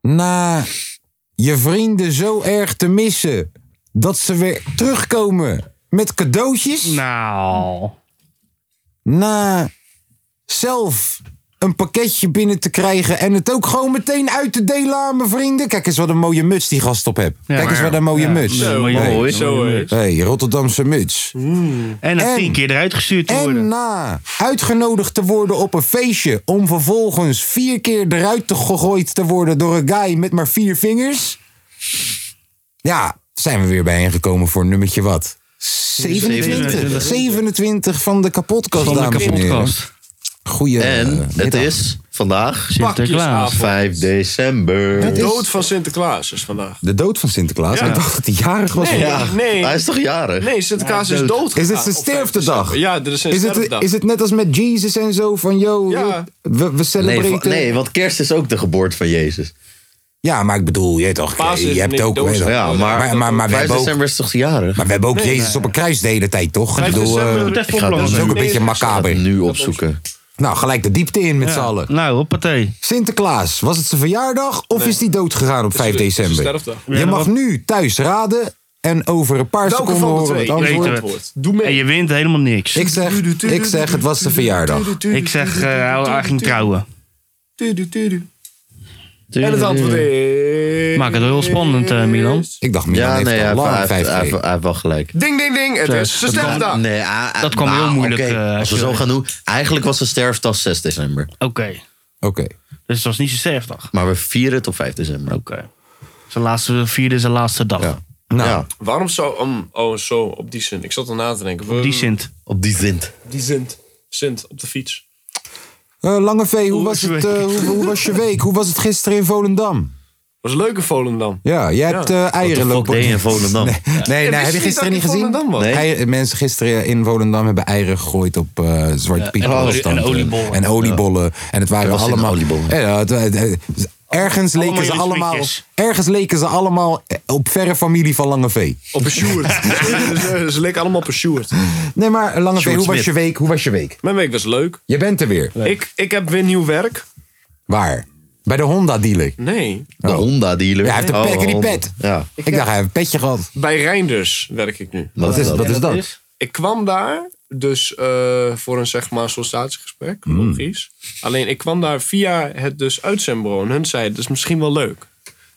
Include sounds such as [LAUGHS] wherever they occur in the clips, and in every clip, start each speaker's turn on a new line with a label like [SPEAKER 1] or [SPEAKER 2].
[SPEAKER 1] Na je vrienden zo erg te missen dat ze weer terugkomen met cadeautjes.
[SPEAKER 2] Nou.
[SPEAKER 1] Na zelf een pakketje binnen te krijgen en het ook gewoon meteen uit te delen aan mijn vrienden. Kijk eens wat een mooie muts die gast op hebt. Kijk eens wat een mooie muts.
[SPEAKER 2] Zo, mooi,
[SPEAKER 1] Hey.
[SPEAKER 2] mooi.
[SPEAKER 1] hey, Rotterdamse muts.
[SPEAKER 2] En dan
[SPEAKER 1] En-
[SPEAKER 2] tien keer eruit gestuurd te
[SPEAKER 1] En
[SPEAKER 2] worden.
[SPEAKER 1] na uitgenodigd te worden op een feestje om vervolgens vier keer eruit te gegooid te worden door een guy met maar vier vingers. Ja, zijn we weer bijeengekomen voor nummertje wat? 27.
[SPEAKER 2] 27.
[SPEAKER 1] 27 van de kapotkast,
[SPEAKER 2] Van de
[SPEAKER 1] dames en heren.
[SPEAKER 2] kapotkast.
[SPEAKER 1] Goeie eh,
[SPEAKER 3] En het
[SPEAKER 1] middag.
[SPEAKER 3] is vandaag
[SPEAKER 2] Sinterklaas.
[SPEAKER 3] 5 december.
[SPEAKER 4] De dood van Sinterklaas is vandaag.
[SPEAKER 1] de dood van Sinterklaas.
[SPEAKER 4] Ja.
[SPEAKER 1] Ik dacht dat hij jarig was.
[SPEAKER 4] Nee.
[SPEAKER 3] Ja, hij is toch jarig?
[SPEAKER 4] Nee, Sinterklaas is dood
[SPEAKER 1] Is
[SPEAKER 4] gegaan
[SPEAKER 1] het zijn
[SPEAKER 4] op 5
[SPEAKER 1] sterftedag?
[SPEAKER 4] december. Ja, er is zijn
[SPEAKER 1] Is het,
[SPEAKER 4] sterftedag.
[SPEAKER 1] is het net als met Jesus en zo van, yo,
[SPEAKER 4] Ja.
[SPEAKER 1] we, we
[SPEAKER 3] Nee,
[SPEAKER 1] celebreren...
[SPEAKER 3] va- nee, want kerst is ook de geboorte van Jezus.
[SPEAKER 1] Ja, maar ik bedoel, je, weet toch,
[SPEAKER 4] Paas
[SPEAKER 1] je
[SPEAKER 4] is
[SPEAKER 1] hebt
[SPEAKER 4] Nick
[SPEAKER 1] ook...
[SPEAKER 4] Dozer.
[SPEAKER 1] weet je
[SPEAKER 3] Ja,
[SPEAKER 1] toch,
[SPEAKER 3] maar-
[SPEAKER 1] maar, maar, maar we
[SPEAKER 3] 5
[SPEAKER 1] hebben ook
[SPEAKER 3] december is toch jarig?
[SPEAKER 1] Maar we hebben ook Jezus op een kruis de hele tijd, toch? Ik
[SPEAKER 4] 5
[SPEAKER 1] bedoel, eh,
[SPEAKER 4] december.
[SPEAKER 2] Even
[SPEAKER 3] Ik ga dus
[SPEAKER 2] oplossen.
[SPEAKER 1] dat is ook een
[SPEAKER 4] Nee,
[SPEAKER 1] beetje
[SPEAKER 4] dat is-
[SPEAKER 1] macaber.
[SPEAKER 3] nu opzoeken.
[SPEAKER 1] Nou, gelijk de diepte in met
[SPEAKER 2] Ja.
[SPEAKER 1] z'n allen.
[SPEAKER 2] Nou, hoppatee.
[SPEAKER 1] Sinterklaas, was het zijn verjaardag of is die doodgegaan op 5
[SPEAKER 4] het is zijn
[SPEAKER 1] december?
[SPEAKER 4] sterfdag.
[SPEAKER 1] Je
[SPEAKER 2] Ja,
[SPEAKER 1] mag
[SPEAKER 2] wat-
[SPEAKER 1] nu thuis raden en over een paar
[SPEAKER 4] Welke
[SPEAKER 1] seconden
[SPEAKER 4] van de
[SPEAKER 1] horen we
[SPEAKER 4] twee?
[SPEAKER 1] het antwoord.
[SPEAKER 2] Weten we.
[SPEAKER 4] Antwoord. Doe mee.
[SPEAKER 2] En je wint helemaal niks.
[SPEAKER 1] Ik zeg, ik zeg, het was zijn verjaardag.
[SPEAKER 2] Ik zeg, eh, hij ging trouwen.
[SPEAKER 4] En het antwoord is...
[SPEAKER 2] Maak het wel heel spannend, eh, Milan.
[SPEAKER 1] Ik dacht, Milan
[SPEAKER 3] Ja,
[SPEAKER 1] heeft
[SPEAKER 3] nee, hij
[SPEAKER 1] al
[SPEAKER 3] heeft- hij
[SPEAKER 1] lang
[SPEAKER 3] heeft- hij
[SPEAKER 1] 5
[SPEAKER 3] heeft hij heeft wel gelijk.
[SPEAKER 4] Ding, ding, ding. Het is zijn sterfdag.
[SPEAKER 3] Nee, ah, ah,
[SPEAKER 2] Dat kwam
[SPEAKER 3] nou,
[SPEAKER 2] heel moeilijk,
[SPEAKER 3] oké,
[SPEAKER 2] eh,
[SPEAKER 3] als we
[SPEAKER 2] als je-
[SPEAKER 3] zo gaan doen. Eigenlijk was de sterfdag 6 december.
[SPEAKER 2] Oké.
[SPEAKER 1] Oké.
[SPEAKER 2] Dus het was niet zijn sterfdag.
[SPEAKER 3] Maar we vieren het op 5 december.
[SPEAKER 2] Oké. Zijn laatste vierde, zijn laatste dag.
[SPEAKER 3] Ja.
[SPEAKER 1] Nou,
[SPEAKER 3] Ja,
[SPEAKER 4] Waarom zo... om- oh, zo. Op die Sint. Ik zat er na te denken.
[SPEAKER 2] Die Sint.
[SPEAKER 3] op die zint.
[SPEAKER 4] Die Sint. Sint. Op de fiets.
[SPEAKER 1] eh, Lange V, hoe
[SPEAKER 2] Hoe
[SPEAKER 1] was,
[SPEAKER 2] was je
[SPEAKER 1] het, eh, hoe, hoe was je week? Hoe was het gisteren in Volendam?
[SPEAKER 4] Was een leuke Volendam.
[SPEAKER 1] Ja, jij hebt eh,
[SPEAKER 3] What the
[SPEAKER 1] eieren
[SPEAKER 3] fuck
[SPEAKER 1] lopen.
[SPEAKER 3] deed je in Volendam?
[SPEAKER 1] [LAUGHS] Nee, nee, nee heb je gisteren niet gezien?
[SPEAKER 3] Nee.
[SPEAKER 1] Ei- mensen gisteren in Volendam hebben eieren gegooid op eh Zwarte Piet.
[SPEAKER 2] en
[SPEAKER 1] Protestant.
[SPEAKER 2] olie- en oliebollen.
[SPEAKER 1] En oliebollen. En het waren
[SPEAKER 3] was in de
[SPEAKER 1] allemaal...
[SPEAKER 3] oliebollen.
[SPEAKER 1] Ja, het- het- het- ergens, leken ze
[SPEAKER 2] jullie
[SPEAKER 1] allemaal,
[SPEAKER 2] smietjes.
[SPEAKER 1] ergens leken ze allemaal op verre familie van Lange V. [LAUGHS]
[SPEAKER 4] Op een Sjoerd. Ze- ze- Ze leken allemaal op een Sjoerd.
[SPEAKER 1] Nee, maar Lange V,
[SPEAKER 3] Sjoerd
[SPEAKER 1] hoe was
[SPEAKER 3] Smit.
[SPEAKER 1] je week? Hoe was je week?
[SPEAKER 4] Mijn week was leuk.
[SPEAKER 1] Je bent er weer.
[SPEAKER 4] Ik, ik heb weer nieuw werk.
[SPEAKER 1] Waar? Bij de Honda dealer.
[SPEAKER 4] Nee.
[SPEAKER 3] De
[SPEAKER 1] Oh.
[SPEAKER 3] Honda dealer.
[SPEAKER 1] Ja, hij heeft een pek in die
[SPEAKER 3] Honda.
[SPEAKER 1] pet.
[SPEAKER 3] Ja,
[SPEAKER 1] Ik, dacht, hij heeft een petje gehad.
[SPEAKER 4] Bij Reinders werk ik nu.
[SPEAKER 1] Wat is, wat is dat?
[SPEAKER 4] Ik kwam daar dus eh, voor een zeg maar sollicitatiegesprek,
[SPEAKER 3] Mm.
[SPEAKER 4] logisch. Alleen ik kwam daar via het dus uitzendbureau en hun zei dat is misschien wel leuk.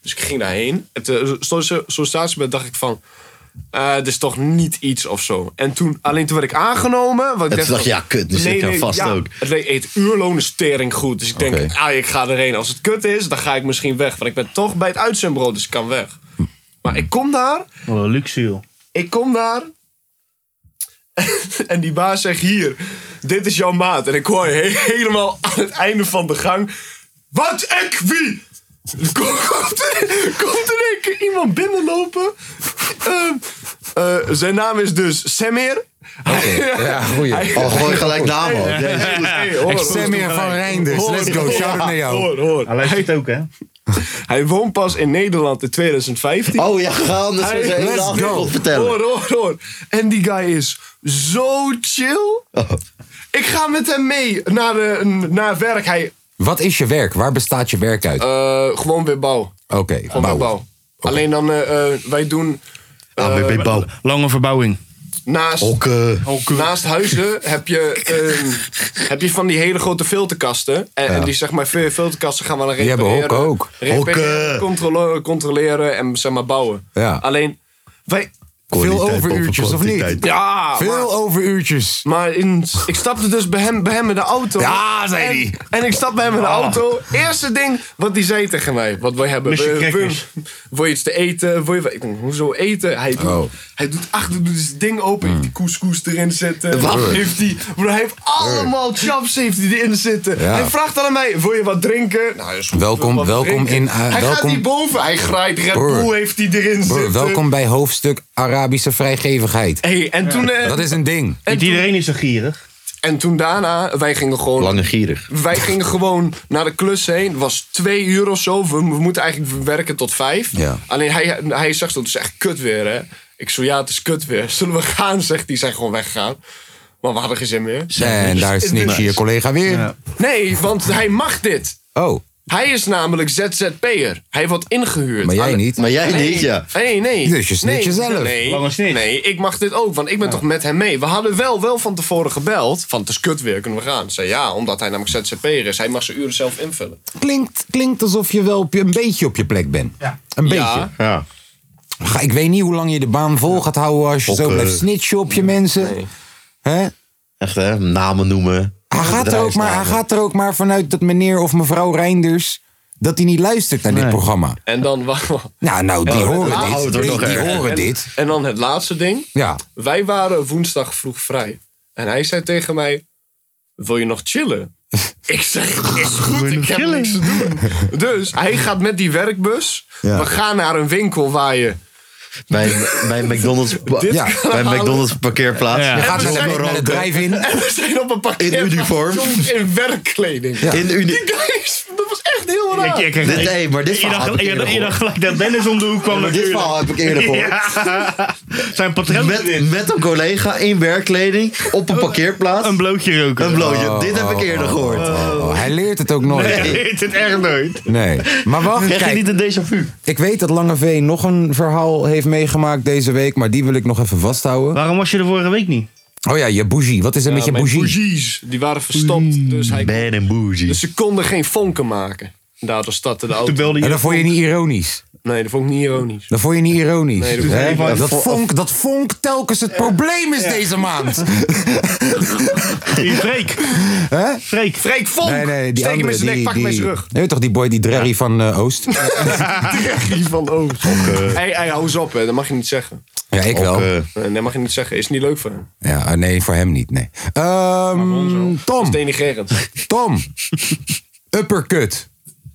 [SPEAKER 4] Dus ik ging daarheen. Het eh, sollic- sollicitatiegesprek dacht ik van, eh dit is toch niet iets of zo. En toen, alleen toen werd ik aangenomen. Want ik
[SPEAKER 3] En toen dacht je, ja, kut, dus ik kan vast ook.
[SPEAKER 4] Het leek het uurloon is tering goed. Dus ik denk,
[SPEAKER 1] Oké.
[SPEAKER 4] ah, ik ga erheen. Als het kut is, dan ga ik misschien weg. Want ik ben toch bij het uitzendbureau, dus ik kan weg. Maar ik kom daar
[SPEAKER 2] Oh, luxe, joh.
[SPEAKER 4] ik kom daar. en die baas zegt hier, dit is jouw maat. En ik hoor he- helemaal aan het einde van de gang. Wat ik wie? Kom- Komt er, komt er een keer iemand binnenlopen? Ehm, eh, zijn naam is dus Semir.
[SPEAKER 1] Ja, goeie.
[SPEAKER 3] Al gooi gelijk naam op.
[SPEAKER 4] Hey, hoor, hoor.
[SPEAKER 1] Samir van Reinders.
[SPEAKER 4] Hoor,
[SPEAKER 1] Let's go.
[SPEAKER 4] hoor,
[SPEAKER 1] Shout out naar jou.
[SPEAKER 4] Hoor, hoor.
[SPEAKER 2] Hij luistert ook, hè?
[SPEAKER 4] Hij woont pas in Nederland in 2015.
[SPEAKER 3] Oh ja, ga anders
[SPEAKER 4] Hey,
[SPEAKER 3] eens even
[SPEAKER 4] let's
[SPEAKER 3] de achtergrond vertellen.
[SPEAKER 4] Hoor, hoor, hoor. En die guy is zo Oh, chill. Ik ga met hem mee naar, de, naar werk. Hij,
[SPEAKER 1] Wat is je werk? Waar bestaat je werk uit?
[SPEAKER 4] eh, gewoon weer bouw.
[SPEAKER 1] Oké,
[SPEAKER 4] Gewoon
[SPEAKER 1] bouw.
[SPEAKER 4] weer bouw. Alleen dan, eh, eh, wij doen eh,
[SPEAKER 3] ABB Bouw.
[SPEAKER 2] Lange verbouwing.
[SPEAKER 4] naast,
[SPEAKER 3] Oké.
[SPEAKER 4] naast huizen heb je, ehm, heb je van die hele grote filterkasten. En, en die zeg maar, fil- filterkasten gaan we dan
[SPEAKER 1] Die hebben
[SPEAKER 4] repareren.
[SPEAKER 1] hokken ook.
[SPEAKER 4] Repareren,
[SPEAKER 3] Hokken.
[SPEAKER 4] controleren, controleren en zeg maar bouwen.
[SPEAKER 1] Ja.
[SPEAKER 4] Alleen, wij,
[SPEAKER 1] Veel
[SPEAKER 3] Kwaliteit boven
[SPEAKER 1] overuurtjes, of niet?
[SPEAKER 3] kwantiteit.
[SPEAKER 4] Ja, maar,
[SPEAKER 1] Veel overuurtjes.
[SPEAKER 4] maar in, ik stapte dus bij hem, bij hem in de auto.
[SPEAKER 1] Ja, zei Ah.
[SPEAKER 4] En-
[SPEAKER 1] die.
[SPEAKER 4] En ik stap bij hem in de auto. Eerste ding wat hij zei tegen mij. Wat wij hebben.
[SPEAKER 2] Lusje
[SPEAKER 4] eh,
[SPEAKER 2] crackers.
[SPEAKER 4] wil- Wil je iets te eten? Wil je, ik denk, hoezo eten? Hij doet,
[SPEAKER 1] Oh. Hmm.
[SPEAKER 4] hij doet achter doet zijn ding open. Heeft die couscous erin zitten.
[SPEAKER 3] Wat?
[SPEAKER 4] Heeft die, maar hij heeft allemaal chaps heeft hij erin zitten.
[SPEAKER 1] Ja.
[SPEAKER 4] Hij vraagt dan aan mij, wil je wat drinken? Nou, is goed,
[SPEAKER 1] Welkom-
[SPEAKER 4] wil wat
[SPEAKER 1] welkom
[SPEAKER 4] drinken.
[SPEAKER 1] in, eh,
[SPEAKER 4] hij
[SPEAKER 1] welkom-
[SPEAKER 4] gaat niet boven. Hij graait Red
[SPEAKER 1] Broer.
[SPEAKER 4] Bull heeft hij erin
[SPEAKER 1] Broer,
[SPEAKER 4] zitten.
[SPEAKER 1] welkom bij hoofdstuk Arabische vrijgevigheid.
[SPEAKER 4] Hey, en toen... eh,
[SPEAKER 1] Dat is een ding.
[SPEAKER 4] en
[SPEAKER 2] Niet
[SPEAKER 4] toen-
[SPEAKER 2] iedereen is zo gierig.
[SPEAKER 4] en toen daarna, wij gingen gewoon
[SPEAKER 3] Lange gierig.
[SPEAKER 4] Wij gingen gewoon naar de klus heen. Het was twee uur of zo. We, we moeten eigenlijk werken tot vijf.
[SPEAKER 1] Ja.
[SPEAKER 4] Alleen hij, hij zegt dat het is echt kut weer, hè. Ik zo, ja, het is kut weer. [LAUGHS] Zullen we gaan, zegt hij. Zijn gewoon weggegaan. Maar we hadden geen zin meer. dus-
[SPEAKER 1] En daar snitch je je collega weer.
[SPEAKER 4] Nee, want hij mag dit.
[SPEAKER 1] Oh,
[SPEAKER 4] Hij is namelijk ZZP'er. Hij wordt ingehuurd.
[SPEAKER 1] maar jij
[SPEAKER 4] Alle-
[SPEAKER 1] niet.
[SPEAKER 3] Maar jij
[SPEAKER 4] Nee,
[SPEAKER 3] niet, ja.
[SPEAKER 4] Nee, nee.
[SPEAKER 1] Dus je snitcht
[SPEAKER 4] nee,
[SPEAKER 1] jezelf.
[SPEAKER 4] Nee,
[SPEAKER 2] Lange snitch.
[SPEAKER 4] nee, ik mag dit ook, want ik ben toch met hem mee. We hadden wel, wel van tevoren gebeld. Van het is kut weer, kunnen we gaan? Ik zei ja, omdat hij namelijk ZZP'er is. Hij mag zijn uren zelf invullen.
[SPEAKER 1] Klinkt, klinkt alsof je wel op je- een beetje op je plek bent. Een beetje.
[SPEAKER 4] Ja.
[SPEAKER 3] Ja.
[SPEAKER 1] Ga- Ik weet niet hoe lang je de baan vol gaat houden als je
[SPEAKER 3] Ook,
[SPEAKER 1] zo
[SPEAKER 3] eh,
[SPEAKER 1] blijft snitchen op je mensen. Hè?
[SPEAKER 3] Echt hè, namen noemen.
[SPEAKER 1] Hij gaat, er ook maar, hij gaat er ook maar vanuit dat meneer of mevrouw Reinders... dat hij niet luistert naar dit programma.
[SPEAKER 4] En dan, wa-
[SPEAKER 1] [LAUGHS] Nou, nou die horen
[SPEAKER 3] laatste
[SPEAKER 1] dit.
[SPEAKER 3] wordt
[SPEAKER 1] Die,
[SPEAKER 3] nog
[SPEAKER 1] die
[SPEAKER 3] erger.
[SPEAKER 1] horen dit.
[SPEAKER 4] en dan het laatste ding.
[SPEAKER 1] Ja.
[SPEAKER 4] Wij waren woensdag vroeg vrij. En hij zei tegen mij: Wil je nog
[SPEAKER 1] [LAUGHS]
[SPEAKER 4] chillen? Ik zeg: Is goed, ik heb niks te doen. [LAUGHS] Dus hij gaat met die werkbus. We gaan naar een winkel waar je.
[SPEAKER 3] Bij, bij, McDonald's,
[SPEAKER 1] Ja.
[SPEAKER 3] bij McDonald's parkeerplaats.
[SPEAKER 2] Ja.
[SPEAKER 3] Je
[SPEAKER 1] Gaat zo
[SPEAKER 3] lekker
[SPEAKER 1] meteen naar de
[SPEAKER 3] roken.
[SPEAKER 1] drijf in.
[SPEAKER 4] En we zijn op een parkeer.
[SPEAKER 3] In uniform.
[SPEAKER 4] In werkkleding.
[SPEAKER 3] In
[SPEAKER 4] Die
[SPEAKER 3] uni...
[SPEAKER 4] guys, dat was echt heel raar.
[SPEAKER 2] Ik- ik- ik-
[SPEAKER 3] Dit, hey, maar dit
[SPEAKER 2] je
[SPEAKER 3] verhaal heb
[SPEAKER 2] dacht-
[SPEAKER 3] ik
[SPEAKER 2] je
[SPEAKER 3] eerder
[SPEAKER 2] dacht- je dacht
[SPEAKER 3] gehoord.
[SPEAKER 2] gelijk dat Dennis om de hoek kwam.
[SPEAKER 3] Maar dit
[SPEAKER 2] natuurlijk.
[SPEAKER 3] verhaal heb ik
[SPEAKER 1] [LAUGHS]
[SPEAKER 3] eerder gehoord.
[SPEAKER 2] Ja. Zijn patroon
[SPEAKER 3] Met,
[SPEAKER 2] erin.
[SPEAKER 3] met een collega in werkkleding op een parkeerplaats.
[SPEAKER 2] Een blootje roken.
[SPEAKER 3] Een blootje. dit heb ik eerder gehoord.
[SPEAKER 1] Oh, hij leert het ook nooit.
[SPEAKER 2] Nee,
[SPEAKER 1] Nee.
[SPEAKER 2] dit is echt nooit.
[SPEAKER 1] Maar wacht,
[SPEAKER 3] Krijg je
[SPEAKER 1] kijk,
[SPEAKER 3] niet een déjà vu?
[SPEAKER 1] ik weet dat Lange V nog een verhaal heeft meegemaakt deze week, maar die wil ik nog even vasthouden.
[SPEAKER 2] Waarom was je er vorige week niet?
[SPEAKER 1] Oh ja, je bougie. Wat is er met je
[SPEAKER 4] Mijn
[SPEAKER 1] bougie?
[SPEAKER 4] bougies, die waren verstopt. Dus, hij,
[SPEAKER 3] Bad and bougie.
[SPEAKER 4] dus ze konden geen vonken maken. Daardoor startte de
[SPEAKER 2] Toen
[SPEAKER 4] auto.
[SPEAKER 2] belde je.
[SPEAKER 1] En dat vond je niet ironisch.
[SPEAKER 4] Nee, dat vond ik niet ironisch.
[SPEAKER 1] Dat vond je niet ironisch.
[SPEAKER 4] Nee, dat vond
[SPEAKER 1] Hè?
[SPEAKER 4] ik
[SPEAKER 1] dat,
[SPEAKER 4] [LAUGHS]
[SPEAKER 1] vonk, dat vonk telkens het probleem is deze
[SPEAKER 2] [LAUGHS]
[SPEAKER 1] maand.
[SPEAKER 2] Die Freek.
[SPEAKER 1] Hè?
[SPEAKER 2] Freek.
[SPEAKER 4] Freek Vonk!
[SPEAKER 1] Nee, nee, die
[SPEAKER 4] Steek hem
[SPEAKER 1] andere,
[SPEAKER 4] in zijn nek,
[SPEAKER 1] die,
[SPEAKER 4] pak hem in
[SPEAKER 1] die,
[SPEAKER 4] zijn rug.
[SPEAKER 1] Nee, toch die boy, die drerry van eh,
[SPEAKER 4] [LAUGHS]
[SPEAKER 1] Oost?
[SPEAKER 4] Die van Oost. Hey, hey, hou eens op, hè. dat mag je niet zeggen.
[SPEAKER 1] eh. Ja, ik wel.
[SPEAKER 3] Eh,
[SPEAKER 4] Nee, dat mag je niet zeggen. Is niet leuk voor hem.
[SPEAKER 1] Ja, ah, nee, voor hem niet, nee. Ehm,
[SPEAKER 4] Dat is
[SPEAKER 1] Tom,
[SPEAKER 4] denigrerend.
[SPEAKER 1] Tom. Uppercut.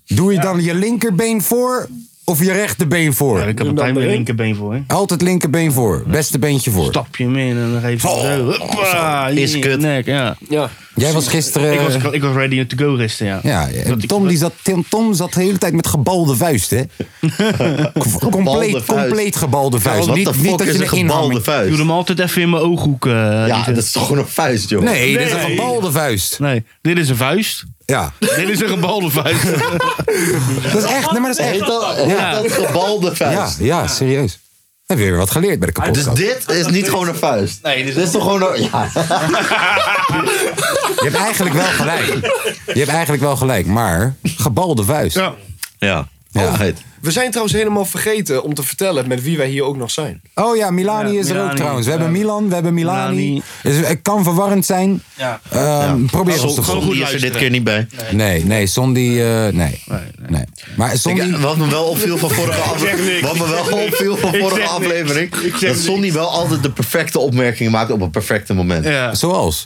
[SPEAKER 1] Doe je dan je linkerbeen voor of je rechterbeen
[SPEAKER 2] Ja,
[SPEAKER 1] voor?
[SPEAKER 2] ik heb een
[SPEAKER 4] dan
[SPEAKER 2] pijn
[SPEAKER 4] de
[SPEAKER 2] met
[SPEAKER 4] ring.
[SPEAKER 2] linkerbeen voor. hè.
[SPEAKER 1] Altijd linkerbeen voor. Beste beentje voor. Oh.
[SPEAKER 2] Stap je hem in en dan geef je hem zo. Hoppa, hier
[SPEAKER 3] Is
[SPEAKER 2] in Ah, je
[SPEAKER 3] kut.
[SPEAKER 2] Nek, ja.
[SPEAKER 4] Ja.
[SPEAKER 1] Jij was gisteren...
[SPEAKER 2] ik, was, ik was ready to go gisteren, ja.
[SPEAKER 1] Ja,
[SPEAKER 2] Dat
[SPEAKER 1] en
[SPEAKER 2] ik-
[SPEAKER 1] Tom, die zat, Tim- Tom zat de hele tijd met gebalde vuist,
[SPEAKER 3] [LAUGHS]
[SPEAKER 1] hè? Com- compleet,
[SPEAKER 3] vuist.
[SPEAKER 1] compleet gebalde vuist.
[SPEAKER 3] Wat
[SPEAKER 1] Niet,
[SPEAKER 3] de
[SPEAKER 1] niet
[SPEAKER 3] fuck
[SPEAKER 1] dat
[SPEAKER 3] is
[SPEAKER 1] je
[SPEAKER 3] een
[SPEAKER 1] een inhaling...
[SPEAKER 3] gebalde
[SPEAKER 2] Ik
[SPEAKER 3] vuist?
[SPEAKER 2] doe hem altijd even in mijn ooghoek. eh,
[SPEAKER 3] Ja,
[SPEAKER 2] lieve.
[SPEAKER 3] dat is toch gewoon een vuist, joh.
[SPEAKER 1] Nee, dit is een
[SPEAKER 2] Nee.
[SPEAKER 1] gebalde vuist.
[SPEAKER 2] Nee, dit is een vuist.
[SPEAKER 1] Ja.
[SPEAKER 2] dit is een
[SPEAKER 1] [LAUGHS]
[SPEAKER 2] gebalde vuist.
[SPEAKER 1] Dat is echt, nee, maar dat is
[SPEAKER 3] Heet
[SPEAKER 1] echt.
[SPEAKER 3] dat, heet dat gebalde
[SPEAKER 1] Ja,
[SPEAKER 3] vuist?
[SPEAKER 1] ja, serieus. Heb je weer wat geleerd bij de
[SPEAKER 3] Dus
[SPEAKER 1] kapotkast.
[SPEAKER 3] dit is niet gewoon een vuist?
[SPEAKER 2] Nee, dit is-
[SPEAKER 3] toch gewoon een... Ja,
[SPEAKER 1] Je hebt eigenlijk wel gelijk. Je hebt eigenlijk wel gelijk, maar gebalde vuist.
[SPEAKER 2] Ja.
[SPEAKER 3] ja. Altijd.
[SPEAKER 4] We zijn trouwens helemaal vergeten om te vertellen met wie wij hier ook nog zijn.
[SPEAKER 1] Oh ja, Milani Eh,
[SPEAKER 2] Ja,
[SPEAKER 1] is er ook
[SPEAKER 2] Milani.
[SPEAKER 1] trouwens. We
[SPEAKER 2] Ja.
[SPEAKER 1] hebben Milan, we hebben Milani.
[SPEAKER 2] Milani.
[SPEAKER 1] Dus het kan verwarrend zijn.
[SPEAKER 2] Ja.
[SPEAKER 1] Ehm, Probeer ons te
[SPEAKER 2] Gewoon
[SPEAKER 1] volgen.
[SPEAKER 2] goed
[SPEAKER 3] Die is er
[SPEAKER 2] luisteren.
[SPEAKER 3] dit keer niet bij.
[SPEAKER 1] Nee, nee, Sondi... eh, nee.
[SPEAKER 2] nee.
[SPEAKER 1] nee. Maar Sondi...
[SPEAKER 3] Ik, wat me wel opviel van
[SPEAKER 2] [LAUGHS]
[SPEAKER 3] vorige aflevering. Wat me wel opviel van
[SPEAKER 2] Ik
[SPEAKER 3] vorige
[SPEAKER 2] zeg niks.
[SPEAKER 3] aflevering.
[SPEAKER 2] Ik zeg
[SPEAKER 3] Dat Sonny
[SPEAKER 2] niks.
[SPEAKER 3] wel altijd de perfecte opmerkingen maakt op het perfecte moment. Ja,
[SPEAKER 2] Ja.
[SPEAKER 1] Zoals? [LAUGHS]
[SPEAKER 2] [LAUGHS]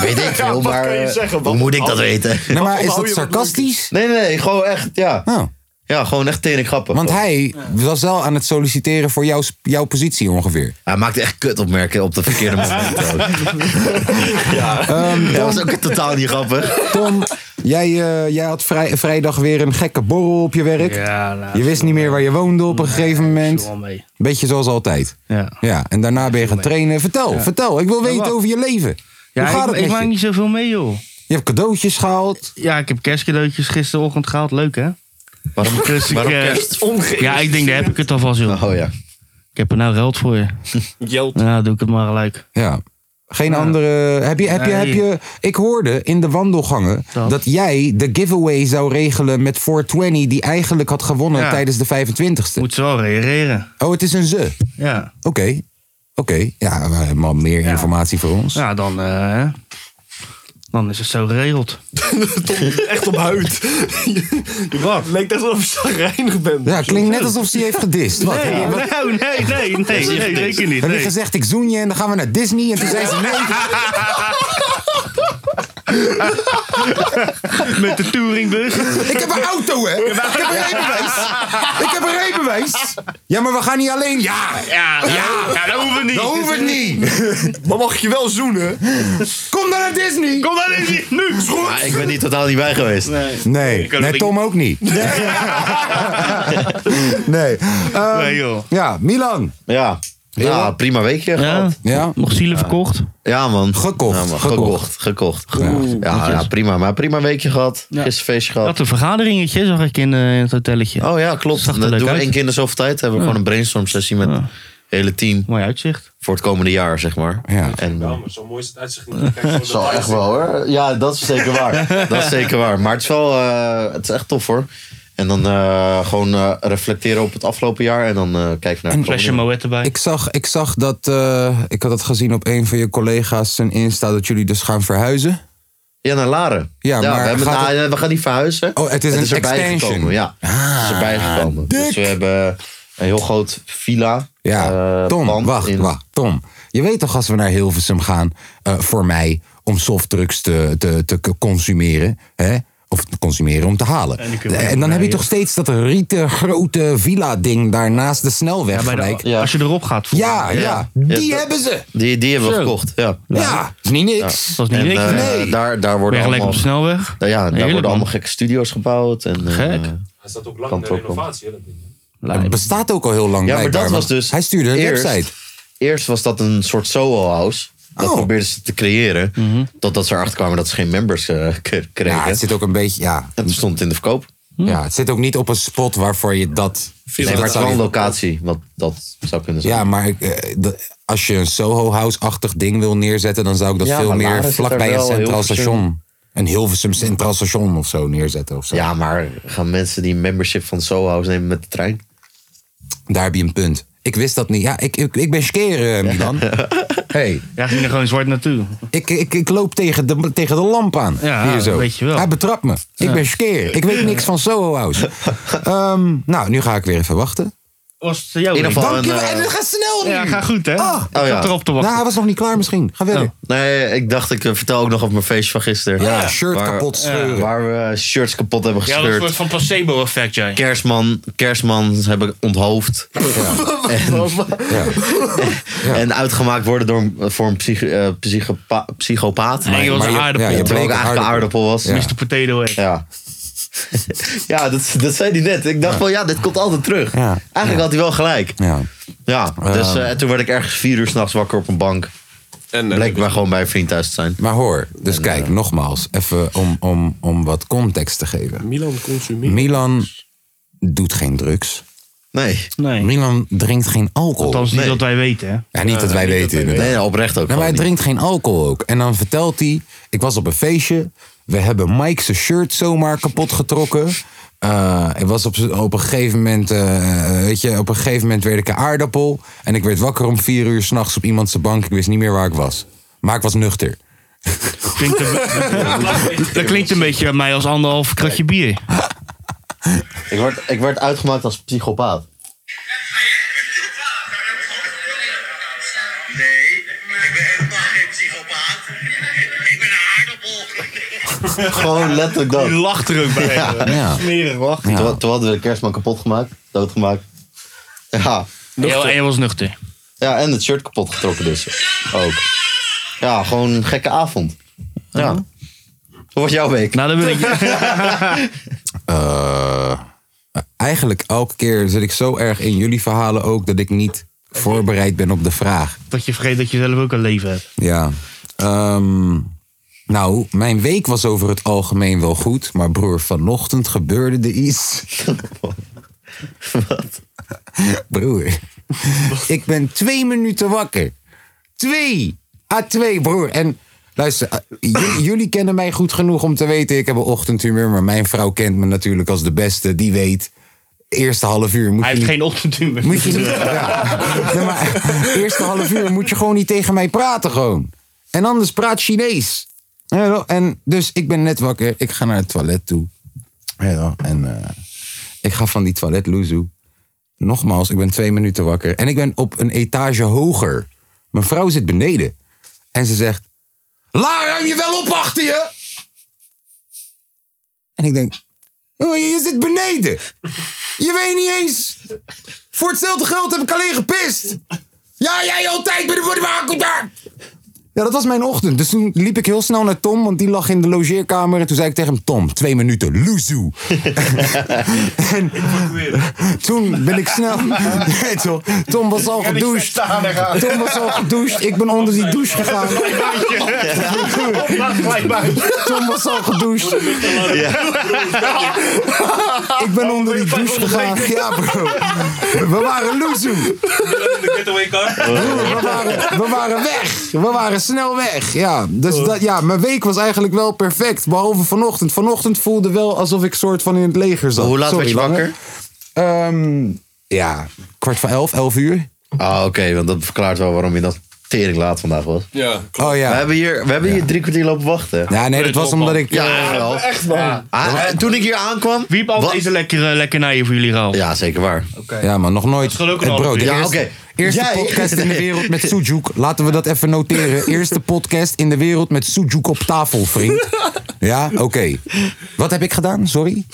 [SPEAKER 3] weet ik veel,
[SPEAKER 4] Ja, wat
[SPEAKER 3] maar.
[SPEAKER 4] kan je
[SPEAKER 3] eh,
[SPEAKER 4] zeggen? Wat-
[SPEAKER 3] Hoe moet ik dat weten?
[SPEAKER 1] Nee, maar is
[SPEAKER 4] Onthoud
[SPEAKER 1] dat
[SPEAKER 4] je wat
[SPEAKER 1] sarcastisch?
[SPEAKER 3] Nee, nee, nee, gewoon echt, ja.
[SPEAKER 1] Nou,
[SPEAKER 3] Ja, gewoon echt tenen grappig.
[SPEAKER 1] want hij was wel aan het solliciteren voor jouw, jouw positie ongeveer.
[SPEAKER 3] Hij maakte echt kut opmerkingen op de verkeerde momenten. ook. ja.
[SPEAKER 1] Ehm,
[SPEAKER 3] dat was ook totaal niet grappig.
[SPEAKER 1] Tom, jij, eh, jij had vrij, vrijdag weer een gekke borrel op je werk.
[SPEAKER 2] Ja, nou,
[SPEAKER 1] je wist niet meer waar je woonde op een gegeven moment.
[SPEAKER 2] wel mee.
[SPEAKER 1] Beetje zoals altijd.
[SPEAKER 2] Ja.
[SPEAKER 1] Ja, en daarna ben je gaan trainen. Vertel, vertel. Ik wil weten
[SPEAKER 2] wacht.
[SPEAKER 1] over je leven.
[SPEAKER 2] Ja,
[SPEAKER 1] Hoe gaat
[SPEAKER 2] ik,
[SPEAKER 1] het
[SPEAKER 2] ik
[SPEAKER 1] met
[SPEAKER 2] maak
[SPEAKER 1] je?
[SPEAKER 2] niet zoveel mee, joh.
[SPEAKER 1] Je hebt cadeautjes gehaald.
[SPEAKER 2] Ja, ik heb kerstcadeautjes gisterochtend gehaald. Leuk, hè?
[SPEAKER 3] Waarom,
[SPEAKER 2] Dus ik,
[SPEAKER 3] waarom
[SPEAKER 2] eh,
[SPEAKER 3] kerst?
[SPEAKER 2] Ja, ik denk, daar heb ik het alvast, joh.
[SPEAKER 3] Oh ja. [LAUGHS]
[SPEAKER 2] Ik heb er nou geld voor je.
[SPEAKER 4] Jelt.
[SPEAKER 2] Ja, doe ik het maar gelijk.
[SPEAKER 1] Ja. Geen andere. Heb je, heb, je, heb
[SPEAKER 2] Nee.
[SPEAKER 1] je. Ik hoorde in de wandelgangen dat,
[SPEAKER 2] Dat.
[SPEAKER 1] jij de giveaway zou regelen met 420, die eigenlijk had gewonnen
[SPEAKER 2] Ja.
[SPEAKER 1] tijdens de 25ste.
[SPEAKER 2] Moet ze wel reageren.
[SPEAKER 1] Oh, het is een ze. Oké.
[SPEAKER 2] Ja.
[SPEAKER 1] [LAUGHS] Oké. Ja, maar- maar meer informatie voor ons.
[SPEAKER 2] Ja, dan, eh, dan is het zo geregeld.
[SPEAKER 4] Echt op
[SPEAKER 2] [LAUGHS]
[SPEAKER 4] huid. Wat? Lijkt echt alsof je reinig bent.
[SPEAKER 1] Ja, klinkt net alsof ze je heeft gedist. Wat?
[SPEAKER 2] Nee,
[SPEAKER 1] Wat?
[SPEAKER 2] nou, nee, nee, nee, nee, zeker niet.
[SPEAKER 1] Heb je
[SPEAKER 2] Nee.
[SPEAKER 1] gezegd, ik zoen je en dan gaan we naar Disney? En toen zei ze, nee,
[SPEAKER 2] [LAUGHS] Met de touringbus.
[SPEAKER 1] ik heb een [LAUGHS] auto, hè? Ik heb een rijbewijs. Ik heb een rijbewijs. Ja, maar we gaan niet alleen. Ja,
[SPEAKER 2] Ja, ja, ja, dat hoeven we niet.
[SPEAKER 1] dat hoeft het niet. [LAUGHS]
[SPEAKER 4] Maar mag je wel zoenen?
[SPEAKER 1] Kom dan naar Disney.
[SPEAKER 2] Kom dan in, nu.
[SPEAKER 3] Maar ik ben hier totaal niet bij geweest.
[SPEAKER 1] Nee,
[SPEAKER 2] kan
[SPEAKER 1] nee
[SPEAKER 2] het
[SPEAKER 1] Tom ook niet. [LAUGHS] Nee. Ehm,
[SPEAKER 2] Nee, joh.
[SPEAKER 1] ja, Milan.
[SPEAKER 3] Ja. Ja, prima weekje
[SPEAKER 2] Ja,
[SPEAKER 3] gehad.
[SPEAKER 1] Ja.
[SPEAKER 2] nog zielen verkocht.
[SPEAKER 3] Ja, man.
[SPEAKER 1] Gekocht,
[SPEAKER 3] Ja, man.
[SPEAKER 1] gekocht.
[SPEAKER 3] Gekocht. Gekocht. Ja, ja, prima. Maar prima weekje gehad. Gisteren feestje
[SPEAKER 2] Ik
[SPEAKER 3] gehad.
[SPEAKER 2] had een vergaderingetje, zag ik in, eh, in het hotelletje.
[SPEAKER 3] Oh ja, klopt.
[SPEAKER 2] Zag er
[SPEAKER 3] Dat
[SPEAKER 2] leuk
[SPEAKER 3] doen we
[SPEAKER 2] uit.
[SPEAKER 3] één keer in de zoveel tijd. Hebben we gewoon een brainstorm sessie met het hele team.
[SPEAKER 2] Mooi uitzicht.
[SPEAKER 3] Voor het komende jaar, zeg maar.
[SPEAKER 1] Ja.
[SPEAKER 3] En, eh, [LAUGHS]
[SPEAKER 5] maar zo mooi is het uitzicht niet. Kijk, zo
[SPEAKER 3] Zal echt wel hoor. Ja, dat is zeker
[SPEAKER 2] [LAUGHS]
[SPEAKER 3] waar. dat is zeker waar. Maar het is wel, eh, het is echt tof hoor. En dan eh, gewoon eh, reflecteren op het afgelopen jaar en dan eh, kijken naar
[SPEAKER 2] Een flesje Moet erbij.
[SPEAKER 1] Ik zag, ik zag dat, eh, ik had dat gezien op een van je collega's zijn Insta, dat jullie dus gaan verhuizen.
[SPEAKER 3] Ja, naar Laren.
[SPEAKER 1] Ja, maar
[SPEAKER 3] we, hebben,
[SPEAKER 1] gaat
[SPEAKER 3] nou, we gaan niet verhuizen.
[SPEAKER 1] Oh, het is een
[SPEAKER 3] erbij
[SPEAKER 1] extension. Ah,
[SPEAKER 3] gekomen, Ja, het is erbij gekomen. Dus
[SPEAKER 1] dik.
[SPEAKER 3] we hebben een heel groot villa.
[SPEAKER 1] Ja,
[SPEAKER 3] eh,
[SPEAKER 1] Tom,
[SPEAKER 3] pand
[SPEAKER 1] wacht,
[SPEAKER 3] in-
[SPEAKER 1] wacht. Tom, je weet toch als we naar Hilversum gaan, eh, voor mij, om softdrugs te, te, te k- consumeren, hè? Of te consumeren om te halen.
[SPEAKER 2] En die
[SPEAKER 1] En,
[SPEAKER 2] kunnen we
[SPEAKER 1] dan
[SPEAKER 2] naar
[SPEAKER 1] heb je
[SPEAKER 2] hier.
[SPEAKER 1] toch steeds dat rieten grote villa-ding daar naast de snelweg
[SPEAKER 2] Ja, bij de-
[SPEAKER 1] gelijk. Ja,
[SPEAKER 3] Ja.
[SPEAKER 2] Als je erop gaat. voor-
[SPEAKER 1] ja,
[SPEAKER 3] Ja.
[SPEAKER 1] die
[SPEAKER 3] Ja, dat-
[SPEAKER 1] hebben ze.
[SPEAKER 3] Die, die hebben we
[SPEAKER 2] Zo.
[SPEAKER 3] gekocht, ja.
[SPEAKER 1] Ja, is niet niks.
[SPEAKER 2] Dat is niet
[SPEAKER 3] En,
[SPEAKER 2] niks.
[SPEAKER 3] eh,
[SPEAKER 2] Ben
[SPEAKER 1] Nee.
[SPEAKER 3] daar, daar
[SPEAKER 2] je
[SPEAKER 3] worden
[SPEAKER 2] gelijk op
[SPEAKER 3] allemaal,
[SPEAKER 2] de snelweg.
[SPEAKER 3] ja, daar
[SPEAKER 2] Heerlijk,
[SPEAKER 3] worden
[SPEAKER 2] man.
[SPEAKER 3] allemaal gekke studio's gebouwd. En, eh,
[SPEAKER 2] Gek.
[SPEAKER 5] Hij staat ook lang
[SPEAKER 3] Kan
[SPEAKER 5] in de
[SPEAKER 3] het ook wel.
[SPEAKER 5] renovatie, hè, dat ding.
[SPEAKER 1] Het
[SPEAKER 2] Lijp.
[SPEAKER 1] bestaat ook al heel lang
[SPEAKER 3] Ja, maar
[SPEAKER 1] blijkbaar,
[SPEAKER 3] dat
[SPEAKER 1] want
[SPEAKER 3] was dus.
[SPEAKER 1] Hij stuurde een
[SPEAKER 3] eerst,
[SPEAKER 1] website.
[SPEAKER 3] Eerst was dat een soort solo house. Dat
[SPEAKER 1] Oh.
[SPEAKER 3] probeerden ze te creëren.
[SPEAKER 5] Mhm.
[SPEAKER 3] Totdat ze erachter kwamen dat ze geen members eh, [LAUGHS] k- kregen.
[SPEAKER 1] Ja, het zit ook een beetje, ja.
[SPEAKER 3] En toen stond het in de verkoop.
[SPEAKER 5] Mhm.
[SPEAKER 1] ja. Het zit ook niet op een spot waarvoor je dat...
[SPEAKER 3] Nee, maar
[SPEAKER 1] waar
[SPEAKER 3] het is wel
[SPEAKER 1] zou
[SPEAKER 3] een
[SPEAKER 1] je-
[SPEAKER 3] locatie. Wat dat zou kunnen zijn.
[SPEAKER 1] Ja, maar ik, eh, de- als je een Soho House-achtig ding wil neerzetten, dan zou ik dat
[SPEAKER 3] Ja,
[SPEAKER 1] veel
[SPEAKER 3] maar
[SPEAKER 1] meer
[SPEAKER 3] Laren zit er
[SPEAKER 1] vlakbij een
[SPEAKER 3] wel,
[SPEAKER 1] centraal
[SPEAKER 3] Hilversum.
[SPEAKER 1] station. Een Hilversum Centraal Station of zo neerzetten. Of zo.
[SPEAKER 3] Ja, maar gaan mensen die een membership van solo house nemen met de trein?
[SPEAKER 1] Daar heb je een punt. Ik wist dat niet. Ja, ik, ik, ik ben skeer, eh, Milan. hey,
[SPEAKER 2] Ja, ging er gewoon zwart naartoe.
[SPEAKER 1] ik, ik, ik loop tegen de, tegen de lamp aan.
[SPEAKER 2] Ja,
[SPEAKER 1] hier zo.
[SPEAKER 2] weet je wel.
[SPEAKER 1] Hij betrapt me. Ik ben skeer. Ik weet niks van Soho House. Ehm, nou, nu ga ik weer even wachten.
[SPEAKER 2] Was het jouw
[SPEAKER 3] In ieder geval een,
[SPEAKER 1] Dankjewel.
[SPEAKER 3] eh,
[SPEAKER 1] En het gaat snel nu.
[SPEAKER 2] Ja, ga goed, hè?
[SPEAKER 1] Ah.
[SPEAKER 2] Ik zat
[SPEAKER 3] Oh, ja.
[SPEAKER 2] erop te wachten. Oh.
[SPEAKER 1] nou, hij was nog niet klaar misschien. Ga verder.
[SPEAKER 3] Nee, ik dacht ik eh, vertel ook nog op mijn feestje van gisteren.
[SPEAKER 1] Ja, shirt kapot scheuren.
[SPEAKER 3] Waar we shirts kapot hebben
[SPEAKER 5] Ja, dat is een soort
[SPEAKER 3] gescheurd.
[SPEAKER 5] van placebo-effect, jij.
[SPEAKER 3] Kerstman, kerstman hebben
[SPEAKER 1] [LAUGHS]
[SPEAKER 3] onthoofd. En uitgemaakt worden door, een- voor een psych, eh, psychopa- psychopaat.
[SPEAKER 5] Nee, joh,
[SPEAKER 1] Maar
[SPEAKER 5] dat is
[SPEAKER 1] je-
[SPEAKER 5] een
[SPEAKER 1] ja,
[SPEAKER 5] aardappel.
[SPEAKER 1] je
[SPEAKER 5] toch?
[SPEAKER 3] Terwijl ik
[SPEAKER 1] Een
[SPEAKER 3] eigenlijk een aardappel was. Ja,
[SPEAKER 2] Mr. Potato Head.
[SPEAKER 3] ja. dat, dat zei hij net. Ik dacht van ja, dit komt altijd terug.
[SPEAKER 1] Ja.
[SPEAKER 3] Eigenlijk had hij wel gelijk.
[SPEAKER 1] Ja. Ehm.
[SPEAKER 3] Ja, dus eh, en toen werd ik ergens vier uur s'nachts wakker op een bank.
[SPEAKER 4] En eh,
[SPEAKER 3] Bleek maar gewoon bij een vriend thuis te zijn.
[SPEAKER 1] Maar hoor, dus kijk, nogmaals, even om, om, om wat context te geven.
[SPEAKER 4] Milan consumeert.
[SPEAKER 1] Milan doet geen drugs.
[SPEAKER 3] Nee,
[SPEAKER 2] Nee.
[SPEAKER 1] Milan drinkt geen alcohol.
[SPEAKER 2] Althans, niet
[SPEAKER 3] Nee.
[SPEAKER 2] dat wij weten, hè?
[SPEAKER 1] Ja, niet dat wij weten, inderdaad.
[SPEAKER 3] nee nou, oprecht
[SPEAKER 1] Nou,
[SPEAKER 3] ook.
[SPEAKER 1] maar
[SPEAKER 3] gewoon
[SPEAKER 1] hij
[SPEAKER 3] niet.
[SPEAKER 1] drinkt geen alcohol ook. En dan vertelt hij, ik was op een feestje. We hebben Mike zijn shirt zomaar kapot getrokken. Eh, ik was op, op een gegeven moment, eh, weet je, op een gegeven moment werd ik een aardappel. En ik werd wakker om vier uur s'nachts op iemand zijn bank. Ik wist niet meer waar ik was. Maar ik was nuchter.
[SPEAKER 2] Klinkt een- [LAUGHS] dat klinkt een beetje bij mij als anderhalf kratje
[SPEAKER 1] [LAUGHS]
[SPEAKER 2] bier.
[SPEAKER 3] Ik, werd, ik werd uitgemaakt als psychopaat.
[SPEAKER 6] Nee, ik ben helemaal geen psychopaat. Ik ben een aardappel.
[SPEAKER 3] [LAUGHS] Gewoon letterlijk dat.
[SPEAKER 2] lacht er ook bij.
[SPEAKER 1] Ja.
[SPEAKER 2] Smerig lachen.
[SPEAKER 3] Toen, toen hadden we de kerstman kapot gemaakt, doodgemaakt. Ja.
[SPEAKER 2] En je was nuchter.
[SPEAKER 3] ja, en [LAUGHS] het shirt kapot getrokken dus. Ook. Ja, gewoon een gekke avond. Ja. Hoe was jouw week?
[SPEAKER 2] Nou, dan wil
[SPEAKER 3] [LAUGHS]
[SPEAKER 2] ik...
[SPEAKER 1] Eh, eigenlijk elke keer zit ik zo erg in jullie verhalen ook dat ik niet voorbereid ben op de vraag.
[SPEAKER 2] dat je vergeet dat je zelf ook een leven hebt.
[SPEAKER 1] Ja. Ehm, nou, mijn week was over het algemeen wel goed, maar broer, vanochtend gebeurde er iets. Broer, ik ben twee minuten wakker. Twee! A2, broer. En luister, eh, j- jullie kennen mij goed genoeg om te weten... ik heb een ochtendhumeur, maar mijn vrouw kent me natuurlijk als de beste. Die weet, eerste half uur... Moet
[SPEAKER 2] Hij
[SPEAKER 1] je
[SPEAKER 2] heeft
[SPEAKER 1] niet-
[SPEAKER 2] geen ochtendhumor.
[SPEAKER 1] Moet je
[SPEAKER 3] [LAUGHS]
[SPEAKER 1] niet. [LAUGHS] Ja. Nee, maar, eh, eerste half uur moet je gewoon niet tegen mij praten, gewoon. En anders praat Chinees. Ja, wel. En dus ik ben net wakker, ik ga naar het toilet toe. Ja, wel. en eh, ik ga van die toilet loezoe. Nogmaals, ik ben twee minuten wakker. En ik ben op een etage hoger. Mijn vrouw zit beneden. En ze zegt: Laar, ruim je wel op achter je! En ik denk: "Oh, Je zit beneden! Je weet niet eens voor hetzelfde geld heb ik alleen gepist. Ja, jij altijd bij de woordenwakel daar. Ja, dat was mijn ochtend. Dus toen liep ik heel snel naar Tom, want die lag in de logeerkamer. En toen zei ik tegen hem, Tom, twee minuten, loezoe. en toen ben ik snel... Nee, toch? Tom was al gedoucht. Tom was al gedoucht. Ik ben onder die douche gegaan. Tom was al gedoucht. Ik ben onder die douche gegaan. Ja, bro. We waren loezoe.
[SPEAKER 3] Oh.
[SPEAKER 1] Broer, [LAUGHS] we waren, we waren weg. We waren snel weg. Ja, dus dat, ja, mijn week was eigenlijk wel perfect. Behalve vanochtend. Vanochtend voelde wel alsof ik soort van in het leger zat.
[SPEAKER 3] Hoe laat
[SPEAKER 1] Sorry,
[SPEAKER 3] werd je
[SPEAKER 1] Lange.
[SPEAKER 3] wakker?
[SPEAKER 1] Ehm, ja, kwart voor elf, elf uur.
[SPEAKER 3] Ah, oké, want dat verklaart wel waarom je dat tering laat vandaag was.
[SPEAKER 4] Ja, klopt.
[SPEAKER 1] Oh
[SPEAKER 3] We
[SPEAKER 1] ja.
[SPEAKER 3] hebben hier, we hebben hier drie kwartier lopen wachten.
[SPEAKER 1] Ja, nee, dat was omdat ik... eh,
[SPEAKER 3] Ja, wel.
[SPEAKER 4] Echt man.
[SPEAKER 3] Ah, eh, toen ik hier aankwam...
[SPEAKER 2] Wie heeft al
[SPEAKER 3] Wat?
[SPEAKER 2] deze lekkere lekkernijen voor jullie gehaald?
[SPEAKER 3] Ja, zeker waar.
[SPEAKER 1] Ja, maar nog nooit.
[SPEAKER 2] scheelt ook een
[SPEAKER 1] Eh,
[SPEAKER 2] half
[SPEAKER 1] bro, de
[SPEAKER 2] uur.
[SPEAKER 3] Ja,
[SPEAKER 1] eerste,
[SPEAKER 3] oké.
[SPEAKER 1] eerste
[SPEAKER 3] Jij-
[SPEAKER 1] podcast in
[SPEAKER 3] [LAUGHS]
[SPEAKER 1] de wereld met Sujuk. Laten we dat even noteren. Eerste podcast in de wereld met Sujuk op tafel, vriend. Ja, oké. Wat heb ik gedaan? Sorry.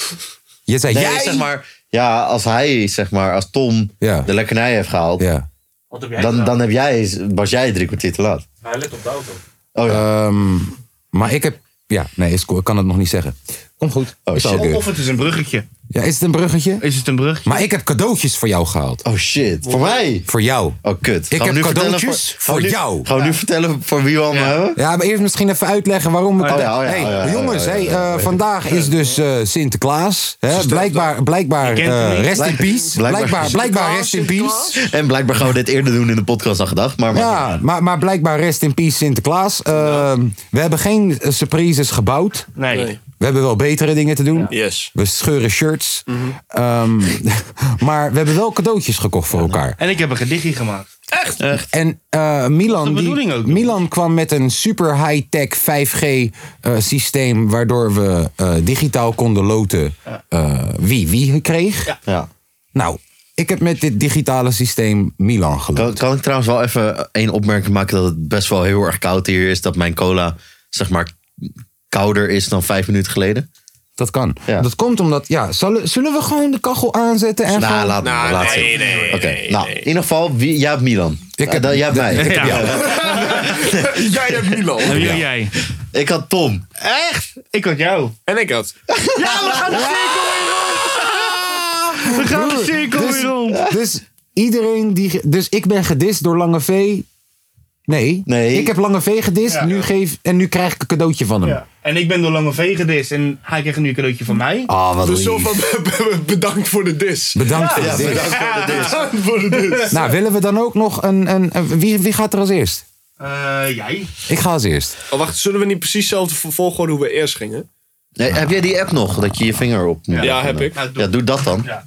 [SPEAKER 1] Je zei
[SPEAKER 3] Nee,
[SPEAKER 1] jij.
[SPEAKER 3] zeg maar... Ja, als hij, zeg maar, als Tom
[SPEAKER 1] Ja.
[SPEAKER 3] de lekkernij heeft gehaald...
[SPEAKER 1] Ja.
[SPEAKER 5] Wat heb jij
[SPEAKER 3] Dan,
[SPEAKER 5] gedaan?
[SPEAKER 3] dan heb jij, was jij drie kwartier te laat.
[SPEAKER 5] Hij let op de auto.
[SPEAKER 3] Oh ja.
[SPEAKER 1] Ehm, maar ik heb. Ja, nee, is cool. ik kan het nog niet zeggen. Kom goed.
[SPEAKER 3] Oh,
[SPEAKER 1] Is
[SPEAKER 3] shit.
[SPEAKER 1] ook weer.
[SPEAKER 2] Of het is een bruggetje.
[SPEAKER 1] Ja, is het een bruggetje?
[SPEAKER 2] Is het een bruggetje?
[SPEAKER 1] Maar ik heb cadeautjes voor jou gehaald.
[SPEAKER 3] Oh shit, voor mij.
[SPEAKER 1] Voor jou.
[SPEAKER 3] Oh kut. Gaan
[SPEAKER 1] Ik
[SPEAKER 3] we
[SPEAKER 1] heb
[SPEAKER 3] nu vertellen
[SPEAKER 1] cadeautjes
[SPEAKER 3] gaan we
[SPEAKER 1] voor
[SPEAKER 3] nu-
[SPEAKER 1] jou.
[SPEAKER 3] Gaan we nu vertellen voor wie we allemaal hebben?
[SPEAKER 1] Ja, maar eerst misschien even uitleggen waarom we.
[SPEAKER 3] Oh ja, oh ja, oh ja,
[SPEAKER 1] hey,
[SPEAKER 3] oh ja,
[SPEAKER 1] jongens,
[SPEAKER 3] oh ja,
[SPEAKER 1] hey,
[SPEAKER 3] oh ja.
[SPEAKER 1] eh, vandaag is dus eh, Sinterklaas. Hè? Blijkbaar, blijkbaar
[SPEAKER 2] kent hem
[SPEAKER 1] eh,
[SPEAKER 2] niet.
[SPEAKER 1] rest in
[SPEAKER 3] Blijkbaar-
[SPEAKER 1] peace. Blijkbaar,
[SPEAKER 3] blijkbaar-
[SPEAKER 1] blijkbaar
[SPEAKER 4] Sinterklaas,
[SPEAKER 1] rest in
[SPEAKER 4] Sinterklaas?
[SPEAKER 1] peace.
[SPEAKER 3] En blijkbaar gaan we dit eerder doen in de podcast dan gedacht. Maar, maar
[SPEAKER 1] Ja, maar, maar blijkbaar rest in peace Sinterklaas. Eh, we hebben geen eh, surprises gebouwd.
[SPEAKER 2] Nee.
[SPEAKER 4] Nee.
[SPEAKER 1] We hebben wel betere dingen te doen.
[SPEAKER 4] Yes.
[SPEAKER 1] We scheuren shirts.
[SPEAKER 2] Mhm.
[SPEAKER 1] Ehm, [LAUGHS] maar we hebben wel cadeautjes gekocht voor elkaar.
[SPEAKER 2] En ik heb een gedichtje gemaakt.
[SPEAKER 1] En eh, Milan,
[SPEAKER 2] Dat is
[SPEAKER 1] die,
[SPEAKER 2] de bedoeling ook.
[SPEAKER 1] Milan kwam met een super high-tech 5G eh, systeem... waardoor we eh, digitaal konden loten eh, wie wie kreeg.
[SPEAKER 3] Ja.
[SPEAKER 1] Nou, ik heb met dit digitale systeem Milan geloten.
[SPEAKER 3] Kan, kan ik trouwens wel even één opmerking maken dat het best wel heel erg koud hier is. Dat mijn cola, zeg maar, kouder is dan vijf minuten geleden.
[SPEAKER 1] Dat kan.
[SPEAKER 3] Ja.
[SPEAKER 1] Dat komt omdat... Ja, zullen, zullen we gewoon de kachel aanzetten? En
[SPEAKER 3] Nou,
[SPEAKER 1] gewoon-
[SPEAKER 3] laat me.
[SPEAKER 4] Nou,
[SPEAKER 3] laat
[SPEAKER 4] nee,
[SPEAKER 3] zitten.
[SPEAKER 4] nee, nee,
[SPEAKER 3] Oké, nou, in ieder geval, wie, jij hebt Milan.
[SPEAKER 1] Ik
[SPEAKER 3] Ik
[SPEAKER 1] heb-
[SPEAKER 3] jij hebt mij. Ik,
[SPEAKER 2] Ja. [LAUGHS]
[SPEAKER 1] [LAUGHS]
[SPEAKER 4] Jij hebt
[SPEAKER 2] En
[SPEAKER 4] Milan.
[SPEAKER 2] wie heb Nou, jij?
[SPEAKER 3] ik had Tom.
[SPEAKER 2] Echt? Ik had jou.
[SPEAKER 4] En ik [LAUGHS] had.
[SPEAKER 1] Ah,
[SPEAKER 2] We gaan de cirkel
[SPEAKER 1] Dus,
[SPEAKER 2] weer rond.
[SPEAKER 1] [LAUGHS] dus iedereen die. ge- Dus ik ben gedist door Lange V. Nee.
[SPEAKER 3] Nee.
[SPEAKER 1] Ik heb Lange V gedist. Nu geef, en nu krijg ik een cadeautje van hem.
[SPEAKER 2] Ja. En ik ben door Lange V gedist en hij kreeg nu een cadeautje van mij.
[SPEAKER 1] Ah, wat
[SPEAKER 4] Dus
[SPEAKER 1] lief.
[SPEAKER 4] zo [LAUGHS] van bedankt voor de dis.
[SPEAKER 1] Bedankt voor dit.
[SPEAKER 4] Bedankt voor de
[SPEAKER 1] [LAUGHS]
[SPEAKER 4] dis.
[SPEAKER 1] Nou, willen we dan ook nog een. een, een- wie, wie gaat er als eerst?
[SPEAKER 2] Eh, jij?
[SPEAKER 1] Ik ga als eerst.
[SPEAKER 4] Oh, wacht, zullen we niet precies hetzelfde volgorde hoe we eerst
[SPEAKER 1] [LAUGHS]
[SPEAKER 4] gingen?
[SPEAKER 3] Nee, heb jij die app nog, dat je je vinger op moet
[SPEAKER 4] Ja,
[SPEAKER 3] doen?
[SPEAKER 4] heb ik.
[SPEAKER 2] Nou,
[SPEAKER 3] Ja, doe dat dan.
[SPEAKER 2] Ja.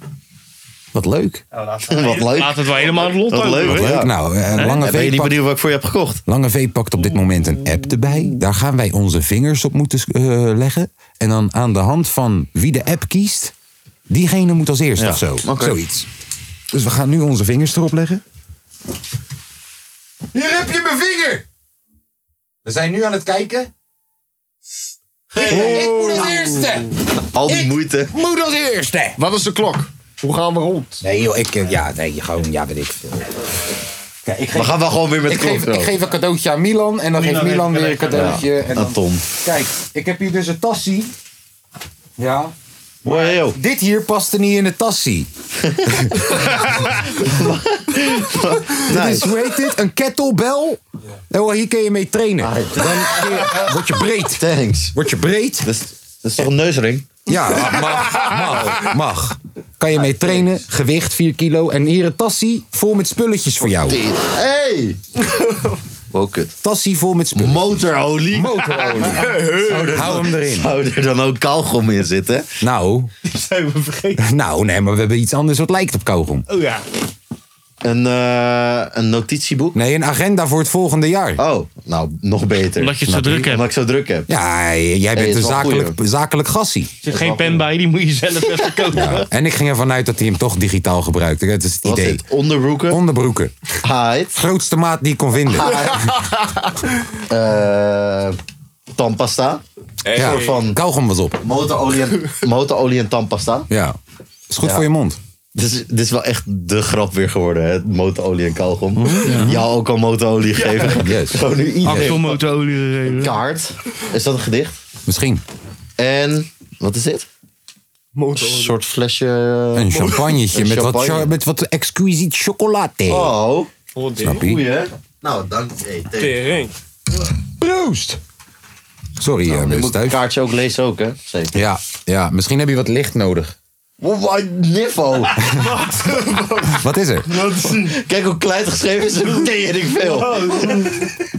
[SPEAKER 1] Wat leuk.
[SPEAKER 2] Nou,
[SPEAKER 3] [LAUGHS]
[SPEAKER 2] laat,
[SPEAKER 3] Wat leuk.
[SPEAKER 2] laat het wel helemaal het lot
[SPEAKER 3] Wat
[SPEAKER 2] over.
[SPEAKER 3] leuk.
[SPEAKER 1] Wat
[SPEAKER 3] Ja.
[SPEAKER 1] leuk. Nou, eh, Lange,
[SPEAKER 3] ben je
[SPEAKER 1] v
[SPEAKER 3] niet
[SPEAKER 1] pakt,
[SPEAKER 3] benieuwd wat ik voor je heb gekocht?
[SPEAKER 1] Lange V pakt op dit moment een app erbij. Daar gaan wij onze vingers op moeten eh, leggen. En dan aan de hand van wie de app kiest, diegene moet als eerst
[SPEAKER 3] Ja,
[SPEAKER 1] of zo.
[SPEAKER 3] oké.
[SPEAKER 1] Zoiets. Dus we gaan nu onze vingers erop leggen. Hier heb je mijn vinger! We zijn nu aan het kijken. Ik moet als eerste!
[SPEAKER 3] Al die moeite.
[SPEAKER 1] Moet als eerste!
[SPEAKER 4] Wat is de klok? Hoe gaan we rond?
[SPEAKER 1] Nee joh, ik... eh, Ja, nee, gewoon... Ja, weet ik veel. Ja, ik geef,
[SPEAKER 3] We gaan wel gewoon weer met de
[SPEAKER 1] ik,
[SPEAKER 3] klok.
[SPEAKER 1] geef,
[SPEAKER 3] zo.
[SPEAKER 1] ik geef een cadeautje aan Milan en dan geeft
[SPEAKER 2] heeft
[SPEAKER 1] Milan
[SPEAKER 2] een
[SPEAKER 1] weer een cadeautje. En
[SPEAKER 3] Aan
[SPEAKER 1] dan,
[SPEAKER 3] Tom.
[SPEAKER 1] kijk, ik heb hier dus een tassie. Ja.
[SPEAKER 3] Wow, joh.
[SPEAKER 1] Dit hier paste niet in de
[SPEAKER 3] [LAUGHS]
[SPEAKER 1] tassie. Dit is, hoe heet dit? Een kettlebell? Oh, hier kun je mee trainen.
[SPEAKER 3] Ah,
[SPEAKER 1] Dan kun je- word je breed.
[SPEAKER 3] Thanks.
[SPEAKER 1] Word je breed?
[SPEAKER 3] Dat is, dat is toch een neusring?
[SPEAKER 1] Ja, mag, mag, mag. Kan je mee trainen, gewicht 4 kilo. En hier een tassie vol met spulletjes voor jou.
[SPEAKER 3] Hey! Wow, kut.
[SPEAKER 1] Tassie vol met spullen.
[SPEAKER 3] Motorolie. [LAUGHS]
[SPEAKER 1] Motorolie. Hou hem erin.
[SPEAKER 3] Zou er dan ook kauwgom in zitten? [LAUGHS]
[SPEAKER 1] Nou,
[SPEAKER 5] Zijn we vergeten?
[SPEAKER 1] nou, nee, maar we hebben iets anders wat lijkt op kauwgom.
[SPEAKER 5] Oh
[SPEAKER 4] [LAUGHS]
[SPEAKER 5] ja.
[SPEAKER 3] Een, eh, een notitieboek?
[SPEAKER 1] Nee, een agenda voor het volgende jaar.
[SPEAKER 3] Oh, nou, nog beter.
[SPEAKER 2] Omdat je het zo
[SPEAKER 3] Natuurlijk,
[SPEAKER 2] druk hebt.
[SPEAKER 3] Omdat ik zo druk heb.
[SPEAKER 1] Ja, jij
[SPEAKER 3] is
[SPEAKER 1] bent een
[SPEAKER 3] wel goeie,
[SPEAKER 1] zakelijk, zakelijk gassie.
[SPEAKER 2] Er zit geen pen bij, die moet je zelf
[SPEAKER 4] [LAUGHS]
[SPEAKER 2] even kopen.
[SPEAKER 1] En ik ging ervan uit dat hij hem toch digitaal gebruikte. Dat is het
[SPEAKER 3] Wat is
[SPEAKER 1] idee.
[SPEAKER 3] het? Onderbroeken?
[SPEAKER 1] Onderbroeken.
[SPEAKER 3] Haait.
[SPEAKER 1] Grootste maat die ik kon vinden.
[SPEAKER 3] Eh, tandpasta. Een
[SPEAKER 1] Ja,
[SPEAKER 3] soort van
[SPEAKER 1] kauwgom was op.
[SPEAKER 3] motorolie en, motorolie en tandpasta.
[SPEAKER 1] Ja. Is goed
[SPEAKER 3] Ja.
[SPEAKER 1] voor je mond.
[SPEAKER 3] Dit is, dit is wel echt de grap weer geworden, hè? Motorolie en kauwgom. Jou ook al motorolie gegeven.
[SPEAKER 1] Mhm. [LAUGHS] Yes.
[SPEAKER 3] Gewoon Oh, nu
[SPEAKER 2] Axel
[SPEAKER 3] iedereen.
[SPEAKER 2] motorolie gereden.
[SPEAKER 3] Kaart. Is dat een gedicht?
[SPEAKER 1] Misschien.
[SPEAKER 3] En wat is dit? Een soort flesje.
[SPEAKER 1] Een champagnetje
[SPEAKER 3] [LAUGHS] Een
[SPEAKER 1] met, Wat,
[SPEAKER 3] champagne.
[SPEAKER 1] cha- met wat exquisite chocolade.
[SPEAKER 3] Oh,
[SPEAKER 4] Wat
[SPEAKER 1] Snap je?
[SPEAKER 3] goeie. hè? Nou, dank je. Hey,
[SPEAKER 4] Tering.
[SPEAKER 1] Proost! Sorry, eh,
[SPEAKER 3] Nou, je
[SPEAKER 1] mensen
[SPEAKER 3] moet het
[SPEAKER 1] thuis.
[SPEAKER 3] kaartje ook lezen, ook, hè? Zeker.
[SPEAKER 1] Ja, ja, misschien heb je wat licht nodig.
[SPEAKER 3] Oh, my [LAUGHS] niffo.
[SPEAKER 1] Wat is er?
[SPEAKER 3] [LAUGHS] Kijk hoe klein het geschreven is. Hoe tering veel.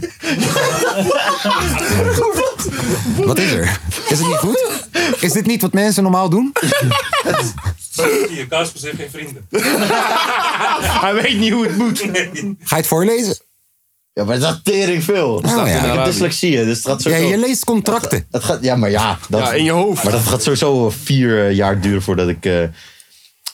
[SPEAKER 1] [LAUGHS] Wat is er? Is het niet goed? Is dit niet wat mensen normaal doen?
[SPEAKER 5] Hier, Kasper heeft geen
[SPEAKER 3] [LAUGHS]
[SPEAKER 5] vrienden.
[SPEAKER 2] Hij weet niet hoe het moet.
[SPEAKER 1] Ga je het voorlezen?
[SPEAKER 3] Ja, maar dat is tering veel.
[SPEAKER 1] Nou ja.
[SPEAKER 3] Ik heb dyslexie, hè, dus het gaat
[SPEAKER 1] Ja,
[SPEAKER 3] sowieso...
[SPEAKER 1] je leest contracten.
[SPEAKER 3] het gaat, ja, maar ja. Dat,
[SPEAKER 4] Ja, in je hoofd.
[SPEAKER 3] Maar dat gaat sowieso vier eh, jaar duren voordat ik... eh,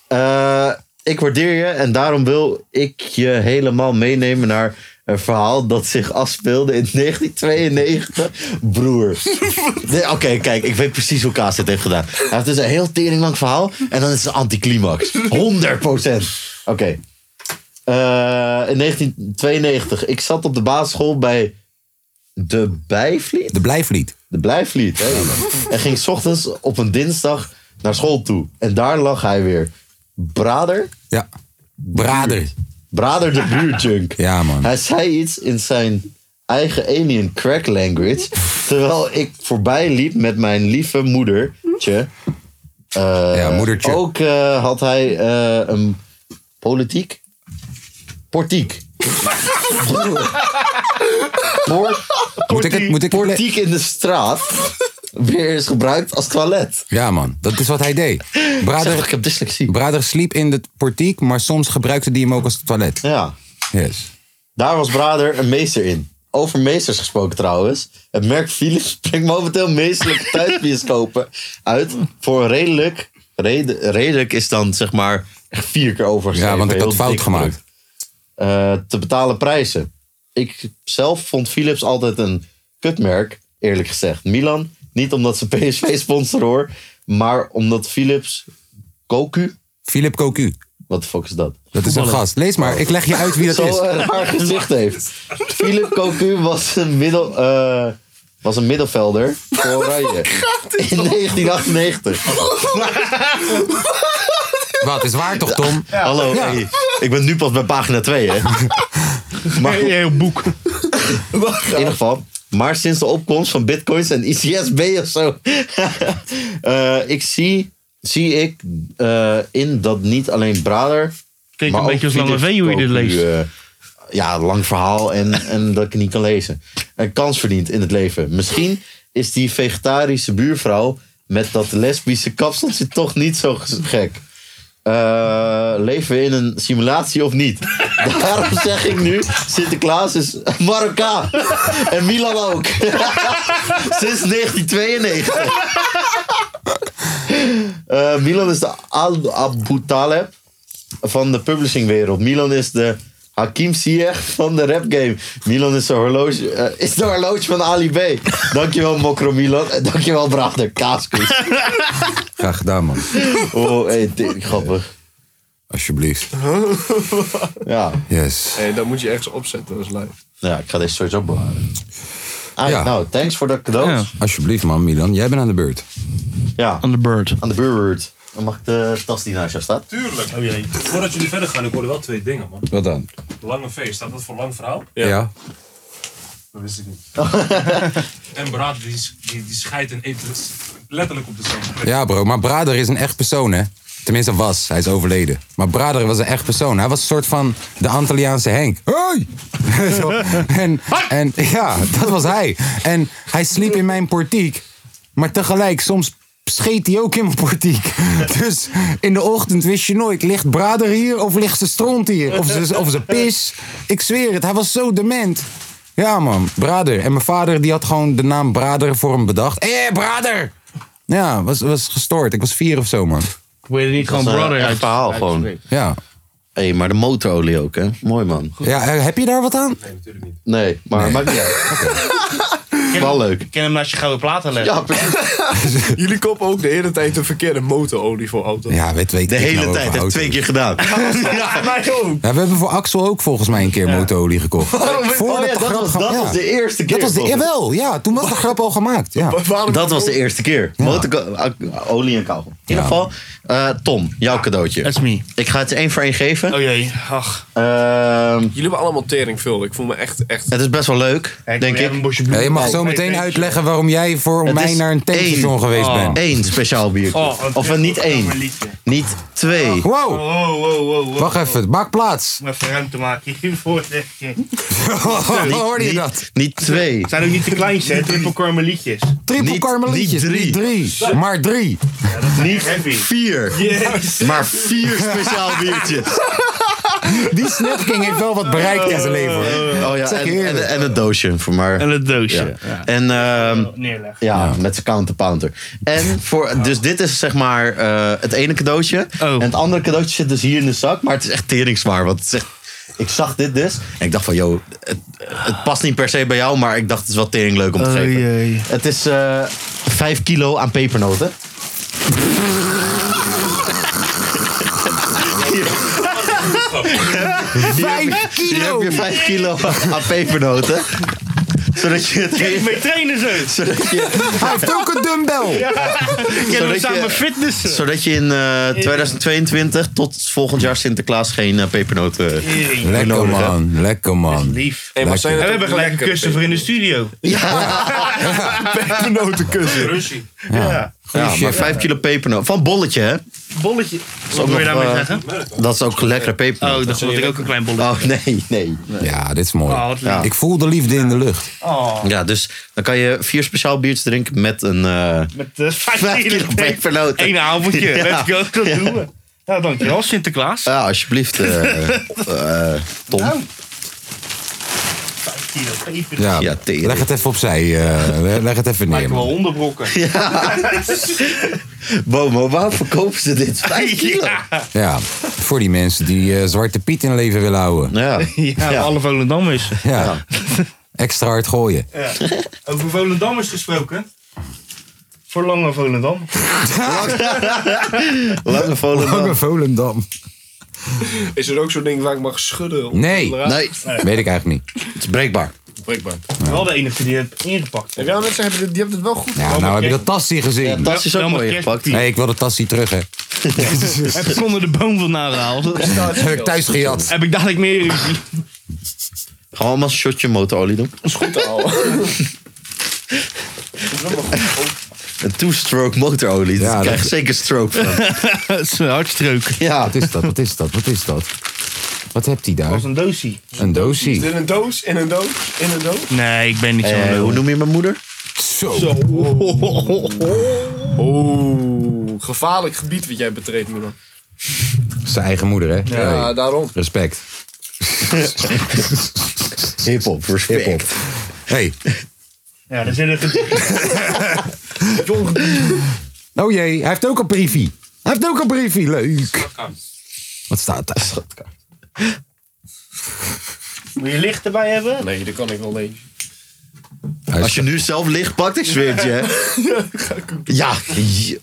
[SPEAKER 3] eh, ik waardeer je en daarom wil ik je helemaal meenemen naar een verhaal dat zich afspeelde in [LAUGHS] 1992.
[SPEAKER 4] [LAUGHS]
[SPEAKER 3] Broer. Nee, Oké, kijk, ik weet precies hoe Kaas dit heeft gedaan. Hij heeft dus een heel teringlang verhaal en dan is het een anticlimax. 100%. Oké. Eh, in 1992. Ik zat op de basisschool bij de Bijvliet.
[SPEAKER 1] De blijflied.
[SPEAKER 3] De blijflied. Hè? en ging 's ochtends op een dinsdag naar school toe. En daar lag hij weer. Brader?
[SPEAKER 1] Ja. Brader.
[SPEAKER 3] Brader de buurtjunk.
[SPEAKER 1] [LAUGHS] Ja, man.
[SPEAKER 3] Hij zei iets in zijn eigen alien crack language. Terwijl ik voorbij liep met mijn lieve moedertje. Eh,
[SPEAKER 1] Ja, moedertje.
[SPEAKER 3] Ook eh, had hij eh, een politiek? Portiek. Por-
[SPEAKER 1] Moet ik het? Moet ik het le-
[SPEAKER 3] portiek in de straat weer is gebruikt als toilet.
[SPEAKER 1] ja, man. Dat is wat hij deed.
[SPEAKER 3] Zeg,
[SPEAKER 1] Brader,
[SPEAKER 3] ik heb dyslexie.
[SPEAKER 1] Brader sliep in het portiek, maar soms gebruikte hij hem ook als toilet.
[SPEAKER 3] Ja.
[SPEAKER 1] Yes.
[SPEAKER 3] Daar was Brader een meester in. Over meesters gesproken trouwens. Het merk Philips [LAUGHS] brengt momenteel meestelijke thuisbioscopen uit voor redelijk. rede- redelijk is dan zeg maar echt vier keer overgeschreven.
[SPEAKER 1] Ja, want ik
[SPEAKER 3] Heel
[SPEAKER 1] had fout
[SPEAKER 3] dik
[SPEAKER 1] gemaakt.
[SPEAKER 3] eh, te betalen prijzen. Ik zelf vond Philips altijd een kutmerk, eerlijk gezegd. Milan, niet omdat ze [LAUGHS] PSV sponsoren hoor, maar omdat Philips Koku,
[SPEAKER 1] Philip Cocu.
[SPEAKER 3] wat de fuck is dat?
[SPEAKER 1] Dat is een gast. Lees maar. Ik leg je uit wie dat
[SPEAKER 3] Zo
[SPEAKER 1] is.
[SPEAKER 3] een raar gezicht heeft. Philip Cocu was een, middel, eh, was een middenvelder voor Oranje
[SPEAKER 1] [LAUGHS]
[SPEAKER 3] in 1998.
[SPEAKER 1] Wat? Is waar toch, Tom?
[SPEAKER 3] Hallo,
[SPEAKER 1] Ja.
[SPEAKER 3] hey, ik ben nu pas bij pagina 2, hè?
[SPEAKER 1] [LAUGHS]
[SPEAKER 3] Maar
[SPEAKER 2] Een heel boek.
[SPEAKER 3] In ieder geval. Maar sinds de opkomst van bitcoins en ICSB of zo. [LAUGHS] eh, ik zie, zie ik eh, in dat niet alleen Brader.
[SPEAKER 2] Klinkt
[SPEAKER 3] maar
[SPEAKER 2] een
[SPEAKER 3] ook
[SPEAKER 2] beetje als Lange
[SPEAKER 3] Philips
[SPEAKER 2] V hoe je dit
[SPEAKER 3] Cocu,
[SPEAKER 2] leest.
[SPEAKER 3] eh, ja, lang verhaal en, en dat ik het niet kan lezen. Een kans verdient in het leven. Misschien is die vegetarische buurvrouw met dat lesbische kapseltje toch niet zo ges- gek. Eh, leven we in een simulatie of niet? [LAUGHS] Daarom zeg ik nu: Sinterklaas is Marokkaan. En Milan ook. [LAUGHS] Sinds 1992. Eh, Milan is de Al Abu Taleb van de publishingwereld. Milan is de Hakim Ziyech van de rapgame. Milan is de horloge, eh, is de horloge van Ali B. Dankjewel Mokro Milan. En dankjewel Brachter. Kaaskoes.
[SPEAKER 1] Graag gedaan, man.
[SPEAKER 3] Oh, hey, dit- grappig.
[SPEAKER 1] [LAUGHS] Alsjeblieft.
[SPEAKER 3] Ja.
[SPEAKER 1] Yes.
[SPEAKER 4] Hey, dat moet je ergens opzetten als
[SPEAKER 1] [LAUGHS]
[SPEAKER 4] live.
[SPEAKER 3] ja, ik ga deze sowieso bewaren. Ah,
[SPEAKER 1] Ja.
[SPEAKER 3] Nou, thanks voor de
[SPEAKER 2] Ja.
[SPEAKER 3] cadeaus.
[SPEAKER 1] Alsjeblieft, man, Milan. Jij bent aan de beurt.
[SPEAKER 3] Ja.
[SPEAKER 2] Aan de bird.
[SPEAKER 3] Aan de buurt. Dan mag ik de tas die naast jou staat.
[SPEAKER 5] Tuurlijk. Oh, jee. Voordat jullie verder gaan, ik hoorde wel twee dingen, man.
[SPEAKER 1] Wat dan?
[SPEAKER 5] Lange feest, staat dat voor lang verhaal?
[SPEAKER 1] Ja.
[SPEAKER 5] Dat wist ik niet. en Braad, die, die, die scheidt en eet het letterlijk op de zon.
[SPEAKER 1] Ja, bro. Maar Brader is een echt persoon, hè? Tenminste, was. Hij is overleden. Maar Braderen was een echt persoon. Hij was een soort van de Antilliaanse Henk.
[SPEAKER 3] [LAUGHS]
[SPEAKER 1] Hoi! Zo. en, en ja, dat was hij. En hij sliep in mijn portiek. Maar tegelijk, soms scheet hij ook in mijn portiek. [LAUGHS] Dus in de ochtend wist je nooit, ligt Brader hier of ligt ze stront hier? Of ze, of ze pis? Ik zweer het, hij was zo dement. Ja man, Brader. En mijn vader die had gewoon de naam Brader voor hem bedacht. Hé, Brader! Ja, was, was gestoord. Ik was vier of zo man.
[SPEAKER 2] Wil je niet gewoon
[SPEAKER 3] Dat is een
[SPEAKER 2] brother
[SPEAKER 3] echt
[SPEAKER 2] uit?
[SPEAKER 3] verhaal gewoon.
[SPEAKER 1] Ja.
[SPEAKER 3] Hé, maar de motorolie ook, hè? Mooi, man.
[SPEAKER 1] ja eh, heb je daar wat aan?
[SPEAKER 3] Nee, Oh, maar maakt [LAUGHS] niet uit. Wel leuk.
[SPEAKER 2] Ik ken hem als je gouden platen legt.
[SPEAKER 3] Ja, precies.
[SPEAKER 4] Jullie kopen ook de hele tijd de verkeerde motorolie voor auto's.
[SPEAKER 1] Ja, weet, weet
[SPEAKER 3] De
[SPEAKER 1] ik nou
[SPEAKER 3] hele
[SPEAKER 1] over
[SPEAKER 3] tijd. Hij heeft
[SPEAKER 1] auto's.
[SPEAKER 3] twee keer
[SPEAKER 4] [LAUGHS]
[SPEAKER 3] gedaan.
[SPEAKER 1] nou
[SPEAKER 2] Ja, mij ook.
[SPEAKER 1] Ja, we hebben voor Axel ook volgens mij een keer motorolie gekocht.
[SPEAKER 3] Oh ja,
[SPEAKER 1] de
[SPEAKER 3] dat
[SPEAKER 1] grap
[SPEAKER 3] was-
[SPEAKER 1] ge-
[SPEAKER 3] dat
[SPEAKER 1] ja.
[SPEAKER 3] was de eerste keer,
[SPEAKER 1] Dat was de,
[SPEAKER 3] volgens mij.
[SPEAKER 1] jawel, ja. Toen was de grap al gemaakt.
[SPEAKER 3] [LAUGHS]
[SPEAKER 1] Ja.
[SPEAKER 4] Waarom-
[SPEAKER 3] Dat was de eerste keer. Motorco- a- olie en kauwgom. In ieder geval, eh, Tom, jouw cadeautje.
[SPEAKER 2] That's me.
[SPEAKER 3] Ik ga het je één voor één geven.
[SPEAKER 2] Oh jee, ach.
[SPEAKER 3] Ehm,
[SPEAKER 4] Jullie hebben allemaal teringveel. Ik voel me echt, echt...
[SPEAKER 3] het is best wel leuk, denk ik.
[SPEAKER 1] Ja, je mag zo meteen uitleggen waarom jij voor
[SPEAKER 3] Het
[SPEAKER 1] mij
[SPEAKER 3] is
[SPEAKER 1] naar een tankstation
[SPEAKER 3] één.
[SPEAKER 1] geweest
[SPEAKER 2] Oh.
[SPEAKER 1] bent.
[SPEAKER 3] Eén speciaal bier.
[SPEAKER 2] Oh, wat
[SPEAKER 3] of
[SPEAKER 2] een
[SPEAKER 3] eh, niet
[SPEAKER 2] goed
[SPEAKER 3] één.
[SPEAKER 2] nummer liedje.
[SPEAKER 3] Niet twee.
[SPEAKER 1] Oh, Wow,
[SPEAKER 2] Wow, wow, wow, wow.
[SPEAKER 1] wacht even, maak plaats.
[SPEAKER 2] Om even ruimte maken hiervoor. zeg je.
[SPEAKER 1] Hoorde je
[SPEAKER 3] niet,
[SPEAKER 1] dat?
[SPEAKER 3] Niet twee.
[SPEAKER 2] Het zijn ook
[SPEAKER 3] [LAUGHS]
[SPEAKER 2] niet de kleinste, hè? Triple karmelietjes.
[SPEAKER 1] Triple
[SPEAKER 3] niet-
[SPEAKER 1] karmelietjes,
[SPEAKER 3] niet drie.
[SPEAKER 1] niet drie, maar drie.
[SPEAKER 2] Niet heavy.
[SPEAKER 3] Vier.
[SPEAKER 2] Yes.
[SPEAKER 3] Maar vier
[SPEAKER 1] [LAUGHS]
[SPEAKER 3] speciaal biertjes.
[SPEAKER 1] Die snapking heeft wel wat bereikt in zijn leven. hoor.
[SPEAKER 3] Oh ja,
[SPEAKER 1] Zeg je
[SPEAKER 3] en,
[SPEAKER 1] eerlijk.
[SPEAKER 3] en, en het doosje voor maar.
[SPEAKER 2] En het doosje.
[SPEAKER 3] ja. En ehm,
[SPEAKER 2] Neerleggen.
[SPEAKER 3] ja, met zijn counterpounder. En voor, dus dit is zeg maar eh, het ene cadeautje.
[SPEAKER 2] Oh.
[SPEAKER 3] En het andere cadeautje zit dus hier in de zak. Maar het is echt teringzwaar. Want het is echt- ik zag dit dus. En ik dacht van, joh, het, het past niet per se bij jou. Maar ik dacht, het is wel tering leuk om te
[SPEAKER 2] Oh,
[SPEAKER 3] geven.
[SPEAKER 2] jee.
[SPEAKER 3] Het is eh 5 kilo aan pepernoten.
[SPEAKER 1] Vijf
[SPEAKER 3] Hier heb
[SPEAKER 1] kilo!
[SPEAKER 3] je 5 kilo aan pepernoten. Zodat je het
[SPEAKER 2] Ik mee
[SPEAKER 3] [LAUGHS]
[SPEAKER 2] trainen zo.
[SPEAKER 3] zodat je,
[SPEAKER 1] Hij heeft ook een dumbbell.
[SPEAKER 2] Ik ken
[SPEAKER 3] Zodat
[SPEAKER 2] hem
[SPEAKER 3] je-
[SPEAKER 2] samen fitnessen.
[SPEAKER 3] zodat je in eh, 2022 tot volgend jaar Sinterklaas geen eh, pepernoten
[SPEAKER 2] Jee.
[SPEAKER 1] Lekker
[SPEAKER 3] nodig, hè?
[SPEAKER 1] man, lekker man.
[SPEAKER 2] Lief.
[SPEAKER 4] Hey, maar
[SPEAKER 1] Lekker.
[SPEAKER 4] zijn het
[SPEAKER 2] En we
[SPEAKER 4] ook
[SPEAKER 2] hebben gelijk een
[SPEAKER 4] lekkere
[SPEAKER 2] kussen voor in de studio.
[SPEAKER 1] [LAUGHS]
[SPEAKER 4] pepernotenkussen?
[SPEAKER 2] Russie. Ja.
[SPEAKER 3] Ja, maar 5 kilo pepernoten. Van bolletje, hè?
[SPEAKER 2] Bolletje. Wat wil
[SPEAKER 3] nog,
[SPEAKER 2] je daarmee
[SPEAKER 3] eh,
[SPEAKER 2] zeggen?
[SPEAKER 3] Dat is ook lekkere
[SPEAKER 2] Oh,
[SPEAKER 3] pepernoten.
[SPEAKER 2] ik dacht dat ik ook een klein bolletje.
[SPEAKER 3] Oh, nee, nee.
[SPEAKER 1] Ja, dit is
[SPEAKER 2] Oh,
[SPEAKER 1] mooi.
[SPEAKER 2] wat lief. Oh.
[SPEAKER 1] Ik voel de liefde in de lucht.
[SPEAKER 3] Ja, dus dan kan je vier speciaal biertjes drinken met een... eh,
[SPEAKER 2] Met eh, vijf
[SPEAKER 3] Vijf
[SPEAKER 2] kilo
[SPEAKER 3] kilo pepernoten.
[SPEAKER 2] Eén avondje.
[SPEAKER 3] Ja.
[SPEAKER 2] Let's go. Dat doen we. Nou, dankjewel Sinterklaas. Nou.
[SPEAKER 3] ja, alsjeblieft,
[SPEAKER 2] [LAUGHS]
[SPEAKER 3] eh, eh, Tom.
[SPEAKER 2] Vijf kilo peper.
[SPEAKER 1] Ja,
[SPEAKER 3] Ja, tering.
[SPEAKER 1] leg het even opzij.
[SPEAKER 2] [LAUGHS]
[SPEAKER 1] eh, leg het even neer.
[SPEAKER 2] Lijken wel
[SPEAKER 1] man.
[SPEAKER 2] hondenbrokken.
[SPEAKER 3] Bomo, waar verkopen ze dit? 5 kilo?
[SPEAKER 2] Ja.
[SPEAKER 1] Ja, voor die mensen die eh, Zwarte Piet in leven willen houden.
[SPEAKER 3] Ja.
[SPEAKER 2] [LAUGHS] Ja,
[SPEAKER 3] Ja.
[SPEAKER 2] alle Volendammers.
[SPEAKER 1] Ja. Extra hard gooien.
[SPEAKER 2] Ja.
[SPEAKER 4] [LAUGHS]
[SPEAKER 2] Over Volendammers gesproken. Voor Lange
[SPEAKER 1] [LAUGHS]
[SPEAKER 2] Volendam.
[SPEAKER 3] Lange Volendam.
[SPEAKER 1] Lange Volendam.
[SPEAKER 4] [LAUGHS] Is er ook zo'n ding waar ik mag schudden? Of
[SPEAKER 1] Nee.
[SPEAKER 4] Raar?
[SPEAKER 3] Nee,
[SPEAKER 1] Weet ik eigenlijk niet.
[SPEAKER 3] het is breekbaar.
[SPEAKER 4] Breekbaar.
[SPEAKER 2] Wel de enige die het ingepakt.
[SPEAKER 4] Ja, mensen hebben dit, die hebben het wel goed.
[SPEAKER 1] Ja, nou heb je dat tassie
[SPEAKER 3] Ja,
[SPEAKER 1] gezien.
[SPEAKER 3] tas is ook
[SPEAKER 2] Ja,
[SPEAKER 3] mooi
[SPEAKER 2] maar
[SPEAKER 3] gepakt.
[SPEAKER 1] Nee, ik wil de tassie terug,
[SPEAKER 2] [LAUGHS]
[SPEAKER 1] hè. [LAUGHS]
[SPEAKER 2] Heb ik onder de boom vandaan gehaald.
[SPEAKER 1] Heb ik thuis gejat.
[SPEAKER 2] Heb ik dadelijk meer ruzie.
[SPEAKER 3] Gewoon allemaal een shotje motorolie doen.
[SPEAKER 4] is goed te houden.
[SPEAKER 3] Een two-stroke motorolie.
[SPEAKER 1] Ja,
[SPEAKER 3] Daar
[SPEAKER 1] dat-
[SPEAKER 3] krijg je zeker stroke van.
[SPEAKER 2] Dat is een hartstrook.
[SPEAKER 3] Ja,
[SPEAKER 1] Wat is dat? Wat is dat? Wat is dat? Wat hebt hij daar?
[SPEAKER 2] was een doosie.
[SPEAKER 1] Een doosie.
[SPEAKER 4] In een doos, in een doos, in een doos.
[SPEAKER 2] Nee, ik ben niet zo'n
[SPEAKER 3] Eh,
[SPEAKER 2] lul.
[SPEAKER 3] hoe noem je mijn moeder?
[SPEAKER 1] Zo.
[SPEAKER 4] Oh. Oeh, Oh. gevaarlijk gebied wat jij betreedt, Milan.
[SPEAKER 1] Zijn eigen moeder, hè?
[SPEAKER 4] Ja,
[SPEAKER 1] Hey,
[SPEAKER 4] daarom.
[SPEAKER 1] Respect.
[SPEAKER 3] [LAUGHS] Hip-hop, respect.
[SPEAKER 1] Hip-hop. Hey.
[SPEAKER 2] Ja, daar zit een gedicht.
[SPEAKER 1] Oh jee, hij heeft ook een briefie. Hij heeft ook een briefie. Leuk. Wat staat daar?
[SPEAKER 2] Moet je licht erbij hebben?
[SPEAKER 4] Nee, dat kan ik wel lezen.
[SPEAKER 3] [LAUGHS] Als je nu zelf licht pakt, ik zweer het je. hè.
[SPEAKER 1] [LAUGHS]
[SPEAKER 3] Ja. je-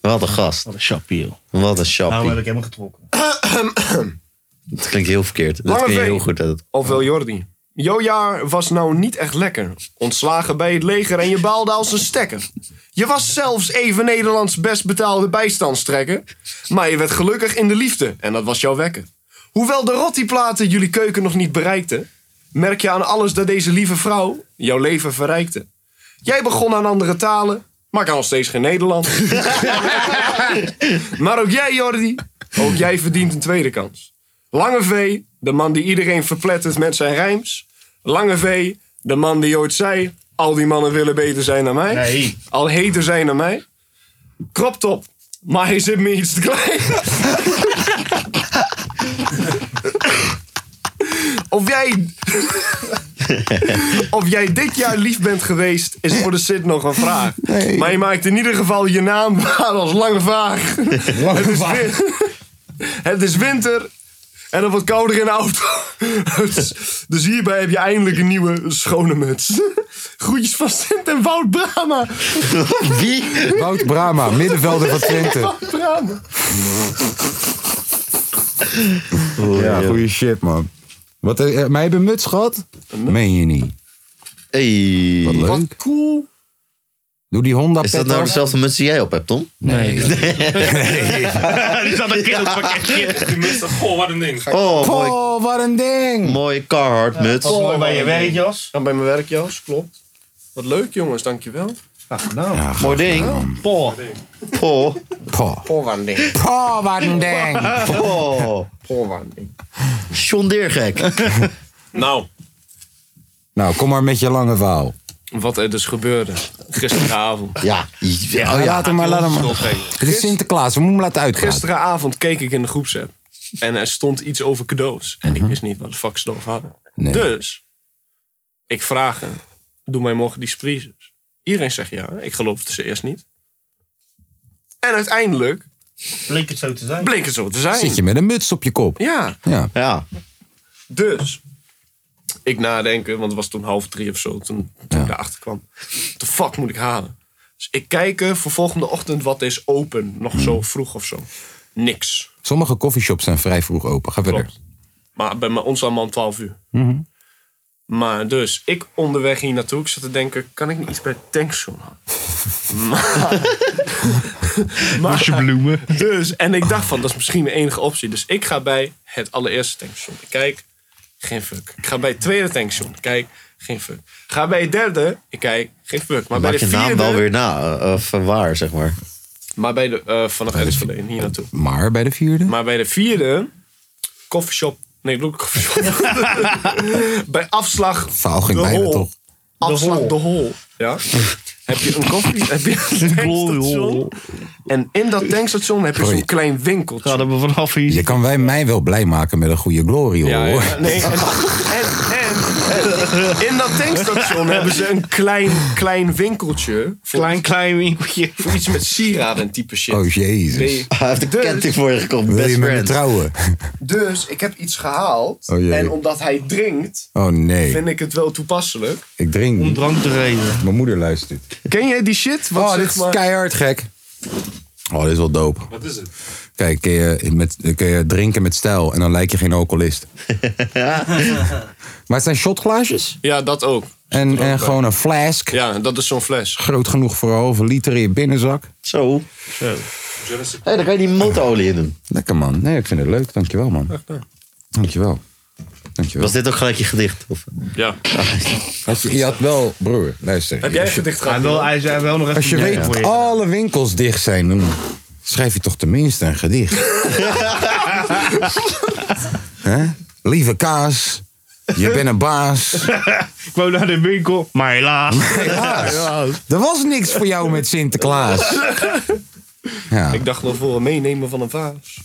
[SPEAKER 3] Wat een gast.
[SPEAKER 2] Wat een chapiel.
[SPEAKER 3] Wat een
[SPEAKER 2] Nou heb
[SPEAKER 3] chappie.
[SPEAKER 2] ik helemaal
[SPEAKER 4] [CLEARS THROAT]
[SPEAKER 2] getrokken.
[SPEAKER 3] Dat klinkt heel verkeerd. Dat
[SPEAKER 4] Lange
[SPEAKER 3] klinkt
[SPEAKER 4] V.
[SPEAKER 3] heel goed. uit.
[SPEAKER 4] Ofwel Jordi. Jouw jaar was nou niet echt lekker. Ontslagen bij het leger en je baalde als een stekker. Je was zelfs even Nederlands best betaalde bijstandstrekker. Maar je werd gelukkig in de liefde en dat was jouw wekker. Hoewel de rottiplaten jullie keuken nog niet bereikten... merk je aan alles dat deze lieve vrouw jouw leven verrijkte. Jij begon aan andere talen, Maar ik kan nog steeds geen Nederland. maar ook jij, Jordi. Ook jij verdient een tweede kans. Lange V, de man die iedereen verplettert met zijn rijms. Lange V, de man die ooit zei... Al die mannen willen beter zijn dan mij.
[SPEAKER 2] Nee.
[SPEAKER 4] Al heter zijn dan mij. Krop top. Maar hij zit me iets te klein. of jij... [LAUGHS] Of jij dit jaar lief bent geweest, is voor de zit nog een vraag.
[SPEAKER 1] Nee.
[SPEAKER 4] Maar je maakt in ieder geval je naam waar als lange
[SPEAKER 1] [LAUGHS]
[SPEAKER 4] vaag. het, is win- het is winter en het wordt kouder in de auto. [LAUGHS] dus, dus hierbij heb je eindelijk een nieuwe schone muts. [LAUGHS] Groetjes van Sint en Wout [LAUGHS] Brama.
[SPEAKER 3] Wie?
[SPEAKER 1] Wout Brama, middenvelder van
[SPEAKER 4] [LAUGHS]
[SPEAKER 1] Twente.
[SPEAKER 4] Wout Brama.
[SPEAKER 1] Ja, goede shit, man. Wat, eh, eh, maar heb je een muts gehad? Meen je niet.
[SPEAKER 3] Hey.
[SPEAKER 1] Wat leuk.
[SPEAKER 4] Cool.
[SPEAKER 1] Doe die Honda
[SPEAKER 3] Is dat
[SPEAKER 1] pet
[SPEAKER 3] nou
[SPEAKER 1] af.
[SPEAKER 3] dezelfde muts die jij op hebt, Tom? [LAUGHS]
[SPEAKER 2] Die zat een kind op het pakketje.
[SPEAKER 7] Die mist dat goh, wat een ding.
[SPEAKER 3] Oh, mooi,
[SPEAKER 1] Oh, wat een ding.
[SPEAKER 3] mooie Carhartt muts.
[SPEAKER 2] Mooi bij je werk, Jos.
[SPEAKER 4] Dan bij mijn werk, Jos. Klopt. Wat leuk, jongens. Dankjewel.
[SPEAKER 3] Mooi ding.
[SPEAKER 2] Poh.
[SPEAKER 3] Oh,
[SPEAKER 1] Poh,
[SPEAKER 4] Voorwanding.
[SPEAKER 1] Poh, wat een ding. [LAUGHS]
[SPEAKER 4] [LAUGHS]
[SPEAKER 3] oh.
[SPEAKER 4] Voorwanding.
[SPEAKER 3] John Deergek.
[SPEAKER 4] Nou,
[SPEAKER 1] Nou, kom maar met je lange verhaal.
[SPEAKER 4] wat er dus gebeurde gisteravond.
[SPEAKER 3] Ja.
[SPEAKER 1] Ja, laat hem maar, laat hem maar. Het is Sinterklaas, we moeten hem laten uitgaan.
[SPEAKER 4] Gisteravond keek ik in de groepsapp. En er stond iets over cadeaus. En ik wist niet wat de fuck ze erover hadden.
[SPEAKER 1] Mhm. Nee.
[SPEAKER 4] Dus, ik vraag hem. Doe mij morgen die surprises. Iedereen zegt ja. Ik geloof het ze eerst niet. En uiteindelijk
[SPEAKER 2] Leek het zo te zijn.
[SPEAKER 4] bleek het zo te zijn.
[SPEAKER 1] Zit je met een muts op je kop.
[SPEAKER 4] Ja,
[SPEAKER 1] Ja.
[SPEAKER 3] Ja.
[SPEAKER 4] dus. Ik nadenken, want het was toen half drie of zo. Toen, toen ik daarachter kwam. What the fuck moet ik halen? Dus ik kijk eh, voor volgende ochtend wat is open. Nog zo
[SPEAKER 1] Mhm.
[SPEAKER 4] vroeg of zo. Niks.
[SPEAKER 1] Sommige coffeeshops zijn vrij vroeg open. Ga verder. Mhm.
[SPEAKER 4] Klopt. Maar bij mij- ons allemaal om 12 uur. Maar dus, ik onderweg hier naartoe, ik zat te denken, kan ik niet iets bij Tankstation halen? [LAUGHS] maar, maar,
[SPEAKER 2] bloemen.
[SPEAKER 4] dus, en ik dacht van, dat is misschien mijn enige optie. Dus ik ga bij het allereerste tankstation. Ik kijk, geen fuck. Ik ga bij het tweede tankstation. Ik kijk, geen fuck. Ga bij het derde, ik kijk, geen fuck. Maar bij
[SPEAKER 3] Maak
[SPEAKER 4] de
[SPEAKER 3] je
[SPEAKER 4] vierde,
[SPEAKER 3] naam wel weer na. eh, Of waar, zeg maar.
[SPEAKER 4] maar bij de, eh, vanaf Enschede hier naartoe.
[SPEAKER 1] Maar bij de vierde?
[SPEAKER 4] Maar bij de vierde, koffieshop. Nee, look, koffieshop. [LAUGHS] bij afslag.
[SPEAKER 1] Verhaal ging
[SPEAKER 4] de
[SPEAKER 1] bijna
[SPEAKER 4] hol.
[SPEAKER 1] toch?
[SPEAKER 4] Afslag de hol. Ja. [LAUGHS] heb je een koffie? Heb je een tankstation? En in dat tankstation heb je
[SPEAKER 1] Goeie.
[SPEAKER 4] zo'n klein
[SPEAKER 2] Ja,
[SPEAKER 4] winkeltje.
[SPEAKER 2] dat we vanaf hier.
[SPEAKER 1] Je kan wij mij wel blij maken met een goede glory hoor.
[SPEAKER 4] Ja, ja, Oh, nee, en, en, en- en in dat tankstation hebben ze een klein, klein winkeltje. Voor,
[SPEAKER 2] Klein, klein winkeltje.
[SPEAKER 4] voor iets met sieraden en type shit.
[SPEAKER 1] Oh jezus.
[SPEAKER 4] Nee,
[SPEAKER 3] Hij heeft een
[SPEAKER 4] Dus-
[SPEAKER 3] ketting voor je gekocht.
[SPEAKER 1] Wil
[SPEAKER 3] Best
[SPEAKER 1] je met me
[SPEAKER 3] friend.
[SPEAKER 1] trouwen?
[SPEAKER 4] Dus ik heb iets gehaald.
[SPEAKER 1] Oh, jee.
[SPEAKER 4] en omdat hij drinkt,
[SPEAKER 1] Oh nee,
[SPEAKER 4] vind ik het wel toepasselijk.
[SPEAKER 1] ik drink
[SPEAKER 2] Om
[SPEAKER 1] niet.
[SPEAKER 2] drank te reden.
[SPEAKER 1] Mijn moeder luistert.
[SPEAKER 4] Ken jij die shit? Wat
[SPEAKER 1] Oh,
[SPEAKER 4] zeg
[SPEAKER 1] dit is
[SPEAKER 4] maar-
[SPEAKER 1] keihard gek. Oh, dit is wel dope.
[SPEAKER 7] Wat is het?
[SPEAKER 1] Kijk, kun je, met, kun je drinken met stijl en dan lijk je geen alcoholist. maar het zijn shotglaasjes
[SPEAKER 4] Ja, dat ook.
[SPEAKER 1] en, en gewoon een flask.
[SPEAKER 4] Ja, dat is zo'n fles.
[SPEAKER 1] Groot genoeg voor een halve liter in je binnenzak.
[SPEAKER 3] Zo.
[SPEAKER 7] Genesis.
[SPEAKER 3] Hé, dan kan je die motorolie in doen.
[SPEAKER 1] Lekker man. Nee, ik vind het leuk. Dankjewel man. Dankjewel. Dankjewel.
[SPEAKER 3] Was dit ook gelijk je gedicht? Of?
[SPEAKER 4] Ja.
[SPEAKER 1] Als je, je had wel, broer, luister.
[SPEAKER 4] Heb jij een gedicht
[SPEAKER 2] Hij
[SPEAKER 4] gehad?
[SPEAKER 2] wil, hij zei wel nog even
[SPEAKER 1] Als je
[SPEAKER 2] een
[SPEAKER 1] weet
[SPEAKER 2] voor
[SPEAKER 1] dat alle winkels dicht zijn, dan schrijf je toch tenminste een gedicht. Hè? Lieve kaas, je bent een baas.
[SPEAKER 2] [LAUGHS] Ik wou naar de winkel, maar helaas. [LAUGHS]
[SPEAKER 1] Er was niks voor jou met Sinterklaas. Ja,
[SPEAKER 4] Ik dacht nog voor een meenemen van een vaas.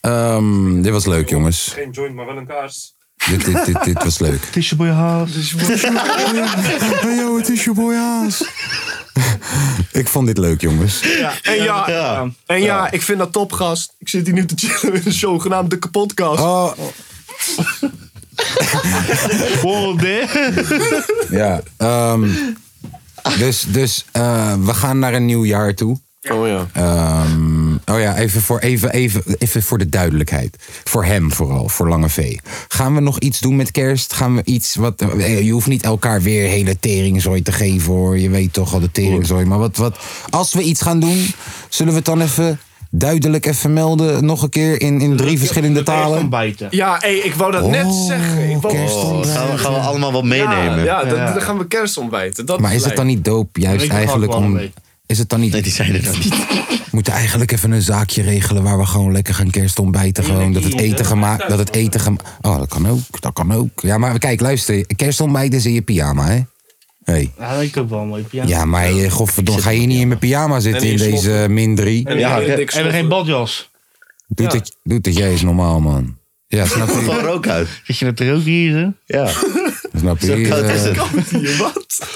[SPEAKER 1] ehm, dit was leuk jongens.
[SPEAKER 7] Geen joint, maar wel een kaars.
[SPEAKER 1] Dit, dit, dit, dit was leuk.
[SPEAKER 2] Het is je boy
[SPEAKER 4] Ah, dus
[SPEAKER 2] haas.
[SPEAKER 1] Hey yo, het is je boy Haas. Ik vond dit leuk jongens.
[SPEAKER 4] [LAUGHS] En ja, En ja, ik vind dat topgast. Ik zit hier nu te chillen in een show genaamd De Kapotkast. [LAUGHS]
[SPEAKER 1] Oh,
[SPEAKER 2] Volgende.
[SPEAKER 1] ja. ehm, dus dus eh, we gaan naar een nieuw jaar toe.
[SPEAKER 4] Oh ja.
[SPEAKER 1] Ehm, oh ja, even voor, even, even, even voor de duidelijkheid. Voor hem vooral, voor Lange V. Gaan we nog iets doen met kerst? Gaan we iets wat... eh, Je hoeft niet elkaar weer hele teringzooi te geven hoor. Je weet toch al de teringzooi. Maar wat, wat, als we iets gaan doen, zullen we het dan even duidelijk even melden? Nog een keer in, in drie verschillende talen?
[SPEAKER 2] bijten.
[SPEAKER 4] Ja, hé, ik wou dat net
[SPEAKER 1] Oh,
[SPEAKER 4] zeggen. Ik wou...
[SPEAKER 3] Oh, gaan, we, gaan we allemaal wat
[SPEAKER 4] Ja,
[SPEAKER 3] meenemen?
[SPEAKER 4] ja, dan, dan gaan we kerst ontbijten. Dat
[SPEAKER 1] Maar is het dan niet doop juist
[SPEAKER 2] Weet je, dat
[SPEAKER 1] eigenlijk
[SPEAKER 2] ga ik wel
[SPEAKER 1] om...
[SPEAKER 2] mee.
[SPEAKER 1] Is het dan niet?
[SPEAKER 3] Nee, die zijn er dan niet.
[SPEAKER 1] [LAUGHS] We moeten eigenlijk even een zaakje regelen waar we gewoon lekker gaan kerstontbijten. Gewoon dat het eten gemaakt. Dat het eten gemaakt. Oh, dat kan ook. Dat kan ook. Ja, maar kijk, luister. Kerstontbijten is in je pyjama, hè? Hey.
[SPEAKER 2] Ja, ik heb wel een mooi pyjama.
[SPEAKER 1] Ja, maar eh, godverdomme, ga je niet in mijn pyjama zitten
[SPEAKER 2] En
[SPEAKER 1] in
[SPEAKER 2] in je
[SPEAKER 1] deze min 3?
[SPEAKER 2] En Ja, en ik- en geen badjas.
[SPEAKER 1] Doet het, doet het jij eens normaal, man. Ja, snap je?
[SPEAKER 2] Gewoon rook
[SPEAKER 3] uit.
[SPEAKER 2] Zit je met rook hier, hè?
[SPEAKER 3] Ja.
[SPEAKER 1] [LAUGHS] Snap je? Eh, [LAUGHS]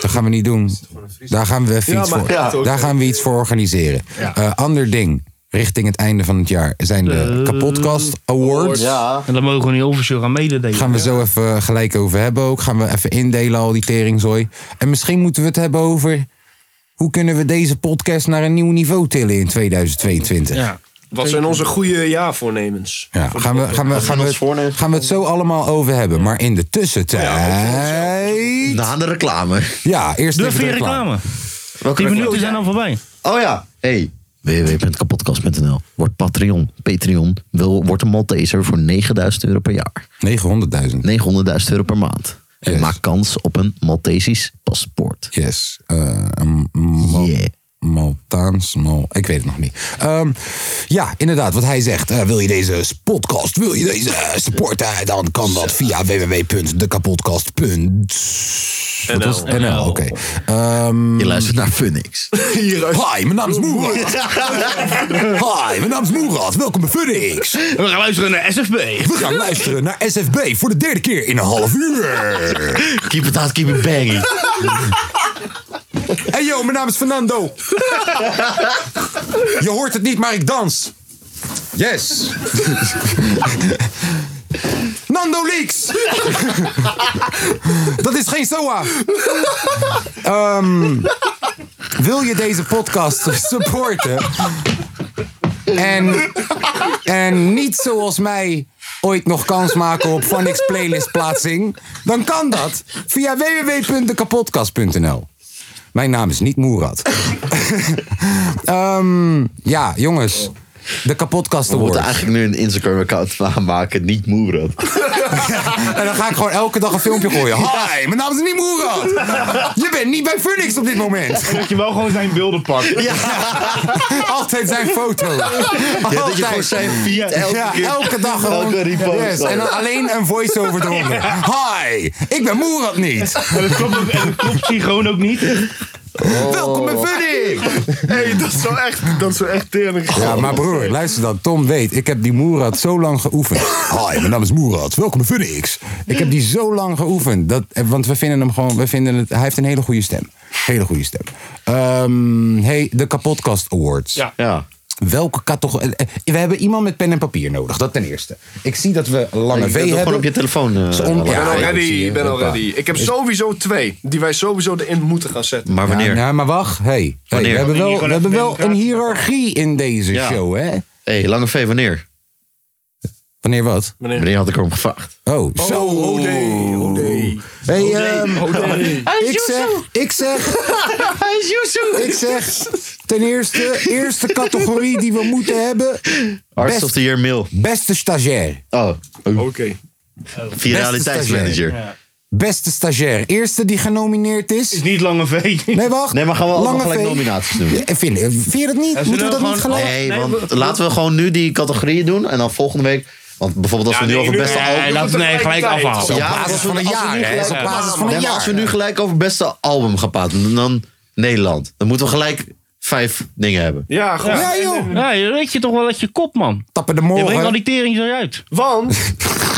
[SPEAKER 1] Dat gaan we niet doen. Daar gaan we even
[SPEAKER 2] Ja,
[SPEAKER 1] iets
[SPEAKER 2] maar
[SPEAKER 1] voor.
[SPEAKER 2] ja.
[SPEAKER 1] Daar gaan we iets voor organiseren.
[SPEAKER 2] Ja.
[SPEAKER 1] Eh, ander ding. Richting het einde van het jaar zijn de
[SPEAKER 2] Eh,
[SPEAKER 1] Kapotkast Awards.
[SPEAKER 2] En daar mogen we niet officieel gaan mededelen.
[SPEAKER 1] Gaan we zo even gelijk over hebben ook. Gaan we even indelen al die teringzooi. En misschien moeten we het hebben over... hoe kunnen we deze podcast naar een nieuw niveau tillen in 2022.
[SPEAKER 4] Wat zijn onze goede jaarvoornemens?
[SPEAKER 1] Ja, gaan we, gaan, we, gaan, we, het- gaan we het zo allemaal over hebben. Maar in de tussentijd...
[SPEAKER 3] Na de reclame.
[SPEAKER 1] Ja, eerst
[SPEAKER 2] Doe
[SPEAKER 1] even
[SPEAKER 2] even je
[SPEAKER 1] de
[SPEAKER 2] reclame. Die minuten zijn al voorbij.
[SPEAKER 3] Oh ja, hey. www.kapotkast.nl Word Patreon. Patreon wil, wordt een Malteser voor 9000 euro per jaar.
[SPEAKER 1] 900.000.
[SPEAKER 3] 900.000 euro per maand. En maak kans op een Maltesisch paspoort.
[SPEAKER 1] Yes. Eh, een Mal- Maltaans, Mal- ik weet het nog niet. Ehm, ja, inderdaad, wat hij zegt. Eh, wil je deze podcast, wil je deze eh, supporten? Dan kan dat via www.dekapodcast.nl. NL, oké. Je
[SPEAKER 3] luistert naar
[SPEAKER 1] [LAUGHS]
[SPEAKER 3] Funix.
[SPEAKER 1] Hi, mijn naam is
[SPEAKER 3] [LAUGHS]
[SPEAKER 1] Moerad. Hi, mijn naam is Moerad. Welkom bij Funix.
[SPEAKER 2] We gaan luisteren naar SFB.
[SPEAKER 1] We gaan luisteren naar SFB voor de derde keer in een half uur.
[SPEAKER 3] Keep it out, keep it banging.
[SPEAKER 1] Hey yo, mijn naam is Fernando. Je hoort het niet, maar ik dans.
[SPEAKER 3] [LAUGHS]
[SPEAKER 1] Yes. Nando Leaks. Dat is geen SOA. Ehm, wil je deze podcast supporten? En, en niet zoals mij ooit nog kans maken op Phonics playlist plaatsing? Dan kan dat via www.dekapotkast.nl. Mijn naam is niet Moerad. [LAUGHS] Ehm, ja, jongens. De kapotkast
[SPEAKER 3] We moeten
[SPEAKER 1] Awards.
[SPEAKER 3] eigenlijk nu een Instagram-account aanmaken, niet Moerad.
[SPEAKER 1] [LAUGHS] En dan ga ik gewoon elke dag een filmpje
[SPEAKER 3] [LAUGHS]
[SPEAKER 1] gooien. Hi, mijn naam is niet Moerad. Je bent niet bij Phoenix op dit moment.
[SPEAKER 2] En dat je wel gewoon zijn beelden pakt.
[SPEAKER 1] [LAUGHS] Altijd zijn foto. Altijd.
[SPEAKER 2] dat je gewoon zijn feed elke
[SPEAKER 1] ja,
[SPEAKER 2] keer-
[SPEAKER 1] elke dag gewoon.
[SPEAKER 2] elke repost.
[SPEAKER 1] Yes, En dan alleen een voice-over eronder. Hi, ik ben Moerad niet.
[SPEAKER 2] En dat klopt, ook- en dat klopt synchroon ook niet.
[SPEAKER 1] Welkom bij Funny!
[SPEAKER 5] hey, dat is wel echt, dat is wel echt tering.
[SPEAKER 1] Ja, maar broer, luister dan. Tom weet, ik heb die Moerad zo lang geoefend. Hi, mijn naam is Moerad. Welkom bij Funix. Ik heb die zo lang geoefend. Dat, eh, want we vinden hem gewoon, we vinden het, hij heeft een hele goede stem. Hele goede stem. Ehm, hey, de Kapotkast Awards.
[SPEAKER 2] Ja.
[SPEAKER 3] ja.
[SPEAKER 1] Welke categorie? eh, eh, We hebben iemand met pen en papier nodig, dat ten eerste. Ik zie dat we Lange
[SPEAKER 3] Je
[SPEAKER 1] V
[SPEAKER 3] kunt
[SPEAKER 1] hebben.
[SPEAKER 3] hem gewoon op je telefoon. eh,
[SPEAKER 1] Is on-
[SPEAKER 3] laten
[SPEAKER 1] ja,
[SPEAKER 4] ben al
[SPEAKER 3] zien.
[SPEAKER 4] ready, ik ben al ready. Ik heb sowieso twee die wij sowieso erin moeten gaan zetten.
[SPEAKER 3] Maar wanneer?
[SPEAKER 1] Ja, nou, maar wacht. Hey, hey, we
[SPEAKER 3] Wanneer?
[SPEAKER 1] hebben wel,
[SPEAKER 2] Wanneer?
[SPEAKER 1] we hebben wel een hiërarchie in deze show, hè?
[SPEAKER 3] Hé, hey, Lange V, wanneer?
[SPEAKER 1] Wanneer wat?
[SPEAKER 3] Wanneer had ik erom gevraagd?
[SPEAKER 1] Oh, zo.
[SPEAKER 3] oh,
[SPEAKER 1] Hey, ehm, ik zeg, ik zeg, ik zeg, ten eerste, eerste categorie die we moeten hebben,
[SPEAKER 3] Arts
[SPEAKER 1] Best.
[SPEAKER 3] of the Year Mail.
[SPEAKER 1] beste stagiair.
[SPEAKER 3] Oh,
[SPEAKER 4] Oké.
[SPEAKER 3] viraliteitsmanager.
[SPEAKER 2] Ja.
[SPEAKER 1] Beste stagiair. Eerste die genomineerd is.
[SPEAKER 2] Is niet lange V.
[SPEAKER 1] Nee, wacht.
[SPEAKER 3] Nee, maar gaan we allemaal
[SPEAKER 1] Lange
[SPEAKER 3] gelijk
[SPEAKER 1] V.
[SPEAKER 3] nominaties doen?
[SPEAKER 1] Ja, Vind, vind je dat niet?
[SPEAKER 2] zullen
[SPEAKER 1] Moeten we dat
[SPEAKER 2] we
[SPEAKER 1] niet
[SPEAKER 2] gewoon-
[SPEAKER 1] gelijk?
[SPEAKER 3] Nee,
[SPEAKER 2] Nee,
[SPEAKER 3] want
[SPEAKER 2] we-
[SPEAKER 3] laten we gewoon nu die categorieën doen en dan volgende week. Want bijvoorbeeld als we nu
[SPEAKER 4] nee,
[SPEAKER 3] over
[SPEAKER 4] nu-
[SPEAKER 3] beste
[SPEAKER 2] Nee,
[SPEAKER 3] album.
[SPEAKER 2] laat nee, gelijk afhalen.
[SPEAKER 3] Ja,
[SPEAKER 1] basis
[SPEAKER 3] als we-
[SPEAKER 1] van een
[SPEAKER 3] als we
[SPEAKER 1] jaar,
[SPEAKER 3] nu
[SPEAKER 1] hè?
[SPEAKER 3] gelijk-
[SPEAKER 1] Op basis van een
[SPEAKER 3] Nee, maar
[SPEAKER 1] jaar.
[SPEAKER 3] als we nu gelijk over beste album gaan praten, dan Nederland. Dan moeten we gelijk vijf dingen hebben.
[SPEAKER 4] Ja, goed.
[SPEAKER 1] Ja, joh.
[SPEAKER 2] Ah, Ja, je weet je toch wel dat je kop, man.
[SPEAKER 1] Tappen de
[SPEAKER 2] Je brengt al
[SPEAKER 1] morgen.
[SPEAKER 2] die tering zo uit.
[SPEAKER 4] Want
[SPEAKER 1] [LAUGHS]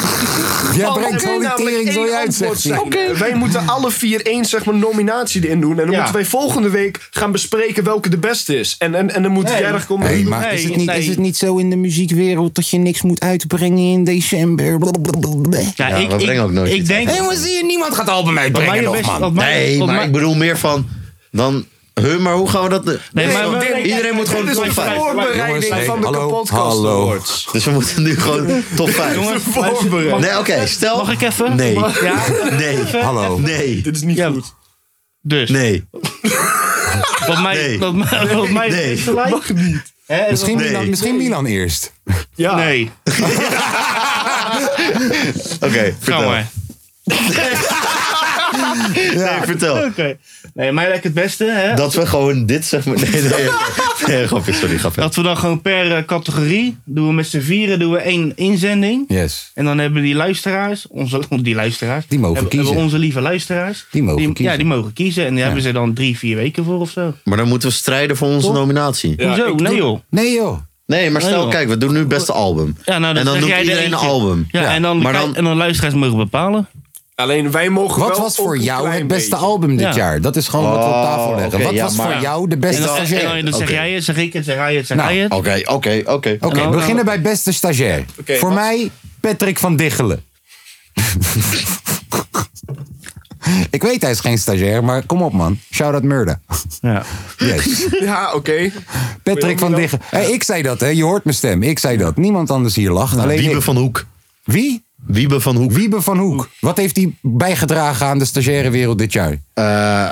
[SPEAKER 1] Jij
[SPEAKER 4] want
[SPEAKER 1] brengt
[SPEAKER 4] er
[SPEAKER 1] zo
[SPEAKER 4] kan
[SPEAKER 1] die
[SPEAKER 4] namelijk
[SPEAKER 1] tering
[SPEAKER 4] één
[SPEAKER 2] [LAUGHS]
[SPEAKER 1] zo uit,
[SPEAKER 4] antwoord
[SPEAKER 1] zegt hij.
[SPEAKER 4] zijn. Wij moeten alle vier één zeg maar, nominatie erin doen. En dan
[SPEAKER 2] Ja.
[SPEAKER 4] moeten wij volgende week gaan bespreken welke de beste is. En, en, en dan moet jij er komen.
[SPEAKER 1] Hey, maar
[SPEAKER 2] Nee,
[SPEAKER 1] is, het niet,
[SPEAKER 2] nee.
[SPEAKER 1] is het niet zo in de muziekwereld dat je niks moet uitbrengen in december? Blablabla.
[SPEAKER 2] Ja,
[SPEAKER 3] Ja,
[SPEAKER 2] ik,
[SPEAKER 3] we brengen
[SPEAKER 2] ik,
[SPEAKER 3] ook nooit
[SPEAKER 2] ik
[SPEAKER 3] iets
[SPEAKER 2] denk.
[SPEAKER 1] Hé, maar zie je, niemand gaat album
[SPEAKER 2] wat
[SPEAKER 1] uitbrengen
[SPEAKER 2] mij het
[SPEAKER 1] nog,
[SPEAKER 2] beste- wat
[SPEAKER 1] man.
[SPEAKER 2] mij-
[SPEAKER 3] Nee,
[SPEAKER 2] wat
[SPEAKER 3] maar
[SPEAKER 2] mij-
[SPEAKER 3] ik bedoel meer van. Dan, huh, maar hoe gaan we dat.
[SPEAKER 2] Nee, maar we-
[SPEAKER 3] iedereen moet gewoon
[SPEAKER 4] Dit is
[SPEAKER 3] top
[SPEAKER 4] een
[SPEAKER 2] vijf.
[SPEAKER 3] 5.
[SPEAKER 4] voorbereiding
[SPEAKER 1] Jongens, hey,
[SPEAKER 4] van de
[SPEAKER 1] hallo,
[SPEAKER 4] kapotkast
[SPEAKER 1] hallo.
[SPEAKER 4] awards.
[SPEAKER 3] Dus we moeten nu gewoon top 5.
[SPEAKER 2] [LAUGHS] Jongens,
[SPEAKER 4] voorbereid.
[SPEAKER 3] Nee, oké, stel.
[SPEAKER 2] Mag ik even?
[SPEAKER 3] Nee. [LAUGHS]
[SPEAKER 2] Ja,
[SPEAKER 3] Nee.
[SPEAKER 1] Hallo.
[SPEAKER 3] Nee.
[SPEAKER 4] Dit is niet
[SPEAKER 2] Ja.
[SPEAKER 4] goed.
[SPEAKER 2] dus.
[SPEAKER 3] Nee.
[SPEAKER 2] Wat mij.
[SPEAKER 3] Nee.
[SPEAKER 2] Wat mij. Wat mij
[SPEAKER 3] Nee.
[SPEAKER 2] is gelijk. Hè, is
[SPEAKER 1] Misschien,
[SPEAKER 2] dat-
[SPEAKER 3] Nee.
[SPEAKER 1] Milan, misschien Milan eerst.
[SPEAKER 4] Ja.
[SPEAKER 3] [LAUGHS]
[SPEAKER 2] Nee.
[SPEAKER 3] Oké,
[SPEAKER 2] Ga
[SPEAKER 3] vertel.
[SPEAKER 2] maar.
[SPEAKER 3] Nee, vertel.
[SPEAKER 2] Oké. Nee, mij lijkt het beste. Hè?
[SPEAKER 3] Dat we gewoon dit zeg maar. Nee, nee, nee, nee grapje, sorry, grapje.
[SPEAKER 2] Dat we dan gewoon per eh, categorie doen we met z'n vieren doen we één inzending.
[SPEAKER 1] Yes.
[SPEAKER 2] En dan hebben die luisteraars, onze, [LAUGHS] die luisteraars,
[SPEAKER 1] Die mogen
[SPEAKER 2] hebben,
[SPEAKER 1] kiezen.
[SPEAKER 2] hebben onze lieve luisteraars,
[SPEAKER 1] Die mogen kiezen.
[SPEAKER 2] Ja, die mogen kiezen. En daar hebben ze dan drie, vier weken voor of zo.
[SPEAKER 3] Maar dan moeten we strijden voor onze
[SPEAKER 2] Toch?
[SPEAKER 3] nominatie.
[SPEAKER 2] Hoezo? Nee joh.
[SPEAKER 1] Nee joh.
[SPEAKER 3] Nee, maar stel,
[SPEAKER 2] joh.
[SPEAKER 3] kijk, we doen nu beste album.
[SPEAKER 2] Ja, nou,
[SPEAKER 3] en dan
[SPEAKER 2] zeg
[SPEAKER 3] noemt
[SPEAKER 2] jij er
[SPEAKER 3] iedereen een
[SPEAKER 2] eentje.
[SPEAKER 3] album.
[SPEAKER 2] Ja, En, dan,
[SPEAKER 3] maar
[SPEAKER 2] kijk-
[SPEAKER 3] dan,
[SPEAKER 2] en dan luisteraars mogen bepalen.
[SPEAKER 4] Alleen wij mogen
[SPEAKER 1] Wat
[SPEAKER 4] wel
[SPEAKER 1] was
[SPEAKER 4] ook
[SPEAKER 1] voor
[SPEAKER 4] een
[SPEAKER 1] jou
[SPEAKER 4] klein
[SPEAKER 1] het beste
[SPEAKER 4] beetje.
[SPEAKER 1] album dit
[SPEAKER 2] Ja.
[SPEAKER 1] jaar? Dat is gewoon wat we op tafel
[SPEAKER 3] Oh,
[SPEAKER 1] leggen.
[SPEAKER 3] oké,
[SPEAKER 1] wat
[SPEAKER 3] ja,
[SPEAKER 1] was
[SPEAKER 3] maar-
[SPEAKER 1] voor jou de beste
[SPEAKER 2] En dan, en dan,
[SPEAKER 1] stagiair?
[SPEAKER 2] dan zeg
[SPEAKER 3] Oké.
[SPEAKER 2] jij het, zeg ik het, zeg hij het, zeg
[SPEAKER 1] Nou,
[SPEAKER 2] hij het.
[SPEAKER 3] Oké, oké, oké.
[SPEAKER 1] Oké,
[SPEAKER 2] dan-
[SPEAKER 1] we beginnen bij beste stagiair.
[SPEAKER 4] Oh. Oké,
[SPEAKER 1] voor
[SPEAKER 4] wat-
[SPEAKER 1] mij Patrick van Diggelen. [LAUGHS] Ik weet, hij is geen stagiair, maar kom op man. Shout out Murda.
[SPEAKER 2] Ja.
[SPEAKER 1] [LAUGHS] Yes.
[SPEAKER 4] Ja, oké.
[SPEAKER 1] Patrick van Diggelen. Hey, ik zei dat, hè? je hoort mijn stem. Ik zei dat. Niemand anders hier lacht. Alleen
[SPEAKER 3] Wiebe
[SPEAKER 1] ik.
[SPEAKER 3] van Hoek.
[SPEAKER 1] Wie?
[SPEAKER 3] Wiebe van Hoek.
[SPEAKER 1] Wiebe van Hoek. Wat heeft hij bijgedragen aan de stagiairewereld dit jaar?
[SPEAKER 3] Eh,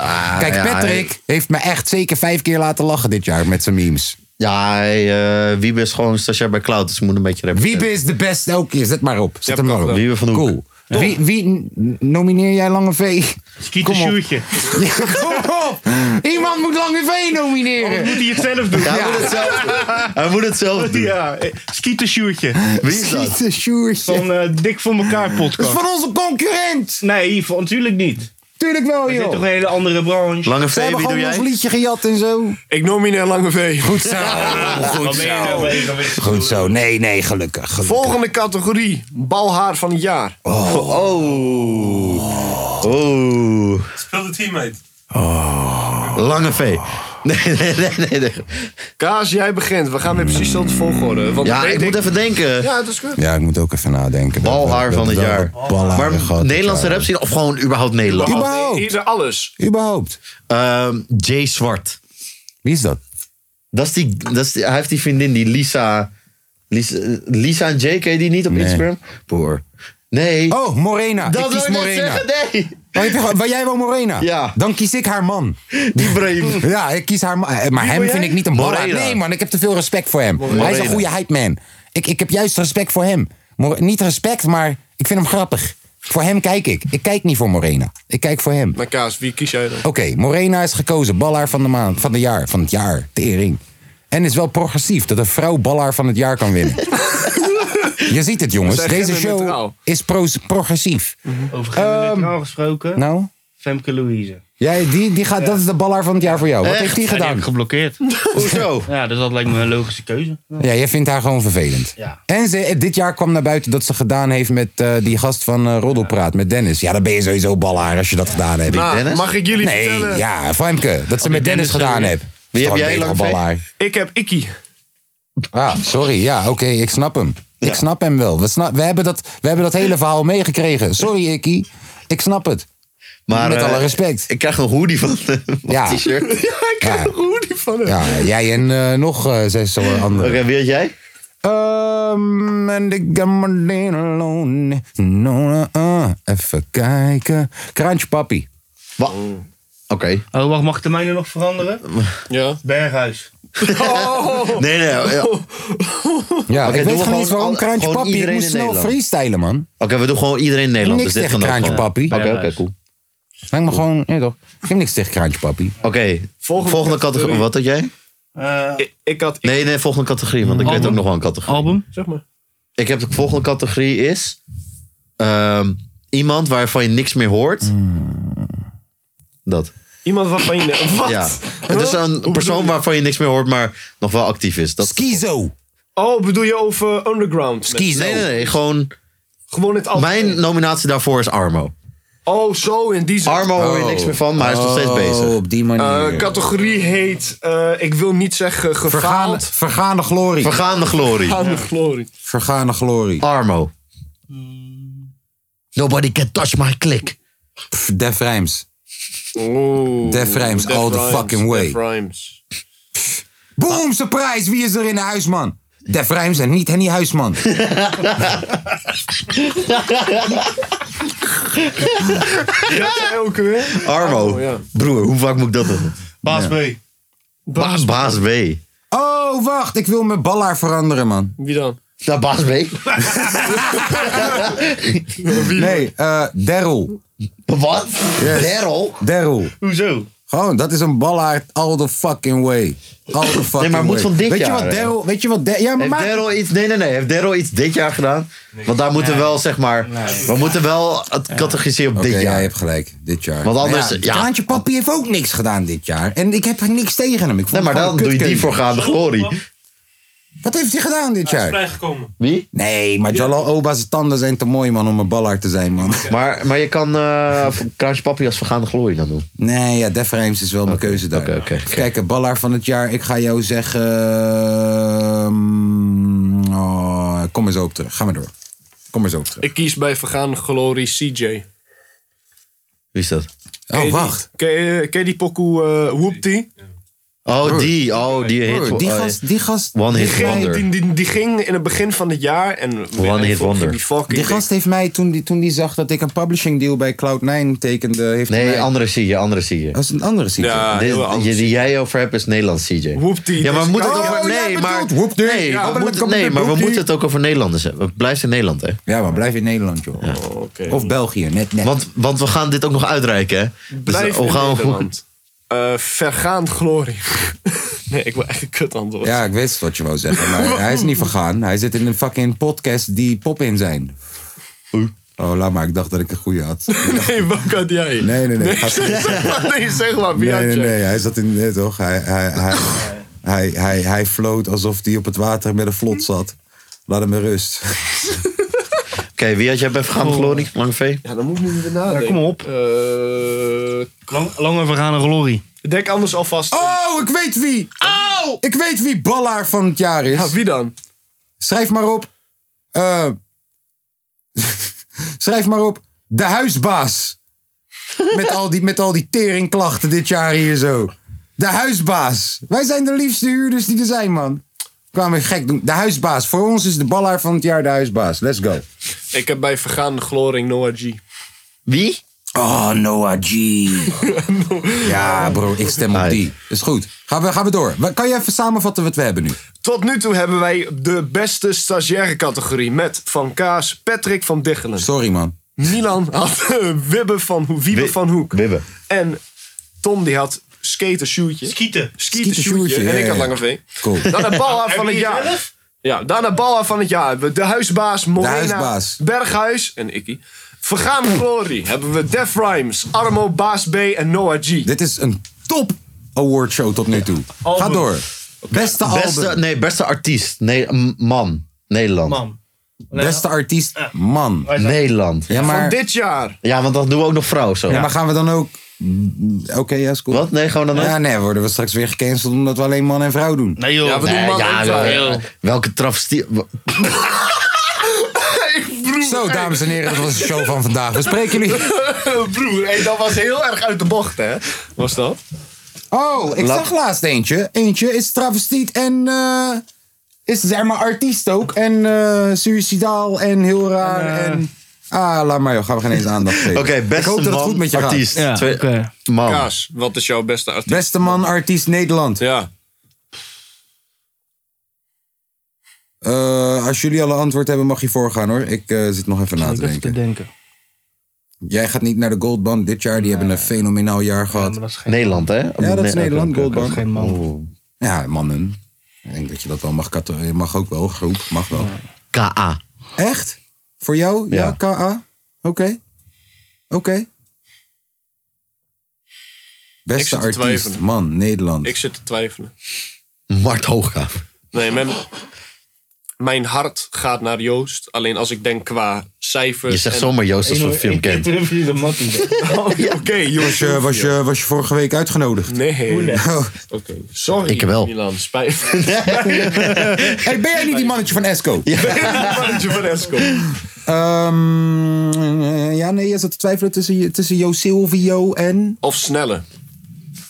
[SPEAKER 3] ah,
[SPEAKER 1] Kijk, Patrick heeft me echt zeker vijf keer laten lachen dit jaar met zijn memes.
[SPEAKER 3] Ja, hij, eh, Wiebe is gewoon stagiair bij Cloud, dus ik moet een beetje representeren.
[SPEAKER 1] Wiebe is de beste. Oké, zet maar op. Zet hem maar op.
[SPEAKER 3] Wiebe van Hoek.
[SPEAKER 1] Cool. Wie, wie n- nomineer jij Lange V?
[SPEAKER 2] Schiet
[SPEAKER 3] [LAUGHS]
[SPEAKER 2] sjoertje.
[SPEAKER 1] Ja, kom op. Iemand moet Lange V nomineren.
[SPEAKER 2] Moet hij het zelf doen?
[SPEAKER 3] Hij moet het zelf doen. Hij moet het zelf doen.
[SPEAKER 2] Ja, eh, Skeeter Sjoertje.
[SPEAKER 3] Wie is dat?
[SPEAKER 1] Jezus, Sjoertje.
[SPEAKER 2] Van eh, Dik voor elkaar
[SPEAKER 1] Dat is
[SPEAKER 2] podcast.
[SPEAKER 1] van onze concurrent.
[SPEAKER 2] Nee, van, natuurlijk niet.
[SPEAKER 1] Tuurlijk wel,
[SPEAKER 2] Dit is toch een
[SPEAKER 1] joh.
[SPEAKER 2] hele andere branche.
[SPEAKER 3] Lange
[SPEAKER 1] Ze
[SPEAKER 3] V,
[SPEAKER 1] hebben
[SPEAKER 3] wie doe
[SPEAKER 1] gewoon ons
[SPEAKER 3] jij?
[SPEAKER 1] liedje gejat en zo.
[SPEAKER 4] Ik nomineer Lange V.
[SPEAKER 1] Goed zo.
[SPEAKER 3] [LAUGHS]
[SPEAKER 1] Goed zo. Goed zo. Nee, nee, gelukkig. gelukkig. Oh.
[SPEAKER 4] Volgende categorie. Balhaar van het jaar.
[SPEAKER 3] Oh. Oeh.
[SPEAKER 1] Oh.
[SPEAKER 7] Speel de teammate.
[SPEAKER 3] Lange V. Nee, nee, nee, nee. nee.
[SPEAKER 4] Kaas, jij begint. We gaan weer precies dezelfde volgorde. Want
[SPEAKER 3] Ja,
[SPEAKER 4] weet
[SPEAKER 3] ik moet even denken.
[SPEAKER 4] Ja, het is goed.
[SPEAKER 1] Ja, ik moet ook even nadenken.
[SPEAKER 3] Balhaar van het jaar.
[SPEAKER 1] Maar
[SPEAKER 3] Maar Nederlandse rap zien of gewoon überhaupt Nederland?
[SPEAKER 1] Überhaupt. Überhaupt.
[SPEAKER 4] Ieder alles.
[SPEAKER 1] Überhaupt.
[SPEAKER 3] Ehm, Jay Zwart.
[SPEAKER 1] Wie is dat?
[SPEAKER 3] Dat is die, dat is die- hij heeft die vriendin, die Lisa. Lisa, Lisa en Jay, ken je die niet op Instagram? Boer. Nee.
[SPEAKER 1] Oh, Morena.
[SPEAKER 3] dat
[SPEAKER 1] ik kies
[SPEAKER 3] wil ik net
[SPEAKER 1] Morena.
[SPEAKER 3] zeggen, nee.
[SPEAKER 1] Oh, heb je gewoon- Wil jij wel Morena?
[SPEAKER 3] Ja.
[SPEAKER 1] Dan kies ik haar man.
[SPEAKER 3] Die Brahim.
[SPEAKER 1] [LAUGHS] Ja, ik kies haar man. Eh, Maar hem
[SPEAKER 3] wil
[SPEAKER 1] vind
[SPEAKER 3] jij?
[SPEAKER 1] ik niet een Morena.
[SPEAKER 3] Morena.
[SPEAKER 1] Nee, man, ik heb te veel respect voor hem. Hij is een
[SPEAKER 3] Morena.
[SPEAKER 1] goede hype man. Ik, ik heb juist respect voor hem. Mor- niet respect, maar ik vind hem grappig. Voor hem kijk ik. Ik kijk niet voor Morena. Ik kijk voor hem.
[SPEAKER 4] Maar Kaas, wie kies jij dan?
[SPEAKER 1] Oké, Morena is gekozen. Ballaar van de maand. Van de jaar. Van het jaar. Tering. En is wel progressief dat een vrouw ballaar van het jaar kan
[SPEAKER 3] [LAUGHS]
[SPEAKER 1] winnen. Je ziet het, jongens.
[SPEAKER 4] We zijn
[SPEAKER 1] Deze show
[SPEAKER 4] genderneutraal.
[SPEAKER 1] is pro- progressief.
[SPEAKER 2] Mhm. Over genderneutraal gesproken.
[SPEAKER 1] Ehm, Nou,
[SPEAKER 2] Femke Louise.
[SPEAKER 1] jij, die, die gaat, dat is de ballaar van het jaar voor jou. Wat heeft die
[SPEAKER 2] Ja, die heb
[SPEAKER 1] gedaan?
[SPEAKER 2] ik
[SPEAKER 1] [LAUGHS]
[SPEAKER 2] geblokkeerd.
[SPEAKER 3] Hoezo?
[SPEAKER 2] Ja, dus dat lijkt me een logische keuze.
[SPEAKER 1] Ja, jij vindt haar gewoon vervelend.
[SPEAKER 2] Ja.
[SPEAKER 1] En ze, eh, dit jaar kwam naar buiten dat ze gedaan heeft met eh, die gast van eh, Roddelpraat, met Dennis. Ja, dan ben je sowieso ballaar als je dat gedaan hebt.
[SPEAKER 4] Nou,
[SPEAKER 3] Dennis? Oh,
[SPEAKER 4] mag ik jullie
[SPEAKER 1] nee,
[SPEAKER 4] vertellen?
[SPEAKER 1] ja, Femke, dat ze
[SPEAKER 2] die
[SPEAKER 1] met Dennis
[SPEAKER 2] Dennis
[SPEAKER 1] gedaan
[SPEAKER 2] sowieso.
[SPEAKER 1] heeft.
[SPEAKER 3] Wie
[SPEAKER 1] Is
[SPEAKER 3] heb
[SPEAKER 1] gewoon
[SPEAKER 3] jij,
[SPEAKER 1] een
[SPEAKER 3] Lange V?
[SPEAKER 1] betere ballaar.
[SPEAKER 4] Ik heb Ikkie.
[SPEAKER 1] Ah, sorry, ja, oké, ik snap hem. Ik snap hem wel. We, sna- we, hebben dat, we hebben dat hele verhaal meegekregen. Sorry, Ikkie. Ik snap het.
[SPEAKER 3] Maar,
[SPEAKER 1] Met
[SPEAKER 3] eh,
[SPEAKER 1] alle
[SPEAKER 3] [LAUGHS]
[SPEAKER 1] respect.
[SPEAKER 3] Ik krijg een hoodie van [LAUGHS] eh, van het
[SPEAKER 1] Ja.
[SPEAKER 3] t-shirt. Oké,
[SPEAKER 4] ik heb
[SPEAKER 1] Ja.
[SPEAKER 4] een hoodie van hem.
[SPEAKER 1] Ja, jij en eh, nog eh, zes anderen.
[SPEAKER 3] wie had jij?
[SPEAKER 1] Um, and I got my lane alone. No, uh, even kijken. Kraantje papi.
[SPEAKER 3] Wa- Oké.
[SPEAKER 2] Oh, wacht, mag ik de mijne nog veranderen?
[SPEAKER 4] Ja.
[SPEAKER 1] [LAUGHS]
[SPEAKER 2] Berghuis.
[SPEAKER 1] Oh.
[SPEAKER 3] Nee, nee. eh, Oké,
[SPEAKER 1] Ja,
[SPEAKER 3] Oké,
[SPEAKER 1] ik
[SPEAKER 3] doen
[SPEAKER 1] weet gewoon
[SPEAKER 3] we gewoon
[SPEAKER 1] niet waarom
[SPEAKER 3] alle-
[SPEAKER 1] kraantje
[SPEAKER 3] gewoon
[SPEAKER 1] papi. Ik
[SPEAKER 3] iedereen
[SPEAKER 1] moest
[SPEAKER 3] in
[SPEAKER 1] snel
[SPEAKER 3] Nederland.
[SPEAKER 1] freestylen, man.
[SPEAKER 3] we doen gewoon iedereen in Nederland.
[SPEAKER 1] Niks
[SPEAKER 3] dus dit
[SPEAKER 1] tegen
[SPEAKER 3] kan ook
[SPEAKER 1] Kraantje
[SPEAKER 3] gewoon.
[SPEAKER 1] Papi.
[SPEAKER 3] Oké, oké,
[SPEAKER 2] Berghuis.
[SPEAKER 3] cool.
[SPEAKER 1] Lijkt me gewoon, ja toch? Ik heb niks tegen kraantje papi.
[SPEAKER 3] Oké, volgende, categorie. Wat had jij?
[SPEAKER 2] Eh,
[SPEAKER 4] Ik, ik had... Ik,
[SPEAKER 3] Nee, nee, volgende categorie, want ik weet
[SPEAKER 2] Album?
[SPEAKER 3] ook nog wel een categorie.
[SPEAKER 2] album?
[SPEAKER 4] zeg maar.
[SPEAKER 3] Ik heb de volgende categorie is... ehm, iemand waarvan je niks meer hoort.
[SPEAKER 4] Hmm.
[SPEAKER 3] Dat.
[SPEAKER 4] Iemand waarvan je... Wat?
[SPEAKER 3] [LAUGHS] Ja. Het is een persoon waarvan je niks meer hoort, maar nog wel actief is. Dat...
[SPEAKER 1] Skizo.
[SPEAKER 4] Oh, bedoel je over Underground?
[SPEAKER 1] Skizo.
[SPEAKER 3] Nee, nee, nee. Gewoon...
[SPEAKER 4] Gewoon het algemeen.
[SPEAKER 3] Mijn nominatie daarvoor is Armo.
[SPEAKER 4] Oh, zo in die zin.
[SPEAKER 3] Armo hoor je niks meer van, maar hij is nog steeds
[SPEAKER 1] Oh,
[SPEAKER 3] bezig.
[SPEAKER 1] op die manier.
[SPEAKER 4] Eh, categorie heet... eh, ik wil niet zeggen
[SPEAKER 1] Vergaande,
[SPEAKER 4] gefaald.
[SPEAKER 1] vergaande glorie.
[SPEAKER 3] Vergaande glorie.
[SPEAKER 4] Aan de glorie.
[SPEAKER 1] Vergaande glorie.
[SPEAKER 3] Armo. Mm. Nobody can touch my click.
[SPEAKER 1] Pff, Def Rijms.
[SPEAKER 4] Oh.
[SPEAKER 1] Def Rhymes all the fucking way.
[SPEAKER 4] Def Rhymes.
[SPEAKER 1] Boom, surprise. Wie is er in de huis, man? Def Rijms en niet Henny
[SPEAKER 3] [LAUGHS]
[SPEAKER 1] Huisman.
[SPEAKER 4] Ja, ook weer.
[SPEAKER 3] Armo.
[SPEAKER 4] Armo, ja.
[SPEAKER 3] Broer, hoe vaak moet ik dat doen?
[SPEAKER 2] Baas B.
[SPEAKER 3] Baas, baas B.
[SPEAKER 1] Oh, wacht. Ik wil mijn ballaar veranderen, man.
[SPEAKER 4] Wie dan?
[SPEAKER 1] [LAUGHS]
[SPEAKER 3] Nou, baas B.
[SPEAKER 1] Nee, eh Daryl.
[SPEAKER 3] Wat?
[SPEAKER 1] Daryl? Daryl.
[SPEAKER 3] Hoezo?
[SPEAKER 1] Gewoon, dat is een ballaard all the fucking way. All the fucking way.
[SPEAKER 3] nee, maar het moet van dit
[SPEAKER 1] weet
[SPEAKER 3] jaar.
[SPEAKER 1] Je wat
[SPEAKER 3] hè?
[SPEAKER 1] Daryl, weet je wat Daryl... Ja, maar
[SPEAKER 3] heeft
[SPEAKER 1] maak-
[SPEAKER 3] Daryl iets, nee, nee, nee. Heeft Daryl iets dit jaar gedaan? Want daar moeten we wel, zeg maar... We moeten wel het categoriseren op
[SPEAKER 1] Oké,
[SPEAKER 3] dit jaar.
[SPEAKER 1] jij hebt gelijk. Dit jaar.
[SPEAKER 3] Want anders-
[SPEAKER 1] Maar
[SPEAKER 3] ja.
[SPEAKER 1] Kraantje Papi heeft ook niks gedaan dit jaar. En ik heb er niks tegen hem. Ik vond
[SPEAKER 3] Nee,
[SPEAKER 1] het
[SPEAKER 3] maar dan
[SPEAKER 1] gewoon een
[SPEAKER 3] doe je die
[SPEAKER 1] kutkeuze.
[SPEAKER 3] voorgaande glorie.
[SPEAKER 1] Wat heeft hij gedaan dit
[SPEAKER 7] Hij is
[SPEAKER 1] jaar?
[SPEAKER 7] vrijgekomen.
[SPEAKER 3] Wie?
[SPEAKER 1] Nee, maar Jalal Oba's tanden zijn te mooi, man, om een ballaard te zijn, man.
[SPEAKER 3] Maar, maar je kan eh Kraantje Papi als vergaande glorie dan doen.
[SPEAKER 1] Nee, ja, Def Rhymes is wel mijn keuze daar.
[SPEAKER 3] Oké, oké.
[SPEAKER 1] Kijk, ballaar van het jaar. Ik ga jou zeggen... ehm, oh, kom eens op terug. Ga maar door. Kom eens op terug.
[SPEAKER 4] Ik kies bij Vergaan Glory CJ.
[SPEAKER 3] Wie is dat?
[SPEAKER 1] Oh, wacht.
[SPEAKER 4] Ken je, ken je die pokoe eh Whoopty?
[SPEAKER 3] Oh, die. Oh, die hit.
[SPEAKER 1] Broer, die
[SPEAKER 3] oh,
[SPEAKER 1] gast, die gast,
[SPEAKER 3] One
[SPEAKER 4] Die,
[SPEAKER 3] hit
[SPEAKER 4] ging-
[SPEAKER 3] wonder.
[SPEAKER 4] die, die, die ging in het begin van het jaar en...
[SPEAKER 3] One hit wonder.
[SPEAKER 4] Die fucking
[SPEAKER 1] die gast heeft mij, toen die, toen die zag dat ik een publishing deal bij Cloud9 tekende... Heeft hij
[SPEAKER 3] Nee,
[SPEAKER 1] mij,
[SPEAKER 3] andere zie je, andere zie je.
[SPEAKER 1] Dat is een andere ziekte.
[SPEAKER 4] Ja,
[SPEAKER 3] Dit-
[SPEAKER 4] heel
[SPEAKER 3] je-
[SPEAKER 4] anders.
[SPEAKER 3] die jij over hebt is Nederlands, CJ.
[SPEAKER 4] Whoopty.
[SPEAKER 3] Ja, maar we
[SPEAKER 4] Dus-
[SPEAKER 3] moeten het
[SPEAKER 1] Oh,
[SPEAKER 3] over...
[SPEAKER 1] jij
[SPEAKER 3] Nee, maar,
[SPEAKER 1] bedoelt Whoopty. Ja,
[SPEAKER 3] nee, we
[SPEAKER 1] maar
[SPEAKER 3] moeten,
[SPEAKER 1] dan komt
[SPEAKER 3] nee,
[SPEAKER 1] het
[SPEAKER 3] maar we
[SPEAKER 1] Whoopty.
[SPEAKER 3] moeten het ook over Nederlanders hebben. Het blijft in Nederland, hè.
[SPEAKER 1] Ja, maar blijf in Nederland, joh.
[SPEAKER 4] Oh, oké.
[SPEAKER 1] Of België, net, net.
[SPEAKER 3] Want, want we gaan dit ook nog uitreiken, hè. Dus
[SPEAKER 4] Blijf
[SPEAKER 3] hoe
[SPEAKER 4] in
[SPEAKER 3] gaan we-
[SPEAKER 4] Nederland. Eh, vergaand glorie. [LAUGHS] nee, ik wil echt een kut antwoord.
[SPEAKER 1] Ja, ik wist wat je wou zeggen, maar hij is niet vergaan. Hij zit in een fucking podcast die pop-in zijn. Oh, laat maar. Ik dacht dat ik een goede had.
[SPEAKER 4] Nee, wat had jij?
[SPEAKER 1] Nee, nee, nee.
[SPEAKER 4] Nee, zeg maar, nee, zeg
[SPEAKER 6] Ah,
[SPEAKER 4] maar, wie
[SPEAKER 1] Nee,
[SPEAKER 4] had
[SPEAKER 1] nee,
[SPEAKER 4] jij?
[SPEAKER 1] nee. Hij zat in... Nee, toch? Hij, hij, hij, hij, hij, hij floot alsof hij op het water met een vlot zat. Laat hem in rust.
[SPEAKER 3] Oké, wie had jij bij Vergaande Glorie, Lange V?
[SPEAKER 4] Ja, dan moet ik nu weer nadenken.
[SPEAKER 2] Oh. Ja, kom op.
[SPEAKER 4] Eh,
[SPEAKER 2] Lang, lange vergaande glorie.
[SPEAKER 4] denk anders alvast.
[SPEAKER 1] Oh, ik weet wie!
[SPEAKER 4] Au!
[SPEAKER 1] Ik weet wie ballaar van het jaar is.
[SPEAKER 4] Ja, wie dan?
[SPEAKER 1] Schrijf maar op. eh, [LAUGHS] schrijf maar op. De huisbaas. Met al, die, met al die teringklachten dit jaar hier zo. De huisbaas. Wij zijn de liefste huurders die er zijn, man. Kwamen we gek doen. De huisbaas. Voor ons is de ballaar van het jaar de huisbaas. Let's go.
[SPEAKER 4] Ik heb bij vergaande gloring Noah G.
[SPEAKER 3] Wie?
[SPEAKER 1] Oh, Noah
[SPEAKER 4] [LAUGHS]
[SPEAKER 1] G. Ja, bro, ik stem op die. Is goed. Gaan we, gaan we door. Wa- Kan je even samenvatten wat we hebben nu?
[SPEAKER 4] Tot nu toe hebben wij de beste stagiaire categorie met Van Kaas, Patrick van Diggelen,
[SPEAKER 1] Sorry, man.
[SPEAKER 4] Milan had eh, Wibbe van, Ho- Wiebe
[SPEAKER 3] Wi-
[SPEAKER 4] van Hoek
[SPEAKER 3] Wibbe.
[SPEAKER 4] en Tom die had Skater Sjoertje.
[SPEAKER 2] Kieten.
[SPEAKER 4] Skeeter
[SPEAKER 1] Sjoertje,
[SPEAKER 4] Sjoertje. En
[SPEAKER 1] ja,
[SPEAKER 4] ik had
[SPEAKER 1] ja.
[SPEAKER 4] Lange V.
[SPEAKER 1] Cool.
[SPEAKER 4] Dan de [LAUGHS] balhaar van het jaar. Ja, dan de balhaar van het jaar hebben we de huisbaas, Morena,
[SPEAKER 1] huisbaas.
[SPEAKER 4] Berghuis en Ikkie. Vergaan Glory hebben we Def Rhymes, Armo, Baas B en Noah G.
[SPEAKER 1] Dit is een top awardshow tot nu toe. Ga
[SPEAKER 4] Album.
[SPEAKER 1] door. Beste album.
[SPEAKER 3] Beste, nee, beste artiest. Nee, m- man. Nederland.
[SPEAKER 2] Man.
[SPEAKER 4] Nou
[SPEAKER 1] Beste artiest, man.
[SPEAKER 3] Nederland.
[SPEAKER 1] Ja,
[SPEAKER 4] Van
[SPEAKER 1] maar,
[SPEAKER 4] dit jaar.
[SPEAKER 3] Ja, want dan doen we ook nog vrouw zo.
[SPEAKER 1] ja, maar gaan we dan ook... Mm, Oké, ja, is cool.
[SPEAKER 3] Wat? Nee, gewoon dan ook?
[SPEAKER 1] Ja, nee, worden we straks weer gecanceld omdat we alleen man en vrouw doen.
[SPEAKER 2] Nee joh.
[SPEAKER 4] Ja, we doen
[SPEAKER 3] Nee,
[SPEAKER 4] man
[SPEAKER 3] ja,
[SPEAKER 4] en
[SPEAKER 3] ja,
[SPEAKER 4] vrouw.
[SPEAKER 3] ja. Welke travestie...
[SPEAKER 1] Zo, dames en heren, dat was de show van vandaag. We spreken jullie...
[SPEAKER 4] [LAUGHS] Broer, hey, dat was heel erg uit de bocht, hè? Was dat?
[SPEAKER 1] Oh, ik zag laatst eentje. Eentje is travestiet en... eh, is zeg maar artiest ook. En eh, suicidaal en heel raar
[SPEAKER 4] eh,
[SPEAKER 1] en... Ah, laat maar joh, gaan we geen eens aandacht geven.
[SPEAKER 3] Oké, beste
[SPEAKER 1] ik hoop dat
[SPEAKER 3] man,
[SPEAKER 1] het goed met je gaat.
[SPEAKER 3] artiest.
[SPEAKER 2] Ja,
[SPEAKER 3] Twee-
[SPEAKER 2] oké.
[SPEAKER 3] Man.
[SPEAKER 4] Kaas, wat is jouw beste artiest?
[SPEAKER 1] Beste man, artiest Nederland.
[SPEAKER 4] Ja.
[SPEAKER 1] Eh, als jullie alle antwoord hebben, mag je voorgaan hoor. Ik eh, zit nog even na te denken.
[SPEAKER 2] denken.
[SPEAKER 1] Jij gaat niet naar de Goldband dit jaar. Die hebben een fenomenaal jaar gehad.
[SPEAKER 2] dat is geen...
[SPEAKER 3] Nederland, hè?
[SPEAKER 1] Ja, dat is
[SPEAKER 3] Nee,
[SPEAKER 1] Nederland,
[SPEAKER 3] oké, oké,
[SPEAKER 1] Goldband.
[SPEAKER 3] oké.
[SPEAKER 2] Geen man.
[SPEAKER 3] Oh.
[SPEAKER 1] Ja, mannen. Ik denk dat je dat wel mag. kato- Je mag ook wel, groep. Mag wel.
[SPEAKER 3] K.A.
[SPEAKER 1] Echt? Voor jou? Ja,
[SPEAKER 3] Ja.
[SPEAKER 1] K.A.? Oké. Oké.
[SPEAKER 4] Ik
[SPEAKER 1] Beste
[SPEAKER 4] zit te
[SPEAKER 1] artiest,
[SPEAKER 4] twijfelen.
[SPEAKER 1] man, Nederland.
[SPEAKER 4] Ik zit te twijfelen.
[SPEAKER 3] Mart Hooggraaf.
[SPEAKER 4] Nee, mijn, mijn hart gaat naar Joost. Alleen als ik denk qua cijfers...
[SPEAKER 3] Je zegt
[SPEAKER 4] en-
[SPEAKER 3] zomaar Joost als je een film kent.
[SPEAKER 2] de mattie.
[SPEAKER 1] [LAUGHS] Oh,
[SPEAKER 4] Oké, Joost.
[SPEAKER 1] Was je, eh, was, je, was je vorige week uitgenodigd?
[SPEAKER 4] Nee.
[SPEAKER 1] Oh.
[SPEAKER 4] Oké, sorry.
[SPEAKER 3] Ik
[SPEAKER 4] [LAUGHS]
[SPEAKER 3] wel.
[SPEAKER 4] Milan, spijt.
[SPEAKER 1] Hey, ben jij niet die mannetje van Esco?
[SPEAKER 4] [LAUGHS]
[SPEAKER 1] Ja,
[SPEAKER 4] Mannetje van Esco.
[SPEAKER 1] Ehm, ja nee, je zat te twijfelen tussen, je- tussen Jo Silvio en...
[SPEAKER 4] Of snelle.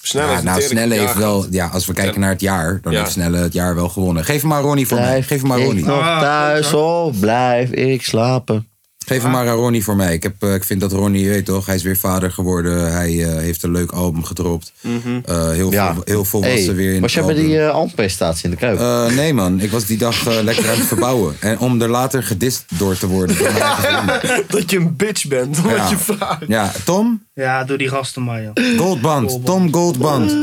[SPEAKER 4] Snelle
[SPEAKER 1] Ja,
[SPEAKER 4] is
[SPEAKER 1] nou,
[SPEAKER 4] natuurlijk
[SPEAKER 1] Snelle
[SPEAKER 4] een
[SPEAKER 1] heeft
[SPEAKER 4] jager.
[SPEAKER 1] wel, ja, als we kijken naar het jaar, dan
[SPEAKER 4] Ja.
[SPEAKER 1] heeft Snelle het jaar
[SPEAKER 3] Ah.
[SPEAKER 4] Ah,
[SPEAKER 1] wel gewonnen. Geef hem maar Ronnie voor mij. Geef hem maar
[SPEAKER 3] ik
[SPEAKER 1] Ronnie.
[SPEAKER 3] nog thuis, oh, blijf ik slapen.
[SPEAKER 1] Geef hem maar aan Ronnie voor mij. Ik, heb, eh, ik vind dat Ronnie, je weet toch, hij is weer vader geworden. Hij eh, heeft een leuk album gedropt.
[SPEAKER 4] Mhm.
[SPEAKER 1] Eh, heel, vol, heel volwassen
[SPEAKER 3] Hey,
[SPEAKER 1] weer in
[SPEAKER 3] was jij
[SPEAKER 1] het
[SPEAKER 3] bij
[SPEAKER 1] album.
[SPEAKER 3] die eh almprestatie in de Kuip?
[SPEAKER 1] Eh, nee man, ik was die dag eh, lekker aan het verbouwen. En om er later gedist door te
[SPEAKER 3] [LAUGHS]
[SPEAKER 1] worden. door mijn eigen vrienden. [LAUGHS]
[SPEAKER 4] dat je een bitch bent, omdat
[SPEAKER 1] Ja.
[SPEAKER 4] je vraagt.
[SPEAKER 1] Ja, Tom?
[SPEAKER 8] Ja, doe die gasten maar, joh.
[SPEAKER 1] Goldband. Ah. Tom Goldband.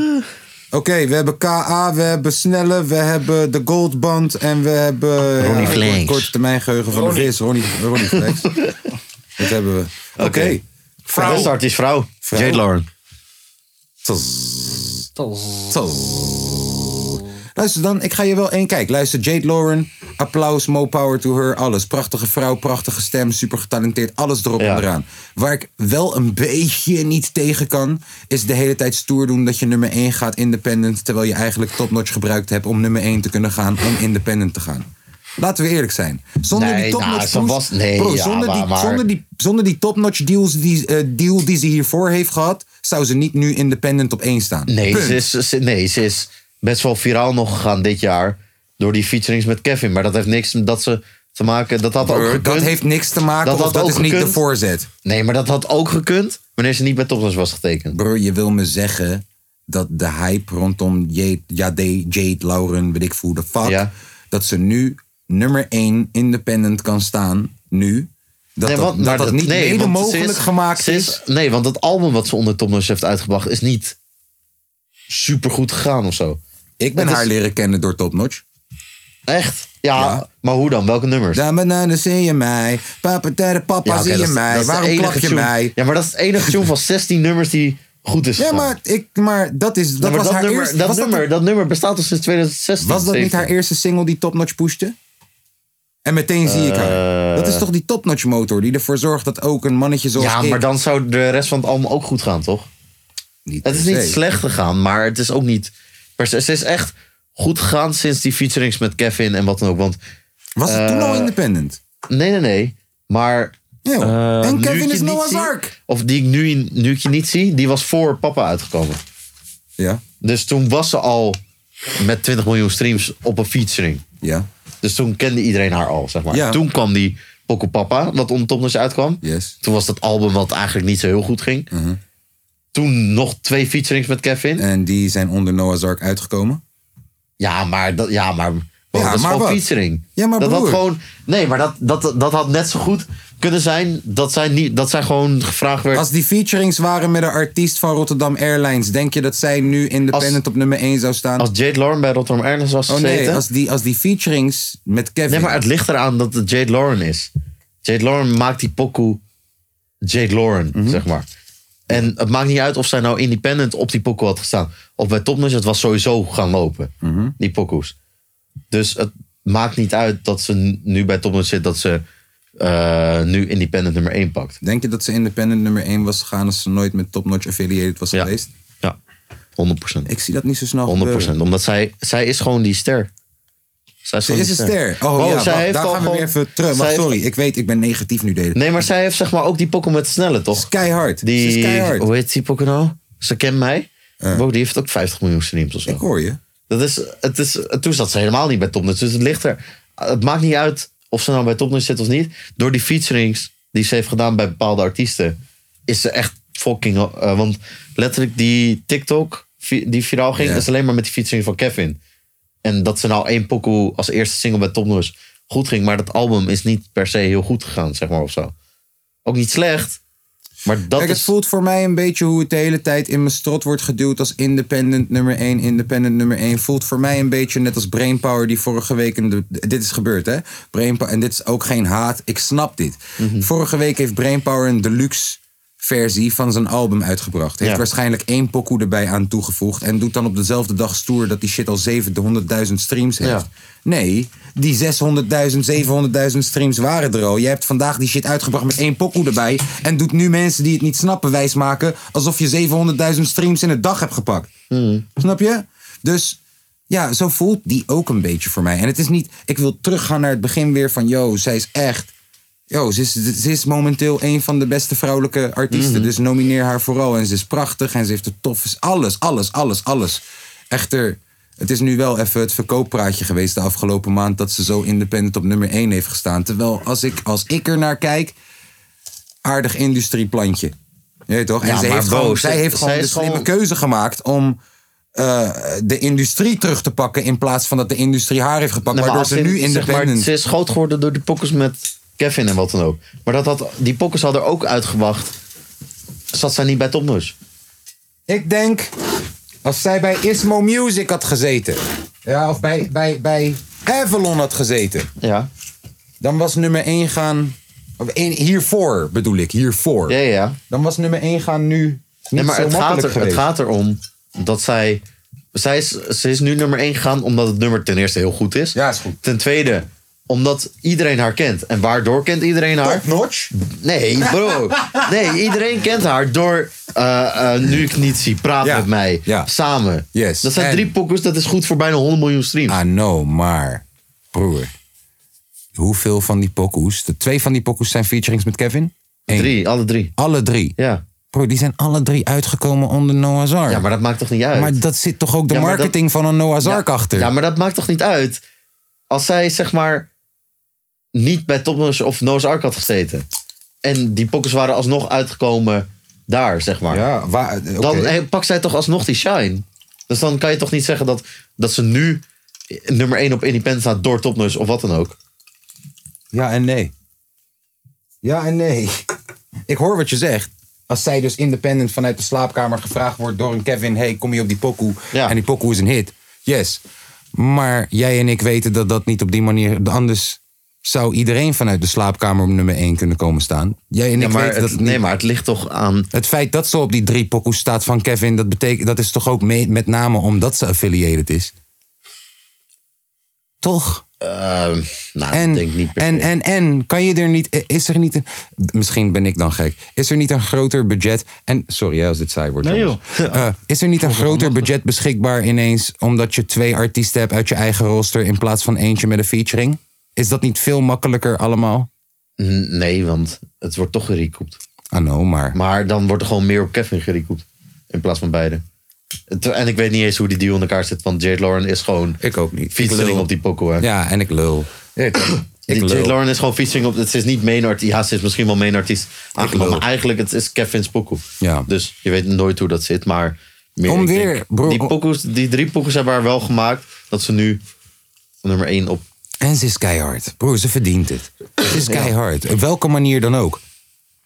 [SPEAKER 1] Oké, we hebben KA, we hebben Snelle, we hebben de Goldband en we hebben...
[SPEAKER 3] Ronnie
[SPEAKER 1] ja,
[SPEAKER 3] Flex.
[SPEAKER 1] Korte termijn geheugen van de vis, Ronnie, Ronnie [LAUGHS] Flex. Dat hebben we. Oké.
[SPEAKER 3] Vrouw. De artiest vrouw.
[SPEAKER 1] Vrouw.
[SPEAKER 3] Jade Lauren.
[SPEAKER 1] Zo. Luister dan, ik ga je wel één kijk. Luister, Jade Lauren, applaus, more power to her, alles. Prachtige vrouw, prachtige stem, super getalenteerd, alles erop en eraan. Waar ik wel een beetje niet tegen kan, is de hele tijd stoer doen dat je nummer 1 gaat independent, terwijl je eigenlijk topnotch gebruikt hebt om nummer 1 te kunnen gaan, om independent te gaan. Laten we eerlijk zijn. Zonder
[SPEAKER 3] Nee,
[SPEAKER 1] die
[SPEAKER 3] nou,
[SPEAKER 1] topnotch
[SPEAKER 3] ze was- nee,
[SPEAKER 1] bro,
[SPEAKER 3] ja,
[SPEAKER 1] zonder, die,
[SPEAKER 3] maar-
[SPEAKER 1] zonder die zonder die topnotch deals die, eh, deal die ze hiervoor heeft gehad, zou ze niet nu independent op één staan.
[SPEAKER 3] Nee
[SPEAKER 1] Punt.
[SPEAKER 3] ze, is, ze- nee, ze is best wel viraal nog gegaan dit jaar. Door die featurings met Kevin. Maar dat heeft niks dat ze te maken. Dat had ook
[SPEAKER 1] Broer,
[SPEAKER 3] gekund.
[SPEAKER 1] dat heeft niks te maken, of dat is niet de voorzet.
[SPEAKER 3] Nee, maar dat had ook gekund. Wanneer ze niet bij Topnos was getekend.
[SPEAKER 1] Bro, je wil me zeggen dat de hype rondom Jade, Jade, Jade Lauren, weet ik hoe de fuck, dat ze nu nummer 1 independent kan staan, nu. Dat
[SPEAKER 3] Nee,
[SPEAKER 1] dat-
[SPEAKER 3] want-
[SPEAKER 1] dat,
[SPEAKER 3] maar
[SPEAKER 1] dat,
[SPEAKER 3] dat-
[SPEAKER 1] niet
[SPEAKER 3] nee,
[SPEAKER 1] mede
[SPEAKER 3] want ze
[SPEAKER 1] mogelijk
[SPEAKER 3] is-
[SPEAKER 1] gemaakt
[SPEAKER 3] ze
[SPEAKER 1] is.
[SPEAKER 3] Nee, want dat album wat ze onder Topnos heeft uitgebracht is niet supergoed gegaan of zo.
[SPEAKER 1] Ik ben haar leren kennen door Topnotch.
[SPEAKER 3] Echt? Ja, maar hoe dan? Welke nummers?
[SPEAKER 1] nou, Dan bananen zie je mij, papa tere papa
[SPEAKER 3] Ja, oké,
[SPEAKER 1] zie
[SPEAKER 3] dat
[SPEAKER 1] je
[SPEAKER 3] is- dat
[SPEAKER 1] mij,
[SPEAKER 3] is de
[SPEAKER 1] waarom
[SPEAKER 3] enige
[SPEAKER 1] klap je
[SPEAKER 3] tune-
[SPEAKER 1] mij?
[SPEAKER 3] Ja, maar dat is het
[SPEAKER 1] [LAUGHS]
[SPEAKER 3] enige tune van 16 nummers die goed is
[SPEAKER 1] Ja,
[SPEAKER 3] gegaan.
[SPEAKER 1] maar, ik, maar dat is. Dat
[SPEAKER 3] Ja, maar
[SPEAKER 1] was
[SPEAKER 3] dat
[SPEAKER 1] haar
[SPEAKER 3] nummer-
[SPEAKER 1] eerste.
[SPEAKER 3] dat
[SPEAKER 1] was
[SPEAKER 3] nummer- dat nummer bestaat al sinds 2016.
[SPEAKER 1] Was dat niet haar eerste single die topnotch pushte? En meteen zie ik
[SPEAKER 3] Eh.
[SPEAKER 1] haar. Dat is toch die topnotch motor die ervoor zorgt dat ook een mannetje zoals
[SPEAKER 3] ja,
[SPEAKER 1] ik-
[SPEAKER 3] maar dan zou de rest van het album ook goed gaan, toch? het is
[SPEAKER 1] per
[SPEAKER 3] niet
[SPEAKER 1] se.
[SPEAKER 3] slecht gegaan, maar het is ook niet... per se- Ze is echt goed gegaan sinds die featurings met Kevin en wat dan ook. Want, eh,
[SPEAKER 1] Was het toen al independent?
[SPEAKER 3] Nee, nee, nee. Maar... eh,
[SPEAKER 1] en
[SPEAKER 3] nu
[SPEAKER 1] Kevin
[SPEAKER 3] ik je
[SPEAKER 1] is
[SPEAKER 3] niet
[SPEAKER 1] Noah's
[SPEAKER 3] zie-
[SPEAKER 1] Ark.
[SPEAKER 3] Of die ik nu, nu ik je niet zie, die was voor papa uitgekomen.
[SPEAKER 1] Ja.
[SPEAKER 3] Dus toen was ze al met 20 miljoen streams op een featuring.
[SPEAKER 1] Ja.
[SPEAKER 3] Dus toen kende iedereen haar al, zeg maar.
[SPEAKER 1] Ja.
[SPEAKER 3] Toen kwam die Poco Papa, wat onder Topnotch uitkwam.
[SPEAKER 1] Yes. Mhm.
[SPEAKER 3] Toen was dat album wat eigenlijk niet zo heel goed ging. Toen nog twee featurings met Kevin.
[SPEAKER 1] En die zijn onder Noah's Ark uitgekomen?
[SPEAKER 3] Ja, maar dat, ja, maar, bro,
[SPEAKER 1] Ja,
[SPEAKER 3] dat is
[SPEAKER 1] maar
[SPEAKER 3] gewoon
[SPEAKER 1] wat?
[SPEAKER 3] featuring.
[SPEAKER 1] Ja, maar
[SPEAKER 3] dat had
[SPEAKER 1] broer.
[SPEAKER 3] gewoon, Nee, maar dat, dat, dat had net zo goed kunnen zijn dat zij, niet, dat zij gewoon gevraagd werd...
[SPEAKER 1] Als die featurings waren met een artiest van Rotterdam Airlines, denk je dat zij nu independent op nummer 1 zou staan?
[SPEAKER 3] Als Jade Lauren bij Rotterdam Airlines was
[SPEAKER 1] Oh nee,
[SPEAKER 3] gezeten.
[SPEAKER 1] als die, als die featurings met Kevin.
[SPEAKER 3] Nee, maar het ligt eraan dat het Jade Lauren is. Jade Lauren maakt die pokoe Jade Lauren,
[SPEAKER 1] Mhm.
[SPEAKER 3] zeg maar. En het maakt niet uit of zij nou independent op die pokoe had gestaan. Of bij Topnotch, het was sowieso gaan lopen,
[SPEAKER 1] Mhm.
[SPEAKER 3] die pokoes. Dus het maakt niet uit dat ze n- nu bij Topnotch zit, dat ze eh, nu independent nummer 1 pakt.
[SPEAKER 1] Denk je dat ze independent nummer 1 was gegaan als ze nooit met topnotch affiliated was geweest?
[SPEAKER 3] Ja, 100%.
[SPEAKER 1] Ik zie dat niet zo snel
[SPEAKER 3] 100%, omdat zij, zij is gewoon die ster. Zij is,
[SPEAKER 1] Ze
[SPEAKER 3] gewoon
[SPEAKER 1] is een
[SPEAKER 3] die
[SPEAKER 1] ster. Oh, ja,
[SPEAKER 3] zij
[SPEAKER 1] wacht,
[SPEAKER 3] heeft
[SPEAKER 1] daar
[SPEAKER 3] al
[SPEAKER 1] gaan we weer
[SPEAKER 3] gewoon-
[SPEAKER 1] even terug.
[SPEAKER 3] zij
[SPEAKER 1] Maar
[SPEAKER 3] heeft-
[SPEAKER 1] sorry, ik weet, ik ben negatief nu delen.
[SPEAKER 3] Nee, maar zij heeft zeg maar ook die pokken met snelle, toch?
[SPEAKER 1] Skyhard.
[SPEAKER 3] Die,
[SPEAKER 1] Ze is keihard.
[SPEAKER 3] Hoe heet die pokken nou? Ze kent mij. Wow, die heeft ook 50 miljoen streams of zo. Ik
[SPEAKER 1] hoor je.
[SPEAKER 3] Dat is, het is, toen zat ze helemaal niet bij Topnotch. Dus het ligt er. Het maakt niet uit of ze nou bij Topnotch zit of niet. Door die featurings die ze heeft gedaan bij bepaalde artiesten... is ze echt fucking... eh, want letterlijk die TikTok vi- die viraal ging...
[SPEAKER 1] Ja.
[SPEAKER 3] is alleen maar met die featuring van Kevin. En dat ze nou één pokoe als eerste single bij Topnotch goed ging... maar dat album is niet per se heel goed gegaan, zeg maar, of zo. Ook niet slecht, maar dat
[SPEAKER 1] Kijk,
[SPEAKER 3] is...
[SPEAKER 1] het voelt voor mij een beetje hoe het de hele tijd in mijn strot wordt geduwd als independent nummer 1, independent nummer 1. Voelt voor mij een beetje net als Brainpower die vorige week, in de, dit is gebeurd hè, Brainpower, en dit is ook geen haat, ik snap dit.
[SPEAKER 3] Mhm.
[SPEAKER 1] Vorige week heeft Brainpower een deluxe versie van zijn album uitgebracht. Heeft
[SPEAKER 3] Ja.
[SPEAKER 1] waarschijnlijk één pokoe erbij aan toegevoegd en doet dan op dezelfde dag stoer dat die shit al 700.000 streams heeft.
[SPEAKER 3] Ja.
[SPEAKER 1] Nee, die 600.000, 700.000 streams waren er al. Je hebt vandaag die shit uitgebracht met één pokoe erbij. En doet nu mensen die het niet snappen wijsmaken. alsof je 700.000 streams in een dag hebt gepakt.
[SPEAKER 3] Hmm. Mm.
[SPEAKER 1] Snap je? Dus ja, zo voelt die ook een beetje voor mij. En het is niet, ik wil teruggaan naar het begin weer van. yo, zij is echt. Yo, ze is, ze is momenteel een van de beste vrouwelijke artiesten.
[SPEAKER 3] Mm.
[SPEAKER 1] Dus nomineer haar vooral. En ze is prachtig en ze heeft het tof. is Alles, alles, alles, alles. Echter, het is nu wel even het verkooppraatje geweest de afgelopen maand. dat ze zo independent op nummer 1 heeft gestaan. Terwijl als ik, als ik er naar kijk. aardig industrieplantje. Je weet toch? En
[SPEAKER 3] Ja,
[SPEAKER 1] zij
[SPEAKER 3] maar
[SPEAKER 1] heeft,
[SPEAKER 3] bro,
[SPEAKER 1] gewoon,
[SPEAKER 3] ze-
[SPEAKER 1] zij heeft gewoon
[SPEAKER 3] zij
[SPEAKER 1] de
[SPEAKER 3] is
[SPEAKER 1] slimme
[SPEAKER 3] gewoon-
[SPEAKER 1] keuze gemaakt om eh, de industrie terug te pakken. In plaats van dat de industrie haar heeft gepakt.
[SPEAKER 3] Nee, Nou, maar
[SPEAKER 1] waardoor
[SPEAKER 3] als
[SPEAKER 1] ze nu
[SPEAKER 3] zeg maar,
[SPEAKER 1] independent...
[SPEAKER 3] Ze is groot geworden door die pokkers met Kevin en wat dan ook. Maar dat had, die pokkers hadden er ook uitgewacht. Zat zij niet bij Topnoes?
[SPEAKER 1] Ik denk, als zij bij Ismo Music had gezeten. Ja, of bij, bij, bij Avalon had gezeten.
[SPEAKER 3] Ja.
[SPEAKER 1] Dan was nummer 1 gaan... of één- Hiervoor bedoel ik, hiervoor.
[SPEAKER 3] Ja, ja.
[SPEAKER 1] Dan was nummer 1 gaan nu niet
[SPEAKER 3] Nee, maar
[SPEAKER 1] zo
[SPEAKER 3] het gaat,
[SPEAKER 1] makkelijk
[SPEAKER 3] er, het
[SPEAKER 1] geweest.
[SPEAKER 3] gaat erom dat zij. zij is, ze is nu nummer 1 gegaan omdat het nummer ten eerste heel goed is.
[SPEAKER 1] Ja, is goed.
[SPEAKER 3] Ten tweede, omdat iedereen haar kent. En waardoor kent iedereen haar? Top
[SPEAKER 1] notch?
[SPEAKER 3] Nee, bro. Nee, iedereen kent haar door. eh, eh, nu ik niet zie, praat met mij. Samen.
[SPEAKER 1] Yes.
[SPEAKER 3] Dat zijn
[SPEAKER 1] En-
[SPEAKER 3] drie pokkers, dat is goed voor bijna 100 miljoen streams.
[SPEAKER 1] Ah, no, maar... Broer, hoeveel van die pokoes... De twee van die pokoes zijn featurings met Kevin?
[SPEAKER 3] Drie, alle drie.
[SPEAKER 1] Alle drie?
[SPEAKER 3] Ja.
[SPEAKER 1] Bro, die zijn alle drie uitgekomen onder Noah's Ark.
[SPEAKER 3] Ja, maar dat maakt toch niet uit?
[SPEAKER 1] Maar dat zit toch ook de
[SPEAKER 3] Ja, maar dat-
[SPEAKER 1] marketing van een Noah's Ark achter?
[SPEAKER 3] Ja, maar dat maakt toch niet uit? Als zij zeg maar niet bij Topnos of Noah's Ark had gezeten. En die pokkers waren alsnog uitgekomen daar, zeg maar.
[SPEAKER 1] Ja,
[SPEAKER 3] Dan eh, pakt zij toch alsnog die shine. Dus dan kan je toch niet zeggen dat, dat ze nu nummer 1 op Independent staat door Topnos of wat dan ook.
[SPEAKER 1] Ja en nee. Ja en nee. Ik hoor wat je zegt. Als zij dus independent vanuit de slaapkamer gevraagd wordt door een Kevin... hey, kom je op die pokoe? En die pokoe is een hit. Yes. Maar jij en ik weten dat dat niet op die manier... Anders zou iedereen vanuit de slaapkamer op nummer 1 kunnen komen staan. Jij en
[SPEAKER 3] Ja,
[SPEAKER 1] ik
[SPEAKER 3] maar
[SPEAKER 1] weten
[SPEAKER 3] het-
[SPEAKER 1] dat
[SPEAKER 3] nee, maar het ligt toch aan...
[SPEAKER 1] Het feit dat ze op die drie pokoes staat van Kevin... dat, betekent, dat is toch ook mee- met name omdat ze affiliated is? Toch?
[SPEAKER 3] nou,
[SPEAKER 1] en,
[SPEAKER 3] denk niet
[SPEAKER 1] en, en, en, kan je er niet, is er niet een, misschien ben ik dan gek, is er niet een groter budget, en sorry hè, als dit saai wordt
[SPEAKER 2] Nee,
[SPEAKER 1] jongens. Eh, is er niet een groter budget beschikbaar ineens, omdat je twee artiesten hebt uit je eigen roster, in plaats van eentje met een featuring? Is dat niet veel makkelijker allemaal?
[SPEAKER 3] N- Nee, want het wordt toch gerecoupt.
[SPEAKER 1] Ah no, maar...
[SPEAKER 3] Maar dan wordt er gewoon meer op Kevin gerecoupt. In plaats van beide. Het- En ik weet niet eens hoe die deal in elkaar zit. Want Jade Lauren is gewoon...
[SPEAKER 1] Ik ook niet. Ik
[SPEAKER 3] Featuring
[SPEAKER 1] lul.
[SPEAKER 3] op die pokoe. hè.
[SPEAKER 1] Ja, en ik lul. [CLEARS THROAT]
[SPEAKER 3] Die
[SPEAKER 1] ik
[SPEAKER 3] Jade
[SPEAKER 1] lul.
[SPEAKER 3] Lauren is gewoon featuring op... Het is niet main artiest. Ja, ze is misschien wel main artiest. aangenomen. Maar eigenlijk het is Kevin's pokoe.
[SPEAKER 1] Ja.
[SPEAKER 3] Dus je weet nooit hoe dat zit. Maar meer,
[SPEAKER 1] Om
[SPEAKER 3] ik
[SPEAKER 1] weer,
[SPEAKER 3] denk,
[SPEAKER 1] bro-
[SPEAKER 3] die, pokoes, die drie pokoes hebben haar wel gemaakt. Dat ze nu nummer één op...
[SPEAKER 1] En ze is keihard. Broer, ze verdient het. Ze is keihard. Op welke manier dan ook.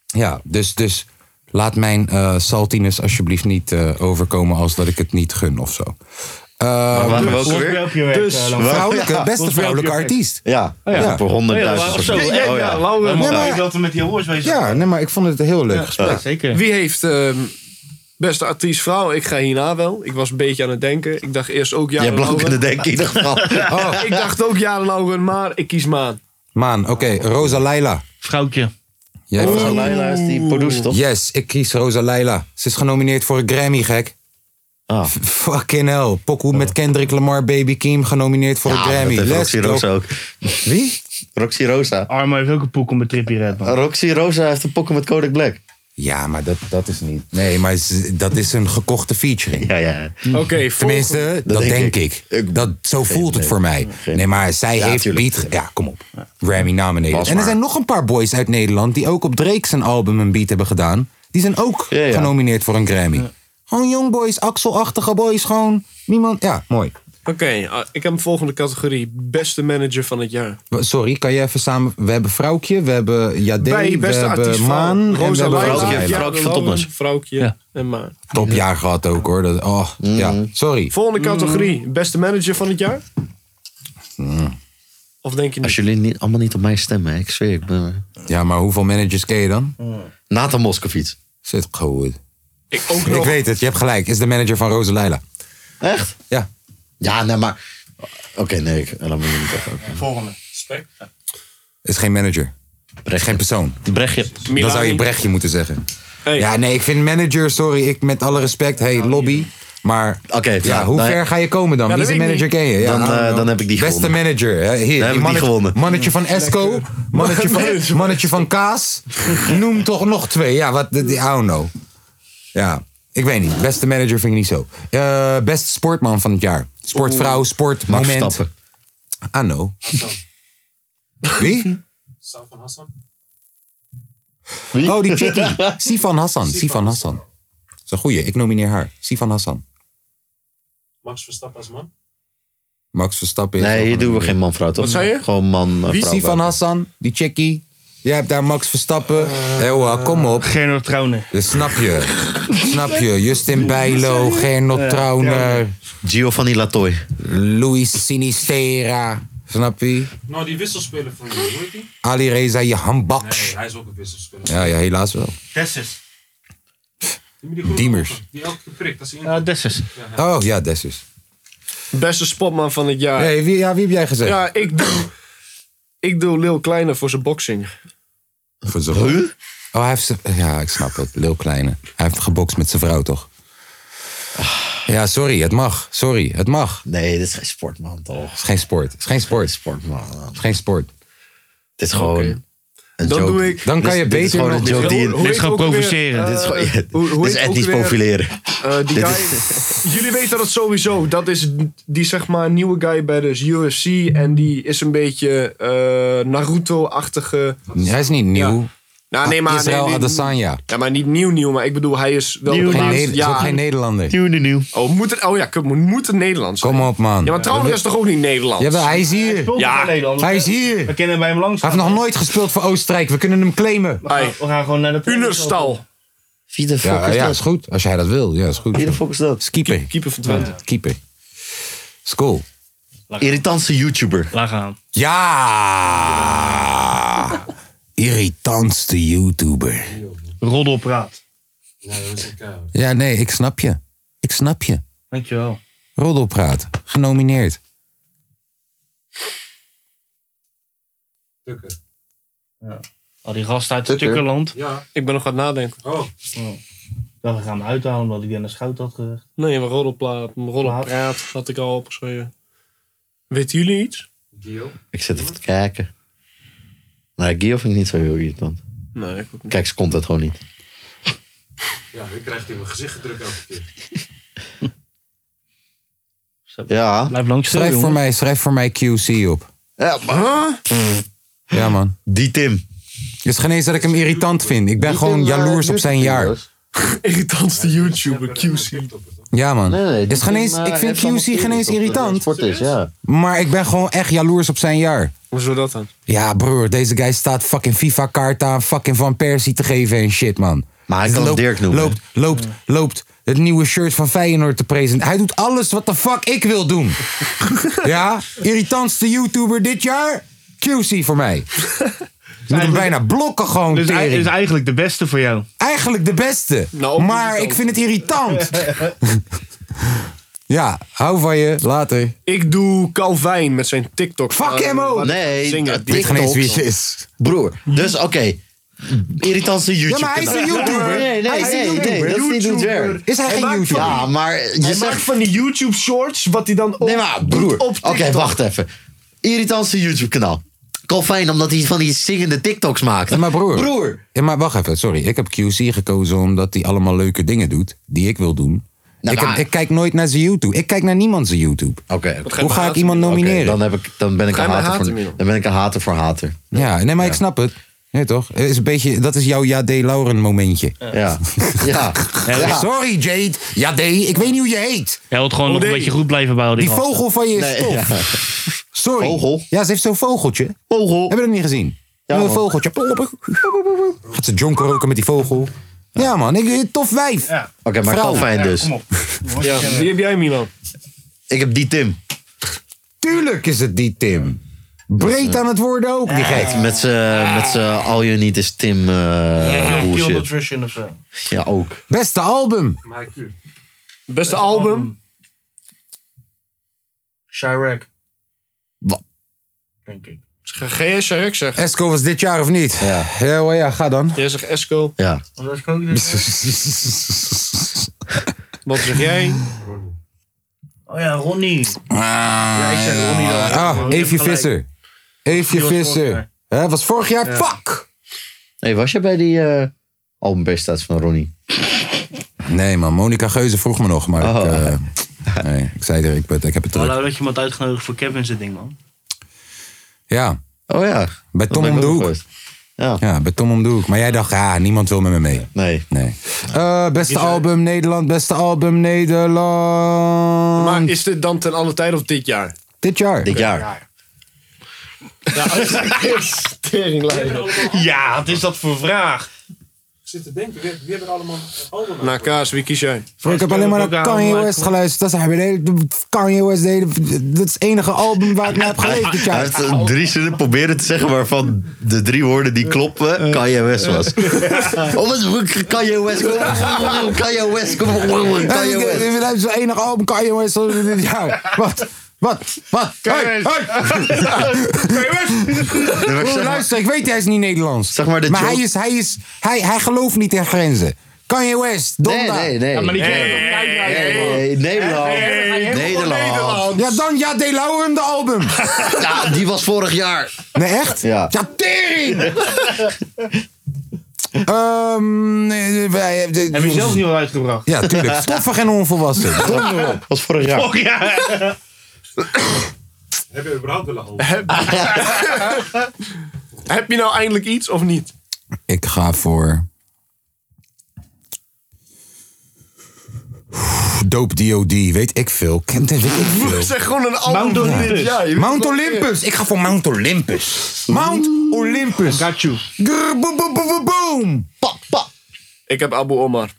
[SPEAKER 1] Ja, dus, dus laat mijn eh saltiness alsjeblieft niet eh, overkomen als dat ik het niet gun of zo. Eh,
[SPEAKER 3] waren
[SPEAKER 1] dus-
[SPEAKER 3] welke weer? Volgens mij op je werk,
[SPEAKER 1] Dus
[SPEAKER 3] eh, Laura.
[SPEAKER 1] vrouwelijke,
[SPEAKER 3] Ja,
[SPEAKER 1] beste
[SPEAKER 3] volgens mij op je
[SPEAKER 1] vrouwelijke
[SPEAKER 3] werk.
[SPEAKER 1] artiest.
[SPEAKER 3] Ja,
[SPEAKER 1] Ja.
[SPEAKER 3] ja. voor 100.000.
[SPEAKER 1] Oh, zo,
[SPEAKER 3] procent.
[SPEAKER 1] hè? Oh, ja. Laura.
[SPEAKER 3] Ja, maar-
[SPEAKER 1] Nee, maar-
[SPEAKER 4] dat we met die hoors bezig
[SPEAKER 1] Ja, nee, maar ik vond het een heel leuk gesprek.
[SPEAKER 2] zeker.
[SPEAKER 4] Wie heeft ehm, beste artiest vrouw? Ik ga hierna wel. Ik was een beetje aan het denken. Ik dacht eerst ook ja.
[SPEAKER 3] Jij blank in de denken in ieder
[SPEAKER 4] [LAUGHS]
[SPEAKER 3] geval.
[SPEAKER 4] Ja, Ik dacht ook ja, Lauren, maar ik kies Maan.
[SPEAKER 1] Maan, oké, Rosa Leila.
[SPEAKER 2] Vrouwtje.
[SPEAKER 1] Jij
[SPEAKER 3] Rosa Leila is die producer, toch?
[SPEAKER 1] Yes, ik kies Rosa Leila. Ze is genomineerd voor een Grammy, gek.
[SPEAKER 3] Ah.
[SPEAKER 1] F- Fucking hell. Pokoe met Kendrick Lamar, Baby Kim, genomineerd voor een
[SPEAKER 3] Ja, dat
[SPEAKER 1] Oh, Grammy.
[SPEAKER 3] heeft
[SPEAKER 1] Let's
[SPEAKER 3] Roxy
[SPEAKER 1] go.
[SPEAKER 3] Rosa ook.
[SPEAKER 1] Wie?
[SPEAKER 3] Roxy Rosa.
[SPEAKER 2] Arma heeft ook een poek om met Trippie Red, man.
[SPEAKER 3] Roxy Rosa heeft een pokken met Kodak Black.
[SPEAKER 1] Ja, maar dat, dat is niet. Nee, maar ze- dat is een gekochte featuring.
[SPEAKER 3] Ja, ja.
[SPEAKER 4] Oké,
[SPEAKER 1] Tenminste, dat, denk, ik. Dat, zo voelt het voor mij. Nee, maar zij
[SPEAKER 3] Ja,
[SPEAKER 1] heeft
[SPEAKER 3] tuurlijk.
[SPEAKER 1] beat. ge- Ja, kom op. Grammy nominated.
[SPEAKER 3] Was
[SPEAKER 1] En er
[SPEAKER 3] maar.
[SPEAKER 1] zijn nog een paar boys uit Nederland die ook op Drake zijn album een beat hebben gedaan. Die zijn ook
[SPEAKER 3] Ja, ja.
[SPEAKER 1] genomineerd voor een Grammy. Gewoon young boys, axelachtige boys, gewoon niemand. Ja, mooi.
[SPEAKER 4] Oké, ah, ik heb een volgende categorie. Beste manager van het jaar.
[SPEAKER 1] W- Sorry, kan je even samen. We hebben Vrouwkje, we hebben Jade,
[SPEAKER 4] Bij
[SPEAKER 1] we
[SPEAKER 4] beste artiest
[SPEAKER 1] hebben
[SPEAKER 4] vrouw,
[SPEAKER 1] Maan. en we
[SPEAKER 4] Rosa
[SPEAKER 1] hebben
[SPEAKER 4] Leila,
[SPEAKER 1] Rosa Leila.
[SPEAKER 4] Jaren
[SPEAKER 3] Vrouwtje van
[SPEAKER 4] Lauren,
[SPEAKER 3] Topmans.
[SPEAKER 4] Vrouwtje
[SPEAKER 2] Ja.
[SPEAKER 4] en Maan.
[SPEAKER 1] Topjaar gehad ook hoor. Dat, oh, ja. Sorry.
[SPEAKER 4] Mhm. Volgende categorie. Beste manager van het jaar? Of denk je
[SPEAKER 3] Als
[SPEAKER 4] niet?
[SPEAKER 3] jullie niet, allemaal niet op mij stemmen, hè, ik zweer. Ik ben...
[SPEAKER 1] Ja, maar hoeveel managers ken je dan?
[SPEAKER 3] Nathan Moskovits.
[SPEAKER 1] Zit goed.
[SPEAKER 4] Ik ook
[SPEAKER 1] Ik
[SPEAKER 4] nog.
[SPEAKER 1] weet het, je hebt gelijk. Is de manager van Rosa Leila.
[SPEAKER 3] Echt?
[SPEAKER 1] Ja.
[SPEAKER 3] Ja, nee, maar... Oké, nee, ik, laat me niet even.
[SPEAKER 7] Volgende. Spek.
[SPEAKER 1] Is geen manager. Is geen persoon.
[SPEAKER 3] Brechtje.
[SPEAKER 1] Dan zou je
[SPEAKER 4] Milani.
[SPEAKER 1] Brechtje moeten zeggen.
[SPEAKER 4] Hey. Nou,
[SPEAKER 1] Ja, nee, ik vind manager, sorry, ik met alle respect, hey, lobby. Maar
[SPEAKER 3] Oké,
[SPEAKER 1] ja,
[SPEAKER 3] ja,
[SPEAKER 1] hoe
[SPEAKER 3] nou ja.
[SPEAKER 1] ver ga je komen dan?
[SPEAKER 4] Ja,
[SPEAKER 1] Wie
[SPEAKER 4] dat
[SPEAKER 1] zijn
[SPEAKER 4] weet ik
[SPEAKER 1] manager ken je? Ja,
[SPEAKER 3] Dan,
[SPEAKER 1] I don't
[SPEAKER 3] eh,
[SPEAKER 1] know.
[SPEAKER 3] dan heb ik die
[SPEAKER 1] Beste
[SPEAKER 3] gewonnen.
[SPEAKER 1] manager. hè, Hier,
[SPEAKER 3] heb ik die
[SPEAKER 1] mannetje-
[SPEAKER 3] gewonnen.
[SPEAKER 1] Mannetje van Esco, mannetje
[SPEAKER 4] [LAUGHS]
[SPEAKER 1] van, mannetje van Kaas. Noem toch nog twee. Ja, wat, I don't know. Ja, ik weet niet. Beste manager vind ik niet zo. Eh beste sportman van het jaar. Sportvrouw,
[SPEAKER 3] Max
[SPEAKER 1] sportmoment.
[SPEAKER 3] Stappen.
[SPEAKER 1] Ah, no. Wie?
[SPEAKER 7] Sam van Hassan.
[SPEAKER 1] Oh, die chickie. Sifan Hassan. Sifan Hassan. Dat is een goeie. Ik nomineer haar. Sifan Hassan.
[SPEAKER 7] Max Verstappen als man.
[SPEAKER 1] Max Verstappen.
[SPEAKER 3] Nee, hier doen we geen man-vrouw, toch? Wat zei je? Gewoon man eh,
[SPEAKER 1] Wie?
[SPEAKER 3] vrouw
[SPEAKER 1] Sifan Hassan. Die chickie. Jij hebt daar Max Verstappen. Ewa, kom op.
[SPEAKER 2] Gernot Trauner.
[SPEAKER 1] Dat snap je. snap je. Justin Bijlo.
[SPEAKER 3] Ja,
[SPEAKER 1] Gernot Trauner.
[SPEAKER 3] Giovanni Latoy.
[SPEAKER 1] Luis Sinistera. Snap je?
[SPEAKER 7] Nou, die wisselspeler van jullie, hoe heet die?
[SPEAKER 1] Ali Reza, je handbaks.
[SPEAKER 7] Nee, hij is ook een wisselspeler.
[SPEAKER 1] Ja, ja, helaas wel.
[SPEAKER 2] Dessus.
[SPEAKER 1] Diemers.
[SPEAKER 7] Die elke keer prikt als hij in.
[SPEAKER 2] Ja, Dessus.
[SPEAKER 1] Oh, ja, Dessus.
[SPEAKER 4] Beste spotman van het jaar.
[SPEAKER 1] Hey, wie, ja, wie heb jij gezegd?
[SPEAKER 4] Ja, ik doe, ik doe Lil Kleine voor zijn boxing.
[SPEAKER 1] Voor zijn vrouw. Oh, hij heeft ze- Ja, ik snap het. Lil Kleine. Hij heeft gebokst met zijn vrouw, toch? Ja, sorry. Het mag. Sorry. Het mag.
[SPEAKER 3] Nee, dit is geen sport, man, toch?
[SPEAKER 1] Het is geen sport. Het is geen sport.
[SPEAKER 3] Sport, man.
[SPEAKER 1] Het is geen sport.
[SPEAKER 3] Dit is gewoon... een
[SPEAKER 4] Dan
[SPEAKER 3] joke.
[SPEAKER 4] doe ik-
[SPEAKER 1] Dan kan je
[SPEAKER 3] Dit- dit is
[SPEAKER 1] beter
[SPEAKER 3] gewoon
[SPEAKER 1] nog-
[SPEAKER 3] een joke die-
[SPEAKER 4] Hoe- hoe
[SPEAKER 2] Dit
[SPEAKER 4] heet
[SPEAKER 2] is
[SPEAKER 4] ook
[SPEAKER 2] gewoon
[SPEAKER 4] weer,
[SPEAKER 2] provoceren.
[SPEAKER 4] eh,
[SPEAKER 3] Dit is gewoon-
[SPEAKER 4] hoe- hoe
[SPEAKER 3] dit is
[SPEAKER 4] heet ook
[SPEAKER 3] etnisch
[SPEAKER 4] weer-
[SPEAKER 3] profileren.
[SPEAKER 4] Eh, die
[SPEAKER 3] Dit
[SPEAKER 4] guy,
[SPEAKER 1] [LAUGHS]
[SPEAKER 4] jullie weten dat sowieso. Dat is die zeg maar nieuwe guy bij de UFC. En die is een beetje eh, Naruto-achtige.
[SPEAKER 1] Hij is niet nieuw.
[SPEAKER 4] Nou, nee, maar, nee,
[SPEAKER 1] Israël
[SPEAKER 4] nee,
[SPEAKER 1] Adesanya.
[SPEAKER 4] ja, maar niet nieuw nieuw. Maar ik bedoel, hij is wel
[SPEAKER 2] Nieuw,
[SPEAKER 4] de
[SPEAKER 1] Geen
[SPEAKER 4] laatste
[SPEAKER 1] Neder- is ook
[SPEAKER 4] jaren-
[SPEAKER 1] geen Nederlander.
[SPEAKER 2] Nieuw, nieuw, nieuw.
[SPEAKER 4] Oh, moet het, oh ja, kut, moet- moet het Nederlands zijn.
[SPEAKER 1] Kom op, man.
[SPEAKER 4] Ja, maar trouwens is toch ook niet Nederlands?
[SPEAKER 1] Jawel, hij is hier.
[SPEAKER 2] Ja,
[SPEAKER 1] Hij is hier.
[SPEAKER 2] We
[SPEAKER 1] Hij
[SPEAKER 2] kennen bij hem langs.
[SPEAKER 1] heeft nog nooit gespeeld voor Oostenrijk. We kunnen hem claimen.
[SPEAKER 4] Ai,
[SPEAKER 2] We gaan gewoon naar de...
[SPEAKER 4] Unerstal.
[SPEAKER 3] Wie de fuck
[SPEAKER 1] Ja,
[SPEAKER 3] is
[SPEAKER 1] ja,
[SPEAKER 3] dat?
[SPEAKER 1] is goed. Als jij dat wil. Ja, is
[SPEAKER 3] Wie de
[SPEAKER 1] goed.
[SPEAKER 3] fuck is dat?
[SPEAKER 1] Keeper.
[SPEAKER 4] Keeper van Twente.
[SPEAKER 1] Keeper. School.
[SPEAKER 3] Irritantse YouTuber.
[SPEAKER 2] Laat gaan.
[SPEAKER 1] Ja! Irritantste YouTuber.
[SPEAKER 2] Roddelpraat.
[SPEAKER 7] Nee, dat is een keihard.
[SPEAKER 1] Ja, nee, ik snap je. Ik snap je.
[SPEAKER 2] Dankjewel.
[SPEAKER 1] Roddelpraat. Genomineerd.
[SPEAKER 7] Tukker.
[SPEAKER 2] Al die gasten uit
[SPEAKER 5] Tukker.
[SPEAKER 2] Tukkerland.
[SPEAKER 7] Ja.
[SPEAKER 4] Ik ben nog aan het nadenken.
[SPEAKER 7] Oh,
[SPEAKER 2] Nou, Dat we gaan hem uithalen omdat ik Dennis Schout had gezegd.
[SPEAKER 4] Nee, maar roddelplaat, roddelpraat had ik al opgeschreven. Weten jullie iets?
[SPEAKER 7] Gio.
[SPEAKER 3] Ik zit even te kijken. Nee, Guillaume vind ik niet zo heel irritant.
[SPEAKER 4] Nee, ik ook niet.
[SPEAKER 3] Kijk, ze komt het gewoon niet.
[SPEAKER 7] Ja, ik krijg het in mijn gezicht gedrukt elke keer.
[SPEAKER 3] Ja.
[SPEAKER 2] Blijf langs stil,
[SPEAKER 1] Schrijf voor
[SPEAKER 2] jongen.
[SPEAKER 1] mij, schrijf voor mij QC op.
[SPEAKER 3] ja maar-
[SPEAKER 1] Ja, man.
[SPEAKER 3] Die Tim. eh,
[SPEAKER 1] Het is geen eens dat ik hem irritant vind. Ik ben gewoon jaloers op zijn jaar.
[SPEAKER 4] Irritantste YouTuber, QC.
[SPEAKER 1] Ja, man.
[SPEAKER 3] Nee, nee.
[SPEAKER 1] Het is geen eens,
[SPEAKER 3] Tim, eh,
[SPEAKER 1] ik vind
[SPEAKER 3] heeft allemaal
[SPEAKER 1] QC geen eens
[SPEAKER 3] irritant dat hij
[SPEAKER 1] irritant.
[SPEAKER 3] Sport is, ja.
[SPEAKER 1] Maar ik ben gewoon echt jaloers op zijn jaar.
[SPEAKER 4] Hoezo dat dan?
[SPEAKER 1] Ja, broer, deze guy staat fucking FIFA-kaart aan, fucking Van Persie te geven en shit, man. Dus
[SPEAKER 3] Maar hij kan
[SPEAKER 1] loopt,
[SPEAKER 3] Dirk noemen.
[SPEAKER 1] Loopt, loopt, loopt het nieuwe shirt van Feyenoord te presenteren. Hij doet alles wat de fuck ik wil
[SPEAKER 2] [LAUGHS]
[SPEAKER 1] doen. ja, irritantste YouTuber dit jaar? QC voor mij.
[SPEAKER 2] [LAUGHS]
[SPEAKER 1] Je moet hem bijna blokken gewoon,
[SPEAKER 2] Dus hij
[SPEAKER 1] tering.
[SPEAKER 2] is eigenlijk de beste voor jou.
[SPEAKER 1] Eigenlijk de beste.
[SPEAKER 4] Nou,
[SPEAKER 1] maar
[SPEAKER 4] irritant.
[SPEAKER 1] ik vind het
[SPEAKER 2] [LAUGHS]
[SPEAKER 1] irritant. ja, hou van je. Later.
[SPEAKER 4] Ik doe Calvin met zijn TikTok. Eh,
[SPEAKER 1] Fuck hem ook.
[SPEAKER 3] Nee,
[SPEAKER 4] Zingen.
[SPEAKER 3] dat
[SPEAKER 1] Ik weet geen eens
[SPEAKER 3] TikTok.
[SPEAKER 1] wie het is.
[SPEAKER 3] Broer, dus oké. Irritantste YouTuber.
[SPEAKER 1] Ja, maar hij is een YouTuber.
[SPEAKER 3] [LAUGHS] Nee, nee, nee.
[SPEAKER 1] Hij is een
[SPEAKER 3] nee,
[SPEAKER 1] YouTuber.
[SPEAKER 3] dat is niet hoe het werkt.
[SPEAKER 1] Is hij, geen YouTuber?
[SPEAKER 3] Ja, maar je zegt...
[SPEAKER 4] van die YouTube shorts wat hij dan op.
[SPEAKER 3] Nee, maar broer. Oké, wacht even. Irritantste YouTube-kanaal. Calvin, omdat hij van die zingende TikToks maakt.
[SPEAKER 1] Ja, maar broer.
[SPEAKER 3] Broer.
[SPEAKER 1] Ja, maar wacht even, sorry. Ik heb QC gekozen omdat hij allemaal leuke dingen doet die ik wil doen.
[SPEAKER 3] Nou, Oh.
[SPEAKER 1] ik, heb-
[SPEAKER 3] maar-
[SPEAKER 1] ik kijk nooit naar zijn YouTube. Ik kijk naar niemand zijn YouTube.
[SPEAKER 3] Oké,
[SPEAKER 4] ga je
[SPEAKER 1] Hoe
[SPEAKER 4] maar
[SPEAKER 1] ga ik
[SPEAKER 4] haten,
[SPEAKER 1] iemand
[SPEAKER 3] Oké,
[SPEAKER 1] nomineren?
[SPEAKER 3] dan, heb ik, dan ben ik
[SPEAKER 4] Ga
[SPEAKER 3] een
[SPEAKER 4] je maar
[SPEAKER 3] hater
[SPEAKER 4] haten,
[SPEAKER 3] voor,
[SPEAKER 4] Milo?
[SPEAKER 3] dan ben ik een hater voor hater.
[SPEAKER 1] Ja, nee, maar ik snap het. Nee, toch? Het Is een beetje, dat is jouw Jade Lauren momentje.
[SPEAKER 3] Ja. Ja.
[SPEAKER 1] [LAUGHS] Ja,
[SPEAKER 3] ja.
[SPEAKER 1] Sorry Jade. Jade, ik weet niet hoe je heet.
[SPEAKER 2] Hij wil gewoon nog een
[SPEAKER 4] nee.
[SPEAKER 2] beetje goed blijven bij al die,
[SPEAKER 1] Die
[SPEAKER 2] gasten.
[SPEAKER 1] vogel van je is
[SPEAKER 3] Nee,
[SPEAKER 1] tof.
[SPEAKER 3] ja.
[SPEAKER 1] Sorry.
[SPEAKER 3] Vogel?
[SPEAKER 1] Ja, ze heeft zo'n vogeltje.
[SPEAKER 3] Vogel.
[SPEAKER 1] Hebben we dat niet gezien?
[SPEAKER 3] Ja,
[SPEAKER 1] een
[SPEAKER 3] man.
[SPEAKER 1] vogeltje. Gaat ze jonker roken met die vogel. Ja man, ik, eh, tof wijf.
[SPEAKER 2] Ja.
[SPEAKER 3] Oké, maar
[SPEAKER 1] Vrouw.
[SPEAKER 3] Calvin dus. [LAUGHS]
[SPEAKER 4] Ja, wie heb jij, Milan?
[SPEAKER 3] Ik heb die Tim.
[SPEAKER 1] Tuurlijk is het die Tim. Breed aan het worden ook, die gek.
[SPEAKER 3] eh, Met zijn met z'n All You Need Is Tim eh
[SPEAKER 2] Kill
[SPEAKER 3] bullshit.
[SPEAKER 2] Nutrition of zo.
[SPEAKER 3] Ja, ook.
[SPEAKER 1] Beste album.
[SPEAKER 7] Maar ik
[SPEAKER 4] Beste album?
[SPEAKER 2] Chirac.
[SPEAKER 3] Wa-
[SPEAKER 2] Denk ik.
[SPEAKER 4] Ga jij Sharek zeggen?
[SPEAKER 1] Esco was dit jaar of niet?
[SPEAKER 3] Ja.
[SPEAKER 1] Ja, wel ja ga dan.
[SPEAKER 4] Jij zegt Esco.
[SPEAKER 3] Ja.
[SPEAKER 2] Want dat is ook niet-
[SPEAKER 4] [LAUGHS] Wat zeg jij?
[SPEAKER 2] Oh ja, Ronnie. Ja, ik zeg Ronnie dan.
[SPEAKER 1] Ah,
[SPEAKER 2] Je hebt
[SPEAKER 1] Eefje
[SPEAKER 2] gelijk.
[SPEAKER 1] Visser. Eefje
[SPEAKER 2] Die was vorig
[SPEAKER 1] Visser.
[SPEAKER 2] jaar.
[SPEAKER 1] Hè, was vorig jaar? Fuck!
[SPEAKER 3] Hey, was je bij die eh albumpresentatie van Ronnie?
[SPEAKER 1] Nee man, Monica Geuze vroeg me nog, maar ik,
[SPEAKER 3] Oh.
[SPEAKER 1] eh, nee, ik zei er, ik, ben- ik heb het terug.
[SPEAKER 2] Hallo dat je me had uitgenodigd voor Kevin's ding, man.
[SPEAKER 1] Ja,
[SPEAKER 3] Oh ja.
[SPEAKER 1] bij
[SPEAKER 3] Dat
[SPEAKER 1] Tom
[SPEAKER 3] ben ik
[SPEAKER 1] om de
[SPEAKER 3] ook
[SPEAKER 1] hoek.
[SPEAKER 3] geweest. Ja.
[SPEAKER 1] bij Tom om de hoek. Maar jij dacht, ah, niemand wil met me mee.
[SPEAKER 3] Nee.
[SPEAKER 1] nee. Eh, beste album Nederland, beste album Nederland.
[SPEAKER 4] Maar is dit dan ten alle tijde of dit jaar?
[SPEAKER 1] Dit jaar.
[SPEAKER 3] Dit jaar.
[SPEAKER 4] Ja, [LAUGHS]
[SPEAKER 2] Ja, wat is dat voor vraag?
[SPEAKER 7] Ik zit te denken, wie, wie hebben er allemaal Oh, album
[SPEAKER 4] Na Kaas, wie kies jij?
[SPEAKER 1] Bro, ik heb alleen maar naar Kanye West geluisterd. Dat is, hij hele, Kanye West, de hele, dat is het enige album waar ik
[SPEAKER 3] [LAUGHS]
[SPEAKER 1] naar heb gelezen dit
[SPEAKER 3] Hij
[SPEAKER 1] jaar.
[SPEAKER 3] heeft eh, drie zinnen proberen te zeggen waarvan de drie woorden die
[SPEAKER 1] Eh.
[SPEAKER 3] kloppen Kanye West was. [LAUGHS] Oh, wat Kanye West, kom op, Kanye West, kom op, Kanye West.
[SPEAKER 1] Hij heeft zijn enige album Kanye West dit jaar. Wat? Wat? Wat? [LAUGHS] Hey, hey.
[SPEAKER 3] maar ik
[SPEAKER 1] Broer,
[SPEAKER 3] zeg maar-
[SPEAKER 1] luister, ik weet hij is niet Nederlands.
[SPEAKER 3] Zeg maar de
[SPEAKER 1] maar
[SPEAKER 3] joke-
[SPEAKER 1] hij, is, hij, is, hij, hij gelooft niet in grenzen. Kanye West, Donda.
[SPEAKER 3] Nee, nee, nee. Nee, Nederland. Nederland.
[SPEAKER 1] Ja, dan Ja De Lauren de album.
[SPEAKER 3] Ja, die was vorig jaar.
[SPEAKER 1] Nee, echt?
[SPEAKER 3] Ja.
[SPEAKER 1] Ja, tering! Ehm, eh, wij- eh,
[SPEAKER 2] Heb je zelf niet wel uitgebracht?
[SPEAKER 1] Ja, tuurlijk. Stoffig en onvolwassen. Donder op.
[SPEAKER 3] Was vorig jaar.
[SPEAKER 2] Oh ja.
[SPEAKER 7] Hebben we überhaupt wel een album?
[SPEAKER 4] [LAUGHS] Heb je nou eindelijk iets of niet?
[SPEAKER 1] Ik ga voor... Dope D.O.D. Weet ik veel. Kent weet ik veel.
[SPEAKER 4] Zeg gewoon een album.
[SPEAKER 2] Mount
[SPEAKER 4] van
[SPEAKER 2] Olympus.
[SPEAKER 4] dit jaar. Je
[SPEAKER 1] Mount
[SPEAKER 4] weet wel-
[SPEAKER 1] Olympus. Ik ga voor Mount Olympus. Mount Olympus.
[SPEAKER 2] Got you.
[SPEAKER 1] Grrr, boom, boom, boom, boom, boom.
[SPEAKER 3] Pa, pa.
[SPEAKER 4] Ik heb Abu Omar.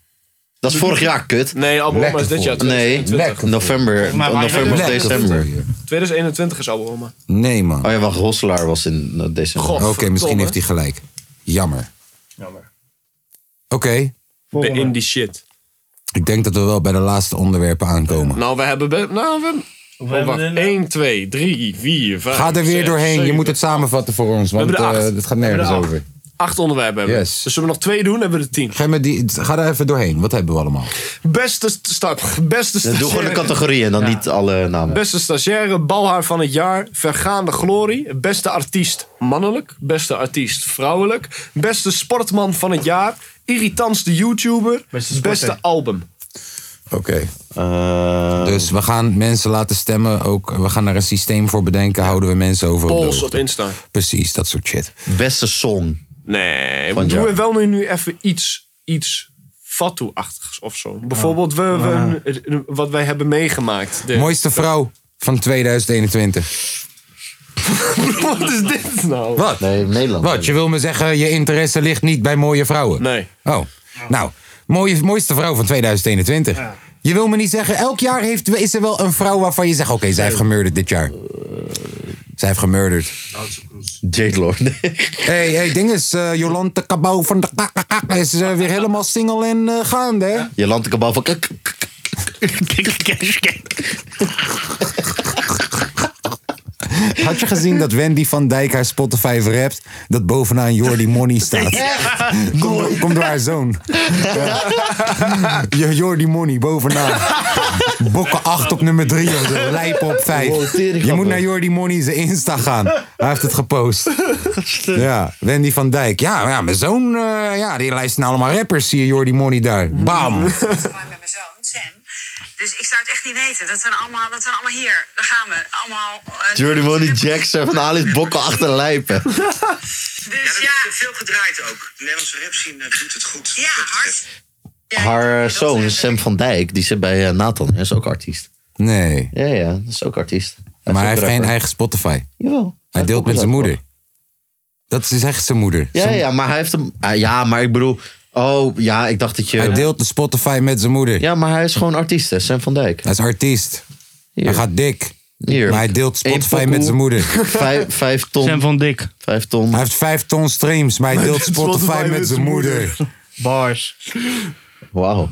[SPEAKER 3] Dat is vorig jaar, kut.
[SPEAKER 4] Nee, Abu
[SPEAKER 1] Lekker
[SPEAKER 4] Omar is dit
[SPEAKER 1] voor.
[SPEAKER 4] jaar.
[SPEAKER 3] Nee,
[SPEAKER 4] 2021.
[SPEAKER 3] november,
[SPEAKER 2] Maar wij-
[SPEAKER 3] november of
[SPEAKER 2] Nee,
[SPEAKER 3] december.
[SPEAKER 4] 2021 is Abu Omar.
[SPEAKER 1] Nee, man.
[SPEAKER 3] Oh ja, wacht, Hosselaar was in eh, december.
[SPEAKER 4] God.
[SPEAKER 1] Oké, misschien
[SPEAKER 4] Verdomme.
[SPEAKER 1] heeft hij gelijk. Jammer.
[SPEAKER 2] Jammer.
[SPEAKER 1] Oké,
[SPEAKER 4] De indie shit.
[SPEAKER 1] ik denk dat we wel bij de laatste onderwerpen aankomen.
[SPEAKER 4] Nou, we hebben... be- Nou, we hebben... Oh, wacht. 1, 2, 3, 4, 5,
[SPEAKER 1] Ga er weer doorheen. Je moet het samenvatten voor ons, want
[SPEAKER 4] hebben er
[SPEAKER 1] eh,
[SPEAKER 4] acht.
[SPEAKER 1] het gaat nergens
[SPEAKER 4] hebben er
[SPEAKER 1] over.
[SPEAKER 4] Acht onderwerpen hebben we.
[SPEAKER 1] Yes.
[SPEAKER 4] Dus zullen we nog twee doen, hebben we er tien.
[SPEAKER 1] Ga, maar die, ga er even doorheen. Wat hebben we allemaal?
[SPEAKER 4] Beste st- stap. Beste
[SPEAKER 3] Ja, Doe gewoon de
[SPEAKER 4] stagiaire.
[SPEAKER 3] categorie en dan niet alle namen.
[SPEAKER 4] Beste stagiaire, balhaar van het jaar, vergaande glorie. Beste artiest mannelijk, beste artiest vrouwelijk. Beste sportman van het jaar, irritantste YouTuber,
[SPEAKER 2] Beste
[SPEAKER 4] beste,
[SPEAKER 2] sporter.
[SPEAKER 4] album.
[SPEAKER 1] Oké.
[SPEAKER 3] Eh,
[SPEAKER 1] Dus we gaan mensen laten stemmen. Ook, we gaan er een systeem voor bedenken. Houden we mensen over op de
[SPEAKER 4] Polls op
[SPEAKER 1] hoogte.
[SPEAKER 4] Insta.
[SPEAKER 1] Precies, dat soort shit.
[SPEAKER 3] Beste song.
[SPEAKER 4] Nee, we
[SPEAKER 3] Van het
[SPEAKER 4] doen
[SPEAKER 3] jaar.
[SPEAKER 4] wel nu, nu even iets, iets fatu-achtigs of zo. Bijvoorbeeld we,
[SPEAKER 2] Ah.
[SPEAKER 4] we- wat wij hebben
[SPEAKER 2] [LAUGHS]
[SPEAKER 4] meegemaakt. De-
[SPEAKER 1] Mooiste vrouw van 2021.
[SPEAKER 4] wat is dit nou?
[SPEAKER 1] Wat?
[SPEAKER 3] Nee, Nederland.
[SPEAKER 1] Wat? Je wil me zeggen, je interesse ligt niet bij mooie vrouwen?
[SPEAKER 4] Nee.
[SPEAKER 1] Oh, nou, mooie, mooiste vrouw van 2021. Je wil me niet zeggen, elk jaar heeft, is er wel een vrouw waarvan je zegt... oké, zij heeft gemurderd dit jaar.
[SPEAKER 3] Eh,
[SPEAKER 1] Zij heeft gemurderd.
[SPEAKER 3] Jade Lord.
[SPEAKER 1] Hé, hey, ding is, eh, Jolante Cabau van de Kak- Kak- Kak is eh, weer helemaal single en eh, gaande, hè?
[SPEAKER 3] [LAUGHS] Je landt ik op van. kijk,
[SPEAKER 1] [LAUGHS] Had je gezien dat Wendy van Dijk haar Spotify rapt? Dat bovenaan Jordi Money staat. Kom, door- kom door haar zoon. Ja. Ja, Jordi Money bovenaan. Bokken 8 op nummer 3 of zo. Lijpen op 5. Je moet naar Jordi Money zijn Insta gaan. Hij heeft het gepost. Ja, Wendy van Dijk. Ja, ja mijn zoon, eh, ja, die luisteren allemaal rappers, zie je Jordi Money daar. Bam.
[SPEAKER 8] maar met mijn zoon, Sam. Dus ik zou het echt niet weten. Dat zijn allemaal, dat zijn allemaal hier. Daar gaan we. Allemaal. eh,
[SPEAKER 3] Jordan Money Jackson van Alice Bokken achter
[SPEAKER 1] [LAUGHS]
[SPEAKER 3] lijpen.
[SPEAKER 8] Dus
[SPEAKER 6] er
[SPEAKER 8] ja,
[SPEAKER 6] wordt veel gedraaid ook. De Nederlandse rap scene eh, doet het goed.
[SPEAKER 8] ja, hard. Ja,
[SPEAKER 3] Haar eh,
[SPEAKER 8] dat-
[SPEAKER 3] zoon,
[SPEAKER 8] dat-
[SPEAKER 3] Sam van Dijk, die zit bij eh, Nathan, hè, is ook artiest.
[SPEAKER 1] Nee,
[SPEAKER 3] Ja, ja, dat is ook artiest.
[SPEAKER 1] maar hij
[SPEAKER 3] is ook
[SPEAKER 1] heeft geen
[SPEAKER 3] rapper.
[SPEAKER 1] eigen Spotify.
[SPEAKER 3] Jawel.
[SPEAKER 1] Hij
[SPEAKER 3] heeft
[SPEAKER 1] deelt
[SPEAKER 3] ook
[SPEAKER 1] met
[SPEAKER 3] een
[SPEAKER 1] zijn
[SPEAKER 3] rapper.
[SPEAKER 1] moeder. Dat is echt zijn moeder.
[SPEAKER 3] Ja, ja, maar hij heeft hem. ah, ja, maar ik bedoel. Oh, ja, ik dacht dat je.
[SPEAKER 1] Hij deelt de Spotify met zijn moeder.
[SPEAKER 3] Ja, maar hij is gewoon artiest, hè, Sam van Dijk.
[SPEAKER 1] Hij is artiest.
[SPEAKER 3] Hier.
[SPEAKER 1] Hij gaat dik.
[SPEAKER 3] Hier.
[SPEAKER 1] Maar hij deelt Spotify
[SPEAKER 3] Eén
[SPEAKER 1] met zijn
[SPEAKER 3] pokoe. [LAUGHS]
[SPEAKER 1] moeder.
[SPEAKER 3] Vijf, vijf ton.
[SPEAKER 2] Sam van Dik.
[SPEAKER 3] Vijf ton.
[SPEAKER 1] Hij heeft vijf ton streams, maar hij deelt Spotify met zijn moeder.
[SPEAKER 2] Bars.
[SPEAKER 3] Wauw.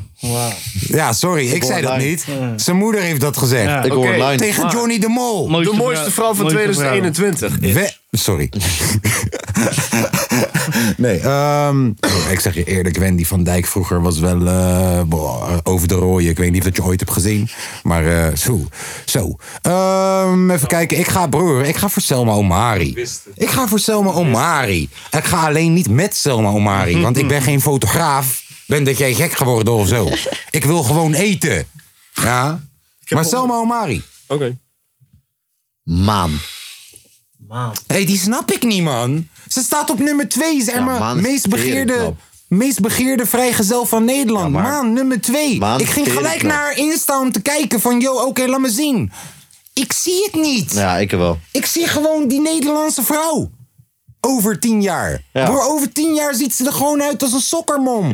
[SPEAKER 1] Ja, sorry, ik zei dat
[SPEAKER 3] online.
[SPEAKER 1] niet. Zijn moeder heeft dat gezegd.
[SPEAKER 3] Ik hoor
[SPEAKER 4] Oké,
[SPEAKER 3] online.
[SPEAKER 1] Tegen Johnny de Mol.
[SPEAKER 4] De mooiste vrouw van 2021.
[SPEAKER 1] We- sorry. [LAUGHS] nee, ehm, oh, ik zeg je eerlijk, Wendy van Dijk vroeger was wel eh, boah, over de rooie. Ik weet niet of dat je ooit hebt gezien, maar eh, zo. zo. Ehm, even kijken, ik ga broer, ik ga voor Selma Omari. Ik ga voor Selma Omari. Ik ga alleen niet met Selma Omari, want ik ben geen fotograaf. Ben dat jij gek geworden of
[SPEAKER 4] [LAUGHS]
[SPEAKER 1] zo? Ik wil gewoon eten. Ja, maar Selma Omari.
[SPEAKER 4] Oké.
[SPEAKER 3] Maan.
[SPEAKER 1] Hé, die snap ik niet, man. Ze staat op nummer 2, zeg
[SPEAKER 3] Ja,
[SPEAKER 1] maar.
[SPEAKER 3] Maan is
[SPEAKER 1] meest,
[SPEAKER 3] tering
[SPEAKER 1] begeerde,
[SPEAKER 3] knap.
[SPEAKER 1] meest begeerde vrijgezel van Nederland.
[SPEAKER 3] Ja, maar-
[SPEAKER 1] Maan, nummer 2.
[SPEAKER 3] Maan
[SPEAKER 1] Ik
[SPEAKER 3] is
[SPEAKER 1] ging
[SPEAKER 3] tering
[SPEAKER 1] gelijk
[SPEAKER 3] knap.
[SPEAKER 1] naar haar Insta om te kijken van... Yo, oké, laat me zien. Ik zie het niet.
[SPEAKER 3] Ja, ik wel.
[SPEAKER 1] Ik zie gewoon die Nederlandse vrouw. Over 10 jaar.
[SPEAKER 3] Ja.
[SPEAKER 1] Door over 10 jaar ziet ze er gewoon uit als een sokkermom.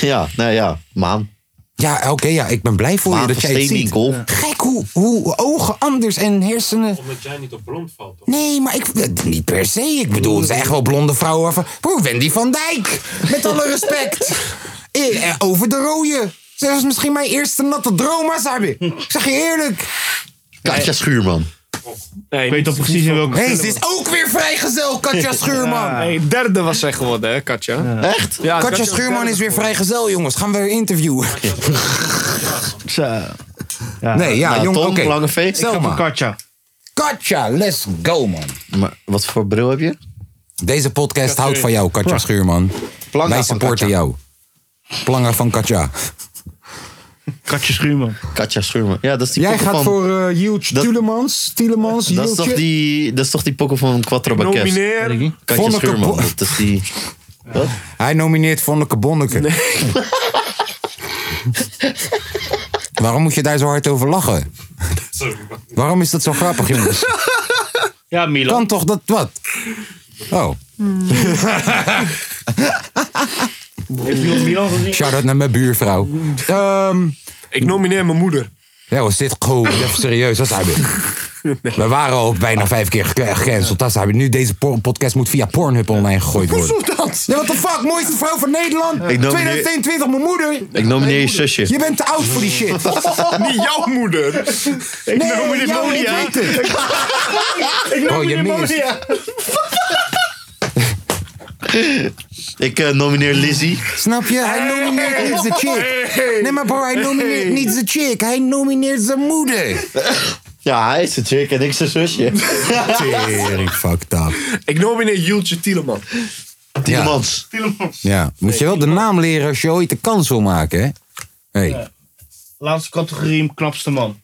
[SPEAKER 3] Ja, nou ja, maan.
[SPEAKER 1] Ja, oké, ja, ik ben blij voor je dat jij het ziet. Gek hoe, hoe ogen anders en hersenen...
[SPEAKER 7] Omdat jij niet op blond valt.
[SPEAKER 1] Nee, maar ik. eh, Niet per se. Ik bedoel, er zijn echt wel blonde vrouwen waarvan. Broer, Wendy van Dijk. Met alle respect. Eh, eh, Over de rode. Ze was misschien mijn eerste natte droom, Asabi. Ik zeg je eerlijk.
[SPEAKER 3] Katja Schuurman.
[SPEAKER 4] ik weet
[SPEAKER 2] toch precies in welke.
[SPEAKER 1] Hé, ze is ook weer vrijgezel, Katja Schuurman.
[SPEAKER 4] Hey, derde was zij geworden, hè, Katja?
[SPEAKER 3] Echt?
[SPEAKER 4] Ja,
[SPEAKER 1] Katja Schuurman is weer vrijgezel, jongens. Gaan we weer interviewen. Nee, ja,
[SPEAKER 3] Nou,
[SPEAKER 1] jong,
[SPEAKER 3] Tom,
[SPEAKER 1] oké.
[SPEAKER 3] Langevee.
[SPEAKER 1] Stel maar.
[SPEAKER 2] Katja.
[SPEAKER 1] Katja, let's go, man.
[SPEAKER 3] Maar wat voor bril heb je?
[SPEAKER 1] Deze podcast houdt van jou, Katja
[SPEAKER 3] Ja.
[SPEAKER 1] Schuurman.
[SPEAKER 3] Planga
[SPEAKER 1] Wij
[SPEAKER 3] van
[SPEAKER 1] supporten
[SPEAKER 3] Katja.
[SPEAKER 1] jou. Planga van Katja.
[SPEAKER 2] Katja Schuurman.
[SPEAKER 3] Katja Schuurman. Ja, dat is die
[SPEAKER 1] Jij
[SPEAKER 3] pokkel
[SPEAKER 1] gaat
[SPEAKER 3] van...
[SPEAKER 1] voor eh Jules Tulemans. Tulemans,
[SPEAKER 3] Dat is, toch
[SPEAKER 1] Jultje.
[SPEAKER 3] die, dat is toch die pokkel van Quattro Baques?
[SPEAKER 4] Nomineer.
[SPEAKER 3] Katja
[SPEAKER 1] Vonneke
[SPEAKER 3] Schuurman.
[SPEAKER 1] Bo-
[SPEAKER 3] Dat is die... [LAUGHS] Wat?
[SPEAKER 1] Hij nomineert Vonneke Bonneke. Waarom moet je daar zo hard over lachen? Waarom is dat zo grappig, jongens?
[SPEAKER 2] Ja, Milan.
[SPEAKER 1] Kan toch dat wat? Oh, [LAUGHS]
[SPEAKER 2] Heeft iemand Milan gezien?
[SPEAKER 1] shout-out naar mijn buurvrouw. Ehm,
[SPEAKER 4] Ik nomineer mijn moeder.
[SPEAKER 1] ja, was dit gewoon [LAUGHS] even serieus? Dat zijn we. We waren al bijna vijf keer ge- gecanceld. Dat zijn we. Nu deze por- podcast moet via Pornhub online gegooid worden.
[SPEAKER 4] dat?
[SPEAKER 1] Ja, what the fuck? Mooiste vrouw van Nederland.
[SPEAKER 3] Ik nomineer-
[SPEAKER 1] 2021, mijn moeder.
[SPEAKER 3] Ik nomineer je zusje.
[SPEAKER 1] Je bent te oud voor die [LAUGHS] shit.
[SPEAKER 4] Niet jouw moeder.
[SPEAKER 1] Nee, ja, ik weet het. Oh, je mist.
[SPEAKER 3] Ik eh, nomineer Lizzie.
[SPEAKER 1] Snap je? Hij nomineert niet zijn chick. Nee, maar bro, hij nomineert niet zijn chick. Hij nomineert zijn moeder.
[SPEAKER 3] Ja, hij is de chick en ik zijn zusje.
[SPEAKER 1] Tering, fucked up.
[SPEAKER 4] Ik nomineer Jultje Tieleman.
[SPEAKER 1] Ja,
[SPEAKER 3] Tiemans.
[SPEAKER 1] ja. Moet je wel de naam leren als je ooit de kans wil maken, hè? Hey.
[SPEAKER 2] Laatste categorie, knapste
[SPEAKER 4] [LAUGHS]
[SPEAKER 2] man.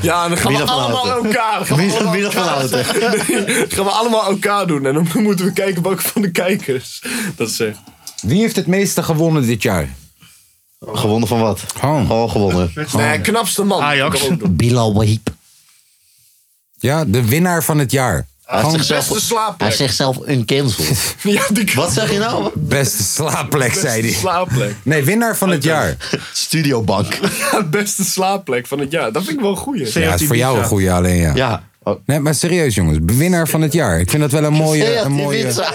[SPEAKER 4] Ja, en dan gaan
[SPEAKER 3] Wie
[SPEAKER 4] we
[SPEAKER 3] dat van
[SPEAKER 4] allemaal
[SPEAKER 3] Houten?
[SPEAKER 4] elkaar. Gaan we
[SPEAKER 3] Wie
[SPEAKER 4] allemaal
[SPEAKER 3] wie dat van
[SPEAKER 4] elkaar-
[SPEAKER 3] Houten?
[SPEAKER 4] [LAUGHS] Dan gaan we allemaal elkaar doen. En dan [LAUGHS] moeten we kijken welke van de kijkers dat zegt.
[SPEAKER 1] Wie heeft het meeste gewonnen dit jaar?
[SPEAKER 3] Gewonnen van wat?
[SPEAKER 1] Oh.
[SPEAKER 3] Gewoon gewonnen.
[SPEAKER 4] Nee, knapste man.
[SPEAKER 2] Ajax.
[SPEAKER 4] Kan ook doen.
[SPEAKER 3] Bilal Wahib.
[SPEAKER 1] Ja, de winnaar van het jaar.
[SPEAKER 3] Hij
[SPEAKER 1] Gewoon
[SPEAKER 3] zegt zelf,
[SPEAKER 4] Beste slaapplek.
[SPEAKER 3] hij zegt zelf uncancelled.
[SPEAKER 4] Ja, die
[SPEAKER 3] Wat zeg je nou?
[SPEAKER 1] [LAUGHS] beste slaapplek, zei
[SPEAKER 4] beste
[SPEAKER 1] hij.
[SPEAKER 4] slaapplek.
[SPEAKER 1] Nee, winnaar van het jaar.
[SPEAKER 3] [LAUGHS] Studiobank.
[SPEAKER 4] [LAUGHS] Ja, beste slaapplek van het jaar. Dat vind ik wel een goeie.
[SPEAKER 1] Ja, het is voor jou een goede alleen, ja.
[SPEAKER 3] Ja. Oh.
[SPEAKER 1] Nee, maar serieus jongens, winnaar van het jaar. Ik vind dat wel een mooie... Een mooie...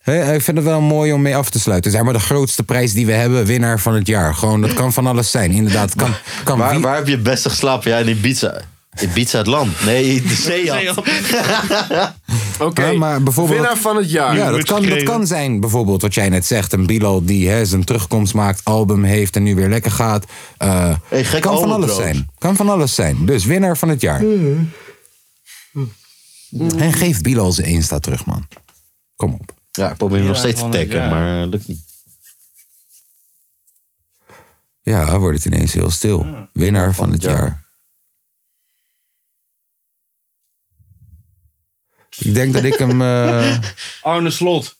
[SPEAKER 1] Hé, ik vind het wel mooi om mee af te sluiten. Zeg maar de grootste prijs die we hebben, winnaar van het jaar. Gewoon, dat kan van alles zijn. Inderdaad, het kan, [LAUGHS] kan
[SPEAKER 3] Waar,
[SPEAKER 1] wie-
[SPEAKER 3] waar heb je het beste geslapen? Ja, in Ibiza. Ibiza het land. Nee, de [LAUGHS] zee. [LAUGHS]
[SPEAKER 4] Oké,
[SPEAKER 1] Ja, maar bijvoorbeeld-
[SPEAKER 4] winnaar van het jaar.
[SPEAKER 1] Ja, dat kan, dat kan zijn bijvoorbeeld wat jij net zegt. Een Bilal die hè, zijn terugkomst maakt, album heeft en nu weer lekker gaat. Eh,
[SPEAKER 3] Hey, gek
[SPEAKER 1] kan van
[SPEAKER 3] album
[SPEAKER 1] alles
[SPEAKER 3] trouwens.
[SPEAKER 1] zijn. Kan van alles zijn. Dus winnaar van het jaar.
[SPEAKER 2] Mm.
[SPEAKER 1] En geef Bilal zijn Insta terug, man. Kom op.
[SPEAKER 3] Ja, ik probeer hem nog steeds te
[SPEAKER 2] van het
[SPEAKER 3] taggen,
[SPEAKER 2] jaar.
[SPEAKER 3] maar eh, lukt niet.
[SPEAKER 1] Ja, dan wordt het ineens heel stil. Winnaar van het jaar. Ik denk dat ik
[SPEAKER 3] [LAUGHS]
[SPEAKER 1] hem. eh,
[SPEAKER 2] Arne Slot.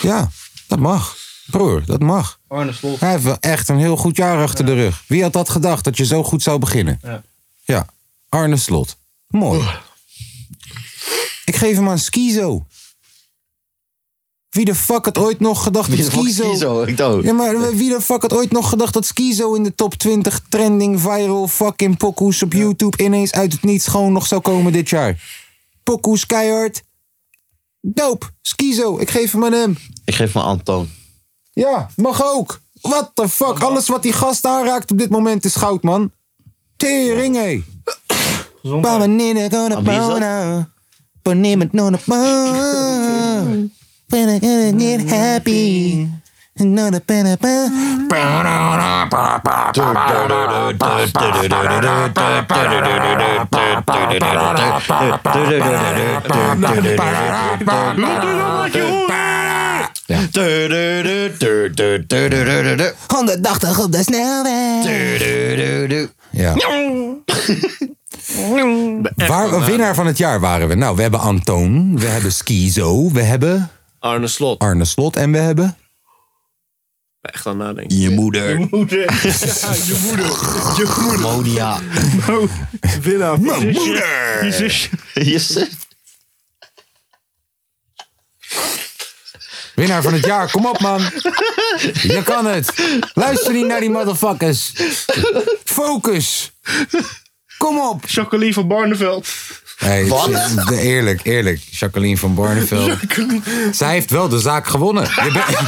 [SPEAKER 1] ja, dat mag. Broer, dat mag.
[SPEAKER 3] Oh,
[SPEAKER 2] Arne Slot.
[SPEAKER 1] Hij heeft wel echt een heel goed jaar achter de rug. Wie had dat gedacht, dat je zo goed zou beginnen?
[SPEAKER 2] Ja.
[SPEAKER 1] Ja, Arne Slot. Mooi. Ik geef hem aan Skizo. Wie de fuck had ooit nog gedacht dat
[SPEAKER 3] Wie de fuck is
[SPEAKER 1] Skizo...
[SPEAKER 3] Kizo? Ik dacht
[SPEAKER 1] Ja, maar wie de fuck had ooit nog gedacht dat Skizo in de top 20 trending viral fucking pokoes op YouTube ineens uit het niets gewoon nog zou komen dit jaar? Pokoes keihard. Dope. Skizo. Ik geef hem aan hem.
[SPEAKER 3] Ik geef me Antoon.
[SPEAKER 1] Ja, mag ook. What the fuck? Alles wat die gast aanraakt op dit moment is goud, man. Tering, hé. Papa nina gonna
[SPEAKER 3] Aan wie is dat?
[SPEAKER 1] bono. Panimet nona
[SPEAKER 3] [LAUGHS]
[SPEAKER 1] bono. When I gonna get happy. Nona pena pa.
[SPEAKER 3] Mm.
[SPEAKER 1] Honderdachtig op de snelweg. Ja.
[SPEAKER 4] eh,
[SPEAKER 1] Waar, winnaar van het jaar waren we? Nou, we hebben Antoon, we hebben Skizo, we hebben...
[SPEAKER 4] Arne Slot.
[SPEAKER 1] Arne Slot en we hebben...
[SPEAKER 4] Echt aan nadenken.
[SPEAKER 1] Je moeder.
[SPEAKER 4] moeder. Ja, je moeder. Je moeder.
[SPEAKER 3] Monia.
[SPEAKER 4] Winnaar.
[SPEAKER 3] Mijn moeder.
[SPEAKER 2] Je zusje.
[SPEAKER 3] Je zus.
[SPEAKER 1] Winnaar van het jaar, kom op man. Je kan het. Luister niet naar die motherfuckers. Focus. Kom op.
[SPEAKER 2] Jacqueline van Barneveld.
[SPEAKER 1] Nee, het is- eerlijk, eerlijk. Jacqueline van Barneveld. Zij heeft wel de zaak gewonnen. Je,
[SPEAKER 4] [LAUGHS]
[SPEAKER 1] bent-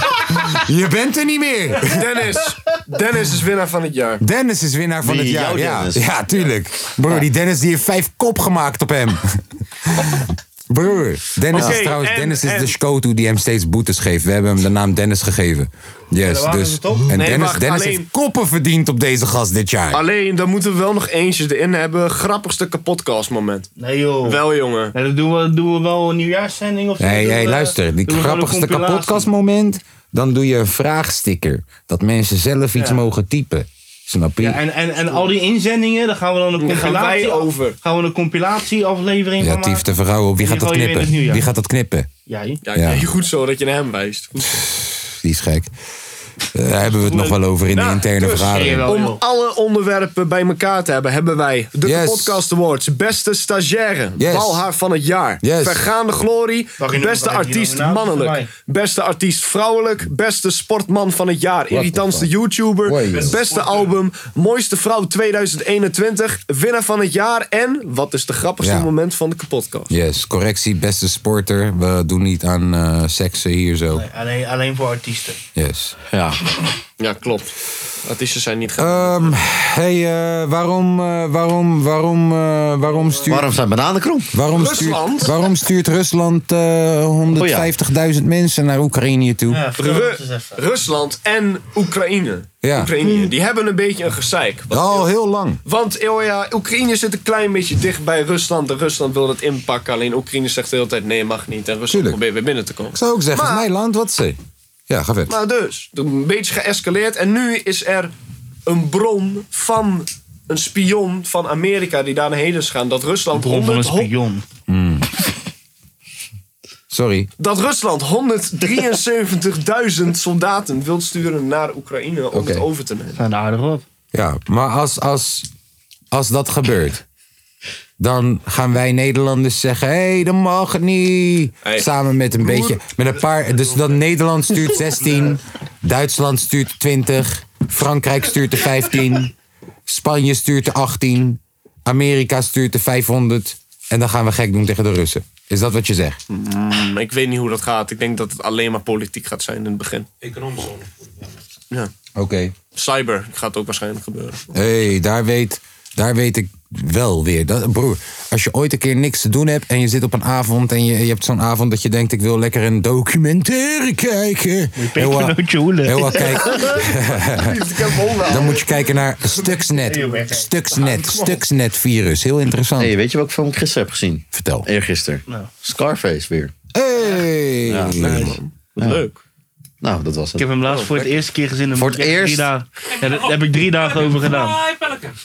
[SPEAKER 1] je bent er niet meer.
[SPEAKER 4] Dennis. Dennis is winnaar van het jaar.
[SPEAKER 1] Dennis is winnaar van
[SPEAKER 4] Wie,
[SPEAKER 1] het jaar.
[SPEAKER 4] jouw
[SPEAKER 1] Ja.
[SPEAKER 4] Dennis?
[SPEAKER 1] ja, tuurlijk. Bro, die Dennis die heeft vijf kop gemaakt op hem. Broer, Dennis
[SPEAKER 9] Oké,
[SPEAKER 1] is trouwens
[SPEAKER 9] en-
[SPEAKER 1] Dennis is
[SPEAKER 9] en-
[SPEAKER 1] de scoto die hem steeds boetes geeft. We hebben hem de naam Dennis gegeven.
[SPEAKER 4] Ja,
[SPEAKER 1] Yes,
[SPEAKER 4] daar waren
[SPEAKER 1] dus.
[SPEAKER 4] ze toch?
[SPEAKER 1] En
[SPEAKER 4] Nee,
[SPEAKER 1] Dennis,
[SPEAKER 4] wacht,
[SPEAKER 1] Dennis
[SPEAKER 4] alleen- Ah,
[SPEAKER 1] heeft koppen verdiend op deze gast dit jaar.
[SPEAKER 4] Alleen, dan moeten we wel nog eentje erin hebben. Grappigste kapotcast moment.
[SPEAKER 9] Nee joh.
[SPEAKER 4] Wel jongen.
[SPEAKER 9] Nee, dat doen we, doen we wel een nieuwjaarszending of zo.
[SPEAKER 1] Hey,
[SPEAKER 9] Doen
[SPEAKER 1] hey,
[SPEAKER 4] eh,
[SPEAKER 9] we-
[SPEAKER 1] luister, die
[SPEAKER 9] doen we gewoon een
[SPEAKER 1] grappigste
[SPEAKER 9] compilatie.
[SPEAKER 1] kapotkastmoment. Dan doe je een vraagsticker. Dat mensen zelf iets mogen typen. Snap je?
[SPEAKER 9] Ja, en, en, en al die inzendingen, daar gaan we dan een
[SPEAKER 4] Daar gaan
[SPEAKER 9] compilatie...
[SPEAKER 4] wij over.
[SPEAKER 9] Gaan we een compilatieaflevering
[SPEAKER 1] Ja,
[SPEAKER 9] van
[SPEAKER 1] Tief
[SPEAKER 9] maken.
[SPEAKER 1] de vrouw, wie
[SPEAKER 9] In
[SPEAKER 1] gaat
[SPEAKER 9] ieder
[SPEAKER 1] dat
[SPEAKER 9] geval hier in
[SPEAKER 1] knippen?
[SPEAKER 9] het nieuwjaar.
[SPEAKER 1] Wie gaat dat knippen?
[SPEAKER 9] Jij?
[SPEAKER 4] Ja,
[SPEAKER 1] Ja.
[SPEAKER 4] ja, goed zo dat je naar hem wijst. Goed zo.
[SPEAKER 1] Die is gek. Eh, Daar hebben we het nog wel over in de
[SPEAKER 4] Nou,
[SPEAKER 1] interne
[SPEAKER 4] dus,
[SPEAKER 1] vergadering.
[SPEAKER 4] Om alle onderwerpen bij elkaar te hebben, hebben wij de
[SPEAKER 1] Yes.
[SPEAKER 4] Podcast Awards. Beste stagiaire,
[SPEAKER 1] Yes.
[SPEAKER 4] balhaar van het jaar.
[SPEAKER 1] Yes.
[SPEAKER 4] Vergaande glorie,
[SPEAKER 9] Dag in de
[SPEAKER 4] beste
[SPEAKER 9] dag,
[SPEAKER 4] artiest
[SPEAKER 9] hier nominatie
[SPEAKER 4] mannelijk. Beste artiest vrouwelijk, beste sportman van het jaar. Irritantste
[SPEAKER 9] fuck?
[SPEAKER 4] YouTuber,
[SPEAKER 9] Woi, joh.
[SPEAKER 4] beste album, mooiste vrouw 2021, winnaar van het jaar en wat is de grappigste
[SPEAKER 1] Ja.
[SPEAKER 4] moment van de podcast?
[SPEAKER 1] Yes, correctie, beste sporter. We doen niet aan eh seksen hier zo.
[SPEAKER 9] Alleen, alleen voor artiesten.
[SPEAKER 1] Yes. Ja.
[SPEAKER 4] Ja, klopt. Artiesten zijn niet
[SPEAKER 1] Ehm, hey, eh, waarom, eh, waarom, waarom, eh, waarom stuurt...
[SPEAKER 3] Waarom zijn bananen krom?
[SPEAKER 1] Waarom
[SPEAKER 3] Rusland?
[SPEAKER 1] Stuurt, waarom stuurt Rusland eh, 150.000 mensen naar Oekraïne toe?
[SPEAKER 4] Ru- Rusland en Oekraïne.
[SPEAKER 1] Ja. Hmm.
[SPEAKER 4] Oekraïne. Die hebben een beetje een gezeik. Want-
[SPEAKER 1] Al heel lang.
[SPEAKER 4] Want oh ja, Oekraïne zit een klein beetje dicht bij Rusland. En Rusland wil dat inpakken. Alleen Oekraïne zegt de hele tijd: nee, mag niet. En Rusland probeert weer binnen te komen.
[SPEAKER 1] Ik zou ook zeggen, mijn land, wat ze. Ja, ga verder.
[SPEAKER 4] Maar dus, een beetje geëscaleerd. En nu is er een bron van een spion van Amerika die daar naar heen is gaan. Dat Rusland
[SPEAKER 9] Bron van een
[SPEAKER 4] 100
[SPEAKER 9] spion.
[SPEAKER 1] Hmm. Sorry.
[SPEAKER 4] dat Rusland 173.000 [LAUGHS] soldaten wil sturen naar Oekraïne om het over te nemen.
[SPEAKER 9] Zijn aardig op.
[SPEAKER 1] Ja, maar als, als, als dat gebeurt, dan gaan wij Nederlanders zeggen: hé, hey, dat mag niet. Samen met een beetje, met een paar. Dus dan Nederland
[SPEAKER 4] [LAUGHS]
[SPEAKER 1] stuurt 16, Duitsland stuurt 20, Frankrijk stuurt de 15, Spanje stuurt de 18, Amerika stuurt de 500. En dan gaan we gek doen tegen de Russen. Is dat wat je zegt?
[SPEAKER 4] Mm, ik weet niet hoe dat gaat. Ik denk dat het alleen maar politiek gaat zijn in het begin. Economisch Ja.
[SPEAKER 1] Oké.
[SPEAKER 4] Cyber gaat ook waarschijnlijk gebeuren.
[SPEAKER 1] Hé, hey, daar, weet, daar weet ik wel weer. Dat, broer, als je ooit een keer niks te doen hebt en je zit op een avond en je, je hebt zo'n avond dat je denkt: ik wil lekker een documentaire kijken. Heel wat- heel wat kijken.
[SPEAKER 10] [LAUGHS]
[SPEAKER 1] [LAUGHS] Dan moet je kijken naar Stuxnet. Stuxnet, Stuxnet virus. Heel interessant.
[SPEAKER 3] Hey, weet je welke film ik gisteren heb gezien?
[SPEAKER 1] Vertel.
[SPEAKER 3] Eergisteren. Scarface weer.
[SPEAKER 1] Hey!
[SPEAKER 3] Ja, leuk man.
[SPEAKER 4] Leuk.
[SPEAKER 3] Nou, dat was het.
[SPEAKER 9] Ik heb hem laatst voor het eerste keer gezien.
[SPEAKER 3] Voor het
[SPEAKER 9] Ik heb
[SPEAKER 3] eerst?
[SPEAKER 9] Drie dagen, ja, daar heb ik drie dagen over gedaan.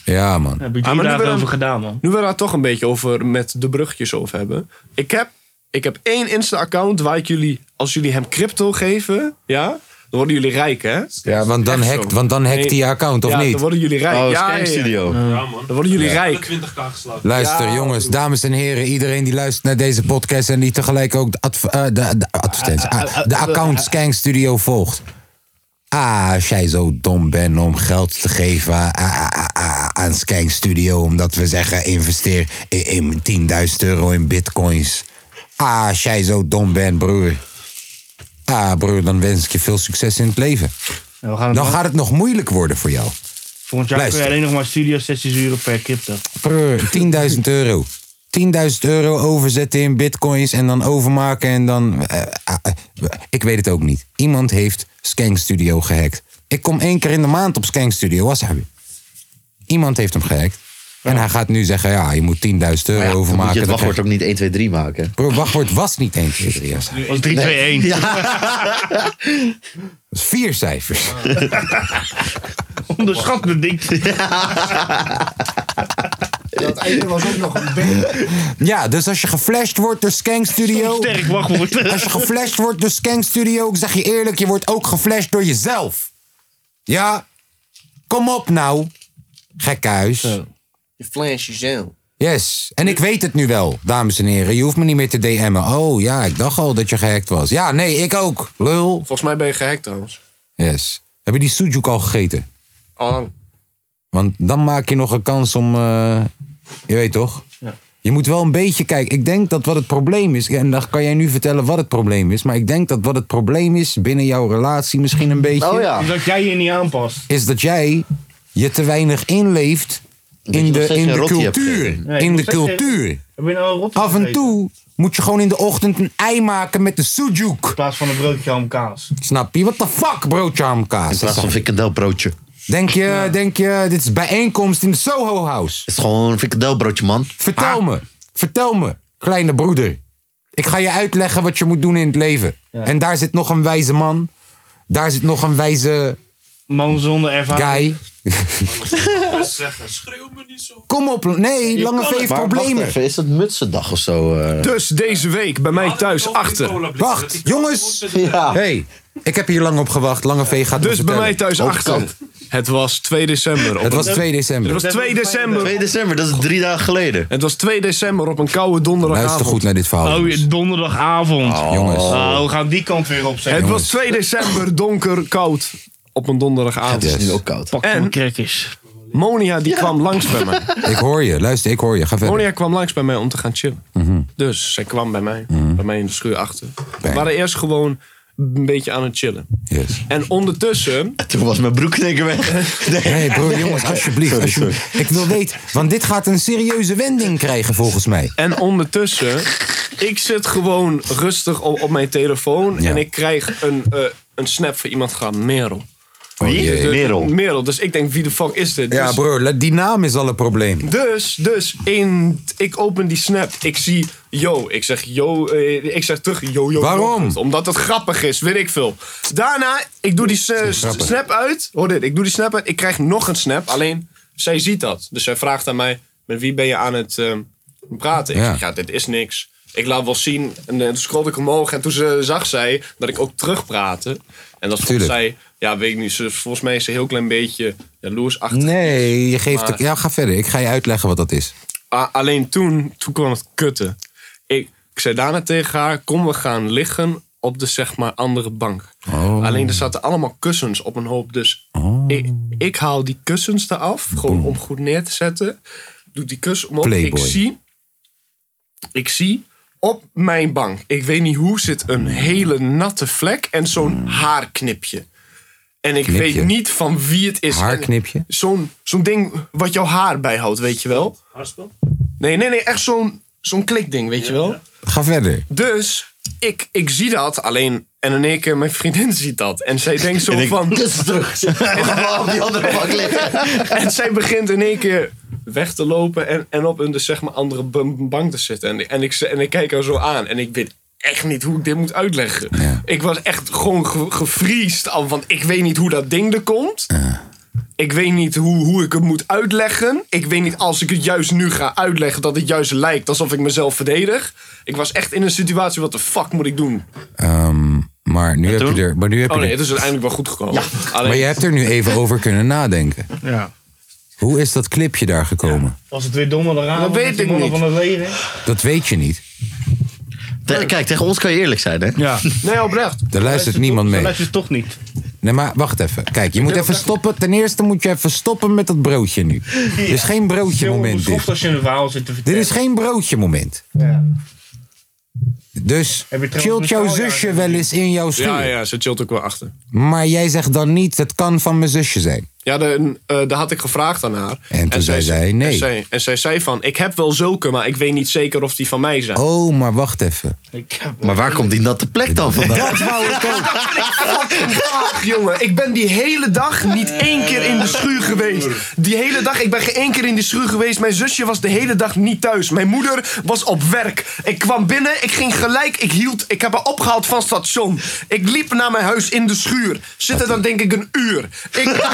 [SPEAKER 1] Ja, man.
[SPEAKER 9] Daar heb ik
[SPEAKER 4] Ah,
[SPEAKER 9] drie
[SPEAKER 4] maar nu
[SPEAKER 9] dagen
[SPEAKER 4] we-
[SPEAKER 9] over gedaan, man.
[SPEAKER 4] Nu we daar toch een beetje over met de brugjes over hebben. Ik heb, ik heb één Insta-account waar ik jullie, als jullie hem crypto geven, ja, dan worden jullie rijk, hè?
[SPEAKER 1] Ja, want dan
[SPEAKER 4] Echt zo.
[SPEAKER 1] hackt, want dan hackt hij je account, of
[SPEAKER 4] ja,
[SPEAKER 1] niet?
[SPEAKER 4] Dan worden jullie rijk.
[SPEAKER 1] Oh,
[SPEAKER 4] ja, ja, ja.
[SPEAKER 1] Scamstudio. Ja,
[SPEAKER 4] Dan worden jullie
[SPEAKER 1] Ja.
[SPEAKER 4] rijk.
[SPEAKER 1] Luister, jongens, dames en heren, iedereen die luistert naar deze podcast en die tegelijk ook de, adv- eh, de, de advertentie,
[SPEAKER 4] Eh,
[SPEAKER 1] ah, de account Skank Studio volgt. Ah, als jij zo dom bent om geld te geven ah, aan- aan- aan- aan- aan Skank Studio, omdat we zeggen investeer in, in 10.000 euro in bitcoins. Ah, als jij zo dom bent, broer. Ah, broer, dan wens ik je veel succes in het leven.
[SPEAKER 9] Ja, we gaan het
[SPEAKER 1] Dan
[SPEAKER 9] wel-
[SPEAKER 1] gaat het nog moeilijk worden voor jou.
[SPEAKER 9] Volgend jaar kun je
[SPEAKER 1] Luister.
[SPEAKER 9] alleen nog maar studio sessies uren per crypto.
[SPEAKER 4] [LAUGHS]
[SPEAKER 1] Brr, 10.000 euro. 10.000 euro overzetten in bitcoins en dan overmaken en dan... eh, ah, eh, ik weet het ook niet. Iemand heeft Skank Studio gehackt. Ik kom één keer in de maand op Skank Studio, Wasabi. Iemand heeft hem gehackt. En hij gaat nu zeggen, ja, je moet 10.000 euro
[SPEAKER 3] Maar ja, dan moet
[SPEAKER 1] overmaken.
[SPEAKER 3] je het
[SPEAKER 1] Dan
[SPEAKER 3] wachtwoord
[SPEAKER 1] krijg-
[SPEAKER 3] ook niet 1, 2, 3 maken.
[SPEAKER 1] Bro, wachtwoord was niet 1, 2, 3. Wasabi.
[SPEAKER 9] was 3, 2, 1. [LAUGHS]
[SPEAKER 1] Dat is vier cijfers.
[SPEAKER 9] Onderschat me ding.
[SPEAKER 5] Dat ene was ook nog een beetje.
[SPEAKER 1] [LAUGHS] Ja, dus als je geflasht wordt door Skank Studio.
[SPEAKER 5] Sterk wachtwoord.
[SPEAKER 1] [LAUGHS] Als je geflasht wordt door Skank Studio, ik zeg je eerlijk, je wordt ook geflasht door jezelf. Ja? Kom op nou. Gekhuis.
[SPEAKER 4] Je flash jezelf.
[SPEAKER 1] Yes. En ik weet het nu wel, dames en heren. Je hoeft me niet meer te DM'en. Oh ja, ik dacht al dat je gehackt was. Ja, nee, ik ook. Lul.
[SPEAKER 4] Volgens mij ben je gehackt trouwens.
[SPEAKER 1] Yes. Heb je die sujuk al gegeten?
[SPEAKER 4] [LAUGHS] Oh,
[SPEAKER 1] Want dan maak je nog een kans om. eh, je weet toch?
[SPEAKER 4] Ja.
[SPEAKER 1] Je moet wel een beetje kijken. Ik denk dat wat het probleem is. En dan kan jij nu vertellen wat het probleem is. Maar ik denk dat wat het probleem is binnen jouw relatie misschien
[SPEAKER 3] Oh,
[SPEAKER 1] een beetje.
[SPEAKER 9] Dus Dat jij je niet aanpast.
[SPEAKER 1] Is dat jij je te weinig inleeft in de, in de cultuur. In de cultuur.
[SPEAKER 9] nou
[SPEAKER 1] Af en toe moet je gewoon in de ochtend een ei maken met de sujuk. In
[SPEAKER 9] plaats van een broodje ham kaas.
[SPEAKER 1] Snap je? Wat de fuck, broodje ham kaas?
[SPEAKER 3] In plaats van frikandelbroodje.
[SPEAKER 1] Denk je, denk je, dit is bijeenkomst in de Soho House?
[SPEAKER 3] Het is gewoon een frikandelbroodje, man. Ah.
[SPEAKER 1] Vertel me, vertel me, kleine broeder. Ik ga je uitleggen wat je moet doen in het leven. En daar zit nog een wijze man. Daar zit nog een wijze...
[SPEAKER 9] Man zonder ervaring.
[SPEAKER 1] Guy.
[SPEAKER 7] zeggen, schreeuw me niet zo.
[SPEAKER 1] Kom op, nee, Lange V heeft problemen.
[SPEAKER 3] Even, is dat mutsendag of zo? eh?
[SPEAKER 4] Dus deze week bij mij thuis achter.
[SPEAKER 1] Wacht, jongens. Hey, ik heb hier lang op gewacht. Lange V gaat
[SPEAKER 4] Dus bij mij thuis achter.
[SPEAKER 1] achter.
[SPEAKER 4] Het was 2 december. op
[SPEAKER 1] Het was
[SPEAKER 4] een-
[SPEAKER 1] 2 december.
[SPEAKER 4] Het was 2 december.
[SPEAKER 3] 2 december, dat is drie dagen geleden.
[SPEAKER 4] Het was 2 december op een koude donderdagavond.
[SPEAKER 1] Luister goed naar dit verhaal.
[SPEAKER 9] Oh, je- donderdagavond.
[SPEAKER 1] Jongens.
[SPEAKER 9] Oh, we gaan die kant weer op. zeg.
[SPEAKER 4] Het was 2 december, donker, koud. Op een donderdagavond. Het is nu ook koud. En Monia die kwam langs bij mij.
[SPEAKER 1] [LAUGHS] Ik hoor je, luister, ik hoor je. Ga verder. Mhm.
[SPEAKER 4] Monia kwam langs bij mij om te gaan chillen. Dus zij kwam bij mij, bij mij in de schuur achter. We waren eerst gewoon een beetje aan het chillen. En ondertussen...
[SPEAKER 3] Toen was mijn broeknikker weg.
[SPEAKER 1] Nee, broer, jongens, alsjeblieft. alsjeblieft. Ik wil weten, want dit gaat een serieuze wending krijgen volgens mij.
[SPEAKER 4] En ondertussen, ik zit gewoon rustig op, op mijn telefoon en ik krijg een, eh, een snap van iemand gaan Merel.
[SPEAKER 1] Oh, jee.
[SPEAKER 4] De-
[SPEAKER 1] Merel.
[SPEAKER 4] Merel. Dus ik denk, wie de fuck is dit?
[SPEAKER 1] Ja,
[SPEAKER 4] Dus-
[SPEAKER 1] broer, die naam is al een probleem.
[SPEAKER 4] Dus, dus, in, ik open die snap. Ik zie, yo. Ik zeg, yo. eh, ik zeg terug, yo, yo.
[SPEAKER 1] Waarom?
[SPEAKER 4] yo. Omdat het grappig is, weet ik veel. Daarna, ik doe die s-
[SPEAKER 1] grappig.
[SPEAKER 4] snap uit. Hoor dit, ik doe die snap uit. Ik krijg nog een snap. Alleen, zij ziet dat. Dus zij vraagt aan mij, met wie ben je aan het ehm, praten?
[SPEAKER 1] Ja.
[SPEAKER 4] Ik zeg, ja, dit is niks. Ik laat wel zien. En eh, toen scrolde ik omhoog. En toen ze, zag zij dat ik ook terugpraatte. En dat vond
[SPEAKER 1] Tuurlijk.
[SPEAKER 4] zij, ja, weet ik niet. Ze, volgens mij is ze een heel klein beetje jaloers achter.
[SPEAKER 1] Nee, je geeft...
[SPEAKER 4] Maar-
[SPEAKER 1] Ja, ga verder. Ik ga je uitleggen wat dat is.
[SPEAKER 4] A- alleen toen, toen kwam het kutten. Ik, ik zei daarna tegen haar, kom we gaan liggen op de zeg maar andere bank.
[SPEAKER 1] Oh.
[SPEAKER 4] Alleen er zaten allemaal kussens op een hoop. Dus ik, ik haal die kussens eraf, gewoon om goed neer te zetten. Doe die kus omhoog. Ik
[SPEAKER 1] Playboy.
[SPEAKER 4] zie, ik zie op mijn bank, ik weet niet hoe, zit een hele natte vlek en zo'n haarknipje. En ik
[SPEAKER 1] Knipje.
[SPEAKER 4] weet niet van wie het is.
[SPEAKER 1] Haarknipje?
[SPEAKER 4] En Zo'n zo'n ding wat jouw haar bijhoudt, weet je wel. Nee, nee, nee, echt zo'n zo'n klikding, weet je wel.
[SPEAKER 1] Ga verder.
[SPEAKER 4] Dus ik, ik zie dat, alleen... En in één keer, mijn vriendin [LAUGHS] ziet dat. En zij denkt zo
[SPEAKER 3] En
[SPEAKER 1] [LAUGHS]
[SPEAKER 3] ik-
[SPEAKER 4] van...
[SPEAKER 3] Dit is terug. [LAUGHS] We gaan op die andere bank
[SPEAKER 4] [LAUGHS]
[SPEAKER 3] liggen.
[SPEAKER 4] En zij begint in één keer weg te lopen en, en op een dus zeg maar, andere b- bank te zitten. En, en, ik, ze- en ik kijk haar zo aan en ik weet echt niet hoe ik dit moet uitleggen. Ik was echt gewoon ge, gevriest, al, want ik weet niet hoe dat ding er komt. Ik weet niet hoe, hoe ik het moet uitleggen. Ik weet niet als ik het juist nu ga uitleggen dat het juist lijkt alsof ik mezelf verdedig. Ik was echt in een situatie, wat de fuck moet ik doen?
[SPEAKER 1] Ehm, maar nu heb je er... Maar nu heb
[SPEAKER 4] Oh
[SPEAKER 1] je
[SPEAKER 4] nee,
[SPEAKER 1] er-
[SPEAKER 4] het is uiteindelijk wel goed gekomen. Alleen-
[SPEAKER 1] Maar je hebt er nu even over kunnen nadenken.
[SPEAKER 9] Ja.
[SPEAKER 1] Hoe is dat clipje daar gekomen?
[SPEAKER 9] Was het weer donderdagavond?
[SPEAKER 4] Dat
[SPEAKER 9] met
[SPEAKER 4] weet
[SPEAKER 9] die
[SPEAKER 4] ik
[SPEAKER 9] mannen
[SPEAKER 4] niet.
[SPEAKER 9] van het leven?
[SPEAKER 1] Dat weet je niet.
[SPEAKER 3] kijk, tegen ons kan je eerlijk zijn, hè? [LAUGHS]
[SPEAKER 9] Ja.
[SPEAKER 4] Nee, oprecht.
[SPEAKER 1] Daar luistert niemand mee.
[SPEAKER 9] Dat is toch niet.
[SPEAKER 1] Nee, maar wacht even. Kijk, je moet even stoppen. Ten eerste moet je even stoppen met dat broodje nu. Dit is geen broodje moment dit.
[SPEAKER 9] Schoft als je een verhaal zit te vertellen.
[SPEAKER 1] Dit is geen broodje moment.
[SPEAKER 9] Ja.
[SPEAKER 1] Dus chillt jouw zusje wel eens in jouw schuur.
[SPEAKER 4] Ja, ja, ze chillt ook wel achter.
[SPEAKER 1] Maar jij zegt dan niet, het kan van mijn zusje
[SPEAKER 4] [LAUGHS]
[SPEAKER 1] zijn.
[SPEAKER 4] Ja, de, eh, daar had ik gevraagd aan haar.
[SPEAKER 1] En toen
[SPEAKER 4] zij
[SPEAKER 1] zei zij nee.
[SPEAKER 4] En zij, en zij zei van, ik heb wel zulke, maar ik weet niet zeker of die van mij zijn.
[SPEAKER 1] Oh, maar wacht even.
[SPEAKER 3] Maar waar komt die natte plek dan vandaan?
[SPEAKER 1] Dat
[SPEAKER 3] [LAUGHS]
[SPEAKER 1] wou [LAUGHS] ik ook.
[SPEAKER 4] Ach, jongen, ik ben die hele dag niet één keer in de schuur geweest. Die hele dag, ik ben geen één keer in de schuur geweest. Mijn zusje was de hele dag niet thuis. Mijn moeder was op werk. Ik kwam binnen, ik ging gelijk, ik hield, ik heb haar opgehaald van station. Ik liep naar mijn huis in de schuur. Zit er dan denk ik een uur. Ik...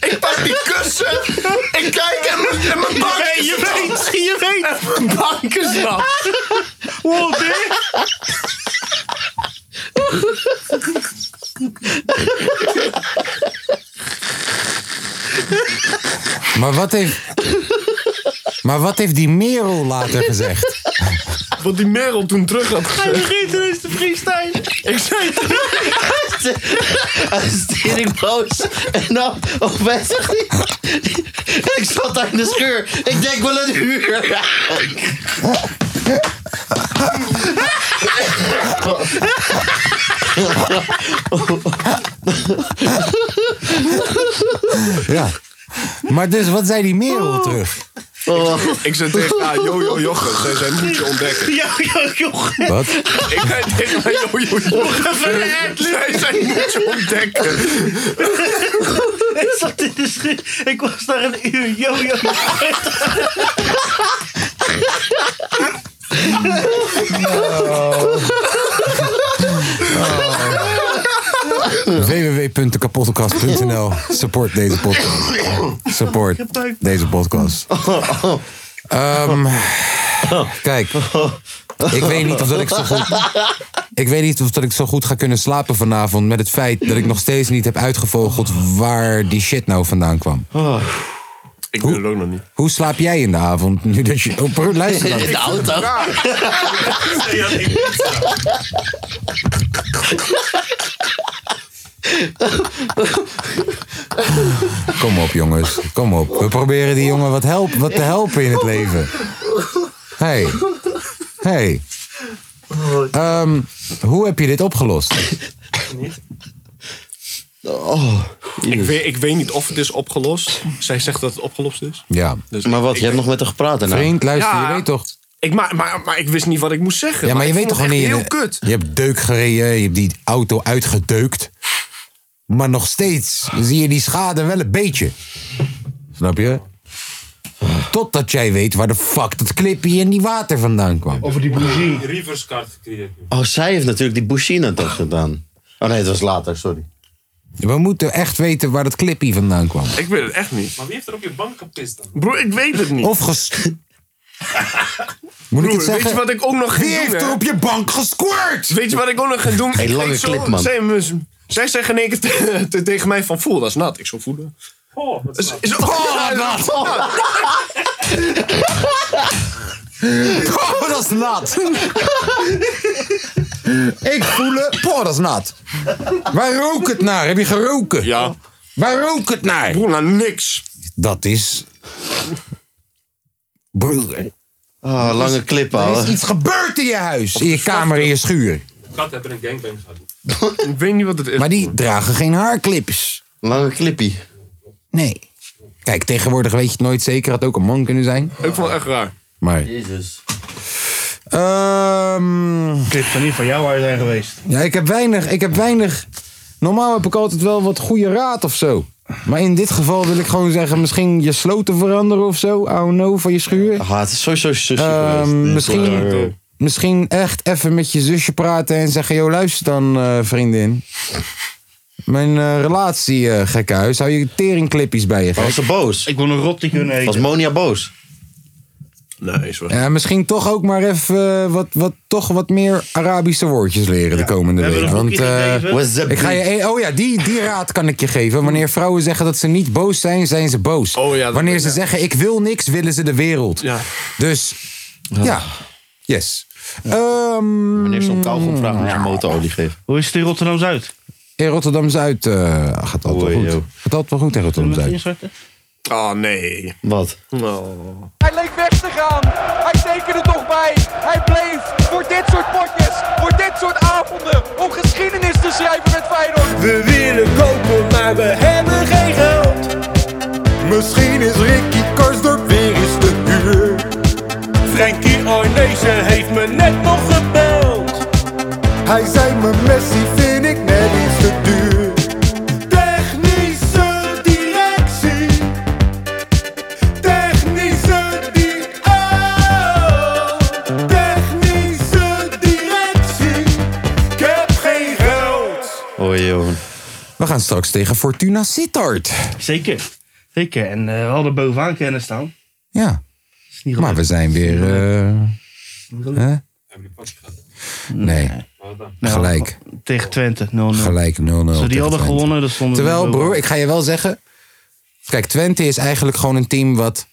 [SPEAKER 4] ik pak die kussen. Ik kijk en mijn- en mijn bank
[SPEAKER 6] Je weet, je weet,
[SPEAKER 4] je weet. Mijn bank is nat. Wow,
[SPEAKER 1] Maar wat heeft. Maar wat heeft die Merel later gezegd?
[SPEAKER 4] Wat die Merel toen terug had
[SPEAKER 6] Hij
[SPEAKER 4] gezegd.
[SPEAKER 6] begint ineens te freestylen.
[SPEAKER 4] Ik zei
[SPEAKER 3] [LAUGHS]
[SPEAKER 4] het
[SPEAKER 3] Hij is tering boos. En dan, oh, wij zegt hij. [LAUGHS] Ik zat daar in de scheur. Ik denk wel een uur. [LAUGHS]
[SPEAKER 1] Ja. Maar dus, wat zei die Merel terug?
[SPEAKER 4] Oh. Ik "Ah, zei tegen haar, jojo Jochen, zij zei, moet je ontdekken.
[SPEAKER 6] Jojo Jochen.
[SPEAKER 1] Wat?
[SPEAKER 4] Ik zei tegen haar, jojo Jochen, zij zei, moet je ontdekken.
[SPEAKER 6] Ik zat in de schrik. Ik was daar een uur jojo.
[SPEAKER 1] www.kapotkast.nl Support deze podcast. Support deze podcast. Ehm, kijk, ik weet niet of dat ik zo goed... Ik weet niet of dat ik zo goed ga kunnen slapen vanavond... met het feit dat ik nog steeds niet heb uitgevogeld... waar die shit nou vandaan kwam.
[SPEAKER 3] Oh.
[SPEAKER 4] Ik wil het ook nog niet.
[SPEAKER 1] Hoe slaap jij in de avond, nu dat je op luister
[SPEAKER 6] In de auto.
[SPEAKER 4] [LAUGHS]
[SPEAKER 1] Kom op, jongens. Kom op. We proberen die jongen wat, help, wat te helpen in het leven. Hey. Hey. Ehm, hoe heb je dit opgelost?
[SPEAKER 3] Oh.
[SPEAKER 4] ik, weet, ik weet niet of het is opgelost. Zij zegt dat het opgelost is. Dus
[SPEAKER 1] Ja.
[SPEAKER 3] Dus maar wat, je hebt nog met haar gepraat daarna.
[SPEAKER 1] Vriend, luister, je weet toch...
[SPEAKER 4] Ik, maar, maar, maar ik wist niet wat ik moest zeggen.
[SPEAKER 1] Ja, maar je
[SPEAKER 4] ik
[SPEAKER 1] weet toch
[SPEAKER 4] vond het
[SPEAKER 1] wanneer
[SPEAKER 4] echt
[SPEAKER 1] je...
[SPEAKER 4] heel kut.
[SPEAKER 1] Je hebt deuk gereden, je hebt die auto uitgedeukt. Maar nog steeds zie je die schade wel een beetje. Snap je? Totdat jij weet waar de fuck dat clipje en die water vandaan kwam.
[SPEAKER 9] Over die bougie.
[SPEAKER 7] Reverse card gecreëerd.
[SPEAKER 3] Oh, zij heeft natuurlijk die Bushina toch gedaan. Oh nee, het was later, sorry.
[SPEAKER 1] We moeten echt weten waar dat clipje vandaan kwam.
[SPEAKER 4] Ik weet het echt niet.
[SPEAKER 7] Maar wie heeft er op je bank gepist dan?
[SPEAKER 4] Bro, ik weet het niet.
[SPEAKER 1] Of ges... Moet
[SPEAKER 4] Broer, weet je wat ik ook nog ga doen?
[SPEAKER 6] Wie heeft
[SPEAKER 4] hè?
[SPEAKER 1] er op je bank gesquirt?
[SPEAKER 4] Weet je wat ik ook nog ga doen?
[SPEAKER 3] Hey,
[SPEAKER 4] Ik
[SPEAKER 3] lange
[SPEAKER 4] keek zo-
[SPEAKER 3] clip, man.
[SPEAKER 4] Zij, me- zij zeggen in één keer te- te- tegen mij van voel, dat is nat. Ik zo voelen.
[SPEAKER 7] Oh, wat
[SPEAKER 4] is, is, oh, dat is nat.
[SPEAKER 1] Oh, dat is nat. Ik voel het. Poh, dat is nat. Waar rook het naar? Heb je geroken?
[SPEAKER 4] Ja.
[SPEAKER 1] Waar rook het naar?
[SPEAKER 4] Broer, naar niks.
[SPEAKER 1] Dat is... Broer.
[SPEAKER 3] Ah, lange clip,
[SPEAKER 1] Er is
[SPEAKER 3] ouwe.
[SPEAKER 1] iets gebeurd in je huis. In je kamer, in je schuur.
[SPEAKER 7] Kat hebben een gangbang gehad.
[SPEAKER 4] Ik weet niet wat het is.
[SPEAKER 1] Maar die dragen geen haarclips.
[SPEAKER 3] Lange clippie.
[SPEAKER 1] Nee. Kijk, tegenwoordig weet je het nooit zeker. Had ook een man kunnen zijn.
[SPEAKER 4] Ik vond het echt raar.
[SPEAKER 1] Maar...
[SPEAKER 3] Jezus.
[SPEAKER 1] Ehm
[SPEAKER 9] Clip van niet van jou waar zijn geweest.
[SPEAKER 1] Ja, ik heb weinig. Ik heb weinig. Normaal heb ik altijd wel wat goede raad of zo. Maar in dit geval wil ik gewoon zeggen, misschien je sloten veranderen of zo. Oh no, van je schuur.
[SPEAKER 3] Ah, het is sowieso zusje
[SPEAKER 1] Ehm,
[SPEAKER 3] geweest. Dit
[SPEAKER 1] misschien,
[SPEAKER 3] is wel-
[SPEAKER 1] misschien echt even met je zusje praten en zeggen: Yo, luister dan, eh, vriendin. Mijn eh, relatie, eh gekke huis. Hou je teringclippies bij je. gek.
[SPEAKER 3] Was ze boos?
[SPEAKER 9] Ik wil een rotti kunnen
[SPEAKER 3] Was
[SPEAKER 9] eten.
[SPEAKER 3] Monia boos?
[SPEAKER 4] Nee, sorry.
[SPEAKER 1] Ja, misschien toch ook maar even eh, wat, wat, toch wat meer Arabische woordjes leren de komende
[SPEAKER 9] We hebben
[SPEAKER 1] week.
[SPEAKER 9] een
[SPEAKER 1] Want
[SPEAKER 9] boekje
[SPEAKER 1] eh,
[SPEAKER 9] gegeven.
[SPEAKER 3] What's up,
[SPEAKER 1] ik ga
[SPEAKER 3] bitch?
[SPEAKER 1] je, oh ja, die, die raad kan ik je geven. Wanneer vrouwen zeggen dat ze niet boos zijn, zijn ze boos.
[SPEAKER 4] Oh ja, dat-
[SPEAKER 1] Wanneer ze zeggen ik wil niks, willen ze de wereld.
[SPEAKER 4] Ja.
[SPEAKER 1] Dus ja, yes. Ehm,
[SPEAKER 3] Wanneer ze om kauwgom vragen, moet je motorolie geven.
[SPEAKER 9] Hoe is het in Rotterdam Zuid?
[SPEAKER 1] in Rotterdam Zuid eh, gaat dat wel
[SPEAKER 3] Oei,
[SPEAKER 1] goed.
[SPEAKER 3] joh.
[SPEAKER 1] Gaat altijd wel goed in Rotterdam Zuid.
[SPEAKER 4] Oh, nee.
[SPEAKER 3] Wat?
[SPEAKER 4] Oh.
[SPEAKER 11] Hij leek weg te gaan. Hij tekende toch bij. Hij bleef voor dit soort potjes, voor dit soort avonden, om geschiedenis te schrijven met Feyenoord.
[SPEAKER 6] We willen kopen, maar we hebben geen geld. Misschien is Ricky Karsdorp weer eens te huur. Frankie Arnezen heeft me net nog gebeld. Hij zei me Messi vind ik net iets te duur. Technische directie. Technische di- oh. Technische directie. Ik heb geen geld.
[SPEAKER 3] Oh joh.
[SPEAKER 1] We gaan gaan straks tegen Fortuna Sittard.
[SPEAKER 2] Zeker. Zeker. En eh, we hadden bovenaan kunnen staan.
[SPEAKER 1] Ja. Maar we zijn weer... eh, hè? Nee.
[SPEAKER 2] Nou,
[SPEAKER 1] Gelijk.
[SPEAKER 2] Tegen Twente, 0-0.
[SPEAKER 1] Gelijk 0-0.
[SPEAKER 2] Als we die
[SPEAKER 1] tegen
[SPEAKER 2] hadden
[SPEAKER 1] Twente.
[SPEAKER 2] gewonnen, dan stonden we
[SPEAKER 1] Terwijl,
[SPEAKER 2] bovenaan.
[SPEAKER 1] broer, ik ga je wel zeggen. Kijk, Twente is eigenlijk gewoon een team wat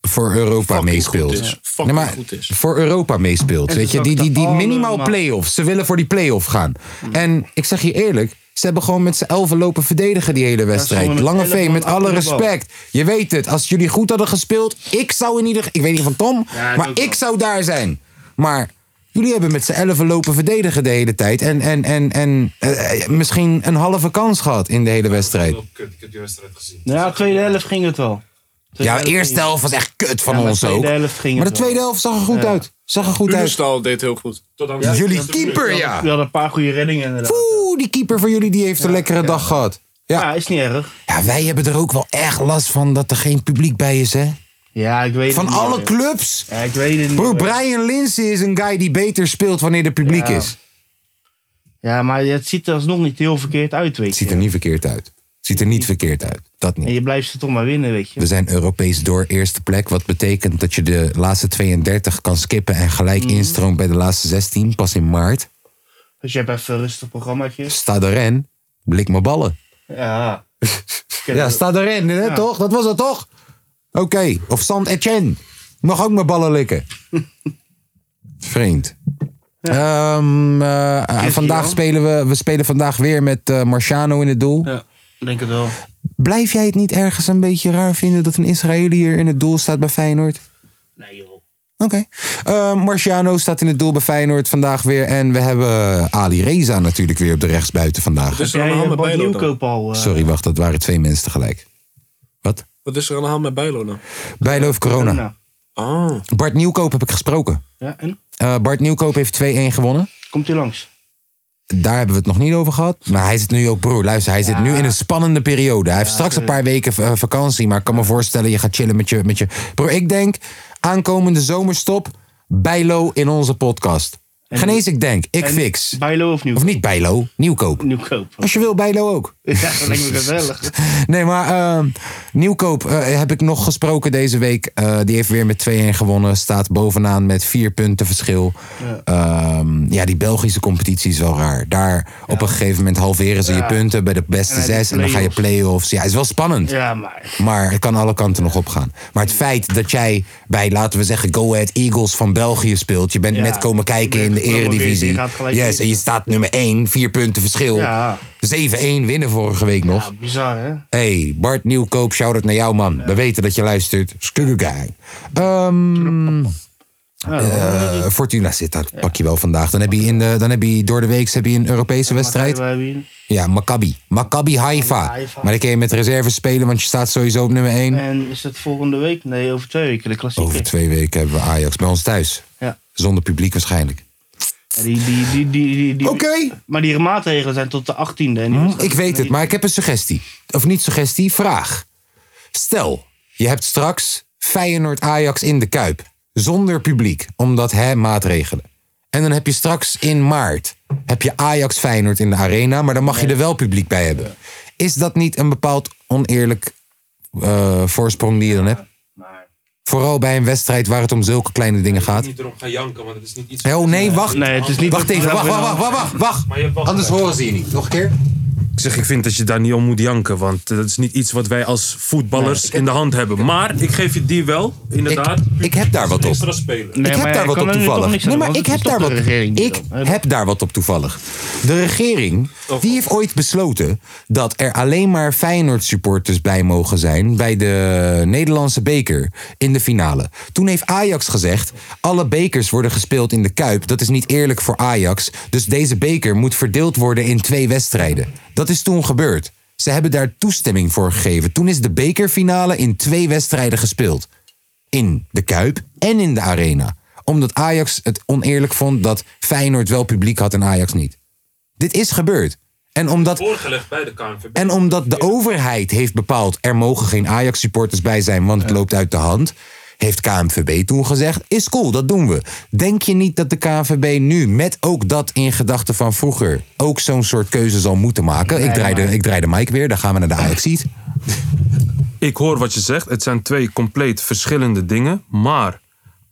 [SPEAKER 1] voor Europa meespeelt.
[SPEAKER 4] is. Fucking goed is.
[SPEAKER 1] Voor Europa meespeelt.
[SPEAKER 4] En
[SPEAKER 1] Weet
[SPEAKER 4] ze
[SPEAKER 1] je, die, die, die
[SPEAKER 4] zakten
[SPEAKER 1] minimaal
[SPEAKER 4] allemaal.
[SPEAKER 1] play-off. Ze willen voor die play-off gaan.
[SPEAKER 2] Hmm.
[SPEAKER 1] En ik zeg je eerlijk. Ze hebben gewoon met z'n elfen lopen verdedigen die hele wedstrijd.
[SPEAKER 2] stonden met
[SPEAKER 1] Lange
[SPEAKER 2] elf
[SPEAKER 1] V,
[SPEAKER 2] man
[SPEAKER 1] met alle
[SPEAKER 2] achter de bal.
[SPEAKER 1] respect. Je weet het, als jullie goed hadden gespeeld... Ik zou in ieder... Ik weet niet van Tom,
[SPEAKER 2] dat
[SPEAKER 1] maar
[SPEAKER 2] ook
[SPEAKER 1] ik zou daar zijn. Maar jullie hebben met z'n elfen lopen verdedigen de hele tijd. En, en, en, en eh, eh, misschien een halve kans gehad in de hele wedstrijd.
[SPEAKER 8] [LAUGHS]
[SPEAKER 6] [LAUGHS]
[SPEAKER 1] [LAUGHS]
[SPEAKER 7] Kut, ik heb die wedstrijd gezien.
[SPEAKER 2] Ja, tweede helft ging het wel.
[SPEAKER 1] Ja, eerste helft was echt kut van
[SPEAKER 2] Ja, maar
[SPEAKER 1] ons
[SPEAKER 2] tweede
[SPEAKER 1] ook.
[SPEAKER 2] helft ging
[SPEAKER 1] maar de
[SPEAKER 2] het wel.
[SPEAKER 1] tweede helft zag er goed
[SPEAKER 2] Ja.
[SPEAKER 1] uit. Zag er goed uit.
[SPEAKER 4] Unestal deed heel goed. Tot aan
[SPEAKER 1] Ja, jullie keeper, ja.
[SPEAKER 2] We hadden een paar goede reddingen inderdaad.
[SPEAKER 1] Oeh, die keeper van jullie die heeft een lekkere dag gehad. Ja.
[SPEAKER 2] is niet erg.
[SPEAKER 1] Ja, wij hebben er ook wel echt last van dat er geen publiek bij is, hè?
[SPEAKER 2] Ja, ik weet
[SPEAKER 1] Van
[SPEAKER 2] het niet
[SPEAKER 1] alle
[SPEAKER 2] meer.
[SPEAKER 1] clubs?
[SPEAKER 2] Ja, ik weet het niet
[SPEAKER 1] Broer,
[SPEAKER 2] meer.
[SPEAKER 1] Brian Linsen is een guy die beter speelt wanneer er publiek
[SPEAKER 2] Ja.
[SPEAKER 1] is.
[SPEAKER 2] Ja, maar het ziet er alsnog niet heel verkeerd uit, weet je.
[SPEAKER 1] Ziet er niet verkeerd uit. Ziet er niet verkeerd uit. Eh, Dat niet.
[SPEAKER 2] En je blijft ze toch maar winnen, weet je.
[SPEAKER 1] We zijn Europees door eerste plek. Wat betekent dat je de laatste 32 kan skippen en gelijk
[SPEAKER 2] Mhm.
[SPEAKER 1] instroomt bij de laatste 16. Pas in maart.
[SPEAKER 2] Dus je hebt even een rustig programmaatje.
[SPEAKER 1] Sta erin. Blik mijn ballen.
[SPEAKER 2] Ja.
[SPEAKER 1] Ja, sta erin, hè,
[SPEAKER 2] eh, Ja.
[SPEAKER 1] toch? Dat was het toch? Oké, of Sant Etienne. Mag ook mijn ballen
[SPEAKER 2] [LAUGHS]
[SPEAKER 1] likken. Vreemd. Ehm, eh, eh,
[SPEAKER 2] Kijk
[SPEAKER 1] vandaag
[SPEAKER 2] hier,
[SPEAKER 1] spelen we, we spelen vandaag weer met eh, Marciano in het doel.
[SPEAKER 2] Ja, denk het wel.
[SPEAKER 1] Blijf jij het niet ergens een beetje raar vinden dat een Israëliër in het doel staat bij Feyenoord? Oké. Eh, Marciano staat in het doel bij Feyenoord vandaag weer. En we hebben eh, Ali Reza natuurlijk weer op de rechtsbuiten vandaag.
[SPEAKER 4] Wat is er aan de hand met Bijlo dan?
[SPEAKER 1] Sorry, wacht, dat waren twee mensen tegelijk.
[SPEAKER 4] Wat is er aan de hand met Bijlo nou? dan?
[SPEAKER 1] Bijlo of corona.
[SPEAKER 4] Oh.
[SPEAKER 1] Bart Nieuwkoop heb ik gesproken.
[SPEAKER 2] Ja, en?
[SPEAKER 1] Eh, Bart Nieuwkoop heeft 2-1 gewonnen.
[SPEAKER 2] Komt hij langs?
[SPEAKER 1] Daar hebben we het nog niet over gehad. Maar hij zit nu ook, broer, luister, hij zit nu in een spannende periode. Hij heeft straks een paar weken eh, vakantie, maar ik kan me voorstellen, je gaat chillen met je, met je. Broer, ik denk, aankomende zomerstop, Bijlo in onze podcast. Geen eens ik denk, ik
[SPEAKER 2] en
[SPEAKER 1] fix.
[SPEAKER 2] Bijlo of Nieuwkoop?
[SPEAKER 1] Of niet Bijlo, Nieuwkoop.
[SPEAKER 2] Nieuwkoop.
[SPEAKER 1] Als je wil, Bijlo ook.
[SPEAKER 2] [LAUGHS] Ja, dat lijkt me gezellig.
[SPEAKER 1] [LAUGHS] Nee, maar ehm, Nieuwkoop eh, heb ik nog gesproken deze week. Eh, die heeft weer met 2-1 gewonnen. Staat bovenaan met vier punten verschil.
[SPEAKER 2] Ja.
[SPEAKER 1] Ja, ja die Belgische competitie is wel raar. Daar op een gegeven moment halveren ze je
[SPEAKER 2] Ja.
[SPEAKER 1] punten bij de beste
[SPEAKER 2] En dan
[SPEAKER 1] zes.
[SPEAKER 2] de
[SPEAKER 1] En dan ga je play-offs. Ja, is wel spannend.
[SPEAKER 2] Ja, maar...
[SPEAKER 1] Maar het kan alle kanten nog opgaan. Maar het feit dat jij bij, laten we zeggen, Go Ahead Eagles van België speelt. Je bent
[SPEAKER 2] Ja.
[SPEAKER 1] net komen kijken in de
[SPEAKER 2] Je
[SPEAKER 1] eredivisie.
[SPEAKER 2] gaat gelijk
[SPEAKER 1] Yes,
[SPEAKER 2] winnen.
[SPEAKER 1] en je staat nummer 1, vier punten verschil.
[SPEAKER 2] Ja.
[SPEAKER 1] 7-1 winnen vorige week nog.
[SPEAKER 2] Bizar, hè?
[SPEAKER 1] Hey, Bart Nieuwkoop, shout-out naar jou, man. We weten dat je luistert. Skugge guy. Ehm, Eh, Fortuna zit daar, pak je wel vandaag. Dan heb je, in de, dan heb je door de week heb je een Europese wedstrijd. Ja, Maccabi. Maccabi Haifa.
[SPEAKER 2] Haifa.
[SPEAKER 1] Maar dan kun je met reserve spelen, want je staat sowieso op nummer 1.
[SPEAKER 2] En is dat volgende week? Nee, over twee weken, de klassieker.
[SPEAKER 1] Over twee weken hebben we Ajax bij ons thuis.
[SPEAKER 2] Ja.
[SPEAKER 1] Zonder publiek waarschijnlijk.
[SPEAKER 2] Ja, Die, die, die, die, die, die-
[SPEAKER 1] Oké.
[SPEAKER 2] Maar die maatregelen zijn tot de 18e. En die
[SPEAKER 1] Hm? Ik weet het, maar ik heb een suggestie. Of niet suggestie, vraag. Stel, je hebt straks Feyenoord-Ajax in de Kuip. Zonder publiek, omdat hè maatregelen. En dan heb je straks in maart... heb je Ajax-Feyenoord in de arena... maar dan mag je er wel publiek bij hebben. Is dat niet een bepaald oneerlijk eh, voorsprong die je dan hebt? Vooral bij een wedstrijd waar het om zulke kleine dingen gaat.
[SPEAKER 7] Niet erop gaan janken, want het is niet iets...
[SPEAKER 1] Oh nee, wacht. Wacht even, wacht, wacht, wacht, wacht, wacht. Anders horen ze je niet. Nog een keer.
[SPEAKER 7] Ik zeg, ik vind dat je daar niet om moet janken. Want dat is niet iets wat wij als voetballers in de hand hebben. Maar ik geef je die wel, inderdaad. Ik,
[SPEAKER 1] heb daar wat op.
[SPEAKER 7] Extra spelen.
[SPEAKER 1] ik heb daar wat op toevallig. Nee, maar ik heb daar wat. Ik heb daar wat op toevallig. De regering die heeft ooit besloten dat er alleen maar Feyenoord supporters bij mogen zijn bij de Nederlandse beker in de finale. Toen heeft Ajax gezegd: alle bekers worden gespeeld in de Kuip. Dat is niet eerlijk voor Ajax. Dus deze beker moet verdeeld worden in twee wedstrijden. Dat is toen gebeurd. Ze hebben daar toestemming voor gegeven. Toen is de bekerfinale in twee wedstrijden gespeeld in de Kuip en in de Arena. Omdat Ajax het oneerlijk vond dat Feyenoord wel publiek had en Ajax niet. Dit is gebeurd. En omdat,
[SPEAKER 7] Voorgelegd bij de KNVB.
[SPEAKER 1] en omdat de overheid heeft bepaald... er mogen geen Ajax-supporters bij zijn, want het loopt uit de hand... Heeft KNVB toen gezegd, is cool, dat doen we. Denk je niet dat de KNVB nu, met ook dat in gedachten van vroeger... ook zo'n soort keuze zal moeten maken? Ik draai de, ik draai de mic weer, dan gaan we naar de Ajax-seat.
[SPEAKER 7] Ik hoor wat je zegt. Het zijn twee compleet verschillende dingen. Maar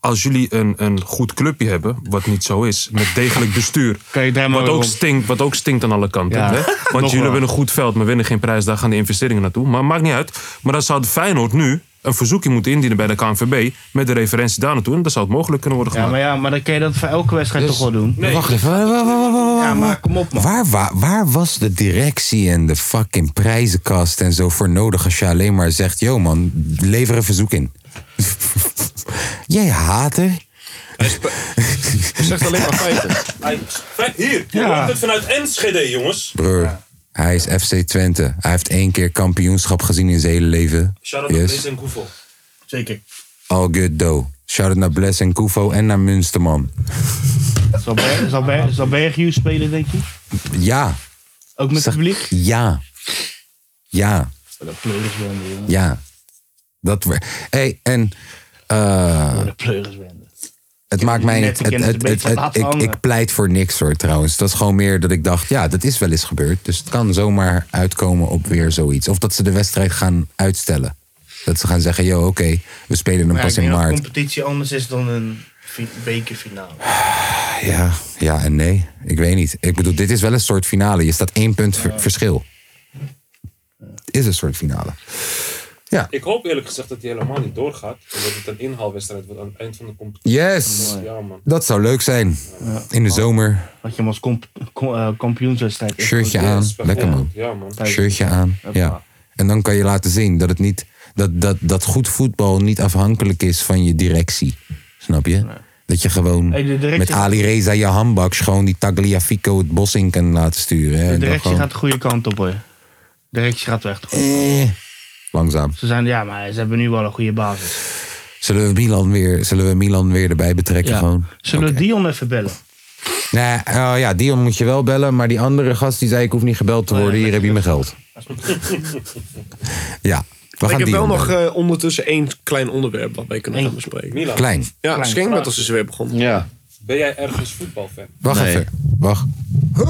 [SPEAKER 7] als jullie een, een goed clubje hebben, wat niet zo is, met degelijk bestuur. wat, ook
[SPEAKER 2] rond.
[SPEAKER 7] stinkt, wat ook stinkt aan alle kanten.
[SPEAKER 2] Ja, [LAUGHS]
[SPEAKER 7] hè?
[SPEAKER 2] nog
[SPEAKER 7] Want jullie
[SPEAKER 2] wel.
[SPEAKER 7] hebben een goed veld, maar winnen geen prijs. Daar gaan de investeringen naartoe. Maar maakt niet uit. Maar dan zou de Feyenoord nu een verzoekje moeten indienen bij de KNVB. Met de referentie daar naartoe. En dan zou het mogelijk kunnen worden
[SPEAKER 2] Ja,
[SPEAKER 7] gemaakt.
[SPEAKER 2] maar ja, maar dan kan je dat voor elke wedstrijd
[SPEAKER 7] Dus
[SPEAKER 2] toch wel
[SPEAKER 7] [LAUGHS]
[SPEAKER 2] doen.
[SPEAKER 1] Wacht even. wa- wa- wa- wa- wa- wa- Waar, waar, waar was de directie en de fucking prijzenkast en zo voor nodig als je alleen maar zegt: yo man, lever een verzoek in? [LAUGHS] Jij hater.
[SPEAKER 4] zegt alleen maar feiten.
[SPEAKER 7] Hier,
[SPEAKER 1] je Ja. hoort het
[SPEAKER 7] vanuit NSGD, jongens.
[SPEAKER 1] [LAUGHS] Broer, hij is FC Twente. Hij heeft één keer kampioenschap gezien in zijn hele leven. Yes.
[SPEAKER 7] en Koevel.
[SPEAKER 9] Zeker.
[SPEAKER 1] All good though. Shout out naar Bless en Kufo en naar Munsterman.
[SPEAKER 2] Zal, Ber- zal, Ber- zal Berghuis spelen, denk je?
[SPEAKER 1] Ja.
[SPEAKER 2] Ook met het publiek?
[SPEAKER 1] Ja. Ja.
[SPEAKER 2] Dat pleuris wenden, jongen.
[SPEAKER 1] Ja. Dat we. hey, en. eh, het maakt mij
[SPEAKER 2] net
[SPEAKER 1] niet.
[SPEAKER 2] een
[SPEAKER 1] Het,
[SPEAKER 2] kennis
[SPEAKER 1] het-
[SPEAKER 2] een beetje
[SPEAKER 1] het-
[SPEAKER 2] laten
[SPEAKER 1] ik,
[SPEAKER 2] hangen.
[SPEAKER 1] ik pleit voor niks hoor trouwens. Dat is gewoon meer dat ik dacht, ja, dat is wel eens gebeurd. Dus het kan zomaar uitkomen op weer zoiets. Of dat ze de wedstrijd gaan uitstellen. Dat ze gaan zeggen, yo, oké, we spelen hem
[SPEAKER 9] Maar
[SPEAKER 1] pas
[SPEAKER 9] ik
[SPEAKER 1] in
[SPEAKER 9] denk dat
[SPEAKER 1] maart.
[SPEAKER 9] competitie anders is dan een fi- bekerfinale.
[SPEAKER 1] Ja, ja en nee. Ik weet niet. Ik bedoel, dit is wel een soort finale. Je staat één punt ver- verschil. Het is een soort finale. Ja.
[SPEAKER 7] Ik hoop eerlijk gezegd dat die helemaal niet doorgaat. Omdat het een inhaalwedstrijd wordt aan het eind van de competitie.
[SPEAKER 1] Yes! Dat zou leuk zijn. In de zomer.
[SPEAKER 2] Dat Oh. je hem als comp com- eh, kampioenswedstrijd... echt
[SPEAKER 1] Shirtje
[SPEAKER 2] wel-
[SPEAKER 1] aan.
[SPEAKER 2] Ja,
[SPEAKER 1] Lekker man. Shirtje aan. Ja. En dan kan je laten zien dat het niet. Dat, dat, dat goed voetbal niet afhankelijk is van je directie. Snap je? Dat je gewoon
[SPEAKER 2] Hey, de directie-
[SPEAKER 1] met Ali Reza je handbaks gewoon die Tagliafico het bos in kan laten sturen. hè.
[SPEAKER 2] De
[SPEAKER 1] En dan
[SPEAKER 2] directie
[SPEAKER 1] gewoon
[SPEAKER 2] gaat de goede kant op, hoor. De directie gaat wel echt goed.
[SPEAKER 1] Eh. langzaam.
[SPEAKER 2] Ze zijn, ja, maar ze hebben nu wel een goede basis.
[SPEAKER 1] Zullen we Milan weer, zullen we Milan weer erbij betrekken? Gewoon?
[SPEAKER 2] Zullen we Dion even bellen?
[SPEAKER 1] Nee, oh ja, Dion moet je wel bellen. Maar die andere gast die zei: Ik hoef niet gebeld
[SPEAKER 2] Oh
[SPEAKER 1] te worden. Hier heb je mijn geld. Ja. We
[SPEAKER 4] Maar
[SPEAKER 1] gaan
[SPEAKER 4] ik heb
[SPEAKER 1] Dion
[SPEAKER 4] wel nog
[SPEAKER 1] bellen.
[SPEAKER 4] eh, ondertussen één klein onderwerp wat wij kunnen gaan bespreken.
[SPEAKER 7] Milan.
[SPEAKER 1] Klein.
[SPEAKER 4] Ja,
[SPEAKER 7] Klein.
[SPEAKER 4] Schenkbattels is weer begonnen.
[SPEAKER 3] Ja.
[SPEAKER 7] Ben jij ergens voetbalfan?
[SPEAKER 1] [LAUGHS] Wacht even. Wacht. Eh,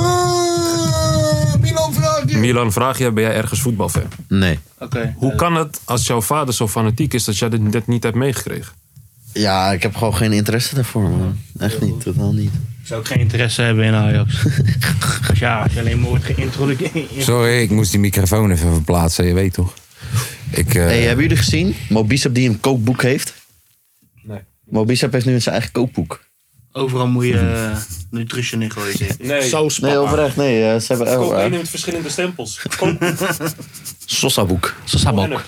[SPEAKER 1] Milan vraagt
[SPEAKER 7] Milan, vraag je, ben jij ergens voetbalfan?
[SPEAKER 3] Nee.
[SPEAKER 7] Hoe kan het als jouw vader zo fanatiek is dat jij dit net niet hebt meegekregen?
[SPEAKER 3] Ja, ik heb gewoon geen interesse daarvoor, man. Echt niet, totaal niet.
[SPEAKER 2] Ik zou ook geen interesse hebben in
[SPEAKER 1] [LAUGHS]
[SPEAKER 2] Ajax. Als ja, als je alleen maar wordt geïntroduceerd.
[SPEAKER 1] Sorry, ik moest die microfoon even verplaatsen. Je weet toch? Ik, eh,
[SPEAKER 3] Hey, hebben jullie gezien? Mobisap die een kookboek heeft?
[SPEAKER 7] Nee.
[SPEAKER 3] Mobisap heeft nu zijn eigen kookboek.
[SPEAKER 9] Overal moet je eh, nutrition in gooien, zeker.
[SPEAKER 7] Nee.
[SPEAKER 3] Nee, oprecht, nee. eh, ze hebben
[SPEAKER 7] Koop één
[SPEAKER 3] eh,
[SPEAKER 7] met verschillende stempels. [LAUGHS]
[SPEAKER 3] Sosaboek. Sosaboek.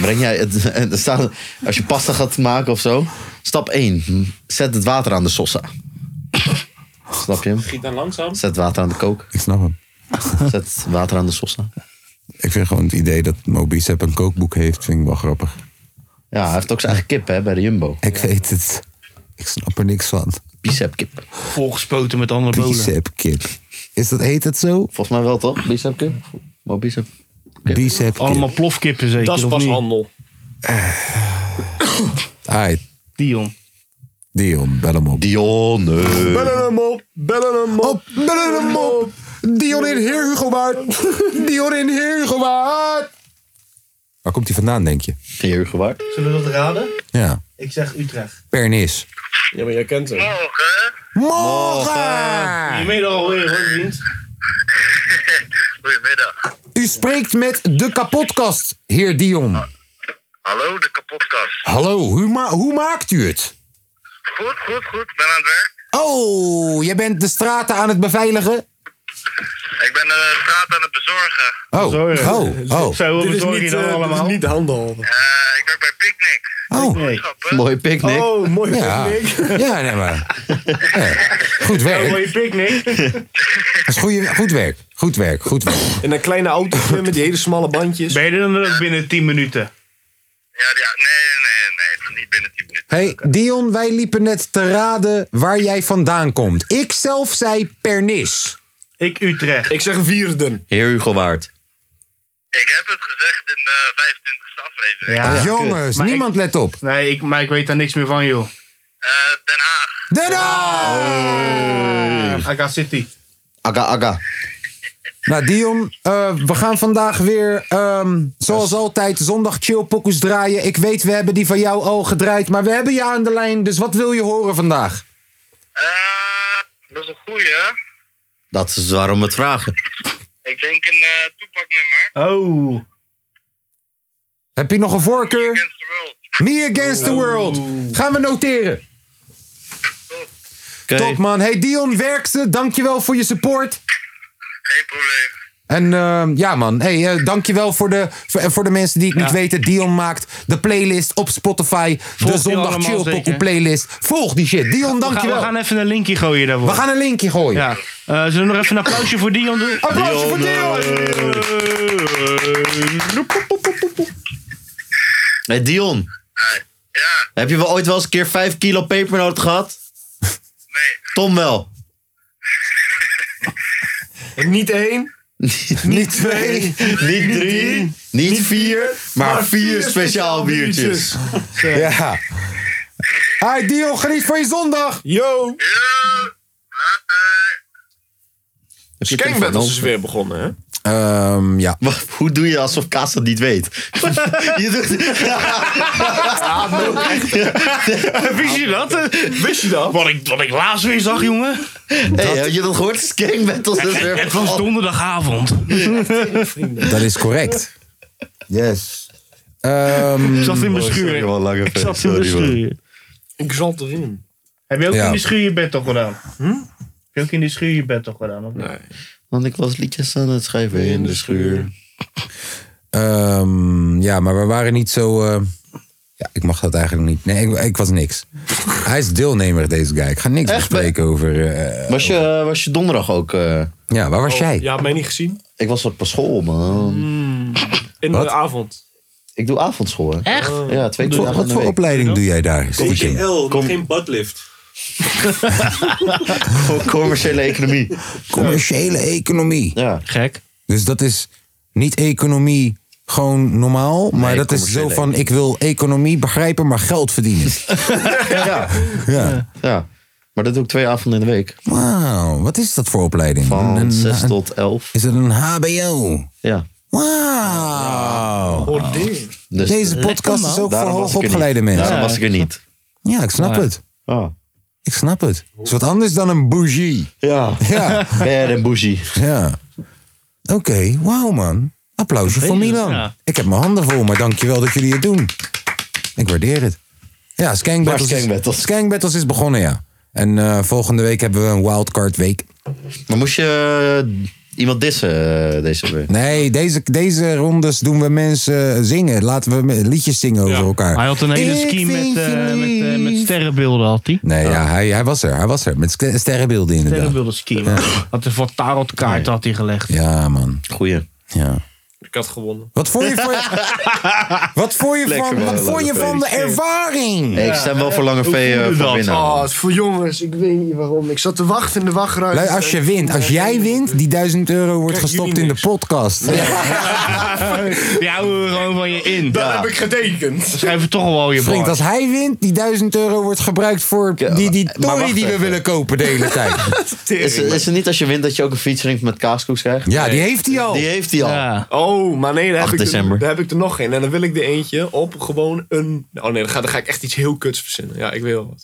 [SPEAKER 3] Breng jij het, [LAUGHS] er staat, als je pasta gaat maken of zo. Stap 1. Zet het water aan de sosa. Snap je hem?
[SPEAKER 7] Giet dan langzaam.
[SPEAKER 3] Zet water aan de kook.
[SPEAKER 1] Ik snap hem.
[SPEAKER 3] Zet water aan de sosa.
[SPEAKER 1] ik vind gewoon het idee dat Mobicep een kookboek heeft, vind ik wel grappig.
[SPEAKER 3] Ja, hij heeft ook zijn eigen kip hè, bij de Jumbo.
[SPEAKER 1] Ik weet het. Ik snap er niks van.
[SPEAKER 3] Bicepkip.
[SPEAKER 2] Volgespoten met andere bolen.
[SPEAKER 1] Bicepkip. Is dat, heet dat zo?
[SPEAKER 3] Volgens mij wel toch? Bicepkip? Mobicep.
[SPEAKER 1] Bicep.
[SPEAKER 2] Allemaal plofkippen zeker,
[SPEAKER 4] Dat is
[SPEAKER 2] of
[SPEAKER 4] pas
[SPEAKER 2] niet?
[SPEAKER 4] handel.
[SPEAKER 1] Eh. Aight.
[SPEAKER 2] Dion.
[SPEAKER 1] Dion, bel hem op.
[SPEAKER 3] Dion. eh.
[SPEAKER 4] Bellen hem op, bellen hem op,
[SPEAKER 1] bellen hem op. Dion in Heer Hugo Waard. [LAUGHS] Dion in Heer Hugo Waard. Waar komt hij vandaan, denk je?
[SPEAKER 3] Heer Hugo Waard.
[SPEAKER 9] Zullen we dat raden?
[SPEAKER 1] Ja.
[SPEAKER 9] Ik zeg Utrecht.
[SPEAKER 1] Pernis.
[SPEAKER 4] Ja, maar jij kent hem.
[SPEAKER 1] Morgen!
[SPEAKER 9] Goedemiddag alweer, hoor, vriend.
[SPEAKER 1] U spreekt met de kapotkast, heer Dion.
[SPEAKER 12] Hallo, de kapotkast.
[SPEAKER 1] Hallo, hoe, ma- hoe maakt u het?
[SPEAKER 12] Goed, goed, goed. Ben aan het werk.
[SPEAKER 1] Oh, jij bent de straten aan het beveiligen?
[SPEAKER 12] Ik ben eh, de straat aan het bezorgen.
[SPEAKER 1] Oh,
[SPEAKER 9] [LAUGHS]
[SPEAKER 1] oh, oh.
[SPEAKER 4] Dit is niet, eh, dit is niet handel.
[SPEAKER 1] Oh,
[SPEAKER 3] mooi picknick.
[SPEAKER 4] Oh, mooi
[SPEAKER 1] ja.
[SPEAKER 4] picknick.
[SPEAKER 1] Ja, nee, maar. Ja, Goed
[SPEAKER 4] Ja,
[SPEAKER 1] werk.
[SPEAKER 4] mooie picknick.
[SPEAKER 2] [LAUGHS]
[SPEAKER 1] Dat is goeie- goed werk. Goed werk, goed werk.
[SPEAKER 4] In een kleine auto met die hele smalle bandjes.
[SPEAKER 2] Ben je er
[SPEAKER 9] eh,
[SPEAKER 2] dan ook binnen 10 minuten?
[SPEAKER 1] Hey, Dion, wij liepen net te raden waar jij vandaan komt. Ik zelf zei Pernis.
[SPEAKER 2] Ik Utrecht.
[SPEAKER 4] Ik zeg Wierden.
[SPEAKER 3] Heer Hugo Waard.
[SPEAKER 13] Ik heb het gezegd in de 25e aflevering.
[SPEAKER 1] Jongens,
[SPEAKER 2] Maar ik-
[SPEAKER 1] niemand let op.
[SPEAKER 2] Nee, ik, maar ik weet daar niks meer van, joh.
[SPEAKER 1] Eh, Den Haag!
[SPEAKER 2] Aga Oh. City.
[SPEAKER 3] Aga, aga.
[SPEAKER 1] Nou, Dion, eh, we gaan vandaag weer, ehm, zoals altijd, zondag chillpokoes draaien. Ik weet, we hebben die van jou al gedraaid, maar we hebben je aan de lijn. Dus wat wil je horen vandaag?
[SPEAKER 13] Dat is een goeie, hè?
[SPEAKER 3] Dat is waarom we het vragen.
[SPEAKER 13] Ik denk een eh
[SPEAKER 2] Oh.
[SPEAKER 1] Heb je nog een voorkeur? Me Against the World. Gaan we noteren. Top man. Hey Dion, werk ze. Dankjewel voor je support. En ehm, ja man, hey, eh, dankjewel voor de, voor, voor de mensen die het niet weten. Dion maakt de playlist op Spotify.
[SPEAKER 2] Volg
[SPEAKER 1] de
[SPEAKER 2] die
[SPEAKER 1] Zondag
[SPEAKER 2] allemaal
[SPEAKER 1] Chill Pokoe
[SPEAKER 2] zeker.
[SPEAKER 1] playlist. Volg die shit. Dion,
[SPEAKER 2] We gaan,
[SPEAKER 1] dankjewel.
[SPEAKER 2] we gaan even een linkje gooien daarvoor.
[SPEAKER 1] We gaan een linkje gooien.
[SPEAKER 2] Ja. Eh, zullen we nog even een applausje voor Dion doen?
[SPEAKER 1] Applausje voor
[SPEAKER 2] Dion!
[SPEAKER 3] Hey Dion. Heb je wel ooit wel eens een keer 5 kilo pepernoot gehad? Nee. Tom wel.
[SPEAKER 4] [LAUGHS] Niet één.
[SPEAKER 3] [LAUGHS] Niet twee.
[SPEAKER 1] [LAUGHS]
[SPEAKER 3] Niet drie. Niet vier. Maar vier speciaal biertjes.
[SPEAKER 1] [LAUGHS] Ja. Hey Dion, geniet van je zondag. Yo.
[SPEAKER 4] Skankbed is dus weer begonnen, hè?
[SPEAKER 1] Ehm, ja.
[SPEAKER 3] Hoe doe je alsof Kaas dat niet
[SPEAKER 4] [LAUGHS]
[SPEAKER 3] weet? je doet... [LAUGHS]
[SPEAKER 2] eh. [LAUGHS] Wist je dat? Wist je dat? Wat ik, wat ik laatst weer zag, jongen.
[SPEAKER 3] Hey, heb je dat gehoord? Skank Battle is
[SPEAKER 2] Het,
[SPEAKER 3] weer
[SPEAKER 2] het was donderdagavond.
[SPEAKER 1] Dat is correct. [LAUGHS] Yes. Ehm,
[SPEAKER 2] Ik zat in mijn schuur. ik zat in mijn schuur.
[SPEAKER 4] Ik zat erin.
[SPEAKER 2] Heb je ook
[SPEAKER 1] Ja.
[SPEAKER 2] in de schuur je bed toch gedaan? Hm? Heb je ook in de schuur je bed toch gedaan? Of niet?
[SPEAKER 3] Want ik was liedjes aan het schrijven in de schuur.
[SPEAKER 1] Ehm, ja, maar we waren niet zo. eh, ja, ik mag dat eigenlijk niet. Nee, ik, ik was niks. Hij is deelnemer, deze guy. Ik ga niks bespreken over. eh,
[SPEAKER 3] Was je, eh, was je donderdag ook? eh?
[SPEAKER 1] ja, waar was jij?
[SPEAKER 4] Oh, Ja, mij niet gezien.
[SPEAKER 3] Ik was op school, man. Hmm.
[SPEAKER 4] In
[SPEAKER 3] Wat?
[SPEAKER 4] de avond.
[SPEAKER 3] Ik doe avondschool. hè.
[SPEAKER 4] Echt?
[SPEAKER 3] Ja, twee keer
[SPEAKER 4] Wat-
[SPEAKER 3] dagen in de
[SPEAKER 4] wat voor
[SPEAKER 3] week.
[SPEAKER 1] opleiding doe jij daar?
[SPEAKER 6] BGL, geen
[SPEAKER 1] [LAUGHS]
[SPEAKER 6] badlift.
[SPEAKER 3] Gewoon commerciële economie.
[SPEAKER 1] Commerciële economie.
[SPEAKER 3] Ja.
[SPEAKER 2] Gek.
[SPEAKER 1] Dus dat is niet economie gewoon normaal, maar dat is zo
[SPEAKER 3] commerciële
[SPEAKER 1] van: ik wil economie begrijpen, maar geld verdienen.
[SPEAKER 3] ja.
[SPEAKER 1] ja.
[SPEAKER 3] ja. Maar dat doe ik twee avonden in de week.
[SPEAKER 1] Wauw, wat is dat voor opleiding?
[SPEAKER 3] Van
[SPEAKER 1] Een- een-
[SPEAKER 3] 6 tot 11.
[SPEAKER 1] Is het een HBO?
[SPEAKER 3] Ja.
[SPEAKER 1] Wauw.
[SPEAKER 3] Dus-
[SPEAKER 1] Deze podcast is ook voor
[SPEAKER 3] Daarom was ik er niet.
[SPEAKER 1] hoogopgeleide mensen.
[SPEAKER 3] Daarom was ik er niet.
[SPEAKER 1] Ja, ik snap
[SPEAKER 3] Ja. Oh.
[SPEAKER 1] het. Ik snap het. Het is wat anders dan een bougie.
[SPEAKER 3] Ja.
[SPEAKER 1] [LAUGHS] Ja.
[SPEAKER 3] Ver en bougie.
[SPEAKER 1] Ja. Oké, wauw man. Applausje voor Milan.
[SPEAKER 3] Ja.
[SPEAKER 1] Ik heb mijn handen vol, maar dankjewel dat jullie het doen. Ik waardeer het. Ja, Skank
[SPEAKER 3] Maar
[SPEAKER 1] Battles,
[SPEAKER 3] Skank
[SPEAKER 1] Is, Skank Battles is begonnen, ja. En eh, volgende week hebben we een wildcard week.
[SPEAKER 3] Maar moest je eh, iemand dissen eh, deze week?
[SPEAKER 1] Nee, deze, deze rondes doen we mensen zingen. Laten we me- liedjes zingen over elkaar.
[SPEAKER 2] Hij had een hele
[SPEAKER 1] Ik
[SPEAKER 2] ski
[SPEAKER 1] vind
[SPEAKER 2] met, eh,
[SPEAKER 1] je
[SPEAKER 2] met, eh, met
[SPEAKER 1] lief.
[SPEAKER 2] sterrenbeelden. Had hij.
[SPEAKER 1] Nee, ja, hij, hij was er. Hij was er. Met ster- sterrenbeelden inderdaad.
[SPEAKER 2] Sterrenbeelden ski. man. Had een wat tarotkaart had hij gelegd.
[SPEAKER 1] Ja, man.
[SPEAKER 3] Goeie.
[SPEAKER 1] Ja.
[SPEAKER 4] Ik had gewonnen.
[SPEAKER 1] Wat vond je van, wat vond
[SPEAKER 3] [LAUGHS]
[SPEAKER 1] je
[SPEAKER 4] Lekker,
[SPEAKER 1] van,
[SPEAKER 4] man.
[SPEAKER 1] wat vond je van de ervaring?
[SPEAKER 3] Hey, ik stem wel voor Lange V eh, voor winnaar.
[SPEAKER 4] Ah,
[SPEAKER 6] Oh, het is voor jongens, ik weet niet waarom. Ik zat te wachten in de wachtruimte.
[SPEAKER 1] Lui, als je wint, als jij wint, die 1000 euro wordt gestopt in de podcast.
[SPEAKER 2] [LAUGHS] Die houden we gewoon van je in.
[SPEAKER 1] Dat heb ik
[SPEAKER 2] getekend. Schrijf het toch al je
[SPEAKER 1] Vriend,
[SPEAKER 2] bord.
[SPEAKER 1] als hij wint, die 1000 euro wordt gebruikt voor die, die
[SPEAKER 3] maar
[SPEAKER 1] tory
[SPEAKER 3] wacht
[SPEAKER 1] die we
[SPEAKER 3] even.
[SPEAKER 1] willen kopen de hele
[SPEAKER 3] [LAUGHS]
[SPEAKER 1] tijd.
[SPEAKER 3] Is, is het niet als je wint dat je ook een featuring met kaaskoeks krijgt?
[SPEAKER 1] Ja, die heeft hij al.
[SPEAKER 3] Die heeft hij al.
[SPEAKER 4] Oh, maar nee, daar heb,
[SPEAKER 3] 8
[SPEAKER 4] ik
[SPEAKER 3] december.
[SPEAKER 4] er, daar heb ik er nog geen. En dan wil ik er eentje op gewoon een... Oh nee, dan ga, dan ga ik echt iets heel kuts verzinnen. Ja, ik wil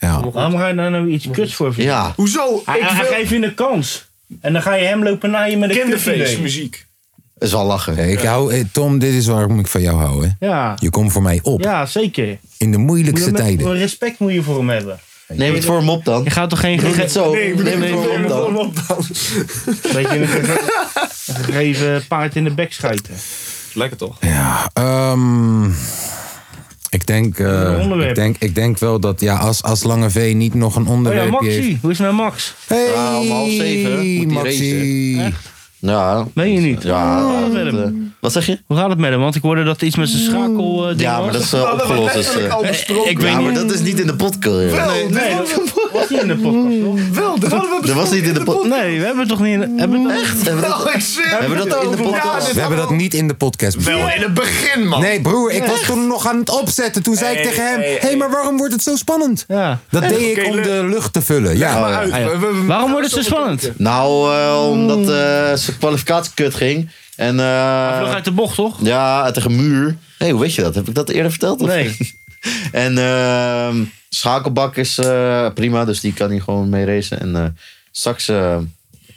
[SPEAKER 4] wat.
[SPEAKER 2] Waarom ga je daar nou iets kuts voor vinden?
[SPEAKER 3] Ja.
[SPEAKER 4] Hoezo?
[SPEAKER 2] Hij,
[SPEAKER 4] Ik
[SPEAKER 2] hij
[SPEAKER 4] wil-
[SPEAKER 2] geeft je een kans. En dan ga je hem lopen naaien met een
[SPEAKER 4] Kinderfeest,
[SPEAKER 2] kutidee.
[SPEAKER 4] muziek.
[SPEAKER 3] is wel lachen.
[SPEAKER 1] ik hou, eh, Tom, dit is waarom ik van jou hou. Hè.
[SPEAKER 2] Ja.
[SPEAKER 1] Je komt voor mij op.
[SPEAKER 2] Ja, zeker.
[SPEAKER 1] In de
[SPEAKER 2] Moet je
[SPEAKER 1] moeilijkste
[SPEAKER 2] met-
[SPEAKER 1] tijden.
[SPEAKER 2] Respect moet je voor hem hebben.
[SPEAKER 3] Neem het voor hem op dan.
[SPEAKER 2] Je gaat toch geen...
[SPEAKER 3] Doe het zo.
[SPEAKER 2] Nee,
[SPEAKER 3] Neem het voor hem op
[SPEAKER 2] op dan. Weet je, een gege- een gegeven paard in de bek Oh schijten.
[SPEAKER 4] Lekker toch?
[SPEAKER 1] Ja, ehm, ik, denk, eh,
[SPEAKER 2] onderwerp.
[SPEAKER 1] ik, denk, ik denk wel dat ja, als, als Lange V niet nog een
[SPEAKER 2] Oh ja,
[SPEAKER 1] onderwerp heeft.
[SPEAKER 2] Maxi. Hoe is het met Max?
[SPEAKER 1] Hey, Maxi.
[SPEAKER 3] Ja.
[SPEAKER 2] Meen je niet?
[SPEAKER 3] Ja,
[SPEAKER 2] Hoe gaat het met hem?
[SPEAKER 3] Wat zeg je?
[SPEAKER 2] Hoe gaat het met hem? Want ik hoorde dat iets met zijn schakel. eh, ding
[SPEAKER 3] Ja, maar
[SPEAKER 2] was.
[SPEAKER 3] dat is eh,
[SPEAKER 1] Nou,
[SPEAKER 3] opgelost. Dus, eh,
[SPEAKER 2] ik weet
[SPEAKER 3] ja, maar
[SPEAKER 2] niet.
[SPEAKER 3] dat is niet in de podcast.
[SPEAKER 2] Wel,
[SPEAKER 3] Nee.
[SPEAKER 2] nee, dat was niet in de podcast. toch?
[SPEAKER 14] Wel, dat hadden we
[SPEAKER 3] Dat was niet in de podcast.
[SPEAKER 2] Nee, we hebben het toch niet in de... Hebben we het
[SPEAKER 3] Echt? Hebben we dat-
[SPEAKER 14] Oh, ik zweer
[SPEAKER 3] hebben we
[SPEAKER 14] het.
[SPEAKER 3] dat in de
[SPEAKER 14] Ja,
[SPEAKER 3] podcast?
[SPEAKER 14] dit
[SPEAKER 1] We hebben dat niet in de podcast.
[SPEAKER 14] Wel in het begin, man.
[SPEAKER 1] Nee, broer, ik
[SPEAKER 14] Echt?
[SPEAKER 1] was toen nog aan het opzetten. Toen zei ik
[SPEAKER 14] Hey,
[SPEAKER 1] tegen hem:
[SPEAKER 14] hey,
[SPEAKER 1] hé, maar waarom wordt het zo spannend?
[SPEAKER 2] Ja.
[SPEAKER 1] Dat
[SPEAKER 14] Echt?
[SPEAKER 1] deed ik
[SPEAKER 14] Oké,
[SPEAKER 1] om
[SPEAKER 14] le-
[SPEAKER 1] de lucht te vullen. Ja.
[SPEAKER 3] maar uit.
[SPEAKER 1] Ah, ja.
[SPEAKER 3] We-
[SPEAKER 2] Waarom wordt het zo spannend?
[SPEAKER 3] Nou, eh, omdat eh, zijn kwalificatie kut ging. En, eh
[SPEAKER 2] uit de bocht, toch?
[SPEAKER 3] Ja, tegen muur. Nee, hoe weet je dat? Heb ik dat eerder verteld? Nee. [LAUGHS] en ehm, schakelbak is eh, prima, dus die kan hij gewoon mee racen. En eh, straks eh,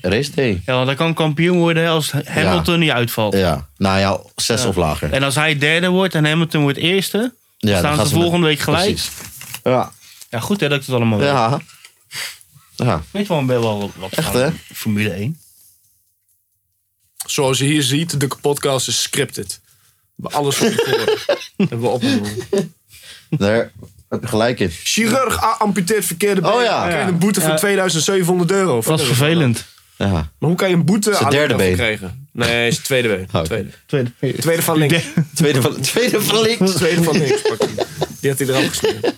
[SPEAKER 3] race day.
[SPEAKER 2] Ja, want hij kan kampioen worden als Hamilton niet uitvalt.
[SPEAKER 3] Ja, nou ja, zes
[SPEAKER 2] Ja.
[SPEAKER 3] of lager.
[SPEAKER 2] En als hij derde wordt en Hamilton wordt eerste,
[SPEAKER 3] dan
[SPEAKER 2] staan
[SPEAKER 3] gaan
[SPEAKER 2] ze
[SPEAKER 3] ze met-
[SPEAKER 2] volgende week gelijk.
[SPEAKER 3] Precies. Ja.
[SPEAKER 2] Ja, goed hè dat ik het allemaal weet.
[SPEAKER 3] Ja. Ja.
[SPEAKER 2] Weet wel, ben wel wat
[SPEAKER 4] Echt,
[SPEAKER 2] van
[SPEAKER 4] hè?
[SPEAKER 2] Formule 1.
[SPEAKER 4] Zoals je hier ziet, de podcast is scripted. We hebben alles van tevoren. [LAUGHS] hebben we opgenomen.
[SPEAKER 3] Daar heb je gelijk in.
[SPEAKER 4] Chirurg a- amputeert verkeerde been.
[SPEAKER 3] Oh ja.
[SPEAKER 4] Dan krijg je een boete van
[SPEAKER 3] Ja.
[SPEAKER 4] 2700 euro.
[SPEAKER 2] Dat was vervelend.
[SPEAKER 3] Ja.
[SPEAKER 4] Maar hoe kan je een boete
[SPEAKER 3] Zijn
[SPEAKER 4] aan
[SPEAKER 3] derde been.
[SPEAKER 4] daarvoor
[SPEAKER 3] Oh,
[SPEAKER 4] krijgen? Nee, is het tweede been. Tweede.
[SPEAKER 2] Tweede.
[SPEAKER 4] tweede van
[SPEAKER 2] [LAUGHS]
[SPEAKER 4] links.
[SPEAKER 3] Tweede van, tweede van links.
[SPEAKER 4] Tweede van links. pak die. Die had hij eraf gesneden.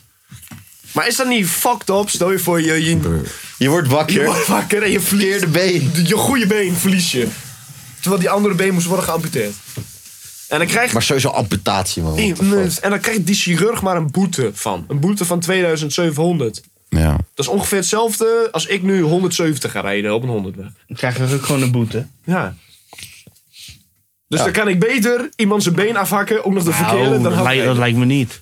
[SPEAKER 4] Maar is dat niet fucked up? Stel je voor, je, je,
[SPEAKER 3] je wordt wakker.
[SPEAKER 4] Je wordt wakker en je verliest
[SPEAKER 3] de been.
[SPEAKER 4] Je goede been verlies je. Terwijl die andere been moest worden geamputeerd. En dan krijg je...
[SPEAKER 3] Maar sowieso amputatie, man.
[SPEAKER 4] Nee, En dan krijgt die chirurg maar een boete van. Een boete van 2700.
[SPEAKER 1] Ja.
[SPEAKER 4] Dat is ongeveer hetzelfde als ik nu 170 ga rijden op een 100 weg.
[SPEAKER 2] Dan krijg je ook gewoon een boete.
[SPEAKER 4] Ja. Dus
[SPEAKER 2] Ja.
[SPEAKER 4] dan kan ik beter iemand zijn been afhakken, ook nog de verkeerde. Dan
[SPEAKER 2] Oh, dat,
[SPEAKER 4] had
[SPEAKER 2] lijkt,
[SPEAKER 4] ik-
[SPEAKER 2] dat lijkt me niet.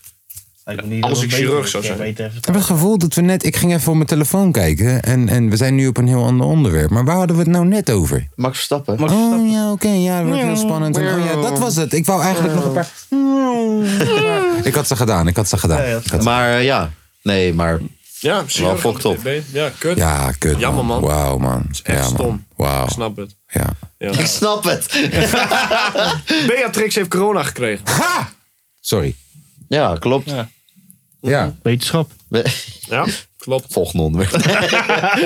[SPEAKER 2] Lijkt me niet
[SPEAKER 4] Als
[SPEAKER 2] dat
[SPEAKER 4] ik
[SPEAKER 2] het beter
[SPEAKER 4] chirurg
[SPEAKER 2] is.
[SPEAKER 4] zou
[SPEAKER 2] Ja,
[SPEAKER 4] zijn.
[SPEAKER 2] weet even.
[SPEAKER 1] Ik heb het gevoel dat we net. Ik ging even op mijn telefoon kijken. En, en we zijn nu op een heel ander onderwerp. Maar waar hadden we het nou net over?
[SPEAKER 3] Max Verstappen.
[SPEAKER 1] Oh ja, oké. ja, dat wordt heel spannend. En, oh ja, dat was het. Ik wou
[SPEAKER 2] Eh,
[SPEAKER 1] eigenlijk nog een paar. Ik had ze gedaan, ik had ze gedaan. Ik had ze-
[SPEAKER 3] Maar eh, ja, nee, maar
[SPEAKER 4] Ja,
[SPEAKER 3] wel
[SPEAKER 4] chirurg.
[SPEAKER 3] fucked op.
[SPEAKER 4] Ja, kut.
[SPEAKER 1] Ja, kut.
[SPEAKER 4] Jammer, man.
[SPEAKER 1] Wauw, man.
[SPEAKER 4] is echt
[SPEAKER 1] ja, man.
[SPEAKER 4] stom.
[SPEAKER 1] Wauw.
[SPEAKER 4] Ik snap het.
[SPEAKER 1] Ja.
[SPEAKER 3] Ik snap het.
[SPEAKER 4] [LAUGHS] Beatrix heeft corona gekregen.
[SPEAKER 1] Sorry.
[SPEAKER 3] Ja, klopt. Ja.
[SPEAKER 2] Wetenschap.
[SPEAKER 4] Ja, klopt.
[SPEAKER 3] Volgende onderwerp.
[SPEAKER 4] Hebben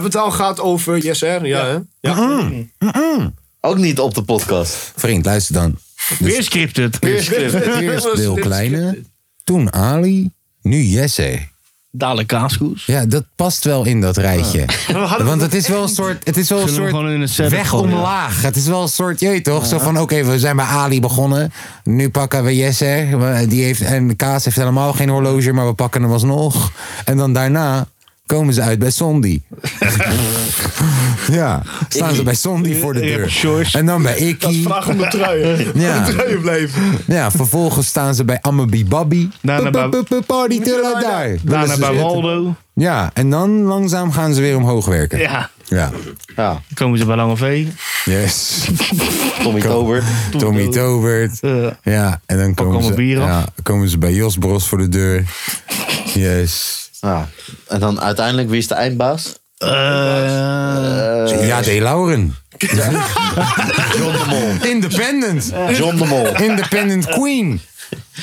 [SPEAKER 4] [LAUGHS] we het al gehad over Yes Air? Ja, hè? Ja.
[SPEAKER 3] Ook niet op de podcast.
[SPEAKER 1] Vriend, luister dan.
[SPEAKER 2] Weer scripted.
[SPEAKER 4] Weer
[SPEAKER 2] [LAUGHS]
[SPEAKER 4] scripted.
[SPEAKER 1] Eerst Lil Kleine, toen Ali, nu Jesse.
[SPEAKER 2] Dadelijk kaaskoes.
[SPEAKER 1] Ja, dat past wel in dat
[SPEAKER 2] [LAUGHS]
[SPEAKER 1] rijtje. Want het is wel een soort, het is wel een
[SPEAKER 2] Zullen
[SPEAKER 1] soort
[SPEAKER 2] we hem gewoon in een setup
[SPEAKER 1] weg
[SPEAKER 2] gooien?
[SPEAKER 1] omlaag. Het is wel een soort, je weet toch? Zo van, oké, we zijn bij Ali begonnen. Nu pakken we Jesse. We- Die heeft, en Kaas heeft helemaal geen horloge, maar we pakken hem alsnog. En dan daarna komen ze uit bij Sondi. ja, staan ze bij Sondi voor de deur. En dan bij Ikki.
[SPEAKER 4] Dat is vraag om de
[SPEAKER 1] [LAUGHS]
[SPEAKER 4] truien.
[SPEAKER 1] Ja.
[SPEAKER 4] Om de truien blijven.
[SPEAKER 1] Ja, vervolgens staan ze bij Amabi Babbi.
[SPEAKER 2] Daarna bij-
[SPEAKER 1] Pup, pup, pup, Party till I die. Willen
[SPEAKER 2] Daarna
[SPEAKER 1] ze
[SPEAKER 2] bij
[SPEAKER 1] zitten.
[SPEAKER 2] Waldo.
[SPEAKER 1] Ja, en dan langzaam gaan ze weer omhoog werken.
[SPEAKER 2] Ja.
[SPEAKER 1] Ja.
[SPEAKER 3] ja.
[SPEAKER 2] Komen ze bij Lange V.
[SPEAKER 1] Yes.
[SPEAKER 3] Tommy Tobert.
[SPEAKER 1] Tommy Tobert. Ja, en dan komen
[SPEAKER 2] allemaal
[SPEAKER 1] ze,
[SPEAKER 2] bier af.
[SPEAKER 1] ja, komen ze bij Jos Bros voor de deur. Yes.
[SPEAKER 3] Ja. Ah, En dan uiteindelijk, wie is de eindbaas?
[SPEAKER 2] Eh,
[SPEAKER 3] Eh,
[SPEAKER 1] ja, D. Lauren.
[SPEAKER 3] John de Mol.
[SPEAKER 1] Independent.
[SPEAKER 3] John de Mol.
[SPEAKER 1] Independent Queen.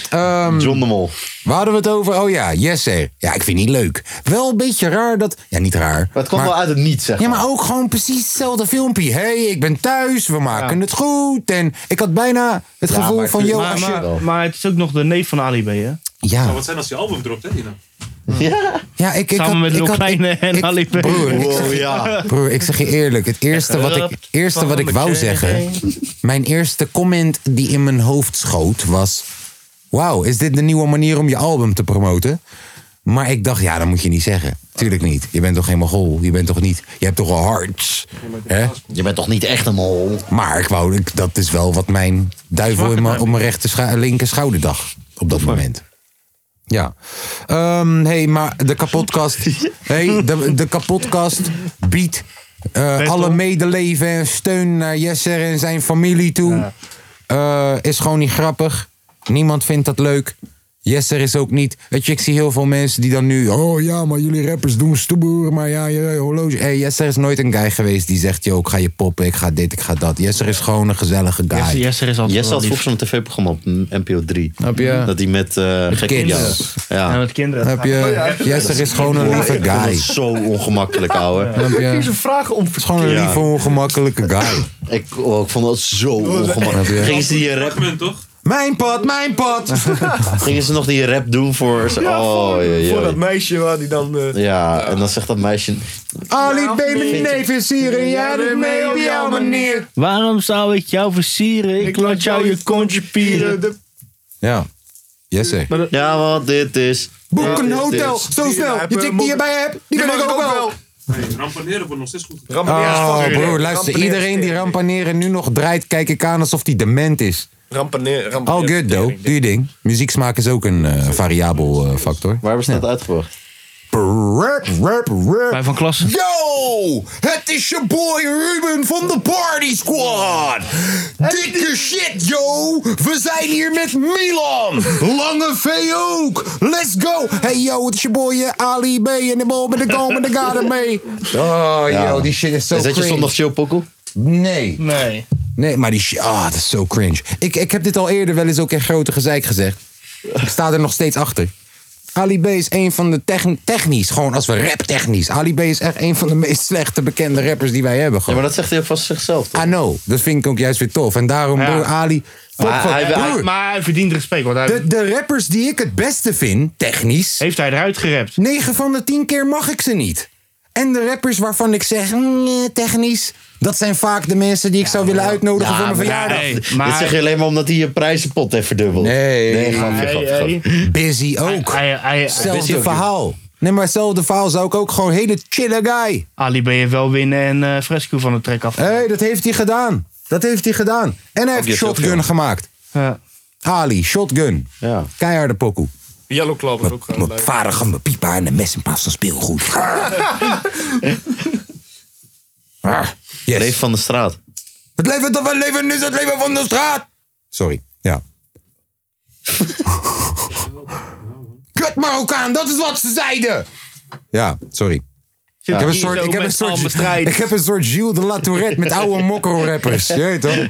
[SPEAKER 1] Ehm,
[SPEAKER 3] John de Mol.
[SPEAKER 1] Waar hadden we het over? Oh ja, yes sir. Ja, ik vind het niet leuk. Wel een beetje raar dat... Ja, niet raar.
[SPEAKER 3] Maar het kwam wel uit het niet, zeg
[SPEAKER 1] Ja, maar ook gewoon precies hetzelfde filmpje. Hé, hey, ik ben thuis, we maken het goed. En ik had bijna het
[SPEAKER 7] Ja,
[SPEAKER 1] gevoel
[SPEAKER 7] maar
[SPEAKER 1] van...
[SPEAKER 7] ik-
[SPEAKER 1] Yo,
[SPEAKER 7] maar-
[SPEAKER 1] als je-
[SPEAKER 7] maar-
[SPEAKER 2] Maar het is ook nog de neef van Ali B, hè?
[SPEAKER 1] Ja.
[SPEAKER 7] wat zijn als je album dropt, hè, Dino?
[SPEAKER 3] Ja.
[SPEAKER 1] Ja, ik, ik
[SPEAKER 2] Samen
[SPEAKER 1] had,
[SPEAKER 2] met
[SPEAKER 1] ik
[SPEAKER 2] Lil
[SPEAKER 1] had-
[SPEAKER 2] Kleine
[SPEAKER 1] ik-
[SPEAKER 2] en
[SPEAKER 1] ik-
[SPEAKER 2] Ali B.
[SPEAKER 1] Broer, ik zeg je- broer, ik zeg je eerlijk. Het eerste wat ik,
[SPEAKER 2] Rupt
[SPEAKER 1] eerste
[SPEAKER 2] van
[SPEAKER 1] wat ik
[SPEAKER 2] de
[SPEAKER 1] wou
[SPEAKER 2] chain.
[SPEAKER 1] zeggen... Mijn eerste comment die in mijn hoofd schoot was... Wauw, is dit de nieuwe manier om je album te promoten? Maar ik dacht, ja, dat moet je niet zeggen. Tuurlijk niet. Je bent toch geen mogol? Je bent toch niet... Je hebt toch een hart? hè?
[SPEAKER 3] Je bent toch niet echt een mol?
[SPEAKER 1] Maar ik wou, ik- dat is wel wat mijn duivel in mijn, op mijn rechter scha- linker schouderdag op dat moment. Ja. Ehm, hey, maar de kapotkast. Hey, de, de kapotkast biedt eh, alle medeleven en steun naar Jesser en zijn familie toe. Eh, is gewoon niet grappig. Niemand vindt dat leuk. Yes, er is ook niet. Weet je, ik zie heel veel mensen die dan nu. Oh ja, maar jullie rappers doen stoer, maar ja, je horloge. Hey, Yes, er is nooit een guy geweest die zegt: Yo, ik ga je poppen, ik ga dit, ik ga dat. Yes, er is gewoon een gezellige guy.
[SPEAKER 3] Jesse- Jesse is altijd Jesse wel had lief. vroeger zo'n tv-programma op mm, NPO 3.
[SPEAKER 1] Heb je?
[SPEAKER 3] Dat hij met, eh
[SPEAKER 1] Met
[SPEAKER 3] gekke
[SPEAKER 1] kinderen.
[SPEAKER 3] Ja. Ja.
[SPEAKER 1] Ja, met kinderen. Heb je-
[SPEAKER 3] Oh, ja.
[SPEAKER 1] Yes, er is gewoon een
[SPEAKER 3] Ik
[SPEAKER 1] lieve
[SPEAKER 3] vind dat
[SPEAKER 1] guy.
[SPEAKER 3] zo ongemakkelijk, ouwe.
[SPEAKER 1] Heb je? Kun je ze
[SPEAKER 14] vragen om Het
[SPEAKER 1] is gewoon een lieve, ongemakkelijke guy.
[SPEAKER 3] Ik, oh, ik vond dat zo
[SPEAKER 1] Heb je?
[SPEAKER 3] ongemakkelijk. Gingen ze die rap...
[SPEAKER 1] Mijn pad, mijn pad!
[SPEAKER 3] [LAUGHS] Gingen ze nog die rap doen voor... ze- oh, ja,
[SPEAKER 14] Voor dat
[SPEAKER 3] ja.
[SPEAKER 14] meisje waar die dan... eh,
[SPEAKER 3] Ja, en dan zegt dat meisje...
[SPEAKER 1] Ali B, mijn neef is hier en jij doet mee op jouw manier.
[SPEAKER 2] Waarom zou ik jou versieren? Ik, laat jou je kontje pieren.
[SPEAKER 1] Ja. Yes, sir.
[SPEAKER 3] Ja, want dit is...
[SPEAKER 1] Boek een
[SPEAKER 3] dit
[SPEAKER 1] hotel,
[SPEAKER 3] is-
[SPEAKER 1] zo snel. Je tik die je bij hebt, die ben ik ook wel.
[SPEAKER 7] Hey, rampaneren wordt nog steeds goed.
[SPEAKER 1] Oh, broer, luister. Iedereen die rampaneren nu nog draait, kijk ik aan alsof die dement is.
[SPEAKER 4] Rampeneer, rampeneer.
[SPEAKER 1] All good, though. Doe je ding. Muzieksmaak is ook een eh, variabel eh, factor. Waar
[SPEAKER 3] hebben ze dat uitgebracht?
[SPEAKER 1] Rap, rap, rap.
[SPEAKER 2] Bij Van Klassen.
[SPEAKER 1] Yo, Oh, het is je boy Ruben van de Party Squad. Dikke shit, yo. We zijn hier met Milan. Lange V ook. Let's go. Hey, yo, het is je boy eh, Ali B. En de bal met de goal met de gade mee. Oh, yo, die shit is zo
[SPEAKER 3] Is dat je
[SPEAKER 1] cringe.
[SPEAKER 3] zondag chill pokkel?
[SPEAKER 1] Nee. Nee. Nee, maar die shit, ah, dat is zo cringe. Ik, ik heb dit al eerder wel eens ook in grote gezeik gezegd. Ik sta er nog steeds achter. Ali B is een van de techn- technisch, gewoon als we rap technisch. Ali B is echt een van de meest slechte bekende rappers die wij hebben. Gewoon.
[SPEAKER 3] Ja, maar dat zegt hij ook vast zichzelf.
[SPEAKER 1] Ah no, dat vind ik ook juist weer tof. En daarom, broer, Ali... fuck
[SPEAKER 2] Maar
[SPEAKER 1] van-
[SPEAKER 2] hij, hij-
[SPEAKER 1] broer,
[SPEAKER 2] maar hij verdient respect. Want hij,
[SPEAKER 1] de, de rappers die ik het beste vind, technisch...
[SPEAKER 2] Heeft hij eruit gerept?
[SPEAKER 1] 9 van de 10 keer mag ik ze niet. En de rappers waarvan ik zeg, mm, eh, technisch... Dat zijn vaak de mensen die ik zou willen uitnodigen voor mijn verjaardag.
[SPEAKER 3] Dit zeg je alleen maar omdat hij je prijzenpot heeft verdubbeld.
[SPEAKER 1] Nee,
[SPEAKER 3] nee, grapje, grapje, grapje.
[SPEAKER 1] Busy ook.
[SPEAKER 3] Busy
[SPEAKER 1] Hetzelfde
[SPEAKER 3] ook,
[SPEAKER 1] verhaal. Nee, maar hetzelfde verhaal zou ik ook gewoon hele chille guy.
[SPEAKER 2] Ali B heeft wel winnen en eh, Fresco van de trek af.
[SPEAKER 1] Hé, dat heeft hij gedaan. Dat heeft hij gedaan. En hij heeft Shotgun gemaakt. Ali, Shotgun. Keiharde pokoe.
[SPEAKER 4] Yellow Club is ook gewoon
[SPEAKER 1] Mijn
[SPEAKER 4] leuk.
[SPEAKER 1] vader gaf me pipa en een mes in plaats van speelgoed. Ah,
[SPEAKER 3] Leef van de straat.
[SPEAKER 1] Het leven dat we leven is het leven van de straat. Sorry, ja. Kut Marokkaan, dat is wat ze zeiden. Ja, sorry.
[SPEAKER 6] Ja.
[SPEAKER 1] Ik, heb een
[SPEAKER 6] Hier
[SPEAKER 1] soort,
[SPEAKER 6] zo
[SPEAKER 1] ik, heb
[SPEAKER 6] met
[SPEAKER 1] een soort,
[SPEAKER 6] z'n allen strijden.
[SPEAKER 1] ik heb een soort Gilles de La Tourette met
[SPEAKER 2] [LAUGHS]
[SPEAKER 1] oude mokro-rappers. Je weet toch?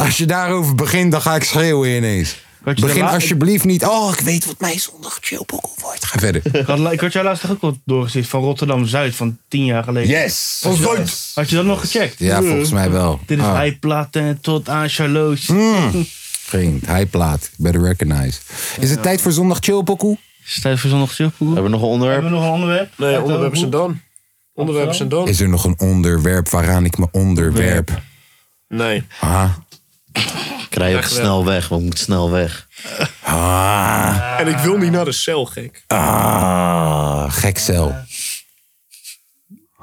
[SPEAKER 1] Als je daarover begint, dan ga ik schreeuwen ineens.
[SPEAKER 2] je de
[SPEAKER 1] Begin
[SPEAKER 2] la-
[SPEAKER 1] alsjeblieft niet. Oh, ik weet wat mij zondag chillpokkel wordt. Ga verder.
[SPEAKER 2] Ik had, la- ik had jou laatst toch ook wel doorgezien van Rotterdam-Zuid van tien jaar geleden.
[SPEAKER 1] Yes!
[SPEAKER 2] Had je, had je dat nog gecheckt?
[SPEAKER 1] Ja, volgens mij wel.
[SPEAKER 2] Dit is
[SPEAKER 1] Ah.
[SPEAKER 2] heiplaten tot aan Charloes. [LAUGHS]
[SPEAKER 1] Vriend, hij plaat. Better recognize. Is het tijd voor zondag chillpokkel?
[SPEAKER 2] Is het tijd voor zondag chillpokkel?
[SPEAKER 3] Hebben we nog een
[SPEAKER 2] Hebben we nog een onderwerp?
[SPEAKER 4] Nee, onderwerpen zijn dan. Onderwerpen zijn dan.
[SPEAKER 1] Is er nog een onderwerp waaraan ik me onderwerp?
[SPEAKER 4] Nee.
[SPEAKER 1] Ah.
[SPEAKER 3] Krijg je ook snel weg, want ik moet snel weg.
[SPEAKER 1] Ah.
[SPEAKER 4] En ik wil niet naar de cel, gek.
[SPEAKER 1] Ah. Gek cel.
[SPEAKER 2] Nou,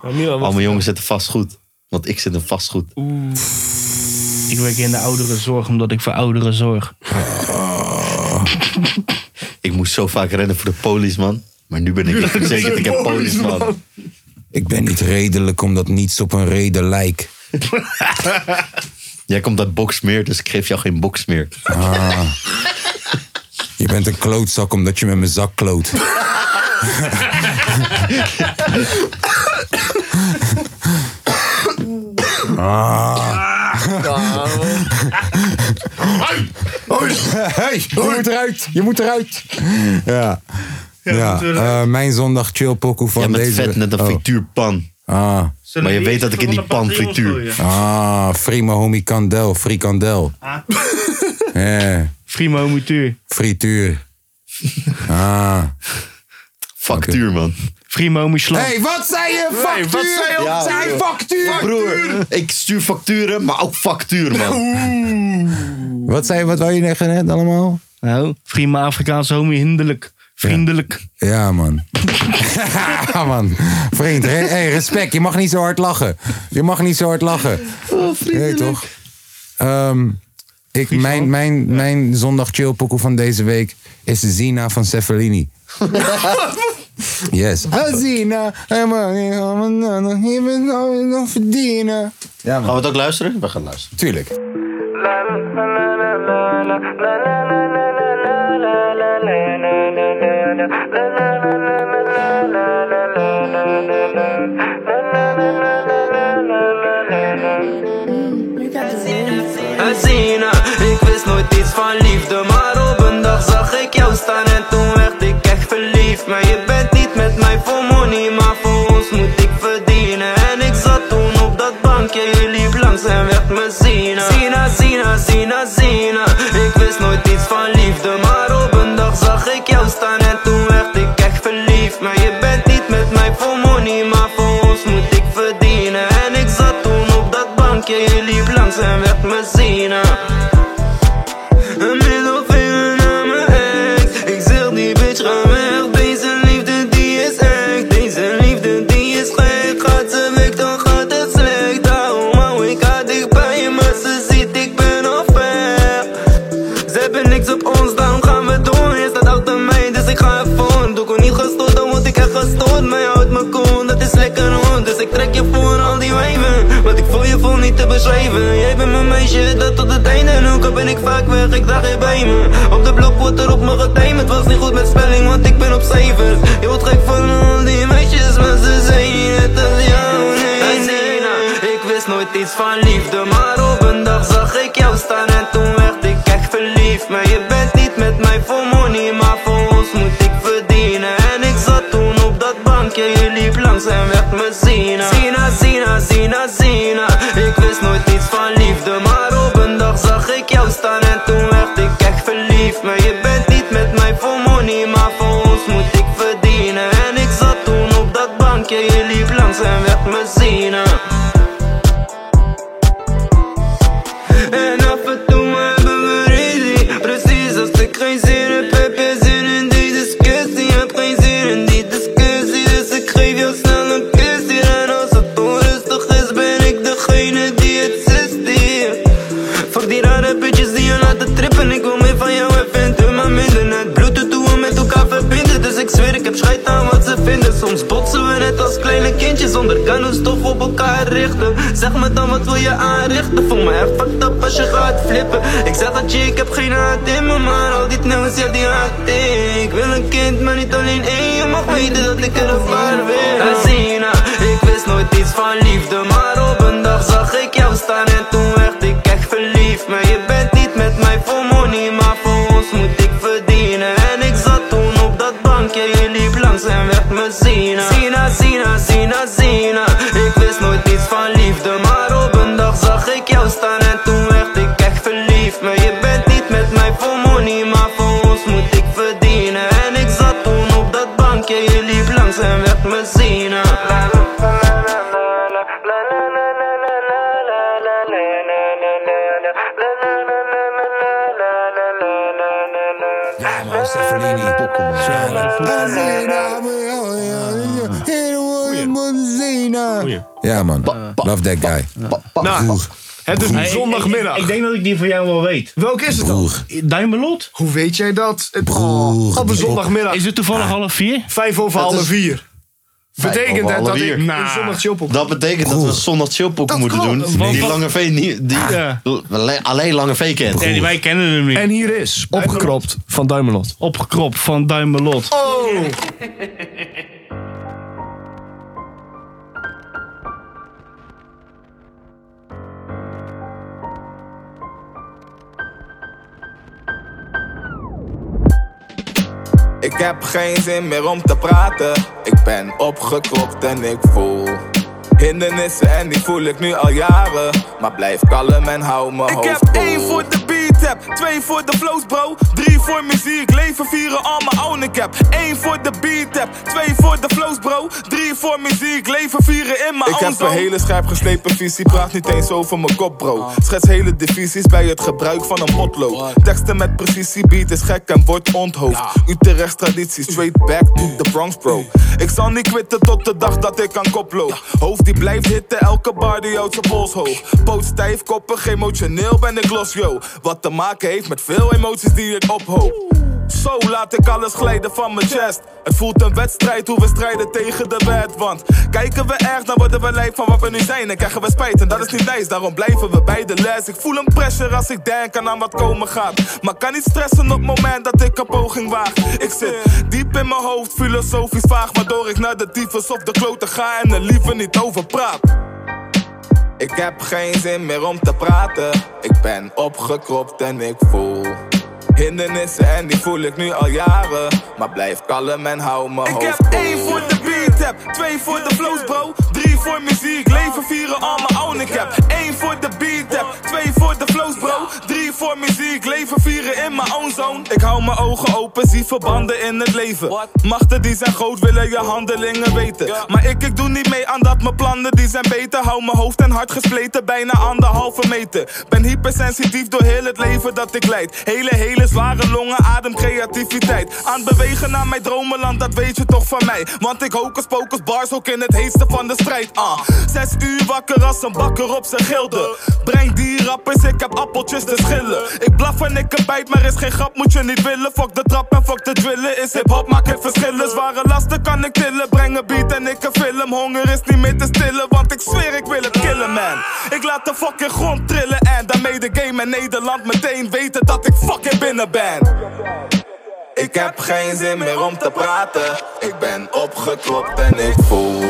[SPEAKER 4] Ja, Milan,
[SPEAKER 3] Al mijn jongens zitten vastgoed. Want ik zit in vastgoed.
[SPEAKER 2] Ik werk in de ouderenzorg omdat ik voor ouderen zorg.
[SPEAKER 3] [LAUGHS] Ik moest zo vaak rennen voor de policeman. Maar nu ben ik echt verzekerd, ik heb policeman.
[SPEAKER 1] Ik ben niet redelijk omdat niets op een reden lijkt.
[SPEAKER 3] Jij komt uit boksmeer, dus ik geef jou geen boksmeer. [LAUGHS]
[SPEAKER 1] Ah. Je bent een klootzak omdat je met mijn zak kloot. Ah. Hey, je moet eruit, je moet eruit. Ja. ja.
[SPEAKER 3] natuurlijk.
[SPEAKER 1] eh, mijn zondag chill pokoe van
[SPEAKER 3] Jij bent
[SPEAKER 1] deze... Oh.
[SPEAKER 3] vet net een frituurpan.
[SPEAKER 1] Ah.
[SPEAKER 3] Maar je weet dat ik in die pan frituur.
[SPEAKER 1] Ah, Frima homie kandel, frikandel. [LAUGHS] Ah.
[SPEAKER 2] Frima homituur.
[SPEAKER 1] Frituur. Ah.
[SPEAKER 3] Factuur, man.
[SPEAKER 2] Frima homislag.
[SPEAKER 1] Hey, wat zei je?
[SPEAKER 6] Hey,
[SPEAKER 1] Factuur!
[SPEAKER 6] wat zei je?
[SPEAKER 1] Ja,
[SPEAKER 6] Zei
[SPEAKER 1] broer.
[SPEAKER 6] factuur!
[SPEAKER 3] Broer, ik stuur facturen, maar ook factuur, man.
[SPEAKER 1] Hmm. Wat zei je, wat wou je Oh. zeggen net allemaal?
[SPEAKER 2] Nou, Frima Afrikaanse homie hinderlijk. Vriendelijk.
[SPEAKER 1] Ja,
[SPEAKER 2] [LAUGHS]
[SPEAKER 1] man. ja, man. Vriend, re- hey, respect. Je mag niet zo hard lachen. Je mag niet zo hard lachen.
[SPEAKER 6] Oh,
[SPEAKER 1] Nee, toch? Ehm, ik, mijn, mijn, mijn zondag chillpokoe van deze week is Zina van
[SPEAKER 2] [LAUGHS]
[SPEAKER 1] Cefalini. Yes. Azina,
[SPEAKER 6] nou
[SPEAKER 1] nog verdienen. Ja,
[SPEAKER 3] Gaan we het ook luisteren? We gaan luisteren.
[SPEAKER 1] Tuurlijk.
[SPEAKER 6] La la la la la la la la la la la la la la
[SPEAKER 15] uit zien hè. Ik wist nooit iets van liefde Maar op een dag zag ik jou staan En toen werd ik echt verliefd Maar je bent niet met mij voor money Maar voor ons moet ik verdienen En ik zat toen op dat bankje Je liep langs en werd me zien hè. Zien hè, zien hè, zien hè, zien hè. Ik wist nooit iets van liefde Maar op een dag zag ik jou staan En toen werd ik echt verliefd Maar je bent niet met mij voor money Maar voor ons moet ik verdienen En ik zat toen op dat bankje Je liep langs en werd me zien hè. Een middelvinger naar mijn ex Ik zeg die bitch ga weg Deze liefde die is echt Deze liefde die is gek Gaat ze weg dan gaat het slecht Daarom hou ik haar dicht bij je Maar ze ziet ik ben al ver ze hebben niks op ons, daarom gaan we door. Je staat oud aan mij, dus ik ga ervoor. Doe ik niet gestoord, dan word ik echt gestoord. Maar je houdt me cool, dat is lekker hoor. Dus ik trek je voor al die wijven. Wat ik voor je voel niet te beschrijven. Jij bent mijn meisje, dat tot het einde. En ook al ben ik vaak weg, ik draag je bij me. Op de blok wordt er op me getimed. Het was niet goed met spelling, want ik ben op cijfers. Je wordt gek van al die meisjes, maar ze zijn niet net als jou. Nee, nee, nee. Ik wist nooit iets van liefde, maar op een dag zag ik jou staan en toen werd ik echt verliefd. Maar je bent niet met mij voor money, maar voor ons moet ik verdienen. En ik zat toen op dat bankje, je liep langs en werd me zien. Zina, Zina, Zina, Zina. Ik wist nooit iets van liefde, maar op een dag zag ik jou staan en toen werd ik echt verliefd. Maar je bent niet met mij voor money, maar voor ons moet ik verdienen. En ik zat toen op dat bankje, je liep langs en werd me zien. En af en toe hebben we ruzie Precies als ik geen zin heb, heb je zin in die discussie Je hebt geen zin in die discussie Dus ik geef jou snel een kusje En als het onrustig is, ben ik degene die het zist hier Fuck die rare bitches die je laten trippen Ik wil meer van jou en vind hun maar minder Net bluetooth hoe we met elkaar verbinden Dus ik zweer ik heb scheid aan wat ze vinden Soms botsen we net als kleine kindjes Onder kanoenstof op elkaar richten Zeg me dan wat wil je aanrichten Voel me echt fucked up als je gaat flippen Ik zeg dat je ik heb geen haat in me Maar al die nieuws ja die haat ik Ik wil een kind maar niet alleen één Je mag weten dat ik er een paar wil Azina, ik wist nooit iets van liefde Maar op een dag zag ik jou staan En toen werd ik echt verliefd Maar je bent niet met mij voor money Maar voor ons moet ik verdienen En ik zat toen op dat bankje Je liep langs en werd me zien Zina, Zina, Zina, Zina Ik wist nooit iets van liefde Maar op een dag zag ik jou staan En toen werd ik echt verliefd Maar je bent niet met mij voor money Maar voor ons moet ik verdienen En ik zat toen op dat bankje Je liep langs en werd me zien
[SPEAKER 6] Ja, man, Stefanini. Ja, man. Love that guy.
[SPEAKER 2] Nou, het is nu
[SPEAKER 4] Hey,
[SPEAKER 2] zondagmiddag.
[SPEAKER 4] Ik, ik denk dat ik die van jou wel weet.
[SPEAKER 2] Welke is het dan?
[SPEAKER 4] Duimelot.
[SPEAKER 16] Hoe weet jij dat? Het,
[SPEAKER 4] Oh,
[SPEAKER 2] Op een zondagmiddag.
[SPEAKER 4] Is het toevallig
[SPEAKER 1] Ah.
[SPEAKER 4] half vier?
[SPEAKER 2] Vijf over
[SPEAKER 3] Het
[SPEAKER 2] half
[SPEAKER 3] is-
[SPEAKER 2] vier.
[SPEAKER 3] Vijf
[SPEAKER 2] Betekent
[SPEAKER 3] over
[SPEAKER 2] het
[SPEAKER 3] half
[SPEAKER 2] dat
[SPEAKER 3] vier.
[SPEAKER 2] ik een
[SPEAKER 3] Nah.
[SPEAKER 2] zondag chillpop-
[SPEAKER 3] oh, Dat betekent dat we zondag chillpokken moeten
[SPEAKER 2] klopt.
[SPEAKER 3] doen.
[SPEAKER 2] Want
[SPEAKER 3] Die
[SPEAKER 2] wat-
[SPEAKER 3] Lange V niet. Die,
[SPEAKER 2] Ja.
[SPEAKER 3] Alleen- Alleen Lange V kent.
[SPEAKER 4] Nee, wij kennen hem niet.
[SPEAKER 2] En hier is opgekropt van Duimelot.
[SPEAKER 4] Opgekropt van Duimelot.
[SPEAKER 7] [LAUGHS]
[SPEAKER 2] Oh!
[SPEAKER 17] Ik heb geen zin meer om te praten. Ik ben opgekropt en ik voel hindernissen en die voel ik nu al jaren. Maar blijf kalm en hou mijn
[SPEAKER 18] Ik
[SPEAKER 17] hoofd
[SPEAKER 18] heb
[SPEAKER 17] koel.
[SPEAKER 18] één voor de beat heb, twee voor de flows bro, drie voor muziek, leven vieren al mijn own. Ik heb één voor de beat heb, twee voor de flows bro, drie voor muziek, leven vieren in mijn
[SPEAKER 17] Ik
[SPEAKER 18] own.
[SPEAKER 17] heb een
[SPEAKER 18] zone.
[SPEAKER 17] hele scherp geslepen visie, praat niet eens over mijn kop, bro. Schets hele divisies bij het gebruik van een potlood. Teksten met precisie, beat is gek en wordt onthoofd. Utrecht traditie, straight back to the Bronx, bro. Ik zal niet quitten tot de dag dat ik aan kop loop. Hoofd die blijft hitten, elke bar die houdt zijn pols hoog. Poot stijf, koppig, emotioneel ben ik los, yo. Wat te maken heeft met veel emoties die ik ophoop. Zo laat ik alles glijden van mijn chest. Het voelt een wedstrijd hoe we strijden tegen de wet. Want kijken we erg, dan worden we lijf van wat we nu zijn. En krijgen we spijt en dat is niet nice, daarom blijven we bij de les. Ik voel een pressure als ik denk aan, aan wat komen gaat. Maar kan niet stressen op het moment dat ik een poging waag. Ik zit diep in mijn hoofd, filosofisch vaag. Waardoor ik naar de tyfus of de kloten ga en er liever niet over praat.
[SPEAKER 19] Ik heb geen zin meer om te praten. Ik ben opgekropt en ik voel hindernissen en die voel ik nu al jaren. Maar blijf kalm en hou me hoofd.
[SPEAKER 17] Ik heb één voor de beat tap, twee voor de flows bro, drie voor muziek, leven vieren al mijn own. Ik heb één voor de beat tap, twee voor de flows bro, drie voor muziek, leven vieren in mijn own zone. Ik hou mijn ogen open, zie verbanden in het leven. Machten die zijn groot willen je handelingen weten, maar ik ik doe niet mee aan dat mijn plannen die zijn beter. Hou mijn hoofd en hart gespleten, bijna anderhalve meter. Ben hypersensitief door heel het leven dat ik leid. Hele hele zware longen, adem creativiteit. Aan het bewegen naar mijn dromenland, dat weet je toch van mij. Want ik hocus pocus bars ook in het heetste van de strijd. Ah, zes uur wakker als een bakker op zijn gilde. Breng die rappers, ik heb appeltjes te schillen. Ik blaf en ik bijt, maar is geen grap, moet je niet willen. Fuck de trap en fuck de drillen. Is hip-hop, maak het verschillen. Zware lasten kan ik tillen. Breng een beat en ik een film. Honger is niet meer te stillen, want ik zweer, ik wil het killen, man. Ik laat de fucking grond trillen en daarmee de game en Nederland meteen weten dat ik fucking binnen ben.
[SPEAKER 19] Ik heb geen zin meer om te praten. Ik ben opgeklopt en ik voel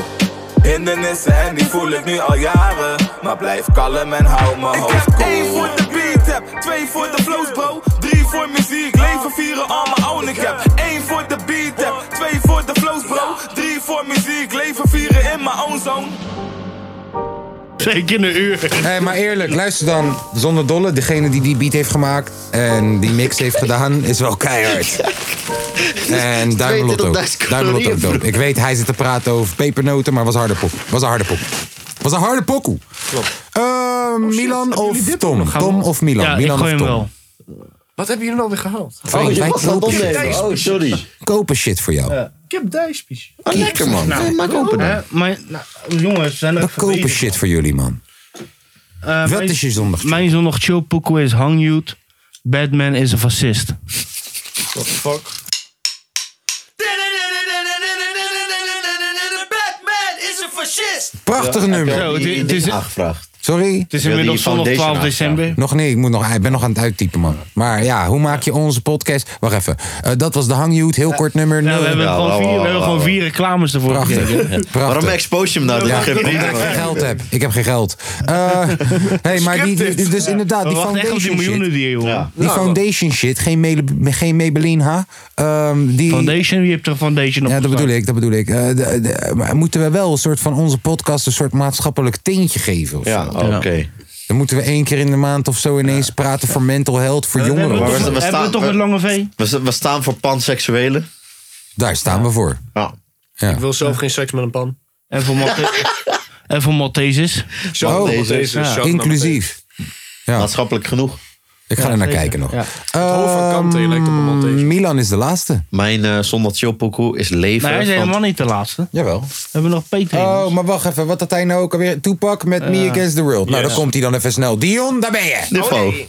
[SPEAKER 19] hindernissen en die voel ik nu al jaren. Maar blijf kalm en hou me hoofd.
[SPEAKER 17] Ik heb één voor de beat tap, twee voor de flows bro, drie voor muziek, leven vieren al mijn own. Ik heb één voor de beat tap, twee voor de flows bro, drie voor muziek, leven vieren in mijn own zone.
[SPEAKER 1] Zeker een uur. maar eerlijk, luister dan. Zonder dolle, degene die die beat heeft gemaakt en die mix heeft gedaan, is wel keihard. En Duimelot ook. Duimelot
[SPEAKER 3] 22.000
[SPEAKER 1] ook
[SPEAKER 3] calorieën,
[SPEAKER 1] dope. Ik weet, hij zit te praten over pepernoten, maar was harde pop. Was een harde pop. Was een harde pokoe. Eh,
[SPEAKER 4] Oh,
[SPEAKER 1] Milan of Tom? Tom of Milan?
[SPEAKER 4] Ja, ik
[SPEAKER 1] Milan
[SPEAKER 4] gooi
[SPEAKER 1] of
[SPEAKER 4] hem
[SPEAKER 1] Tom?
[SPEAKER 4] wel. Wat hebben jullie nou weer gehaald?
[SPEAKER 3] Oh,
[SPEAKER 1] Frank, wij kopen
[SPEAKER 3] eh,
[SPEAKER 1] shit.
[SPEAKER 4] Thijs, oh,
[SPEAKER 1] Kopen shit voor jou.
[SPEAKER 4] Ik heb dijspies.
[SPEAKER 1] Oh, lekker, man. Nee, maar kopen dan.
[SPEAKER 9] hè, maar nou, jongens, we zijn er
[SPEAKER 1] We kopen shit voor jullie, man.
[SPEAKER 2] eh,
[SPEAKER 9] Wat
[SPEAKER 1] is je zondag?
[SPEAKER 9] Mijn zondag chill pokoe is Hang Youth. Batman is een fascist.
[SPEAKER 4] What the fuck?
[SPEAKER 6] Batman is een fascist!
[SPEAKER 1] Prachtig nummer. Sorry?
[SPEAKER 9] Het is inmiddels zondag 12 december.
[SPEAKER 1] Nog niet, ik, moet nog, ik ben nog aan het uittypen, man. Maar ja, hoe maak je onze podcast? Wacht even. Eh, dat was de Hangjoet, heel kort nummer.
[SPEAKER 9] we hebben
[SPEAKER 1] Ja,
[SPEAKER 9] gewoon
[SPEAKER 1] wauw,
[SPEAKER 9] vier- we
[SPEAKER 1] wauw,
[SPEAKER 9] hebben gewoon
[SPEAKER 1] wauw.
[SPEAKER 9] vier reclames ervoor
[SPEAKER 1] Prachtig.
[SPEAKER 9] gekregen.
[SPEAKER 1] Prachtig.
[SPEAKER 3] expose je hem nou? Dat
[SPEAKER 1] Ja,
[SPEAKER 3] mag je
[SPEAKER 1] omdat ik
[SPEAKER 3] prima,
[SPEAKER 1] geen
[SPEAKER 3] hoor.
[SPEAKER 1] geld heb. Ik heb geen geld. Eh, hey, maar die, die- dus inderdaad,
[SPEAKER 9] We
[SPEAKER 1] die
[SPEAKER 9] wachten echt op die
[SPEAKER 1] foundation
[SPEAKER 9] miljoenen
[SPEAKER 1] shit.
[SPEAKER 9] die, joh. Ja.
[SPEAKER 1] Die
[SPEAKER 9] Ja,
[SPEAKER 1] foundation shit, geen, mele, geen Maybelline, ha? Ehm, die...
[SPEAKER 9] Foundation, wie hebt er foundation op?
[SPEAKER 1] Ja, dat bedoel ik, dat bedoel ik. Eh, de- de- maar moeten we wel een soort van onze podcast een soort maatschappelijk tintje geven? Of
[SPEAKER 3] Ja,
[SPEAKER 1] zo?
[SPEAKER 3] oké.
[SPEAKER 1] Dan moeten we één keer in de maand of zo ineens praten voor mental health, voor jongeren.
[SPEAKER 3] Maar we- we staan- we-
[SPEAKER 9] V?
[SPEAKER 3] We, sta- we staan voor panseksuelen.
[SPEAKER 1] Daar staan we voor.
[SPEAKER 3] Ja.
[SPEAKER 1] Ik
[SPEAKER 4] wil zelf
[SPEAKER 2] [LAUGHS]
[SPEAKER 4] geen seks met een pan.
[SPEAKER 9] En voor En voor Maltesers.
[SPEAKER 4] Shout-out Oh, Maltesers, ja. shout-out
[SPEAKER 1] inclusief.
[SPEAKER 3] Maatschappelijk genoeg.
[SPEAKER 1] Ik ga er naar kijken nog. Eh,
[SPEAKER 3] Het hoofd van Kante lijkt op een Maltese.
[SPEAKER 1] Milan is de laatste.
[SPEAKER 3] Mijn eh zondag chillpokoe is leven.
[SPEAKER 9] Nee, hij is
[SPEAKER 3] van-
[SPEAKER 9] helemaal niet de laatste.
[SPEAKER 1] Jawel.
[SPEAKER 9] We hebben nog Peter.
[SPEAKER 1] Oh, maar wacht even. Wat had hij nou ook alweer? Toepak met Me
[SPEAKER 9] Ja.
[SPEAKER 1] Against the World. Nou,
[SPEAKER 9] Yes.
[SPEAKER 1] dan komt hij dan even snel. Dion, daar ben je.
[SPEAKER 3] Niffo. Oh, nee.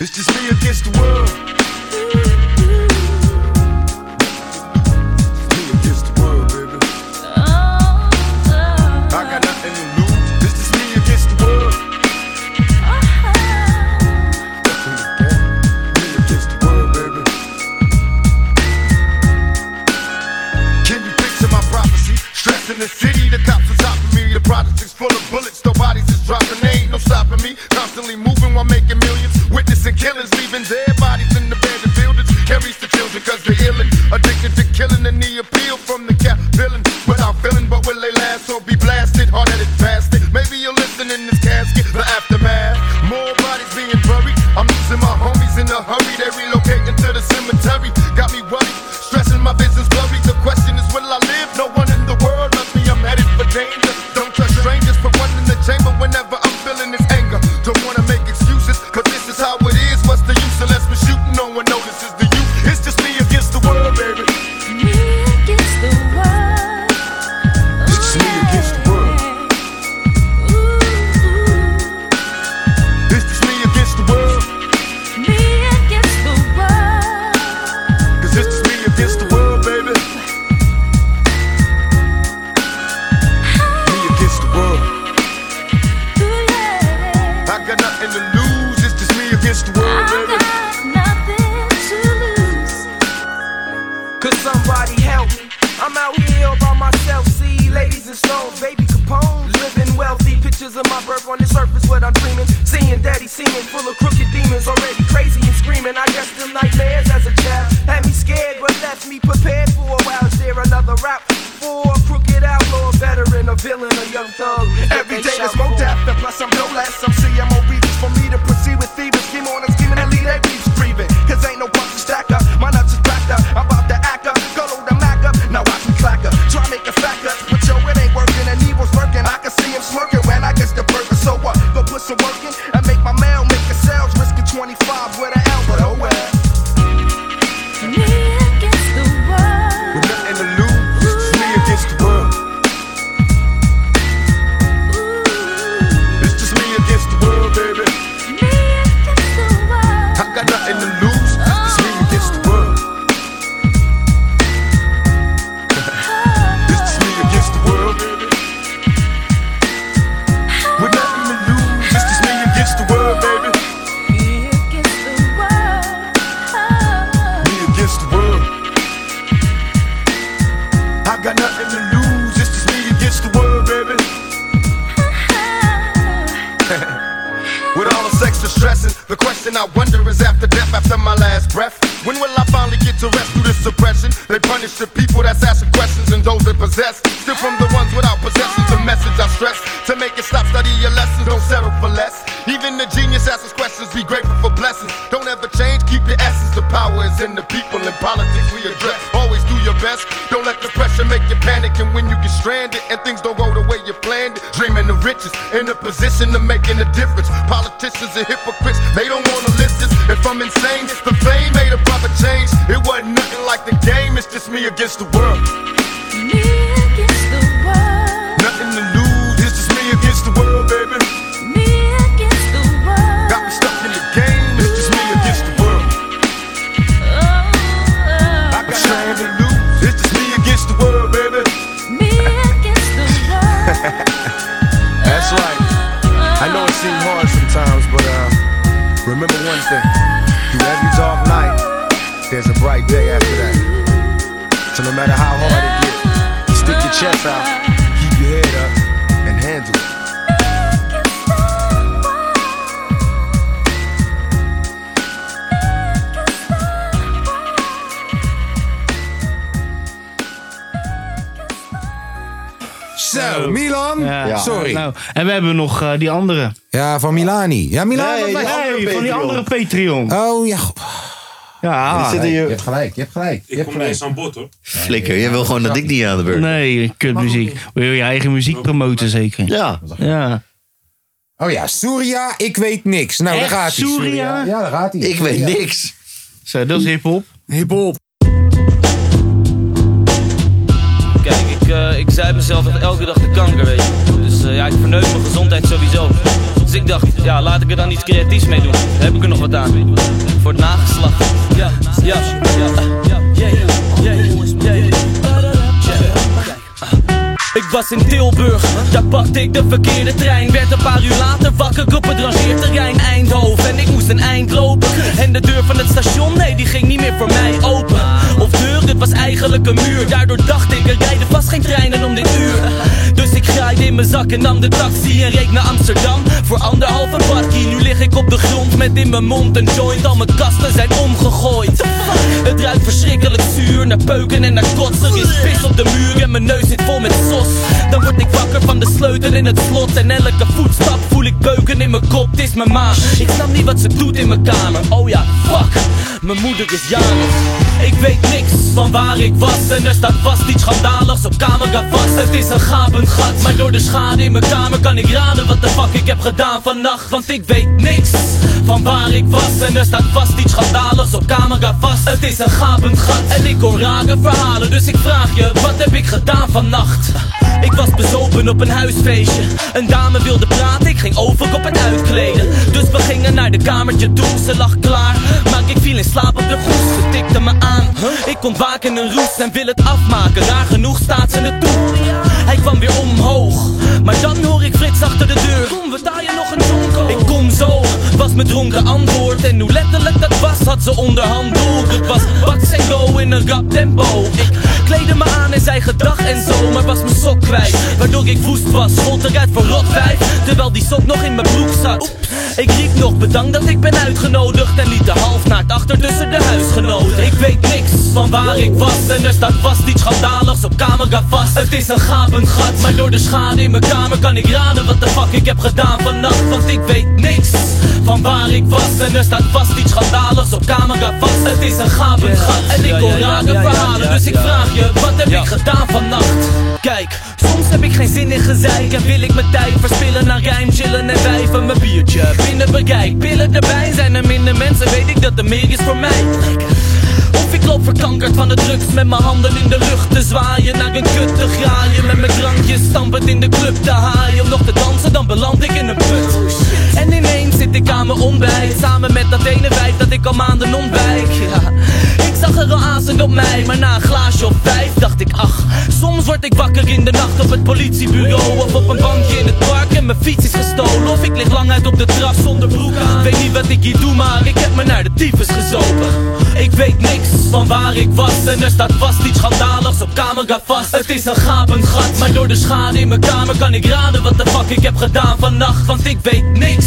[SPEAKER 17] It's just me against the world. Me against the world, baby. I got nothing to lose. It's just me against the world. Me against the world, baby. Can you picture my prophecy? Stress in the city, the cops are topping me. The project is full of bullets, no bodies is dropping. There ain't no stopping me. Constantly moving while making millions. Witnessing killings, leaving dead bodies in abandoned buildings. Carries the children cause they're illin'. Addicted to killing and the appeal from the cap villain. Without feeling, but will they last or be blasted? Hard at it, bastard. Maybe you'll listen in this casket, the aftermath. More bodies being buried. I'm losing my homies in a hurry. They relocating to the cemetery. Got me worried, stressing my business blurry. The question is, will I live? No one in the world loves me. I'm headed for danger. Don't trust strangers, put one in the chamber whenever I'm feeling this anger. Don't wanna make excuses, cause this is how it is. What's the use unless we're shooting? No one notices the youth. It's just me against the world, baby. Me against the world. Oh, It's just me against the world. It's just me against the world. Me against the world. Cause it's just me against the world, baby. Me against the world. I got nothing to lose. It's just me against the world, baby. Nothing to lose.
[SPEAKER 10] real thug. Every day they smoke that, and plus I'm no less. I'm CMO reasons for me to proceed with thieves. Scheme on and scheming and leave they beats breathing. Cause ain't no punch stacker, my nuts is backed up. I'm about to act up, go to the Mac up. Now watch me clack up, try make a fact up. But yo, it ain't working and evil's lurking. I can see him smirking when I gets the burger. So what? Go put some work in and make my mail, make the sales. Risk a 25 with an L, but oh well.
[SPEAKER 6] With nothing to lose, it's me against the world. It's just me against the world, baby. I got nothing to lose, it's me against the world. It's just me against the world, baby. With nothing to lose, it's just me against the world, baby. Me against the world. I got nothing to lose, it's just me against the world, baby.
[SPEAKER 10] [LAUGHS] With all this extra stressing, the question I wonder is after death, after my last breath. When will I finally get to rest through this suppression? They punish the people that's asking questions and those that possess. Still from the ones without possessions, the message I stress. To make it stop, study your lessons, don't settle for less. Even the genius asks questions, be grateful for blessings. Don't ever change, keep your essence. The power is in the people, in politics we address. Always do your best, don't let the pressure make you panic. And when you get stranded and things don't go the way you planned it, dreaming of riches, in a position of making a difference. Politicians are hypocrites, they don't wanna listen. If I'm insane, it's the fame made a brother change. It wasn't nothing like the game, it's just me against the world.
[SPEAKER 6] Nothing to lose, it's just me against the world, baby. Got me stuck in the game, it's just me against the world. I got nothing to lose, it's just me against the world, baby.
[SPEAKER 5] [LAUGHS] That's right. I know it seems hard sometimes, but uh, remember one thing. Through every dark night, there's a bright day after that. So no matter how hard it gets, stick your chest out, keep your head up, and handle it.
[SPEAKER 1] Zo, Milan.
[SPEAKER 2] Ja.
[SPEAKER 1] Sorry.
[SPEAKER 2] Nou, en we hebben nog eh, die andere.
[SPEAKER 1] Ja, van Milani. Ja, Milani.
[SPEAKER 2] Nee,
[SPEAKER 1] dat
[SPEAKER 2] die
[SPEAKER 1] was-
[SPEAKER 2] andere Nee, van die Patreon. andere
[SPEAKER 1] Patreon. Oh, ja. goh.
[SPEAKER 2] Ja,
[SPEAKER 1] Nee,
[SPEAKER 2] nee.
[SPEAKER 1] je hebt gelijk, je hebt gelijk. Je hebt gelijk.
[SPEAKER 7] aan bod hoor.
[SPEAKER 3] Flikker, jij wil gewoon dat ik niet aan de beurt ben.
[SPEAKER 2] Nee, kutmuziek. Wil je je eigen muziek promoten zeker?
[SPEAKER 3] Ja.
[SPEAKER 2] ja.
[SPEAKER 1] Oh ja, Surya, ik weet niks. Nou,
[SPEAKER 2] Echt,
[SPEAKER 1] daar gaat hij.
[SPEAKER 2] Surya?
[SPEAKER 1] Ja, daar gaat hij.
[SPEAKER 2] Ik weet niks. Zo, dat is hip-hop.
[SPEAKER 1] Hip-hop.
[SPEAKER 18] Kijk, ik, eh ik zuip mezelf echt elke dag de kanker, weet je. Dus eh, ja, ik verneuk mijn gezondheid sowieso. Dus ik dacht, ja, laat ik er dan iets creatiefs mee doen. Dan Heb ik er nog wat aan. Voor het nageslacht. Ja, ja, ja, ja, ja, ja, ja, ja, ja. Ik was in Tilburg, daar pakte ik de verkeerde trein Werd een paar uur later wakker op het rangeerterrein Eindhoven En ik moest een eind lopen En de deur van het station, nee die ging niet meer voor mij open Of deur, het was eigenlijk een muur Daardoor dacht ik, er rijden vast geen treinen om dit uur Dus ik graaide in mijn zak en nam de taxi en reed naar Amsterdam Voor anderhalve barkie, nu lig ik op de grond met in mijn mond een joint Al mijn kasten zijn omgegooid Het ruikt verschrikkelijk zuur, naar peuken en naar kotsen Er is pis op de muur en mijn neus zit vol met sos Dan word ik wakker van de sleutel in het slot En elke voetstap voel ik beuken in mijn kop, het is mijn ma Ik snap niet wat ze doet in mijn kamer, oh ja, fuck Mijn moeder is jarig Ik weet niks van waar ik was En er staat vast iets schandaligs op camera vast Het is een gapend gat, maar door de schade in mijn kamer Kan ik raden wat de fuck ik heb gedaan vannacht Want ik weet niks van waar ik was En er staat vast iets schandaligs op camera vast Het is een gapend gat en ik hoor rare verhalen Dus ik vraag je, wat heb ik gedaan vannacht? Ik was bezopen op een huisfeestje Een dame wilde praten, ik ging over op en uitkleden Dus we gingen naar de kamertje toe, ze lag klaar Maar ik viel in slaap op de groes, ze tikte me aan Ik ontwaak in een roes en wil het afmaken Raar genoeg staat ze het toe Hij kwam weer omhoog Maar dan hoor ik Frits achter de deur Kom, we daaien nog een jonko Ik kom zo, was mijn dronken antwoord En hoe letterlijk dat was, had ze onderhand door Het was baks en go in een rap tempo Ik kleedde kleden me aan en zei gedag en zo Maar was mijn sok kwijt, waardoor ik woest was Schold eruit voor rotwijf, terwijl die sok nog in mijn broek zat Oeps, ik riep nog bedankt dat ik ben uitgenodigd En liet de halfnaakt achter tussen de huisgenoten Ik weet niks van waar ik was En er staat vast iets schandaligs op camera vast Het is een gapend gat, maar door de schade in mijn kamer Kan ik raden wat de fuck ik heb gedaan vannacht Want ik weet niks van waar ik was En er staat vast iets schandaligs op camera vast Het is een gapend gat en ik hoor rare verhalen Dus ik vraag je, wat heb ik gedaan vannacht? Kijk, soms heb ik geen zin in gezeik En wil ik mijn tijd verspillen naar rijm, chillen en wijven Mijn biertje binnen bereik, pillen erbij Zijn er minder mensen, weet ik dat er meer is voor mij of ik loop verkankerd van de drugs Met mijn handen in de lucht te zwaaien Naar een kut te graaien Met mijn drankje stampend in de club te haaien Om nog te dansen, dan beland ik in een put En ineens zit ik aan mijn ontbijt Samen met dat ene wijf dat ik al maanden ontwijk ja. Ik zag er al aanzien op mij Maar na een glaasje of vijf dacht ik ach Soms word ik wakker in de nacht op het politiebureau Of op een bankje in het park en mijn fiets is gestolen Of ik lig lang uit op de trap zonder broek aan Weet niet wat ik hier doe maar ik heb me naar de tyfus gezopen Ik weet niks van waar ik was En er staat vast iets schandaligs op camera vast Het is een gapend gat, maar door de schade in mijn kamer Kan ik raden wat de fuck ik heb gedaan vannacht Want ik weet niks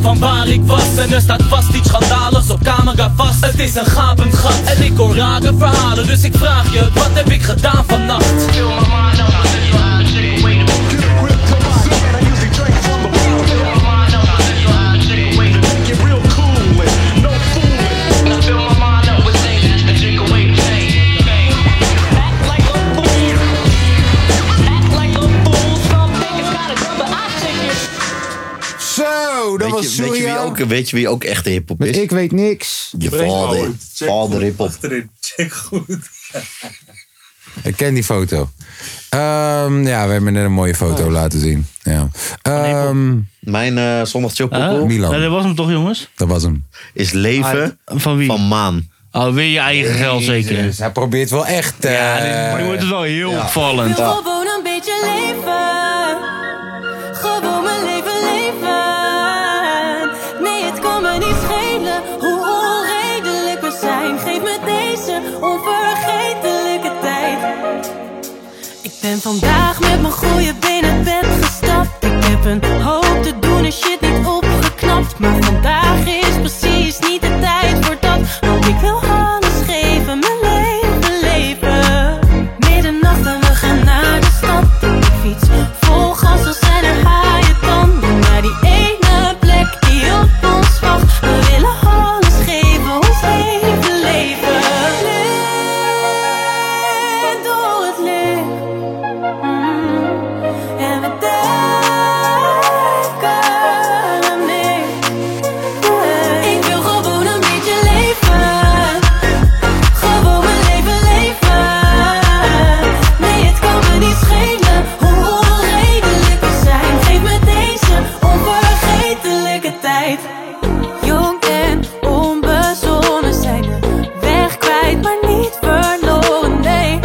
[SPEAKER 18] van waar ik was En er staat vast iets schandaligs op camera vast Het is een gapend gat en ik hoor rare verhalen Dus ik vraag je, wat heb ik gedaan vannacht?
[SPEAKER 1] Zo, dat was
[SPEAKER 3] Weet je, weet, je wie
[SPEAKER 1] Surya.
[SPEAKER 3] ook, weet je wie ook echt hip hop is?
[SPEAKER 1] Ik weet niks.
[SPEAKER 3] Je vader. Vader hip hop. Check goed.
[SPEAKER 1] Ik ken die foto. Ehm, ja, we hebben net een mooie foto laten zien. Ja.
[SPEAKER 3] Mijn eh zondag chill
[SPEAKER 1] Huh?
[SPEAKER 3] pokoe.
[SPEAKER 1] Milan. Ah. Ja, dat
[SPEAKER 3] was hem toch jongens?
[SPEAKER 1] Dat was hem.
[SPEAKER 3] Is leven
[SPEAKER 9] Ah,
[SPEAKER 2] van, wie?
[SPEAKER 3] van maan.
[SPEAKER 2] Oh, weer je eigen geld zeker.
[SPEAKER 1] Hij probeert wel echt. eh,
[SPEAKER 2] Ja, dit- nu wordt het wel heel opvallend.
[SPEAKER 20] wil gewoon een beetje leven. Gewoon mijn leven leven. Nee, het kan me niet schelen hoe onredelijk we zijn. Geef me deze onvergetelijke tijd. Ik ben vandaag met mijn goede been uit bed gestapt. Ik heb een hoop te doen en shit niet opgeknapt. Maar vandaag is precies niet de tijd voor dat. Want ik wil alles geven, mijn leven leven. Middernacht en we gaan naar de stad. Ik fiets vol gas, dus al zijn er haaien tanden. Naar die ene plek die op ons wacht. We willen alles geven, ons hele leven. Blind door het licht. Mm. En we denken aan niks. Ik wil gewoon een beetje leven. Gewoon mijn leven leven. Nee, het kan me niet schelen hoe onredelijk we zijn. Geef me deze onvergetelijke tijd. Jong en onbezonnen zijn de weg kwijt, maar niet verloren. Nee,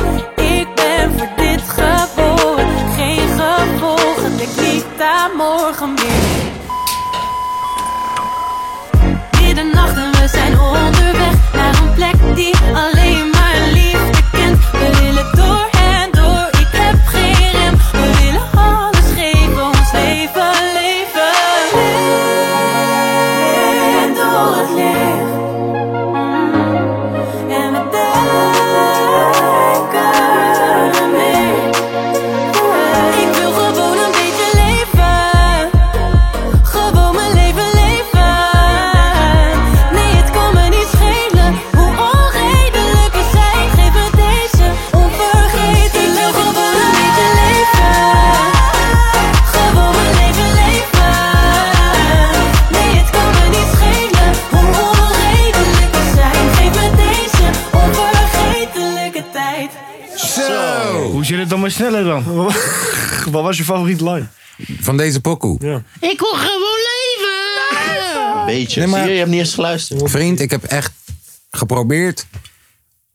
[SPEAKER 20] ik ben voor dit geboren. Geen gevolgen, ik liep daar morgen weer. Middernacht en we zijn onderweg naar een plek die alleen maar liefde kent. We willen door en door, ik heb geen rem. We willen alles geven, ons leven leven. En door het licht. Mm. En we denken aan niks. Ik wil gewoon een beetje leven. Gewoon mijn leven leven. Nee, het kan me niet schelen hoe onredelijk we zijn. Geef me deze onvergetelijke gewoon een beetje leven. Gewoon mijn leven leven. Nee, het kan me niet schelen hoe onredelijk we zijn. Geef me deze onvergetelijke tijd.
[SPEAKER 2] Zo! Hoe zit het dan maar sneller dan? [LAUGHS] Wat was je favoriet line?
[SPEAKER 1] Van deze pokoe.
[SPEAKER 20] Ik wil gewoon leven.
[SPEAKER 3] Beetje. Zie je, je hebt niet eens geluisterd.
[SPEAKER 1] Vriend, ik heb echt geprobeerd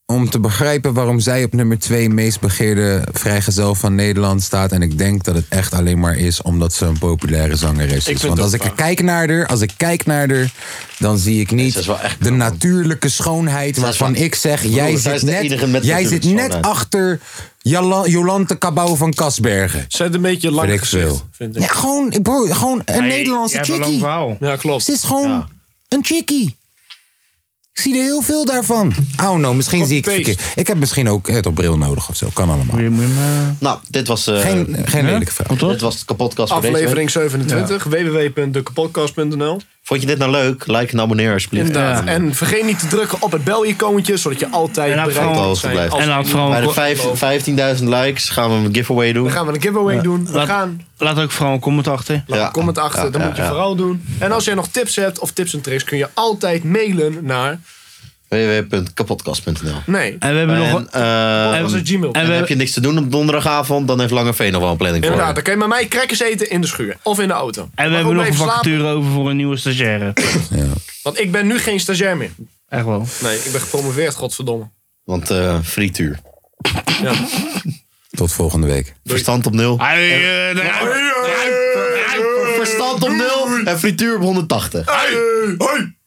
[SPEAKER 1] om te begrijpen waarom zij op nummer 2 meest begeerde vrijgezel van Nederland staat. En ik denk dat het echt alleen maar is omdat ze een populaire zangeres is. Want als ik kijk naar haar, als ik kijk naar haar, dan zie ik niet de natuurlijke schoonheid waarvan ik zeg,
[SPEAKER 3] Broer,
[SPEAKER 1] jij
[SPEAKER 3] zij
[SPEAKER 1] zit
[SPEAKER 3] is de enige met
[SPEAKER 1] net, jij zit
[SPEAKER 3] natuurlijke
[SPEAKER 1] net
[SPEAKER 3] schoonheid.
[SPEAKER 1] achter Jala- Jolante Cabau van Kasbergen.
[SPEAKER 4] Ze heeft een beetje lang gezicht, vind ik.
[SPEAKER 1] Ja, gewoon, bro, gewoon een
[SPEAKER 4] Nee,
[SPEAKER 1] Nederlandse
[SPEAKER 4] je hebt een
[SPEAKER 1] chickie.
[SPEAKER 4] lang verhaal. Ja, klopt.
[SPEAKER 1] Ze is gewoon een chickie. Ik zie er heel veel daarvan. Oh no, misschien zie ik het verkeerd. Ik heb misschien ook het op bril nodig of zo. Kan allemaal.
[SPEAKER 3] Nou, dit was... eh,
[SPEAKER 1] Geen- geen
[SPEAKER 3] hè?
[SPEAKER 1] lelijke vraag.
[SPEAKER 3] Dit was de kapotkast voor deze week.
[SPEAKER 4] Aflevering 27, www.dekapodcast.nl.
[SPEAKER 3] Vond je dit nou leuk? Like en abonneer alsjeblieft.
[SPEAKER 4] Inderdaad. En vergeet niet te drukken op het bel-icoontje, zodat je altijd bereikt
[SPEAKER 3] Op de
[SPEAKER 4] wordt.
[SPEAKER 3] hoogte
[SPEAKER 4] zijn.
[SPEAKER 3] blijft.
[SPEAKER 4] als er
[SPEAKER 3] Bij
[SPEAKER 4] nieuwe
[SPEAKER 3] de vijf- 15.000 likes gaan we een giveaway doen.
[SPEAKER 4] Dan gaan we een giveaway doen. Nou, We gaan.
[SPEAKER 2] Laat ook vooral een comment achter.
[SPEAKER 4] Laat een comment achter, dat moet je vooral doen. En als jij nog tips hebt of tips en tricks, kun je altijd mailen naar.
[SPEAKER 3] www.kapotkast.nl
[SPEAKER 4] Nee.
[SPEAKER 2] En we hebben nog-
[SPEAKER 3] eh,
[SPEAKER 4] En onze Gmail.
[SPEAKER 3] En
[SPEAKER 4] En we-
[SPEAKER 3] heb je niks te doen op donderdagavond, dan heeft Langeveen nog wel een planning voor.
[SPEAKER 4] Inderdaad, dan kun je met mij crackers eten in de schuur of in de auto.
[SPEAKER 2] En we hebben nog een vacature over voor een nieuwe stagiaire.
[SPEAKER 4] Want ik ben nu geen stagiair meer.
[SPEAKER 2] Echt wel.
[SPEAKER 4] Nee, ik ben gepromoveerd, godverdomme.
[SPEAKER 3] Want eh frituur.
[SPEAKER 4] Ja.
[SPEAKER 1] Tot volgende week.
[SPEAKER 3] Verstand op nul.
[SPEAKER 2] eh, Verstand
[SPEAKER 3] op nul en frituur op 180.
[SPEAKER 4] Hoi!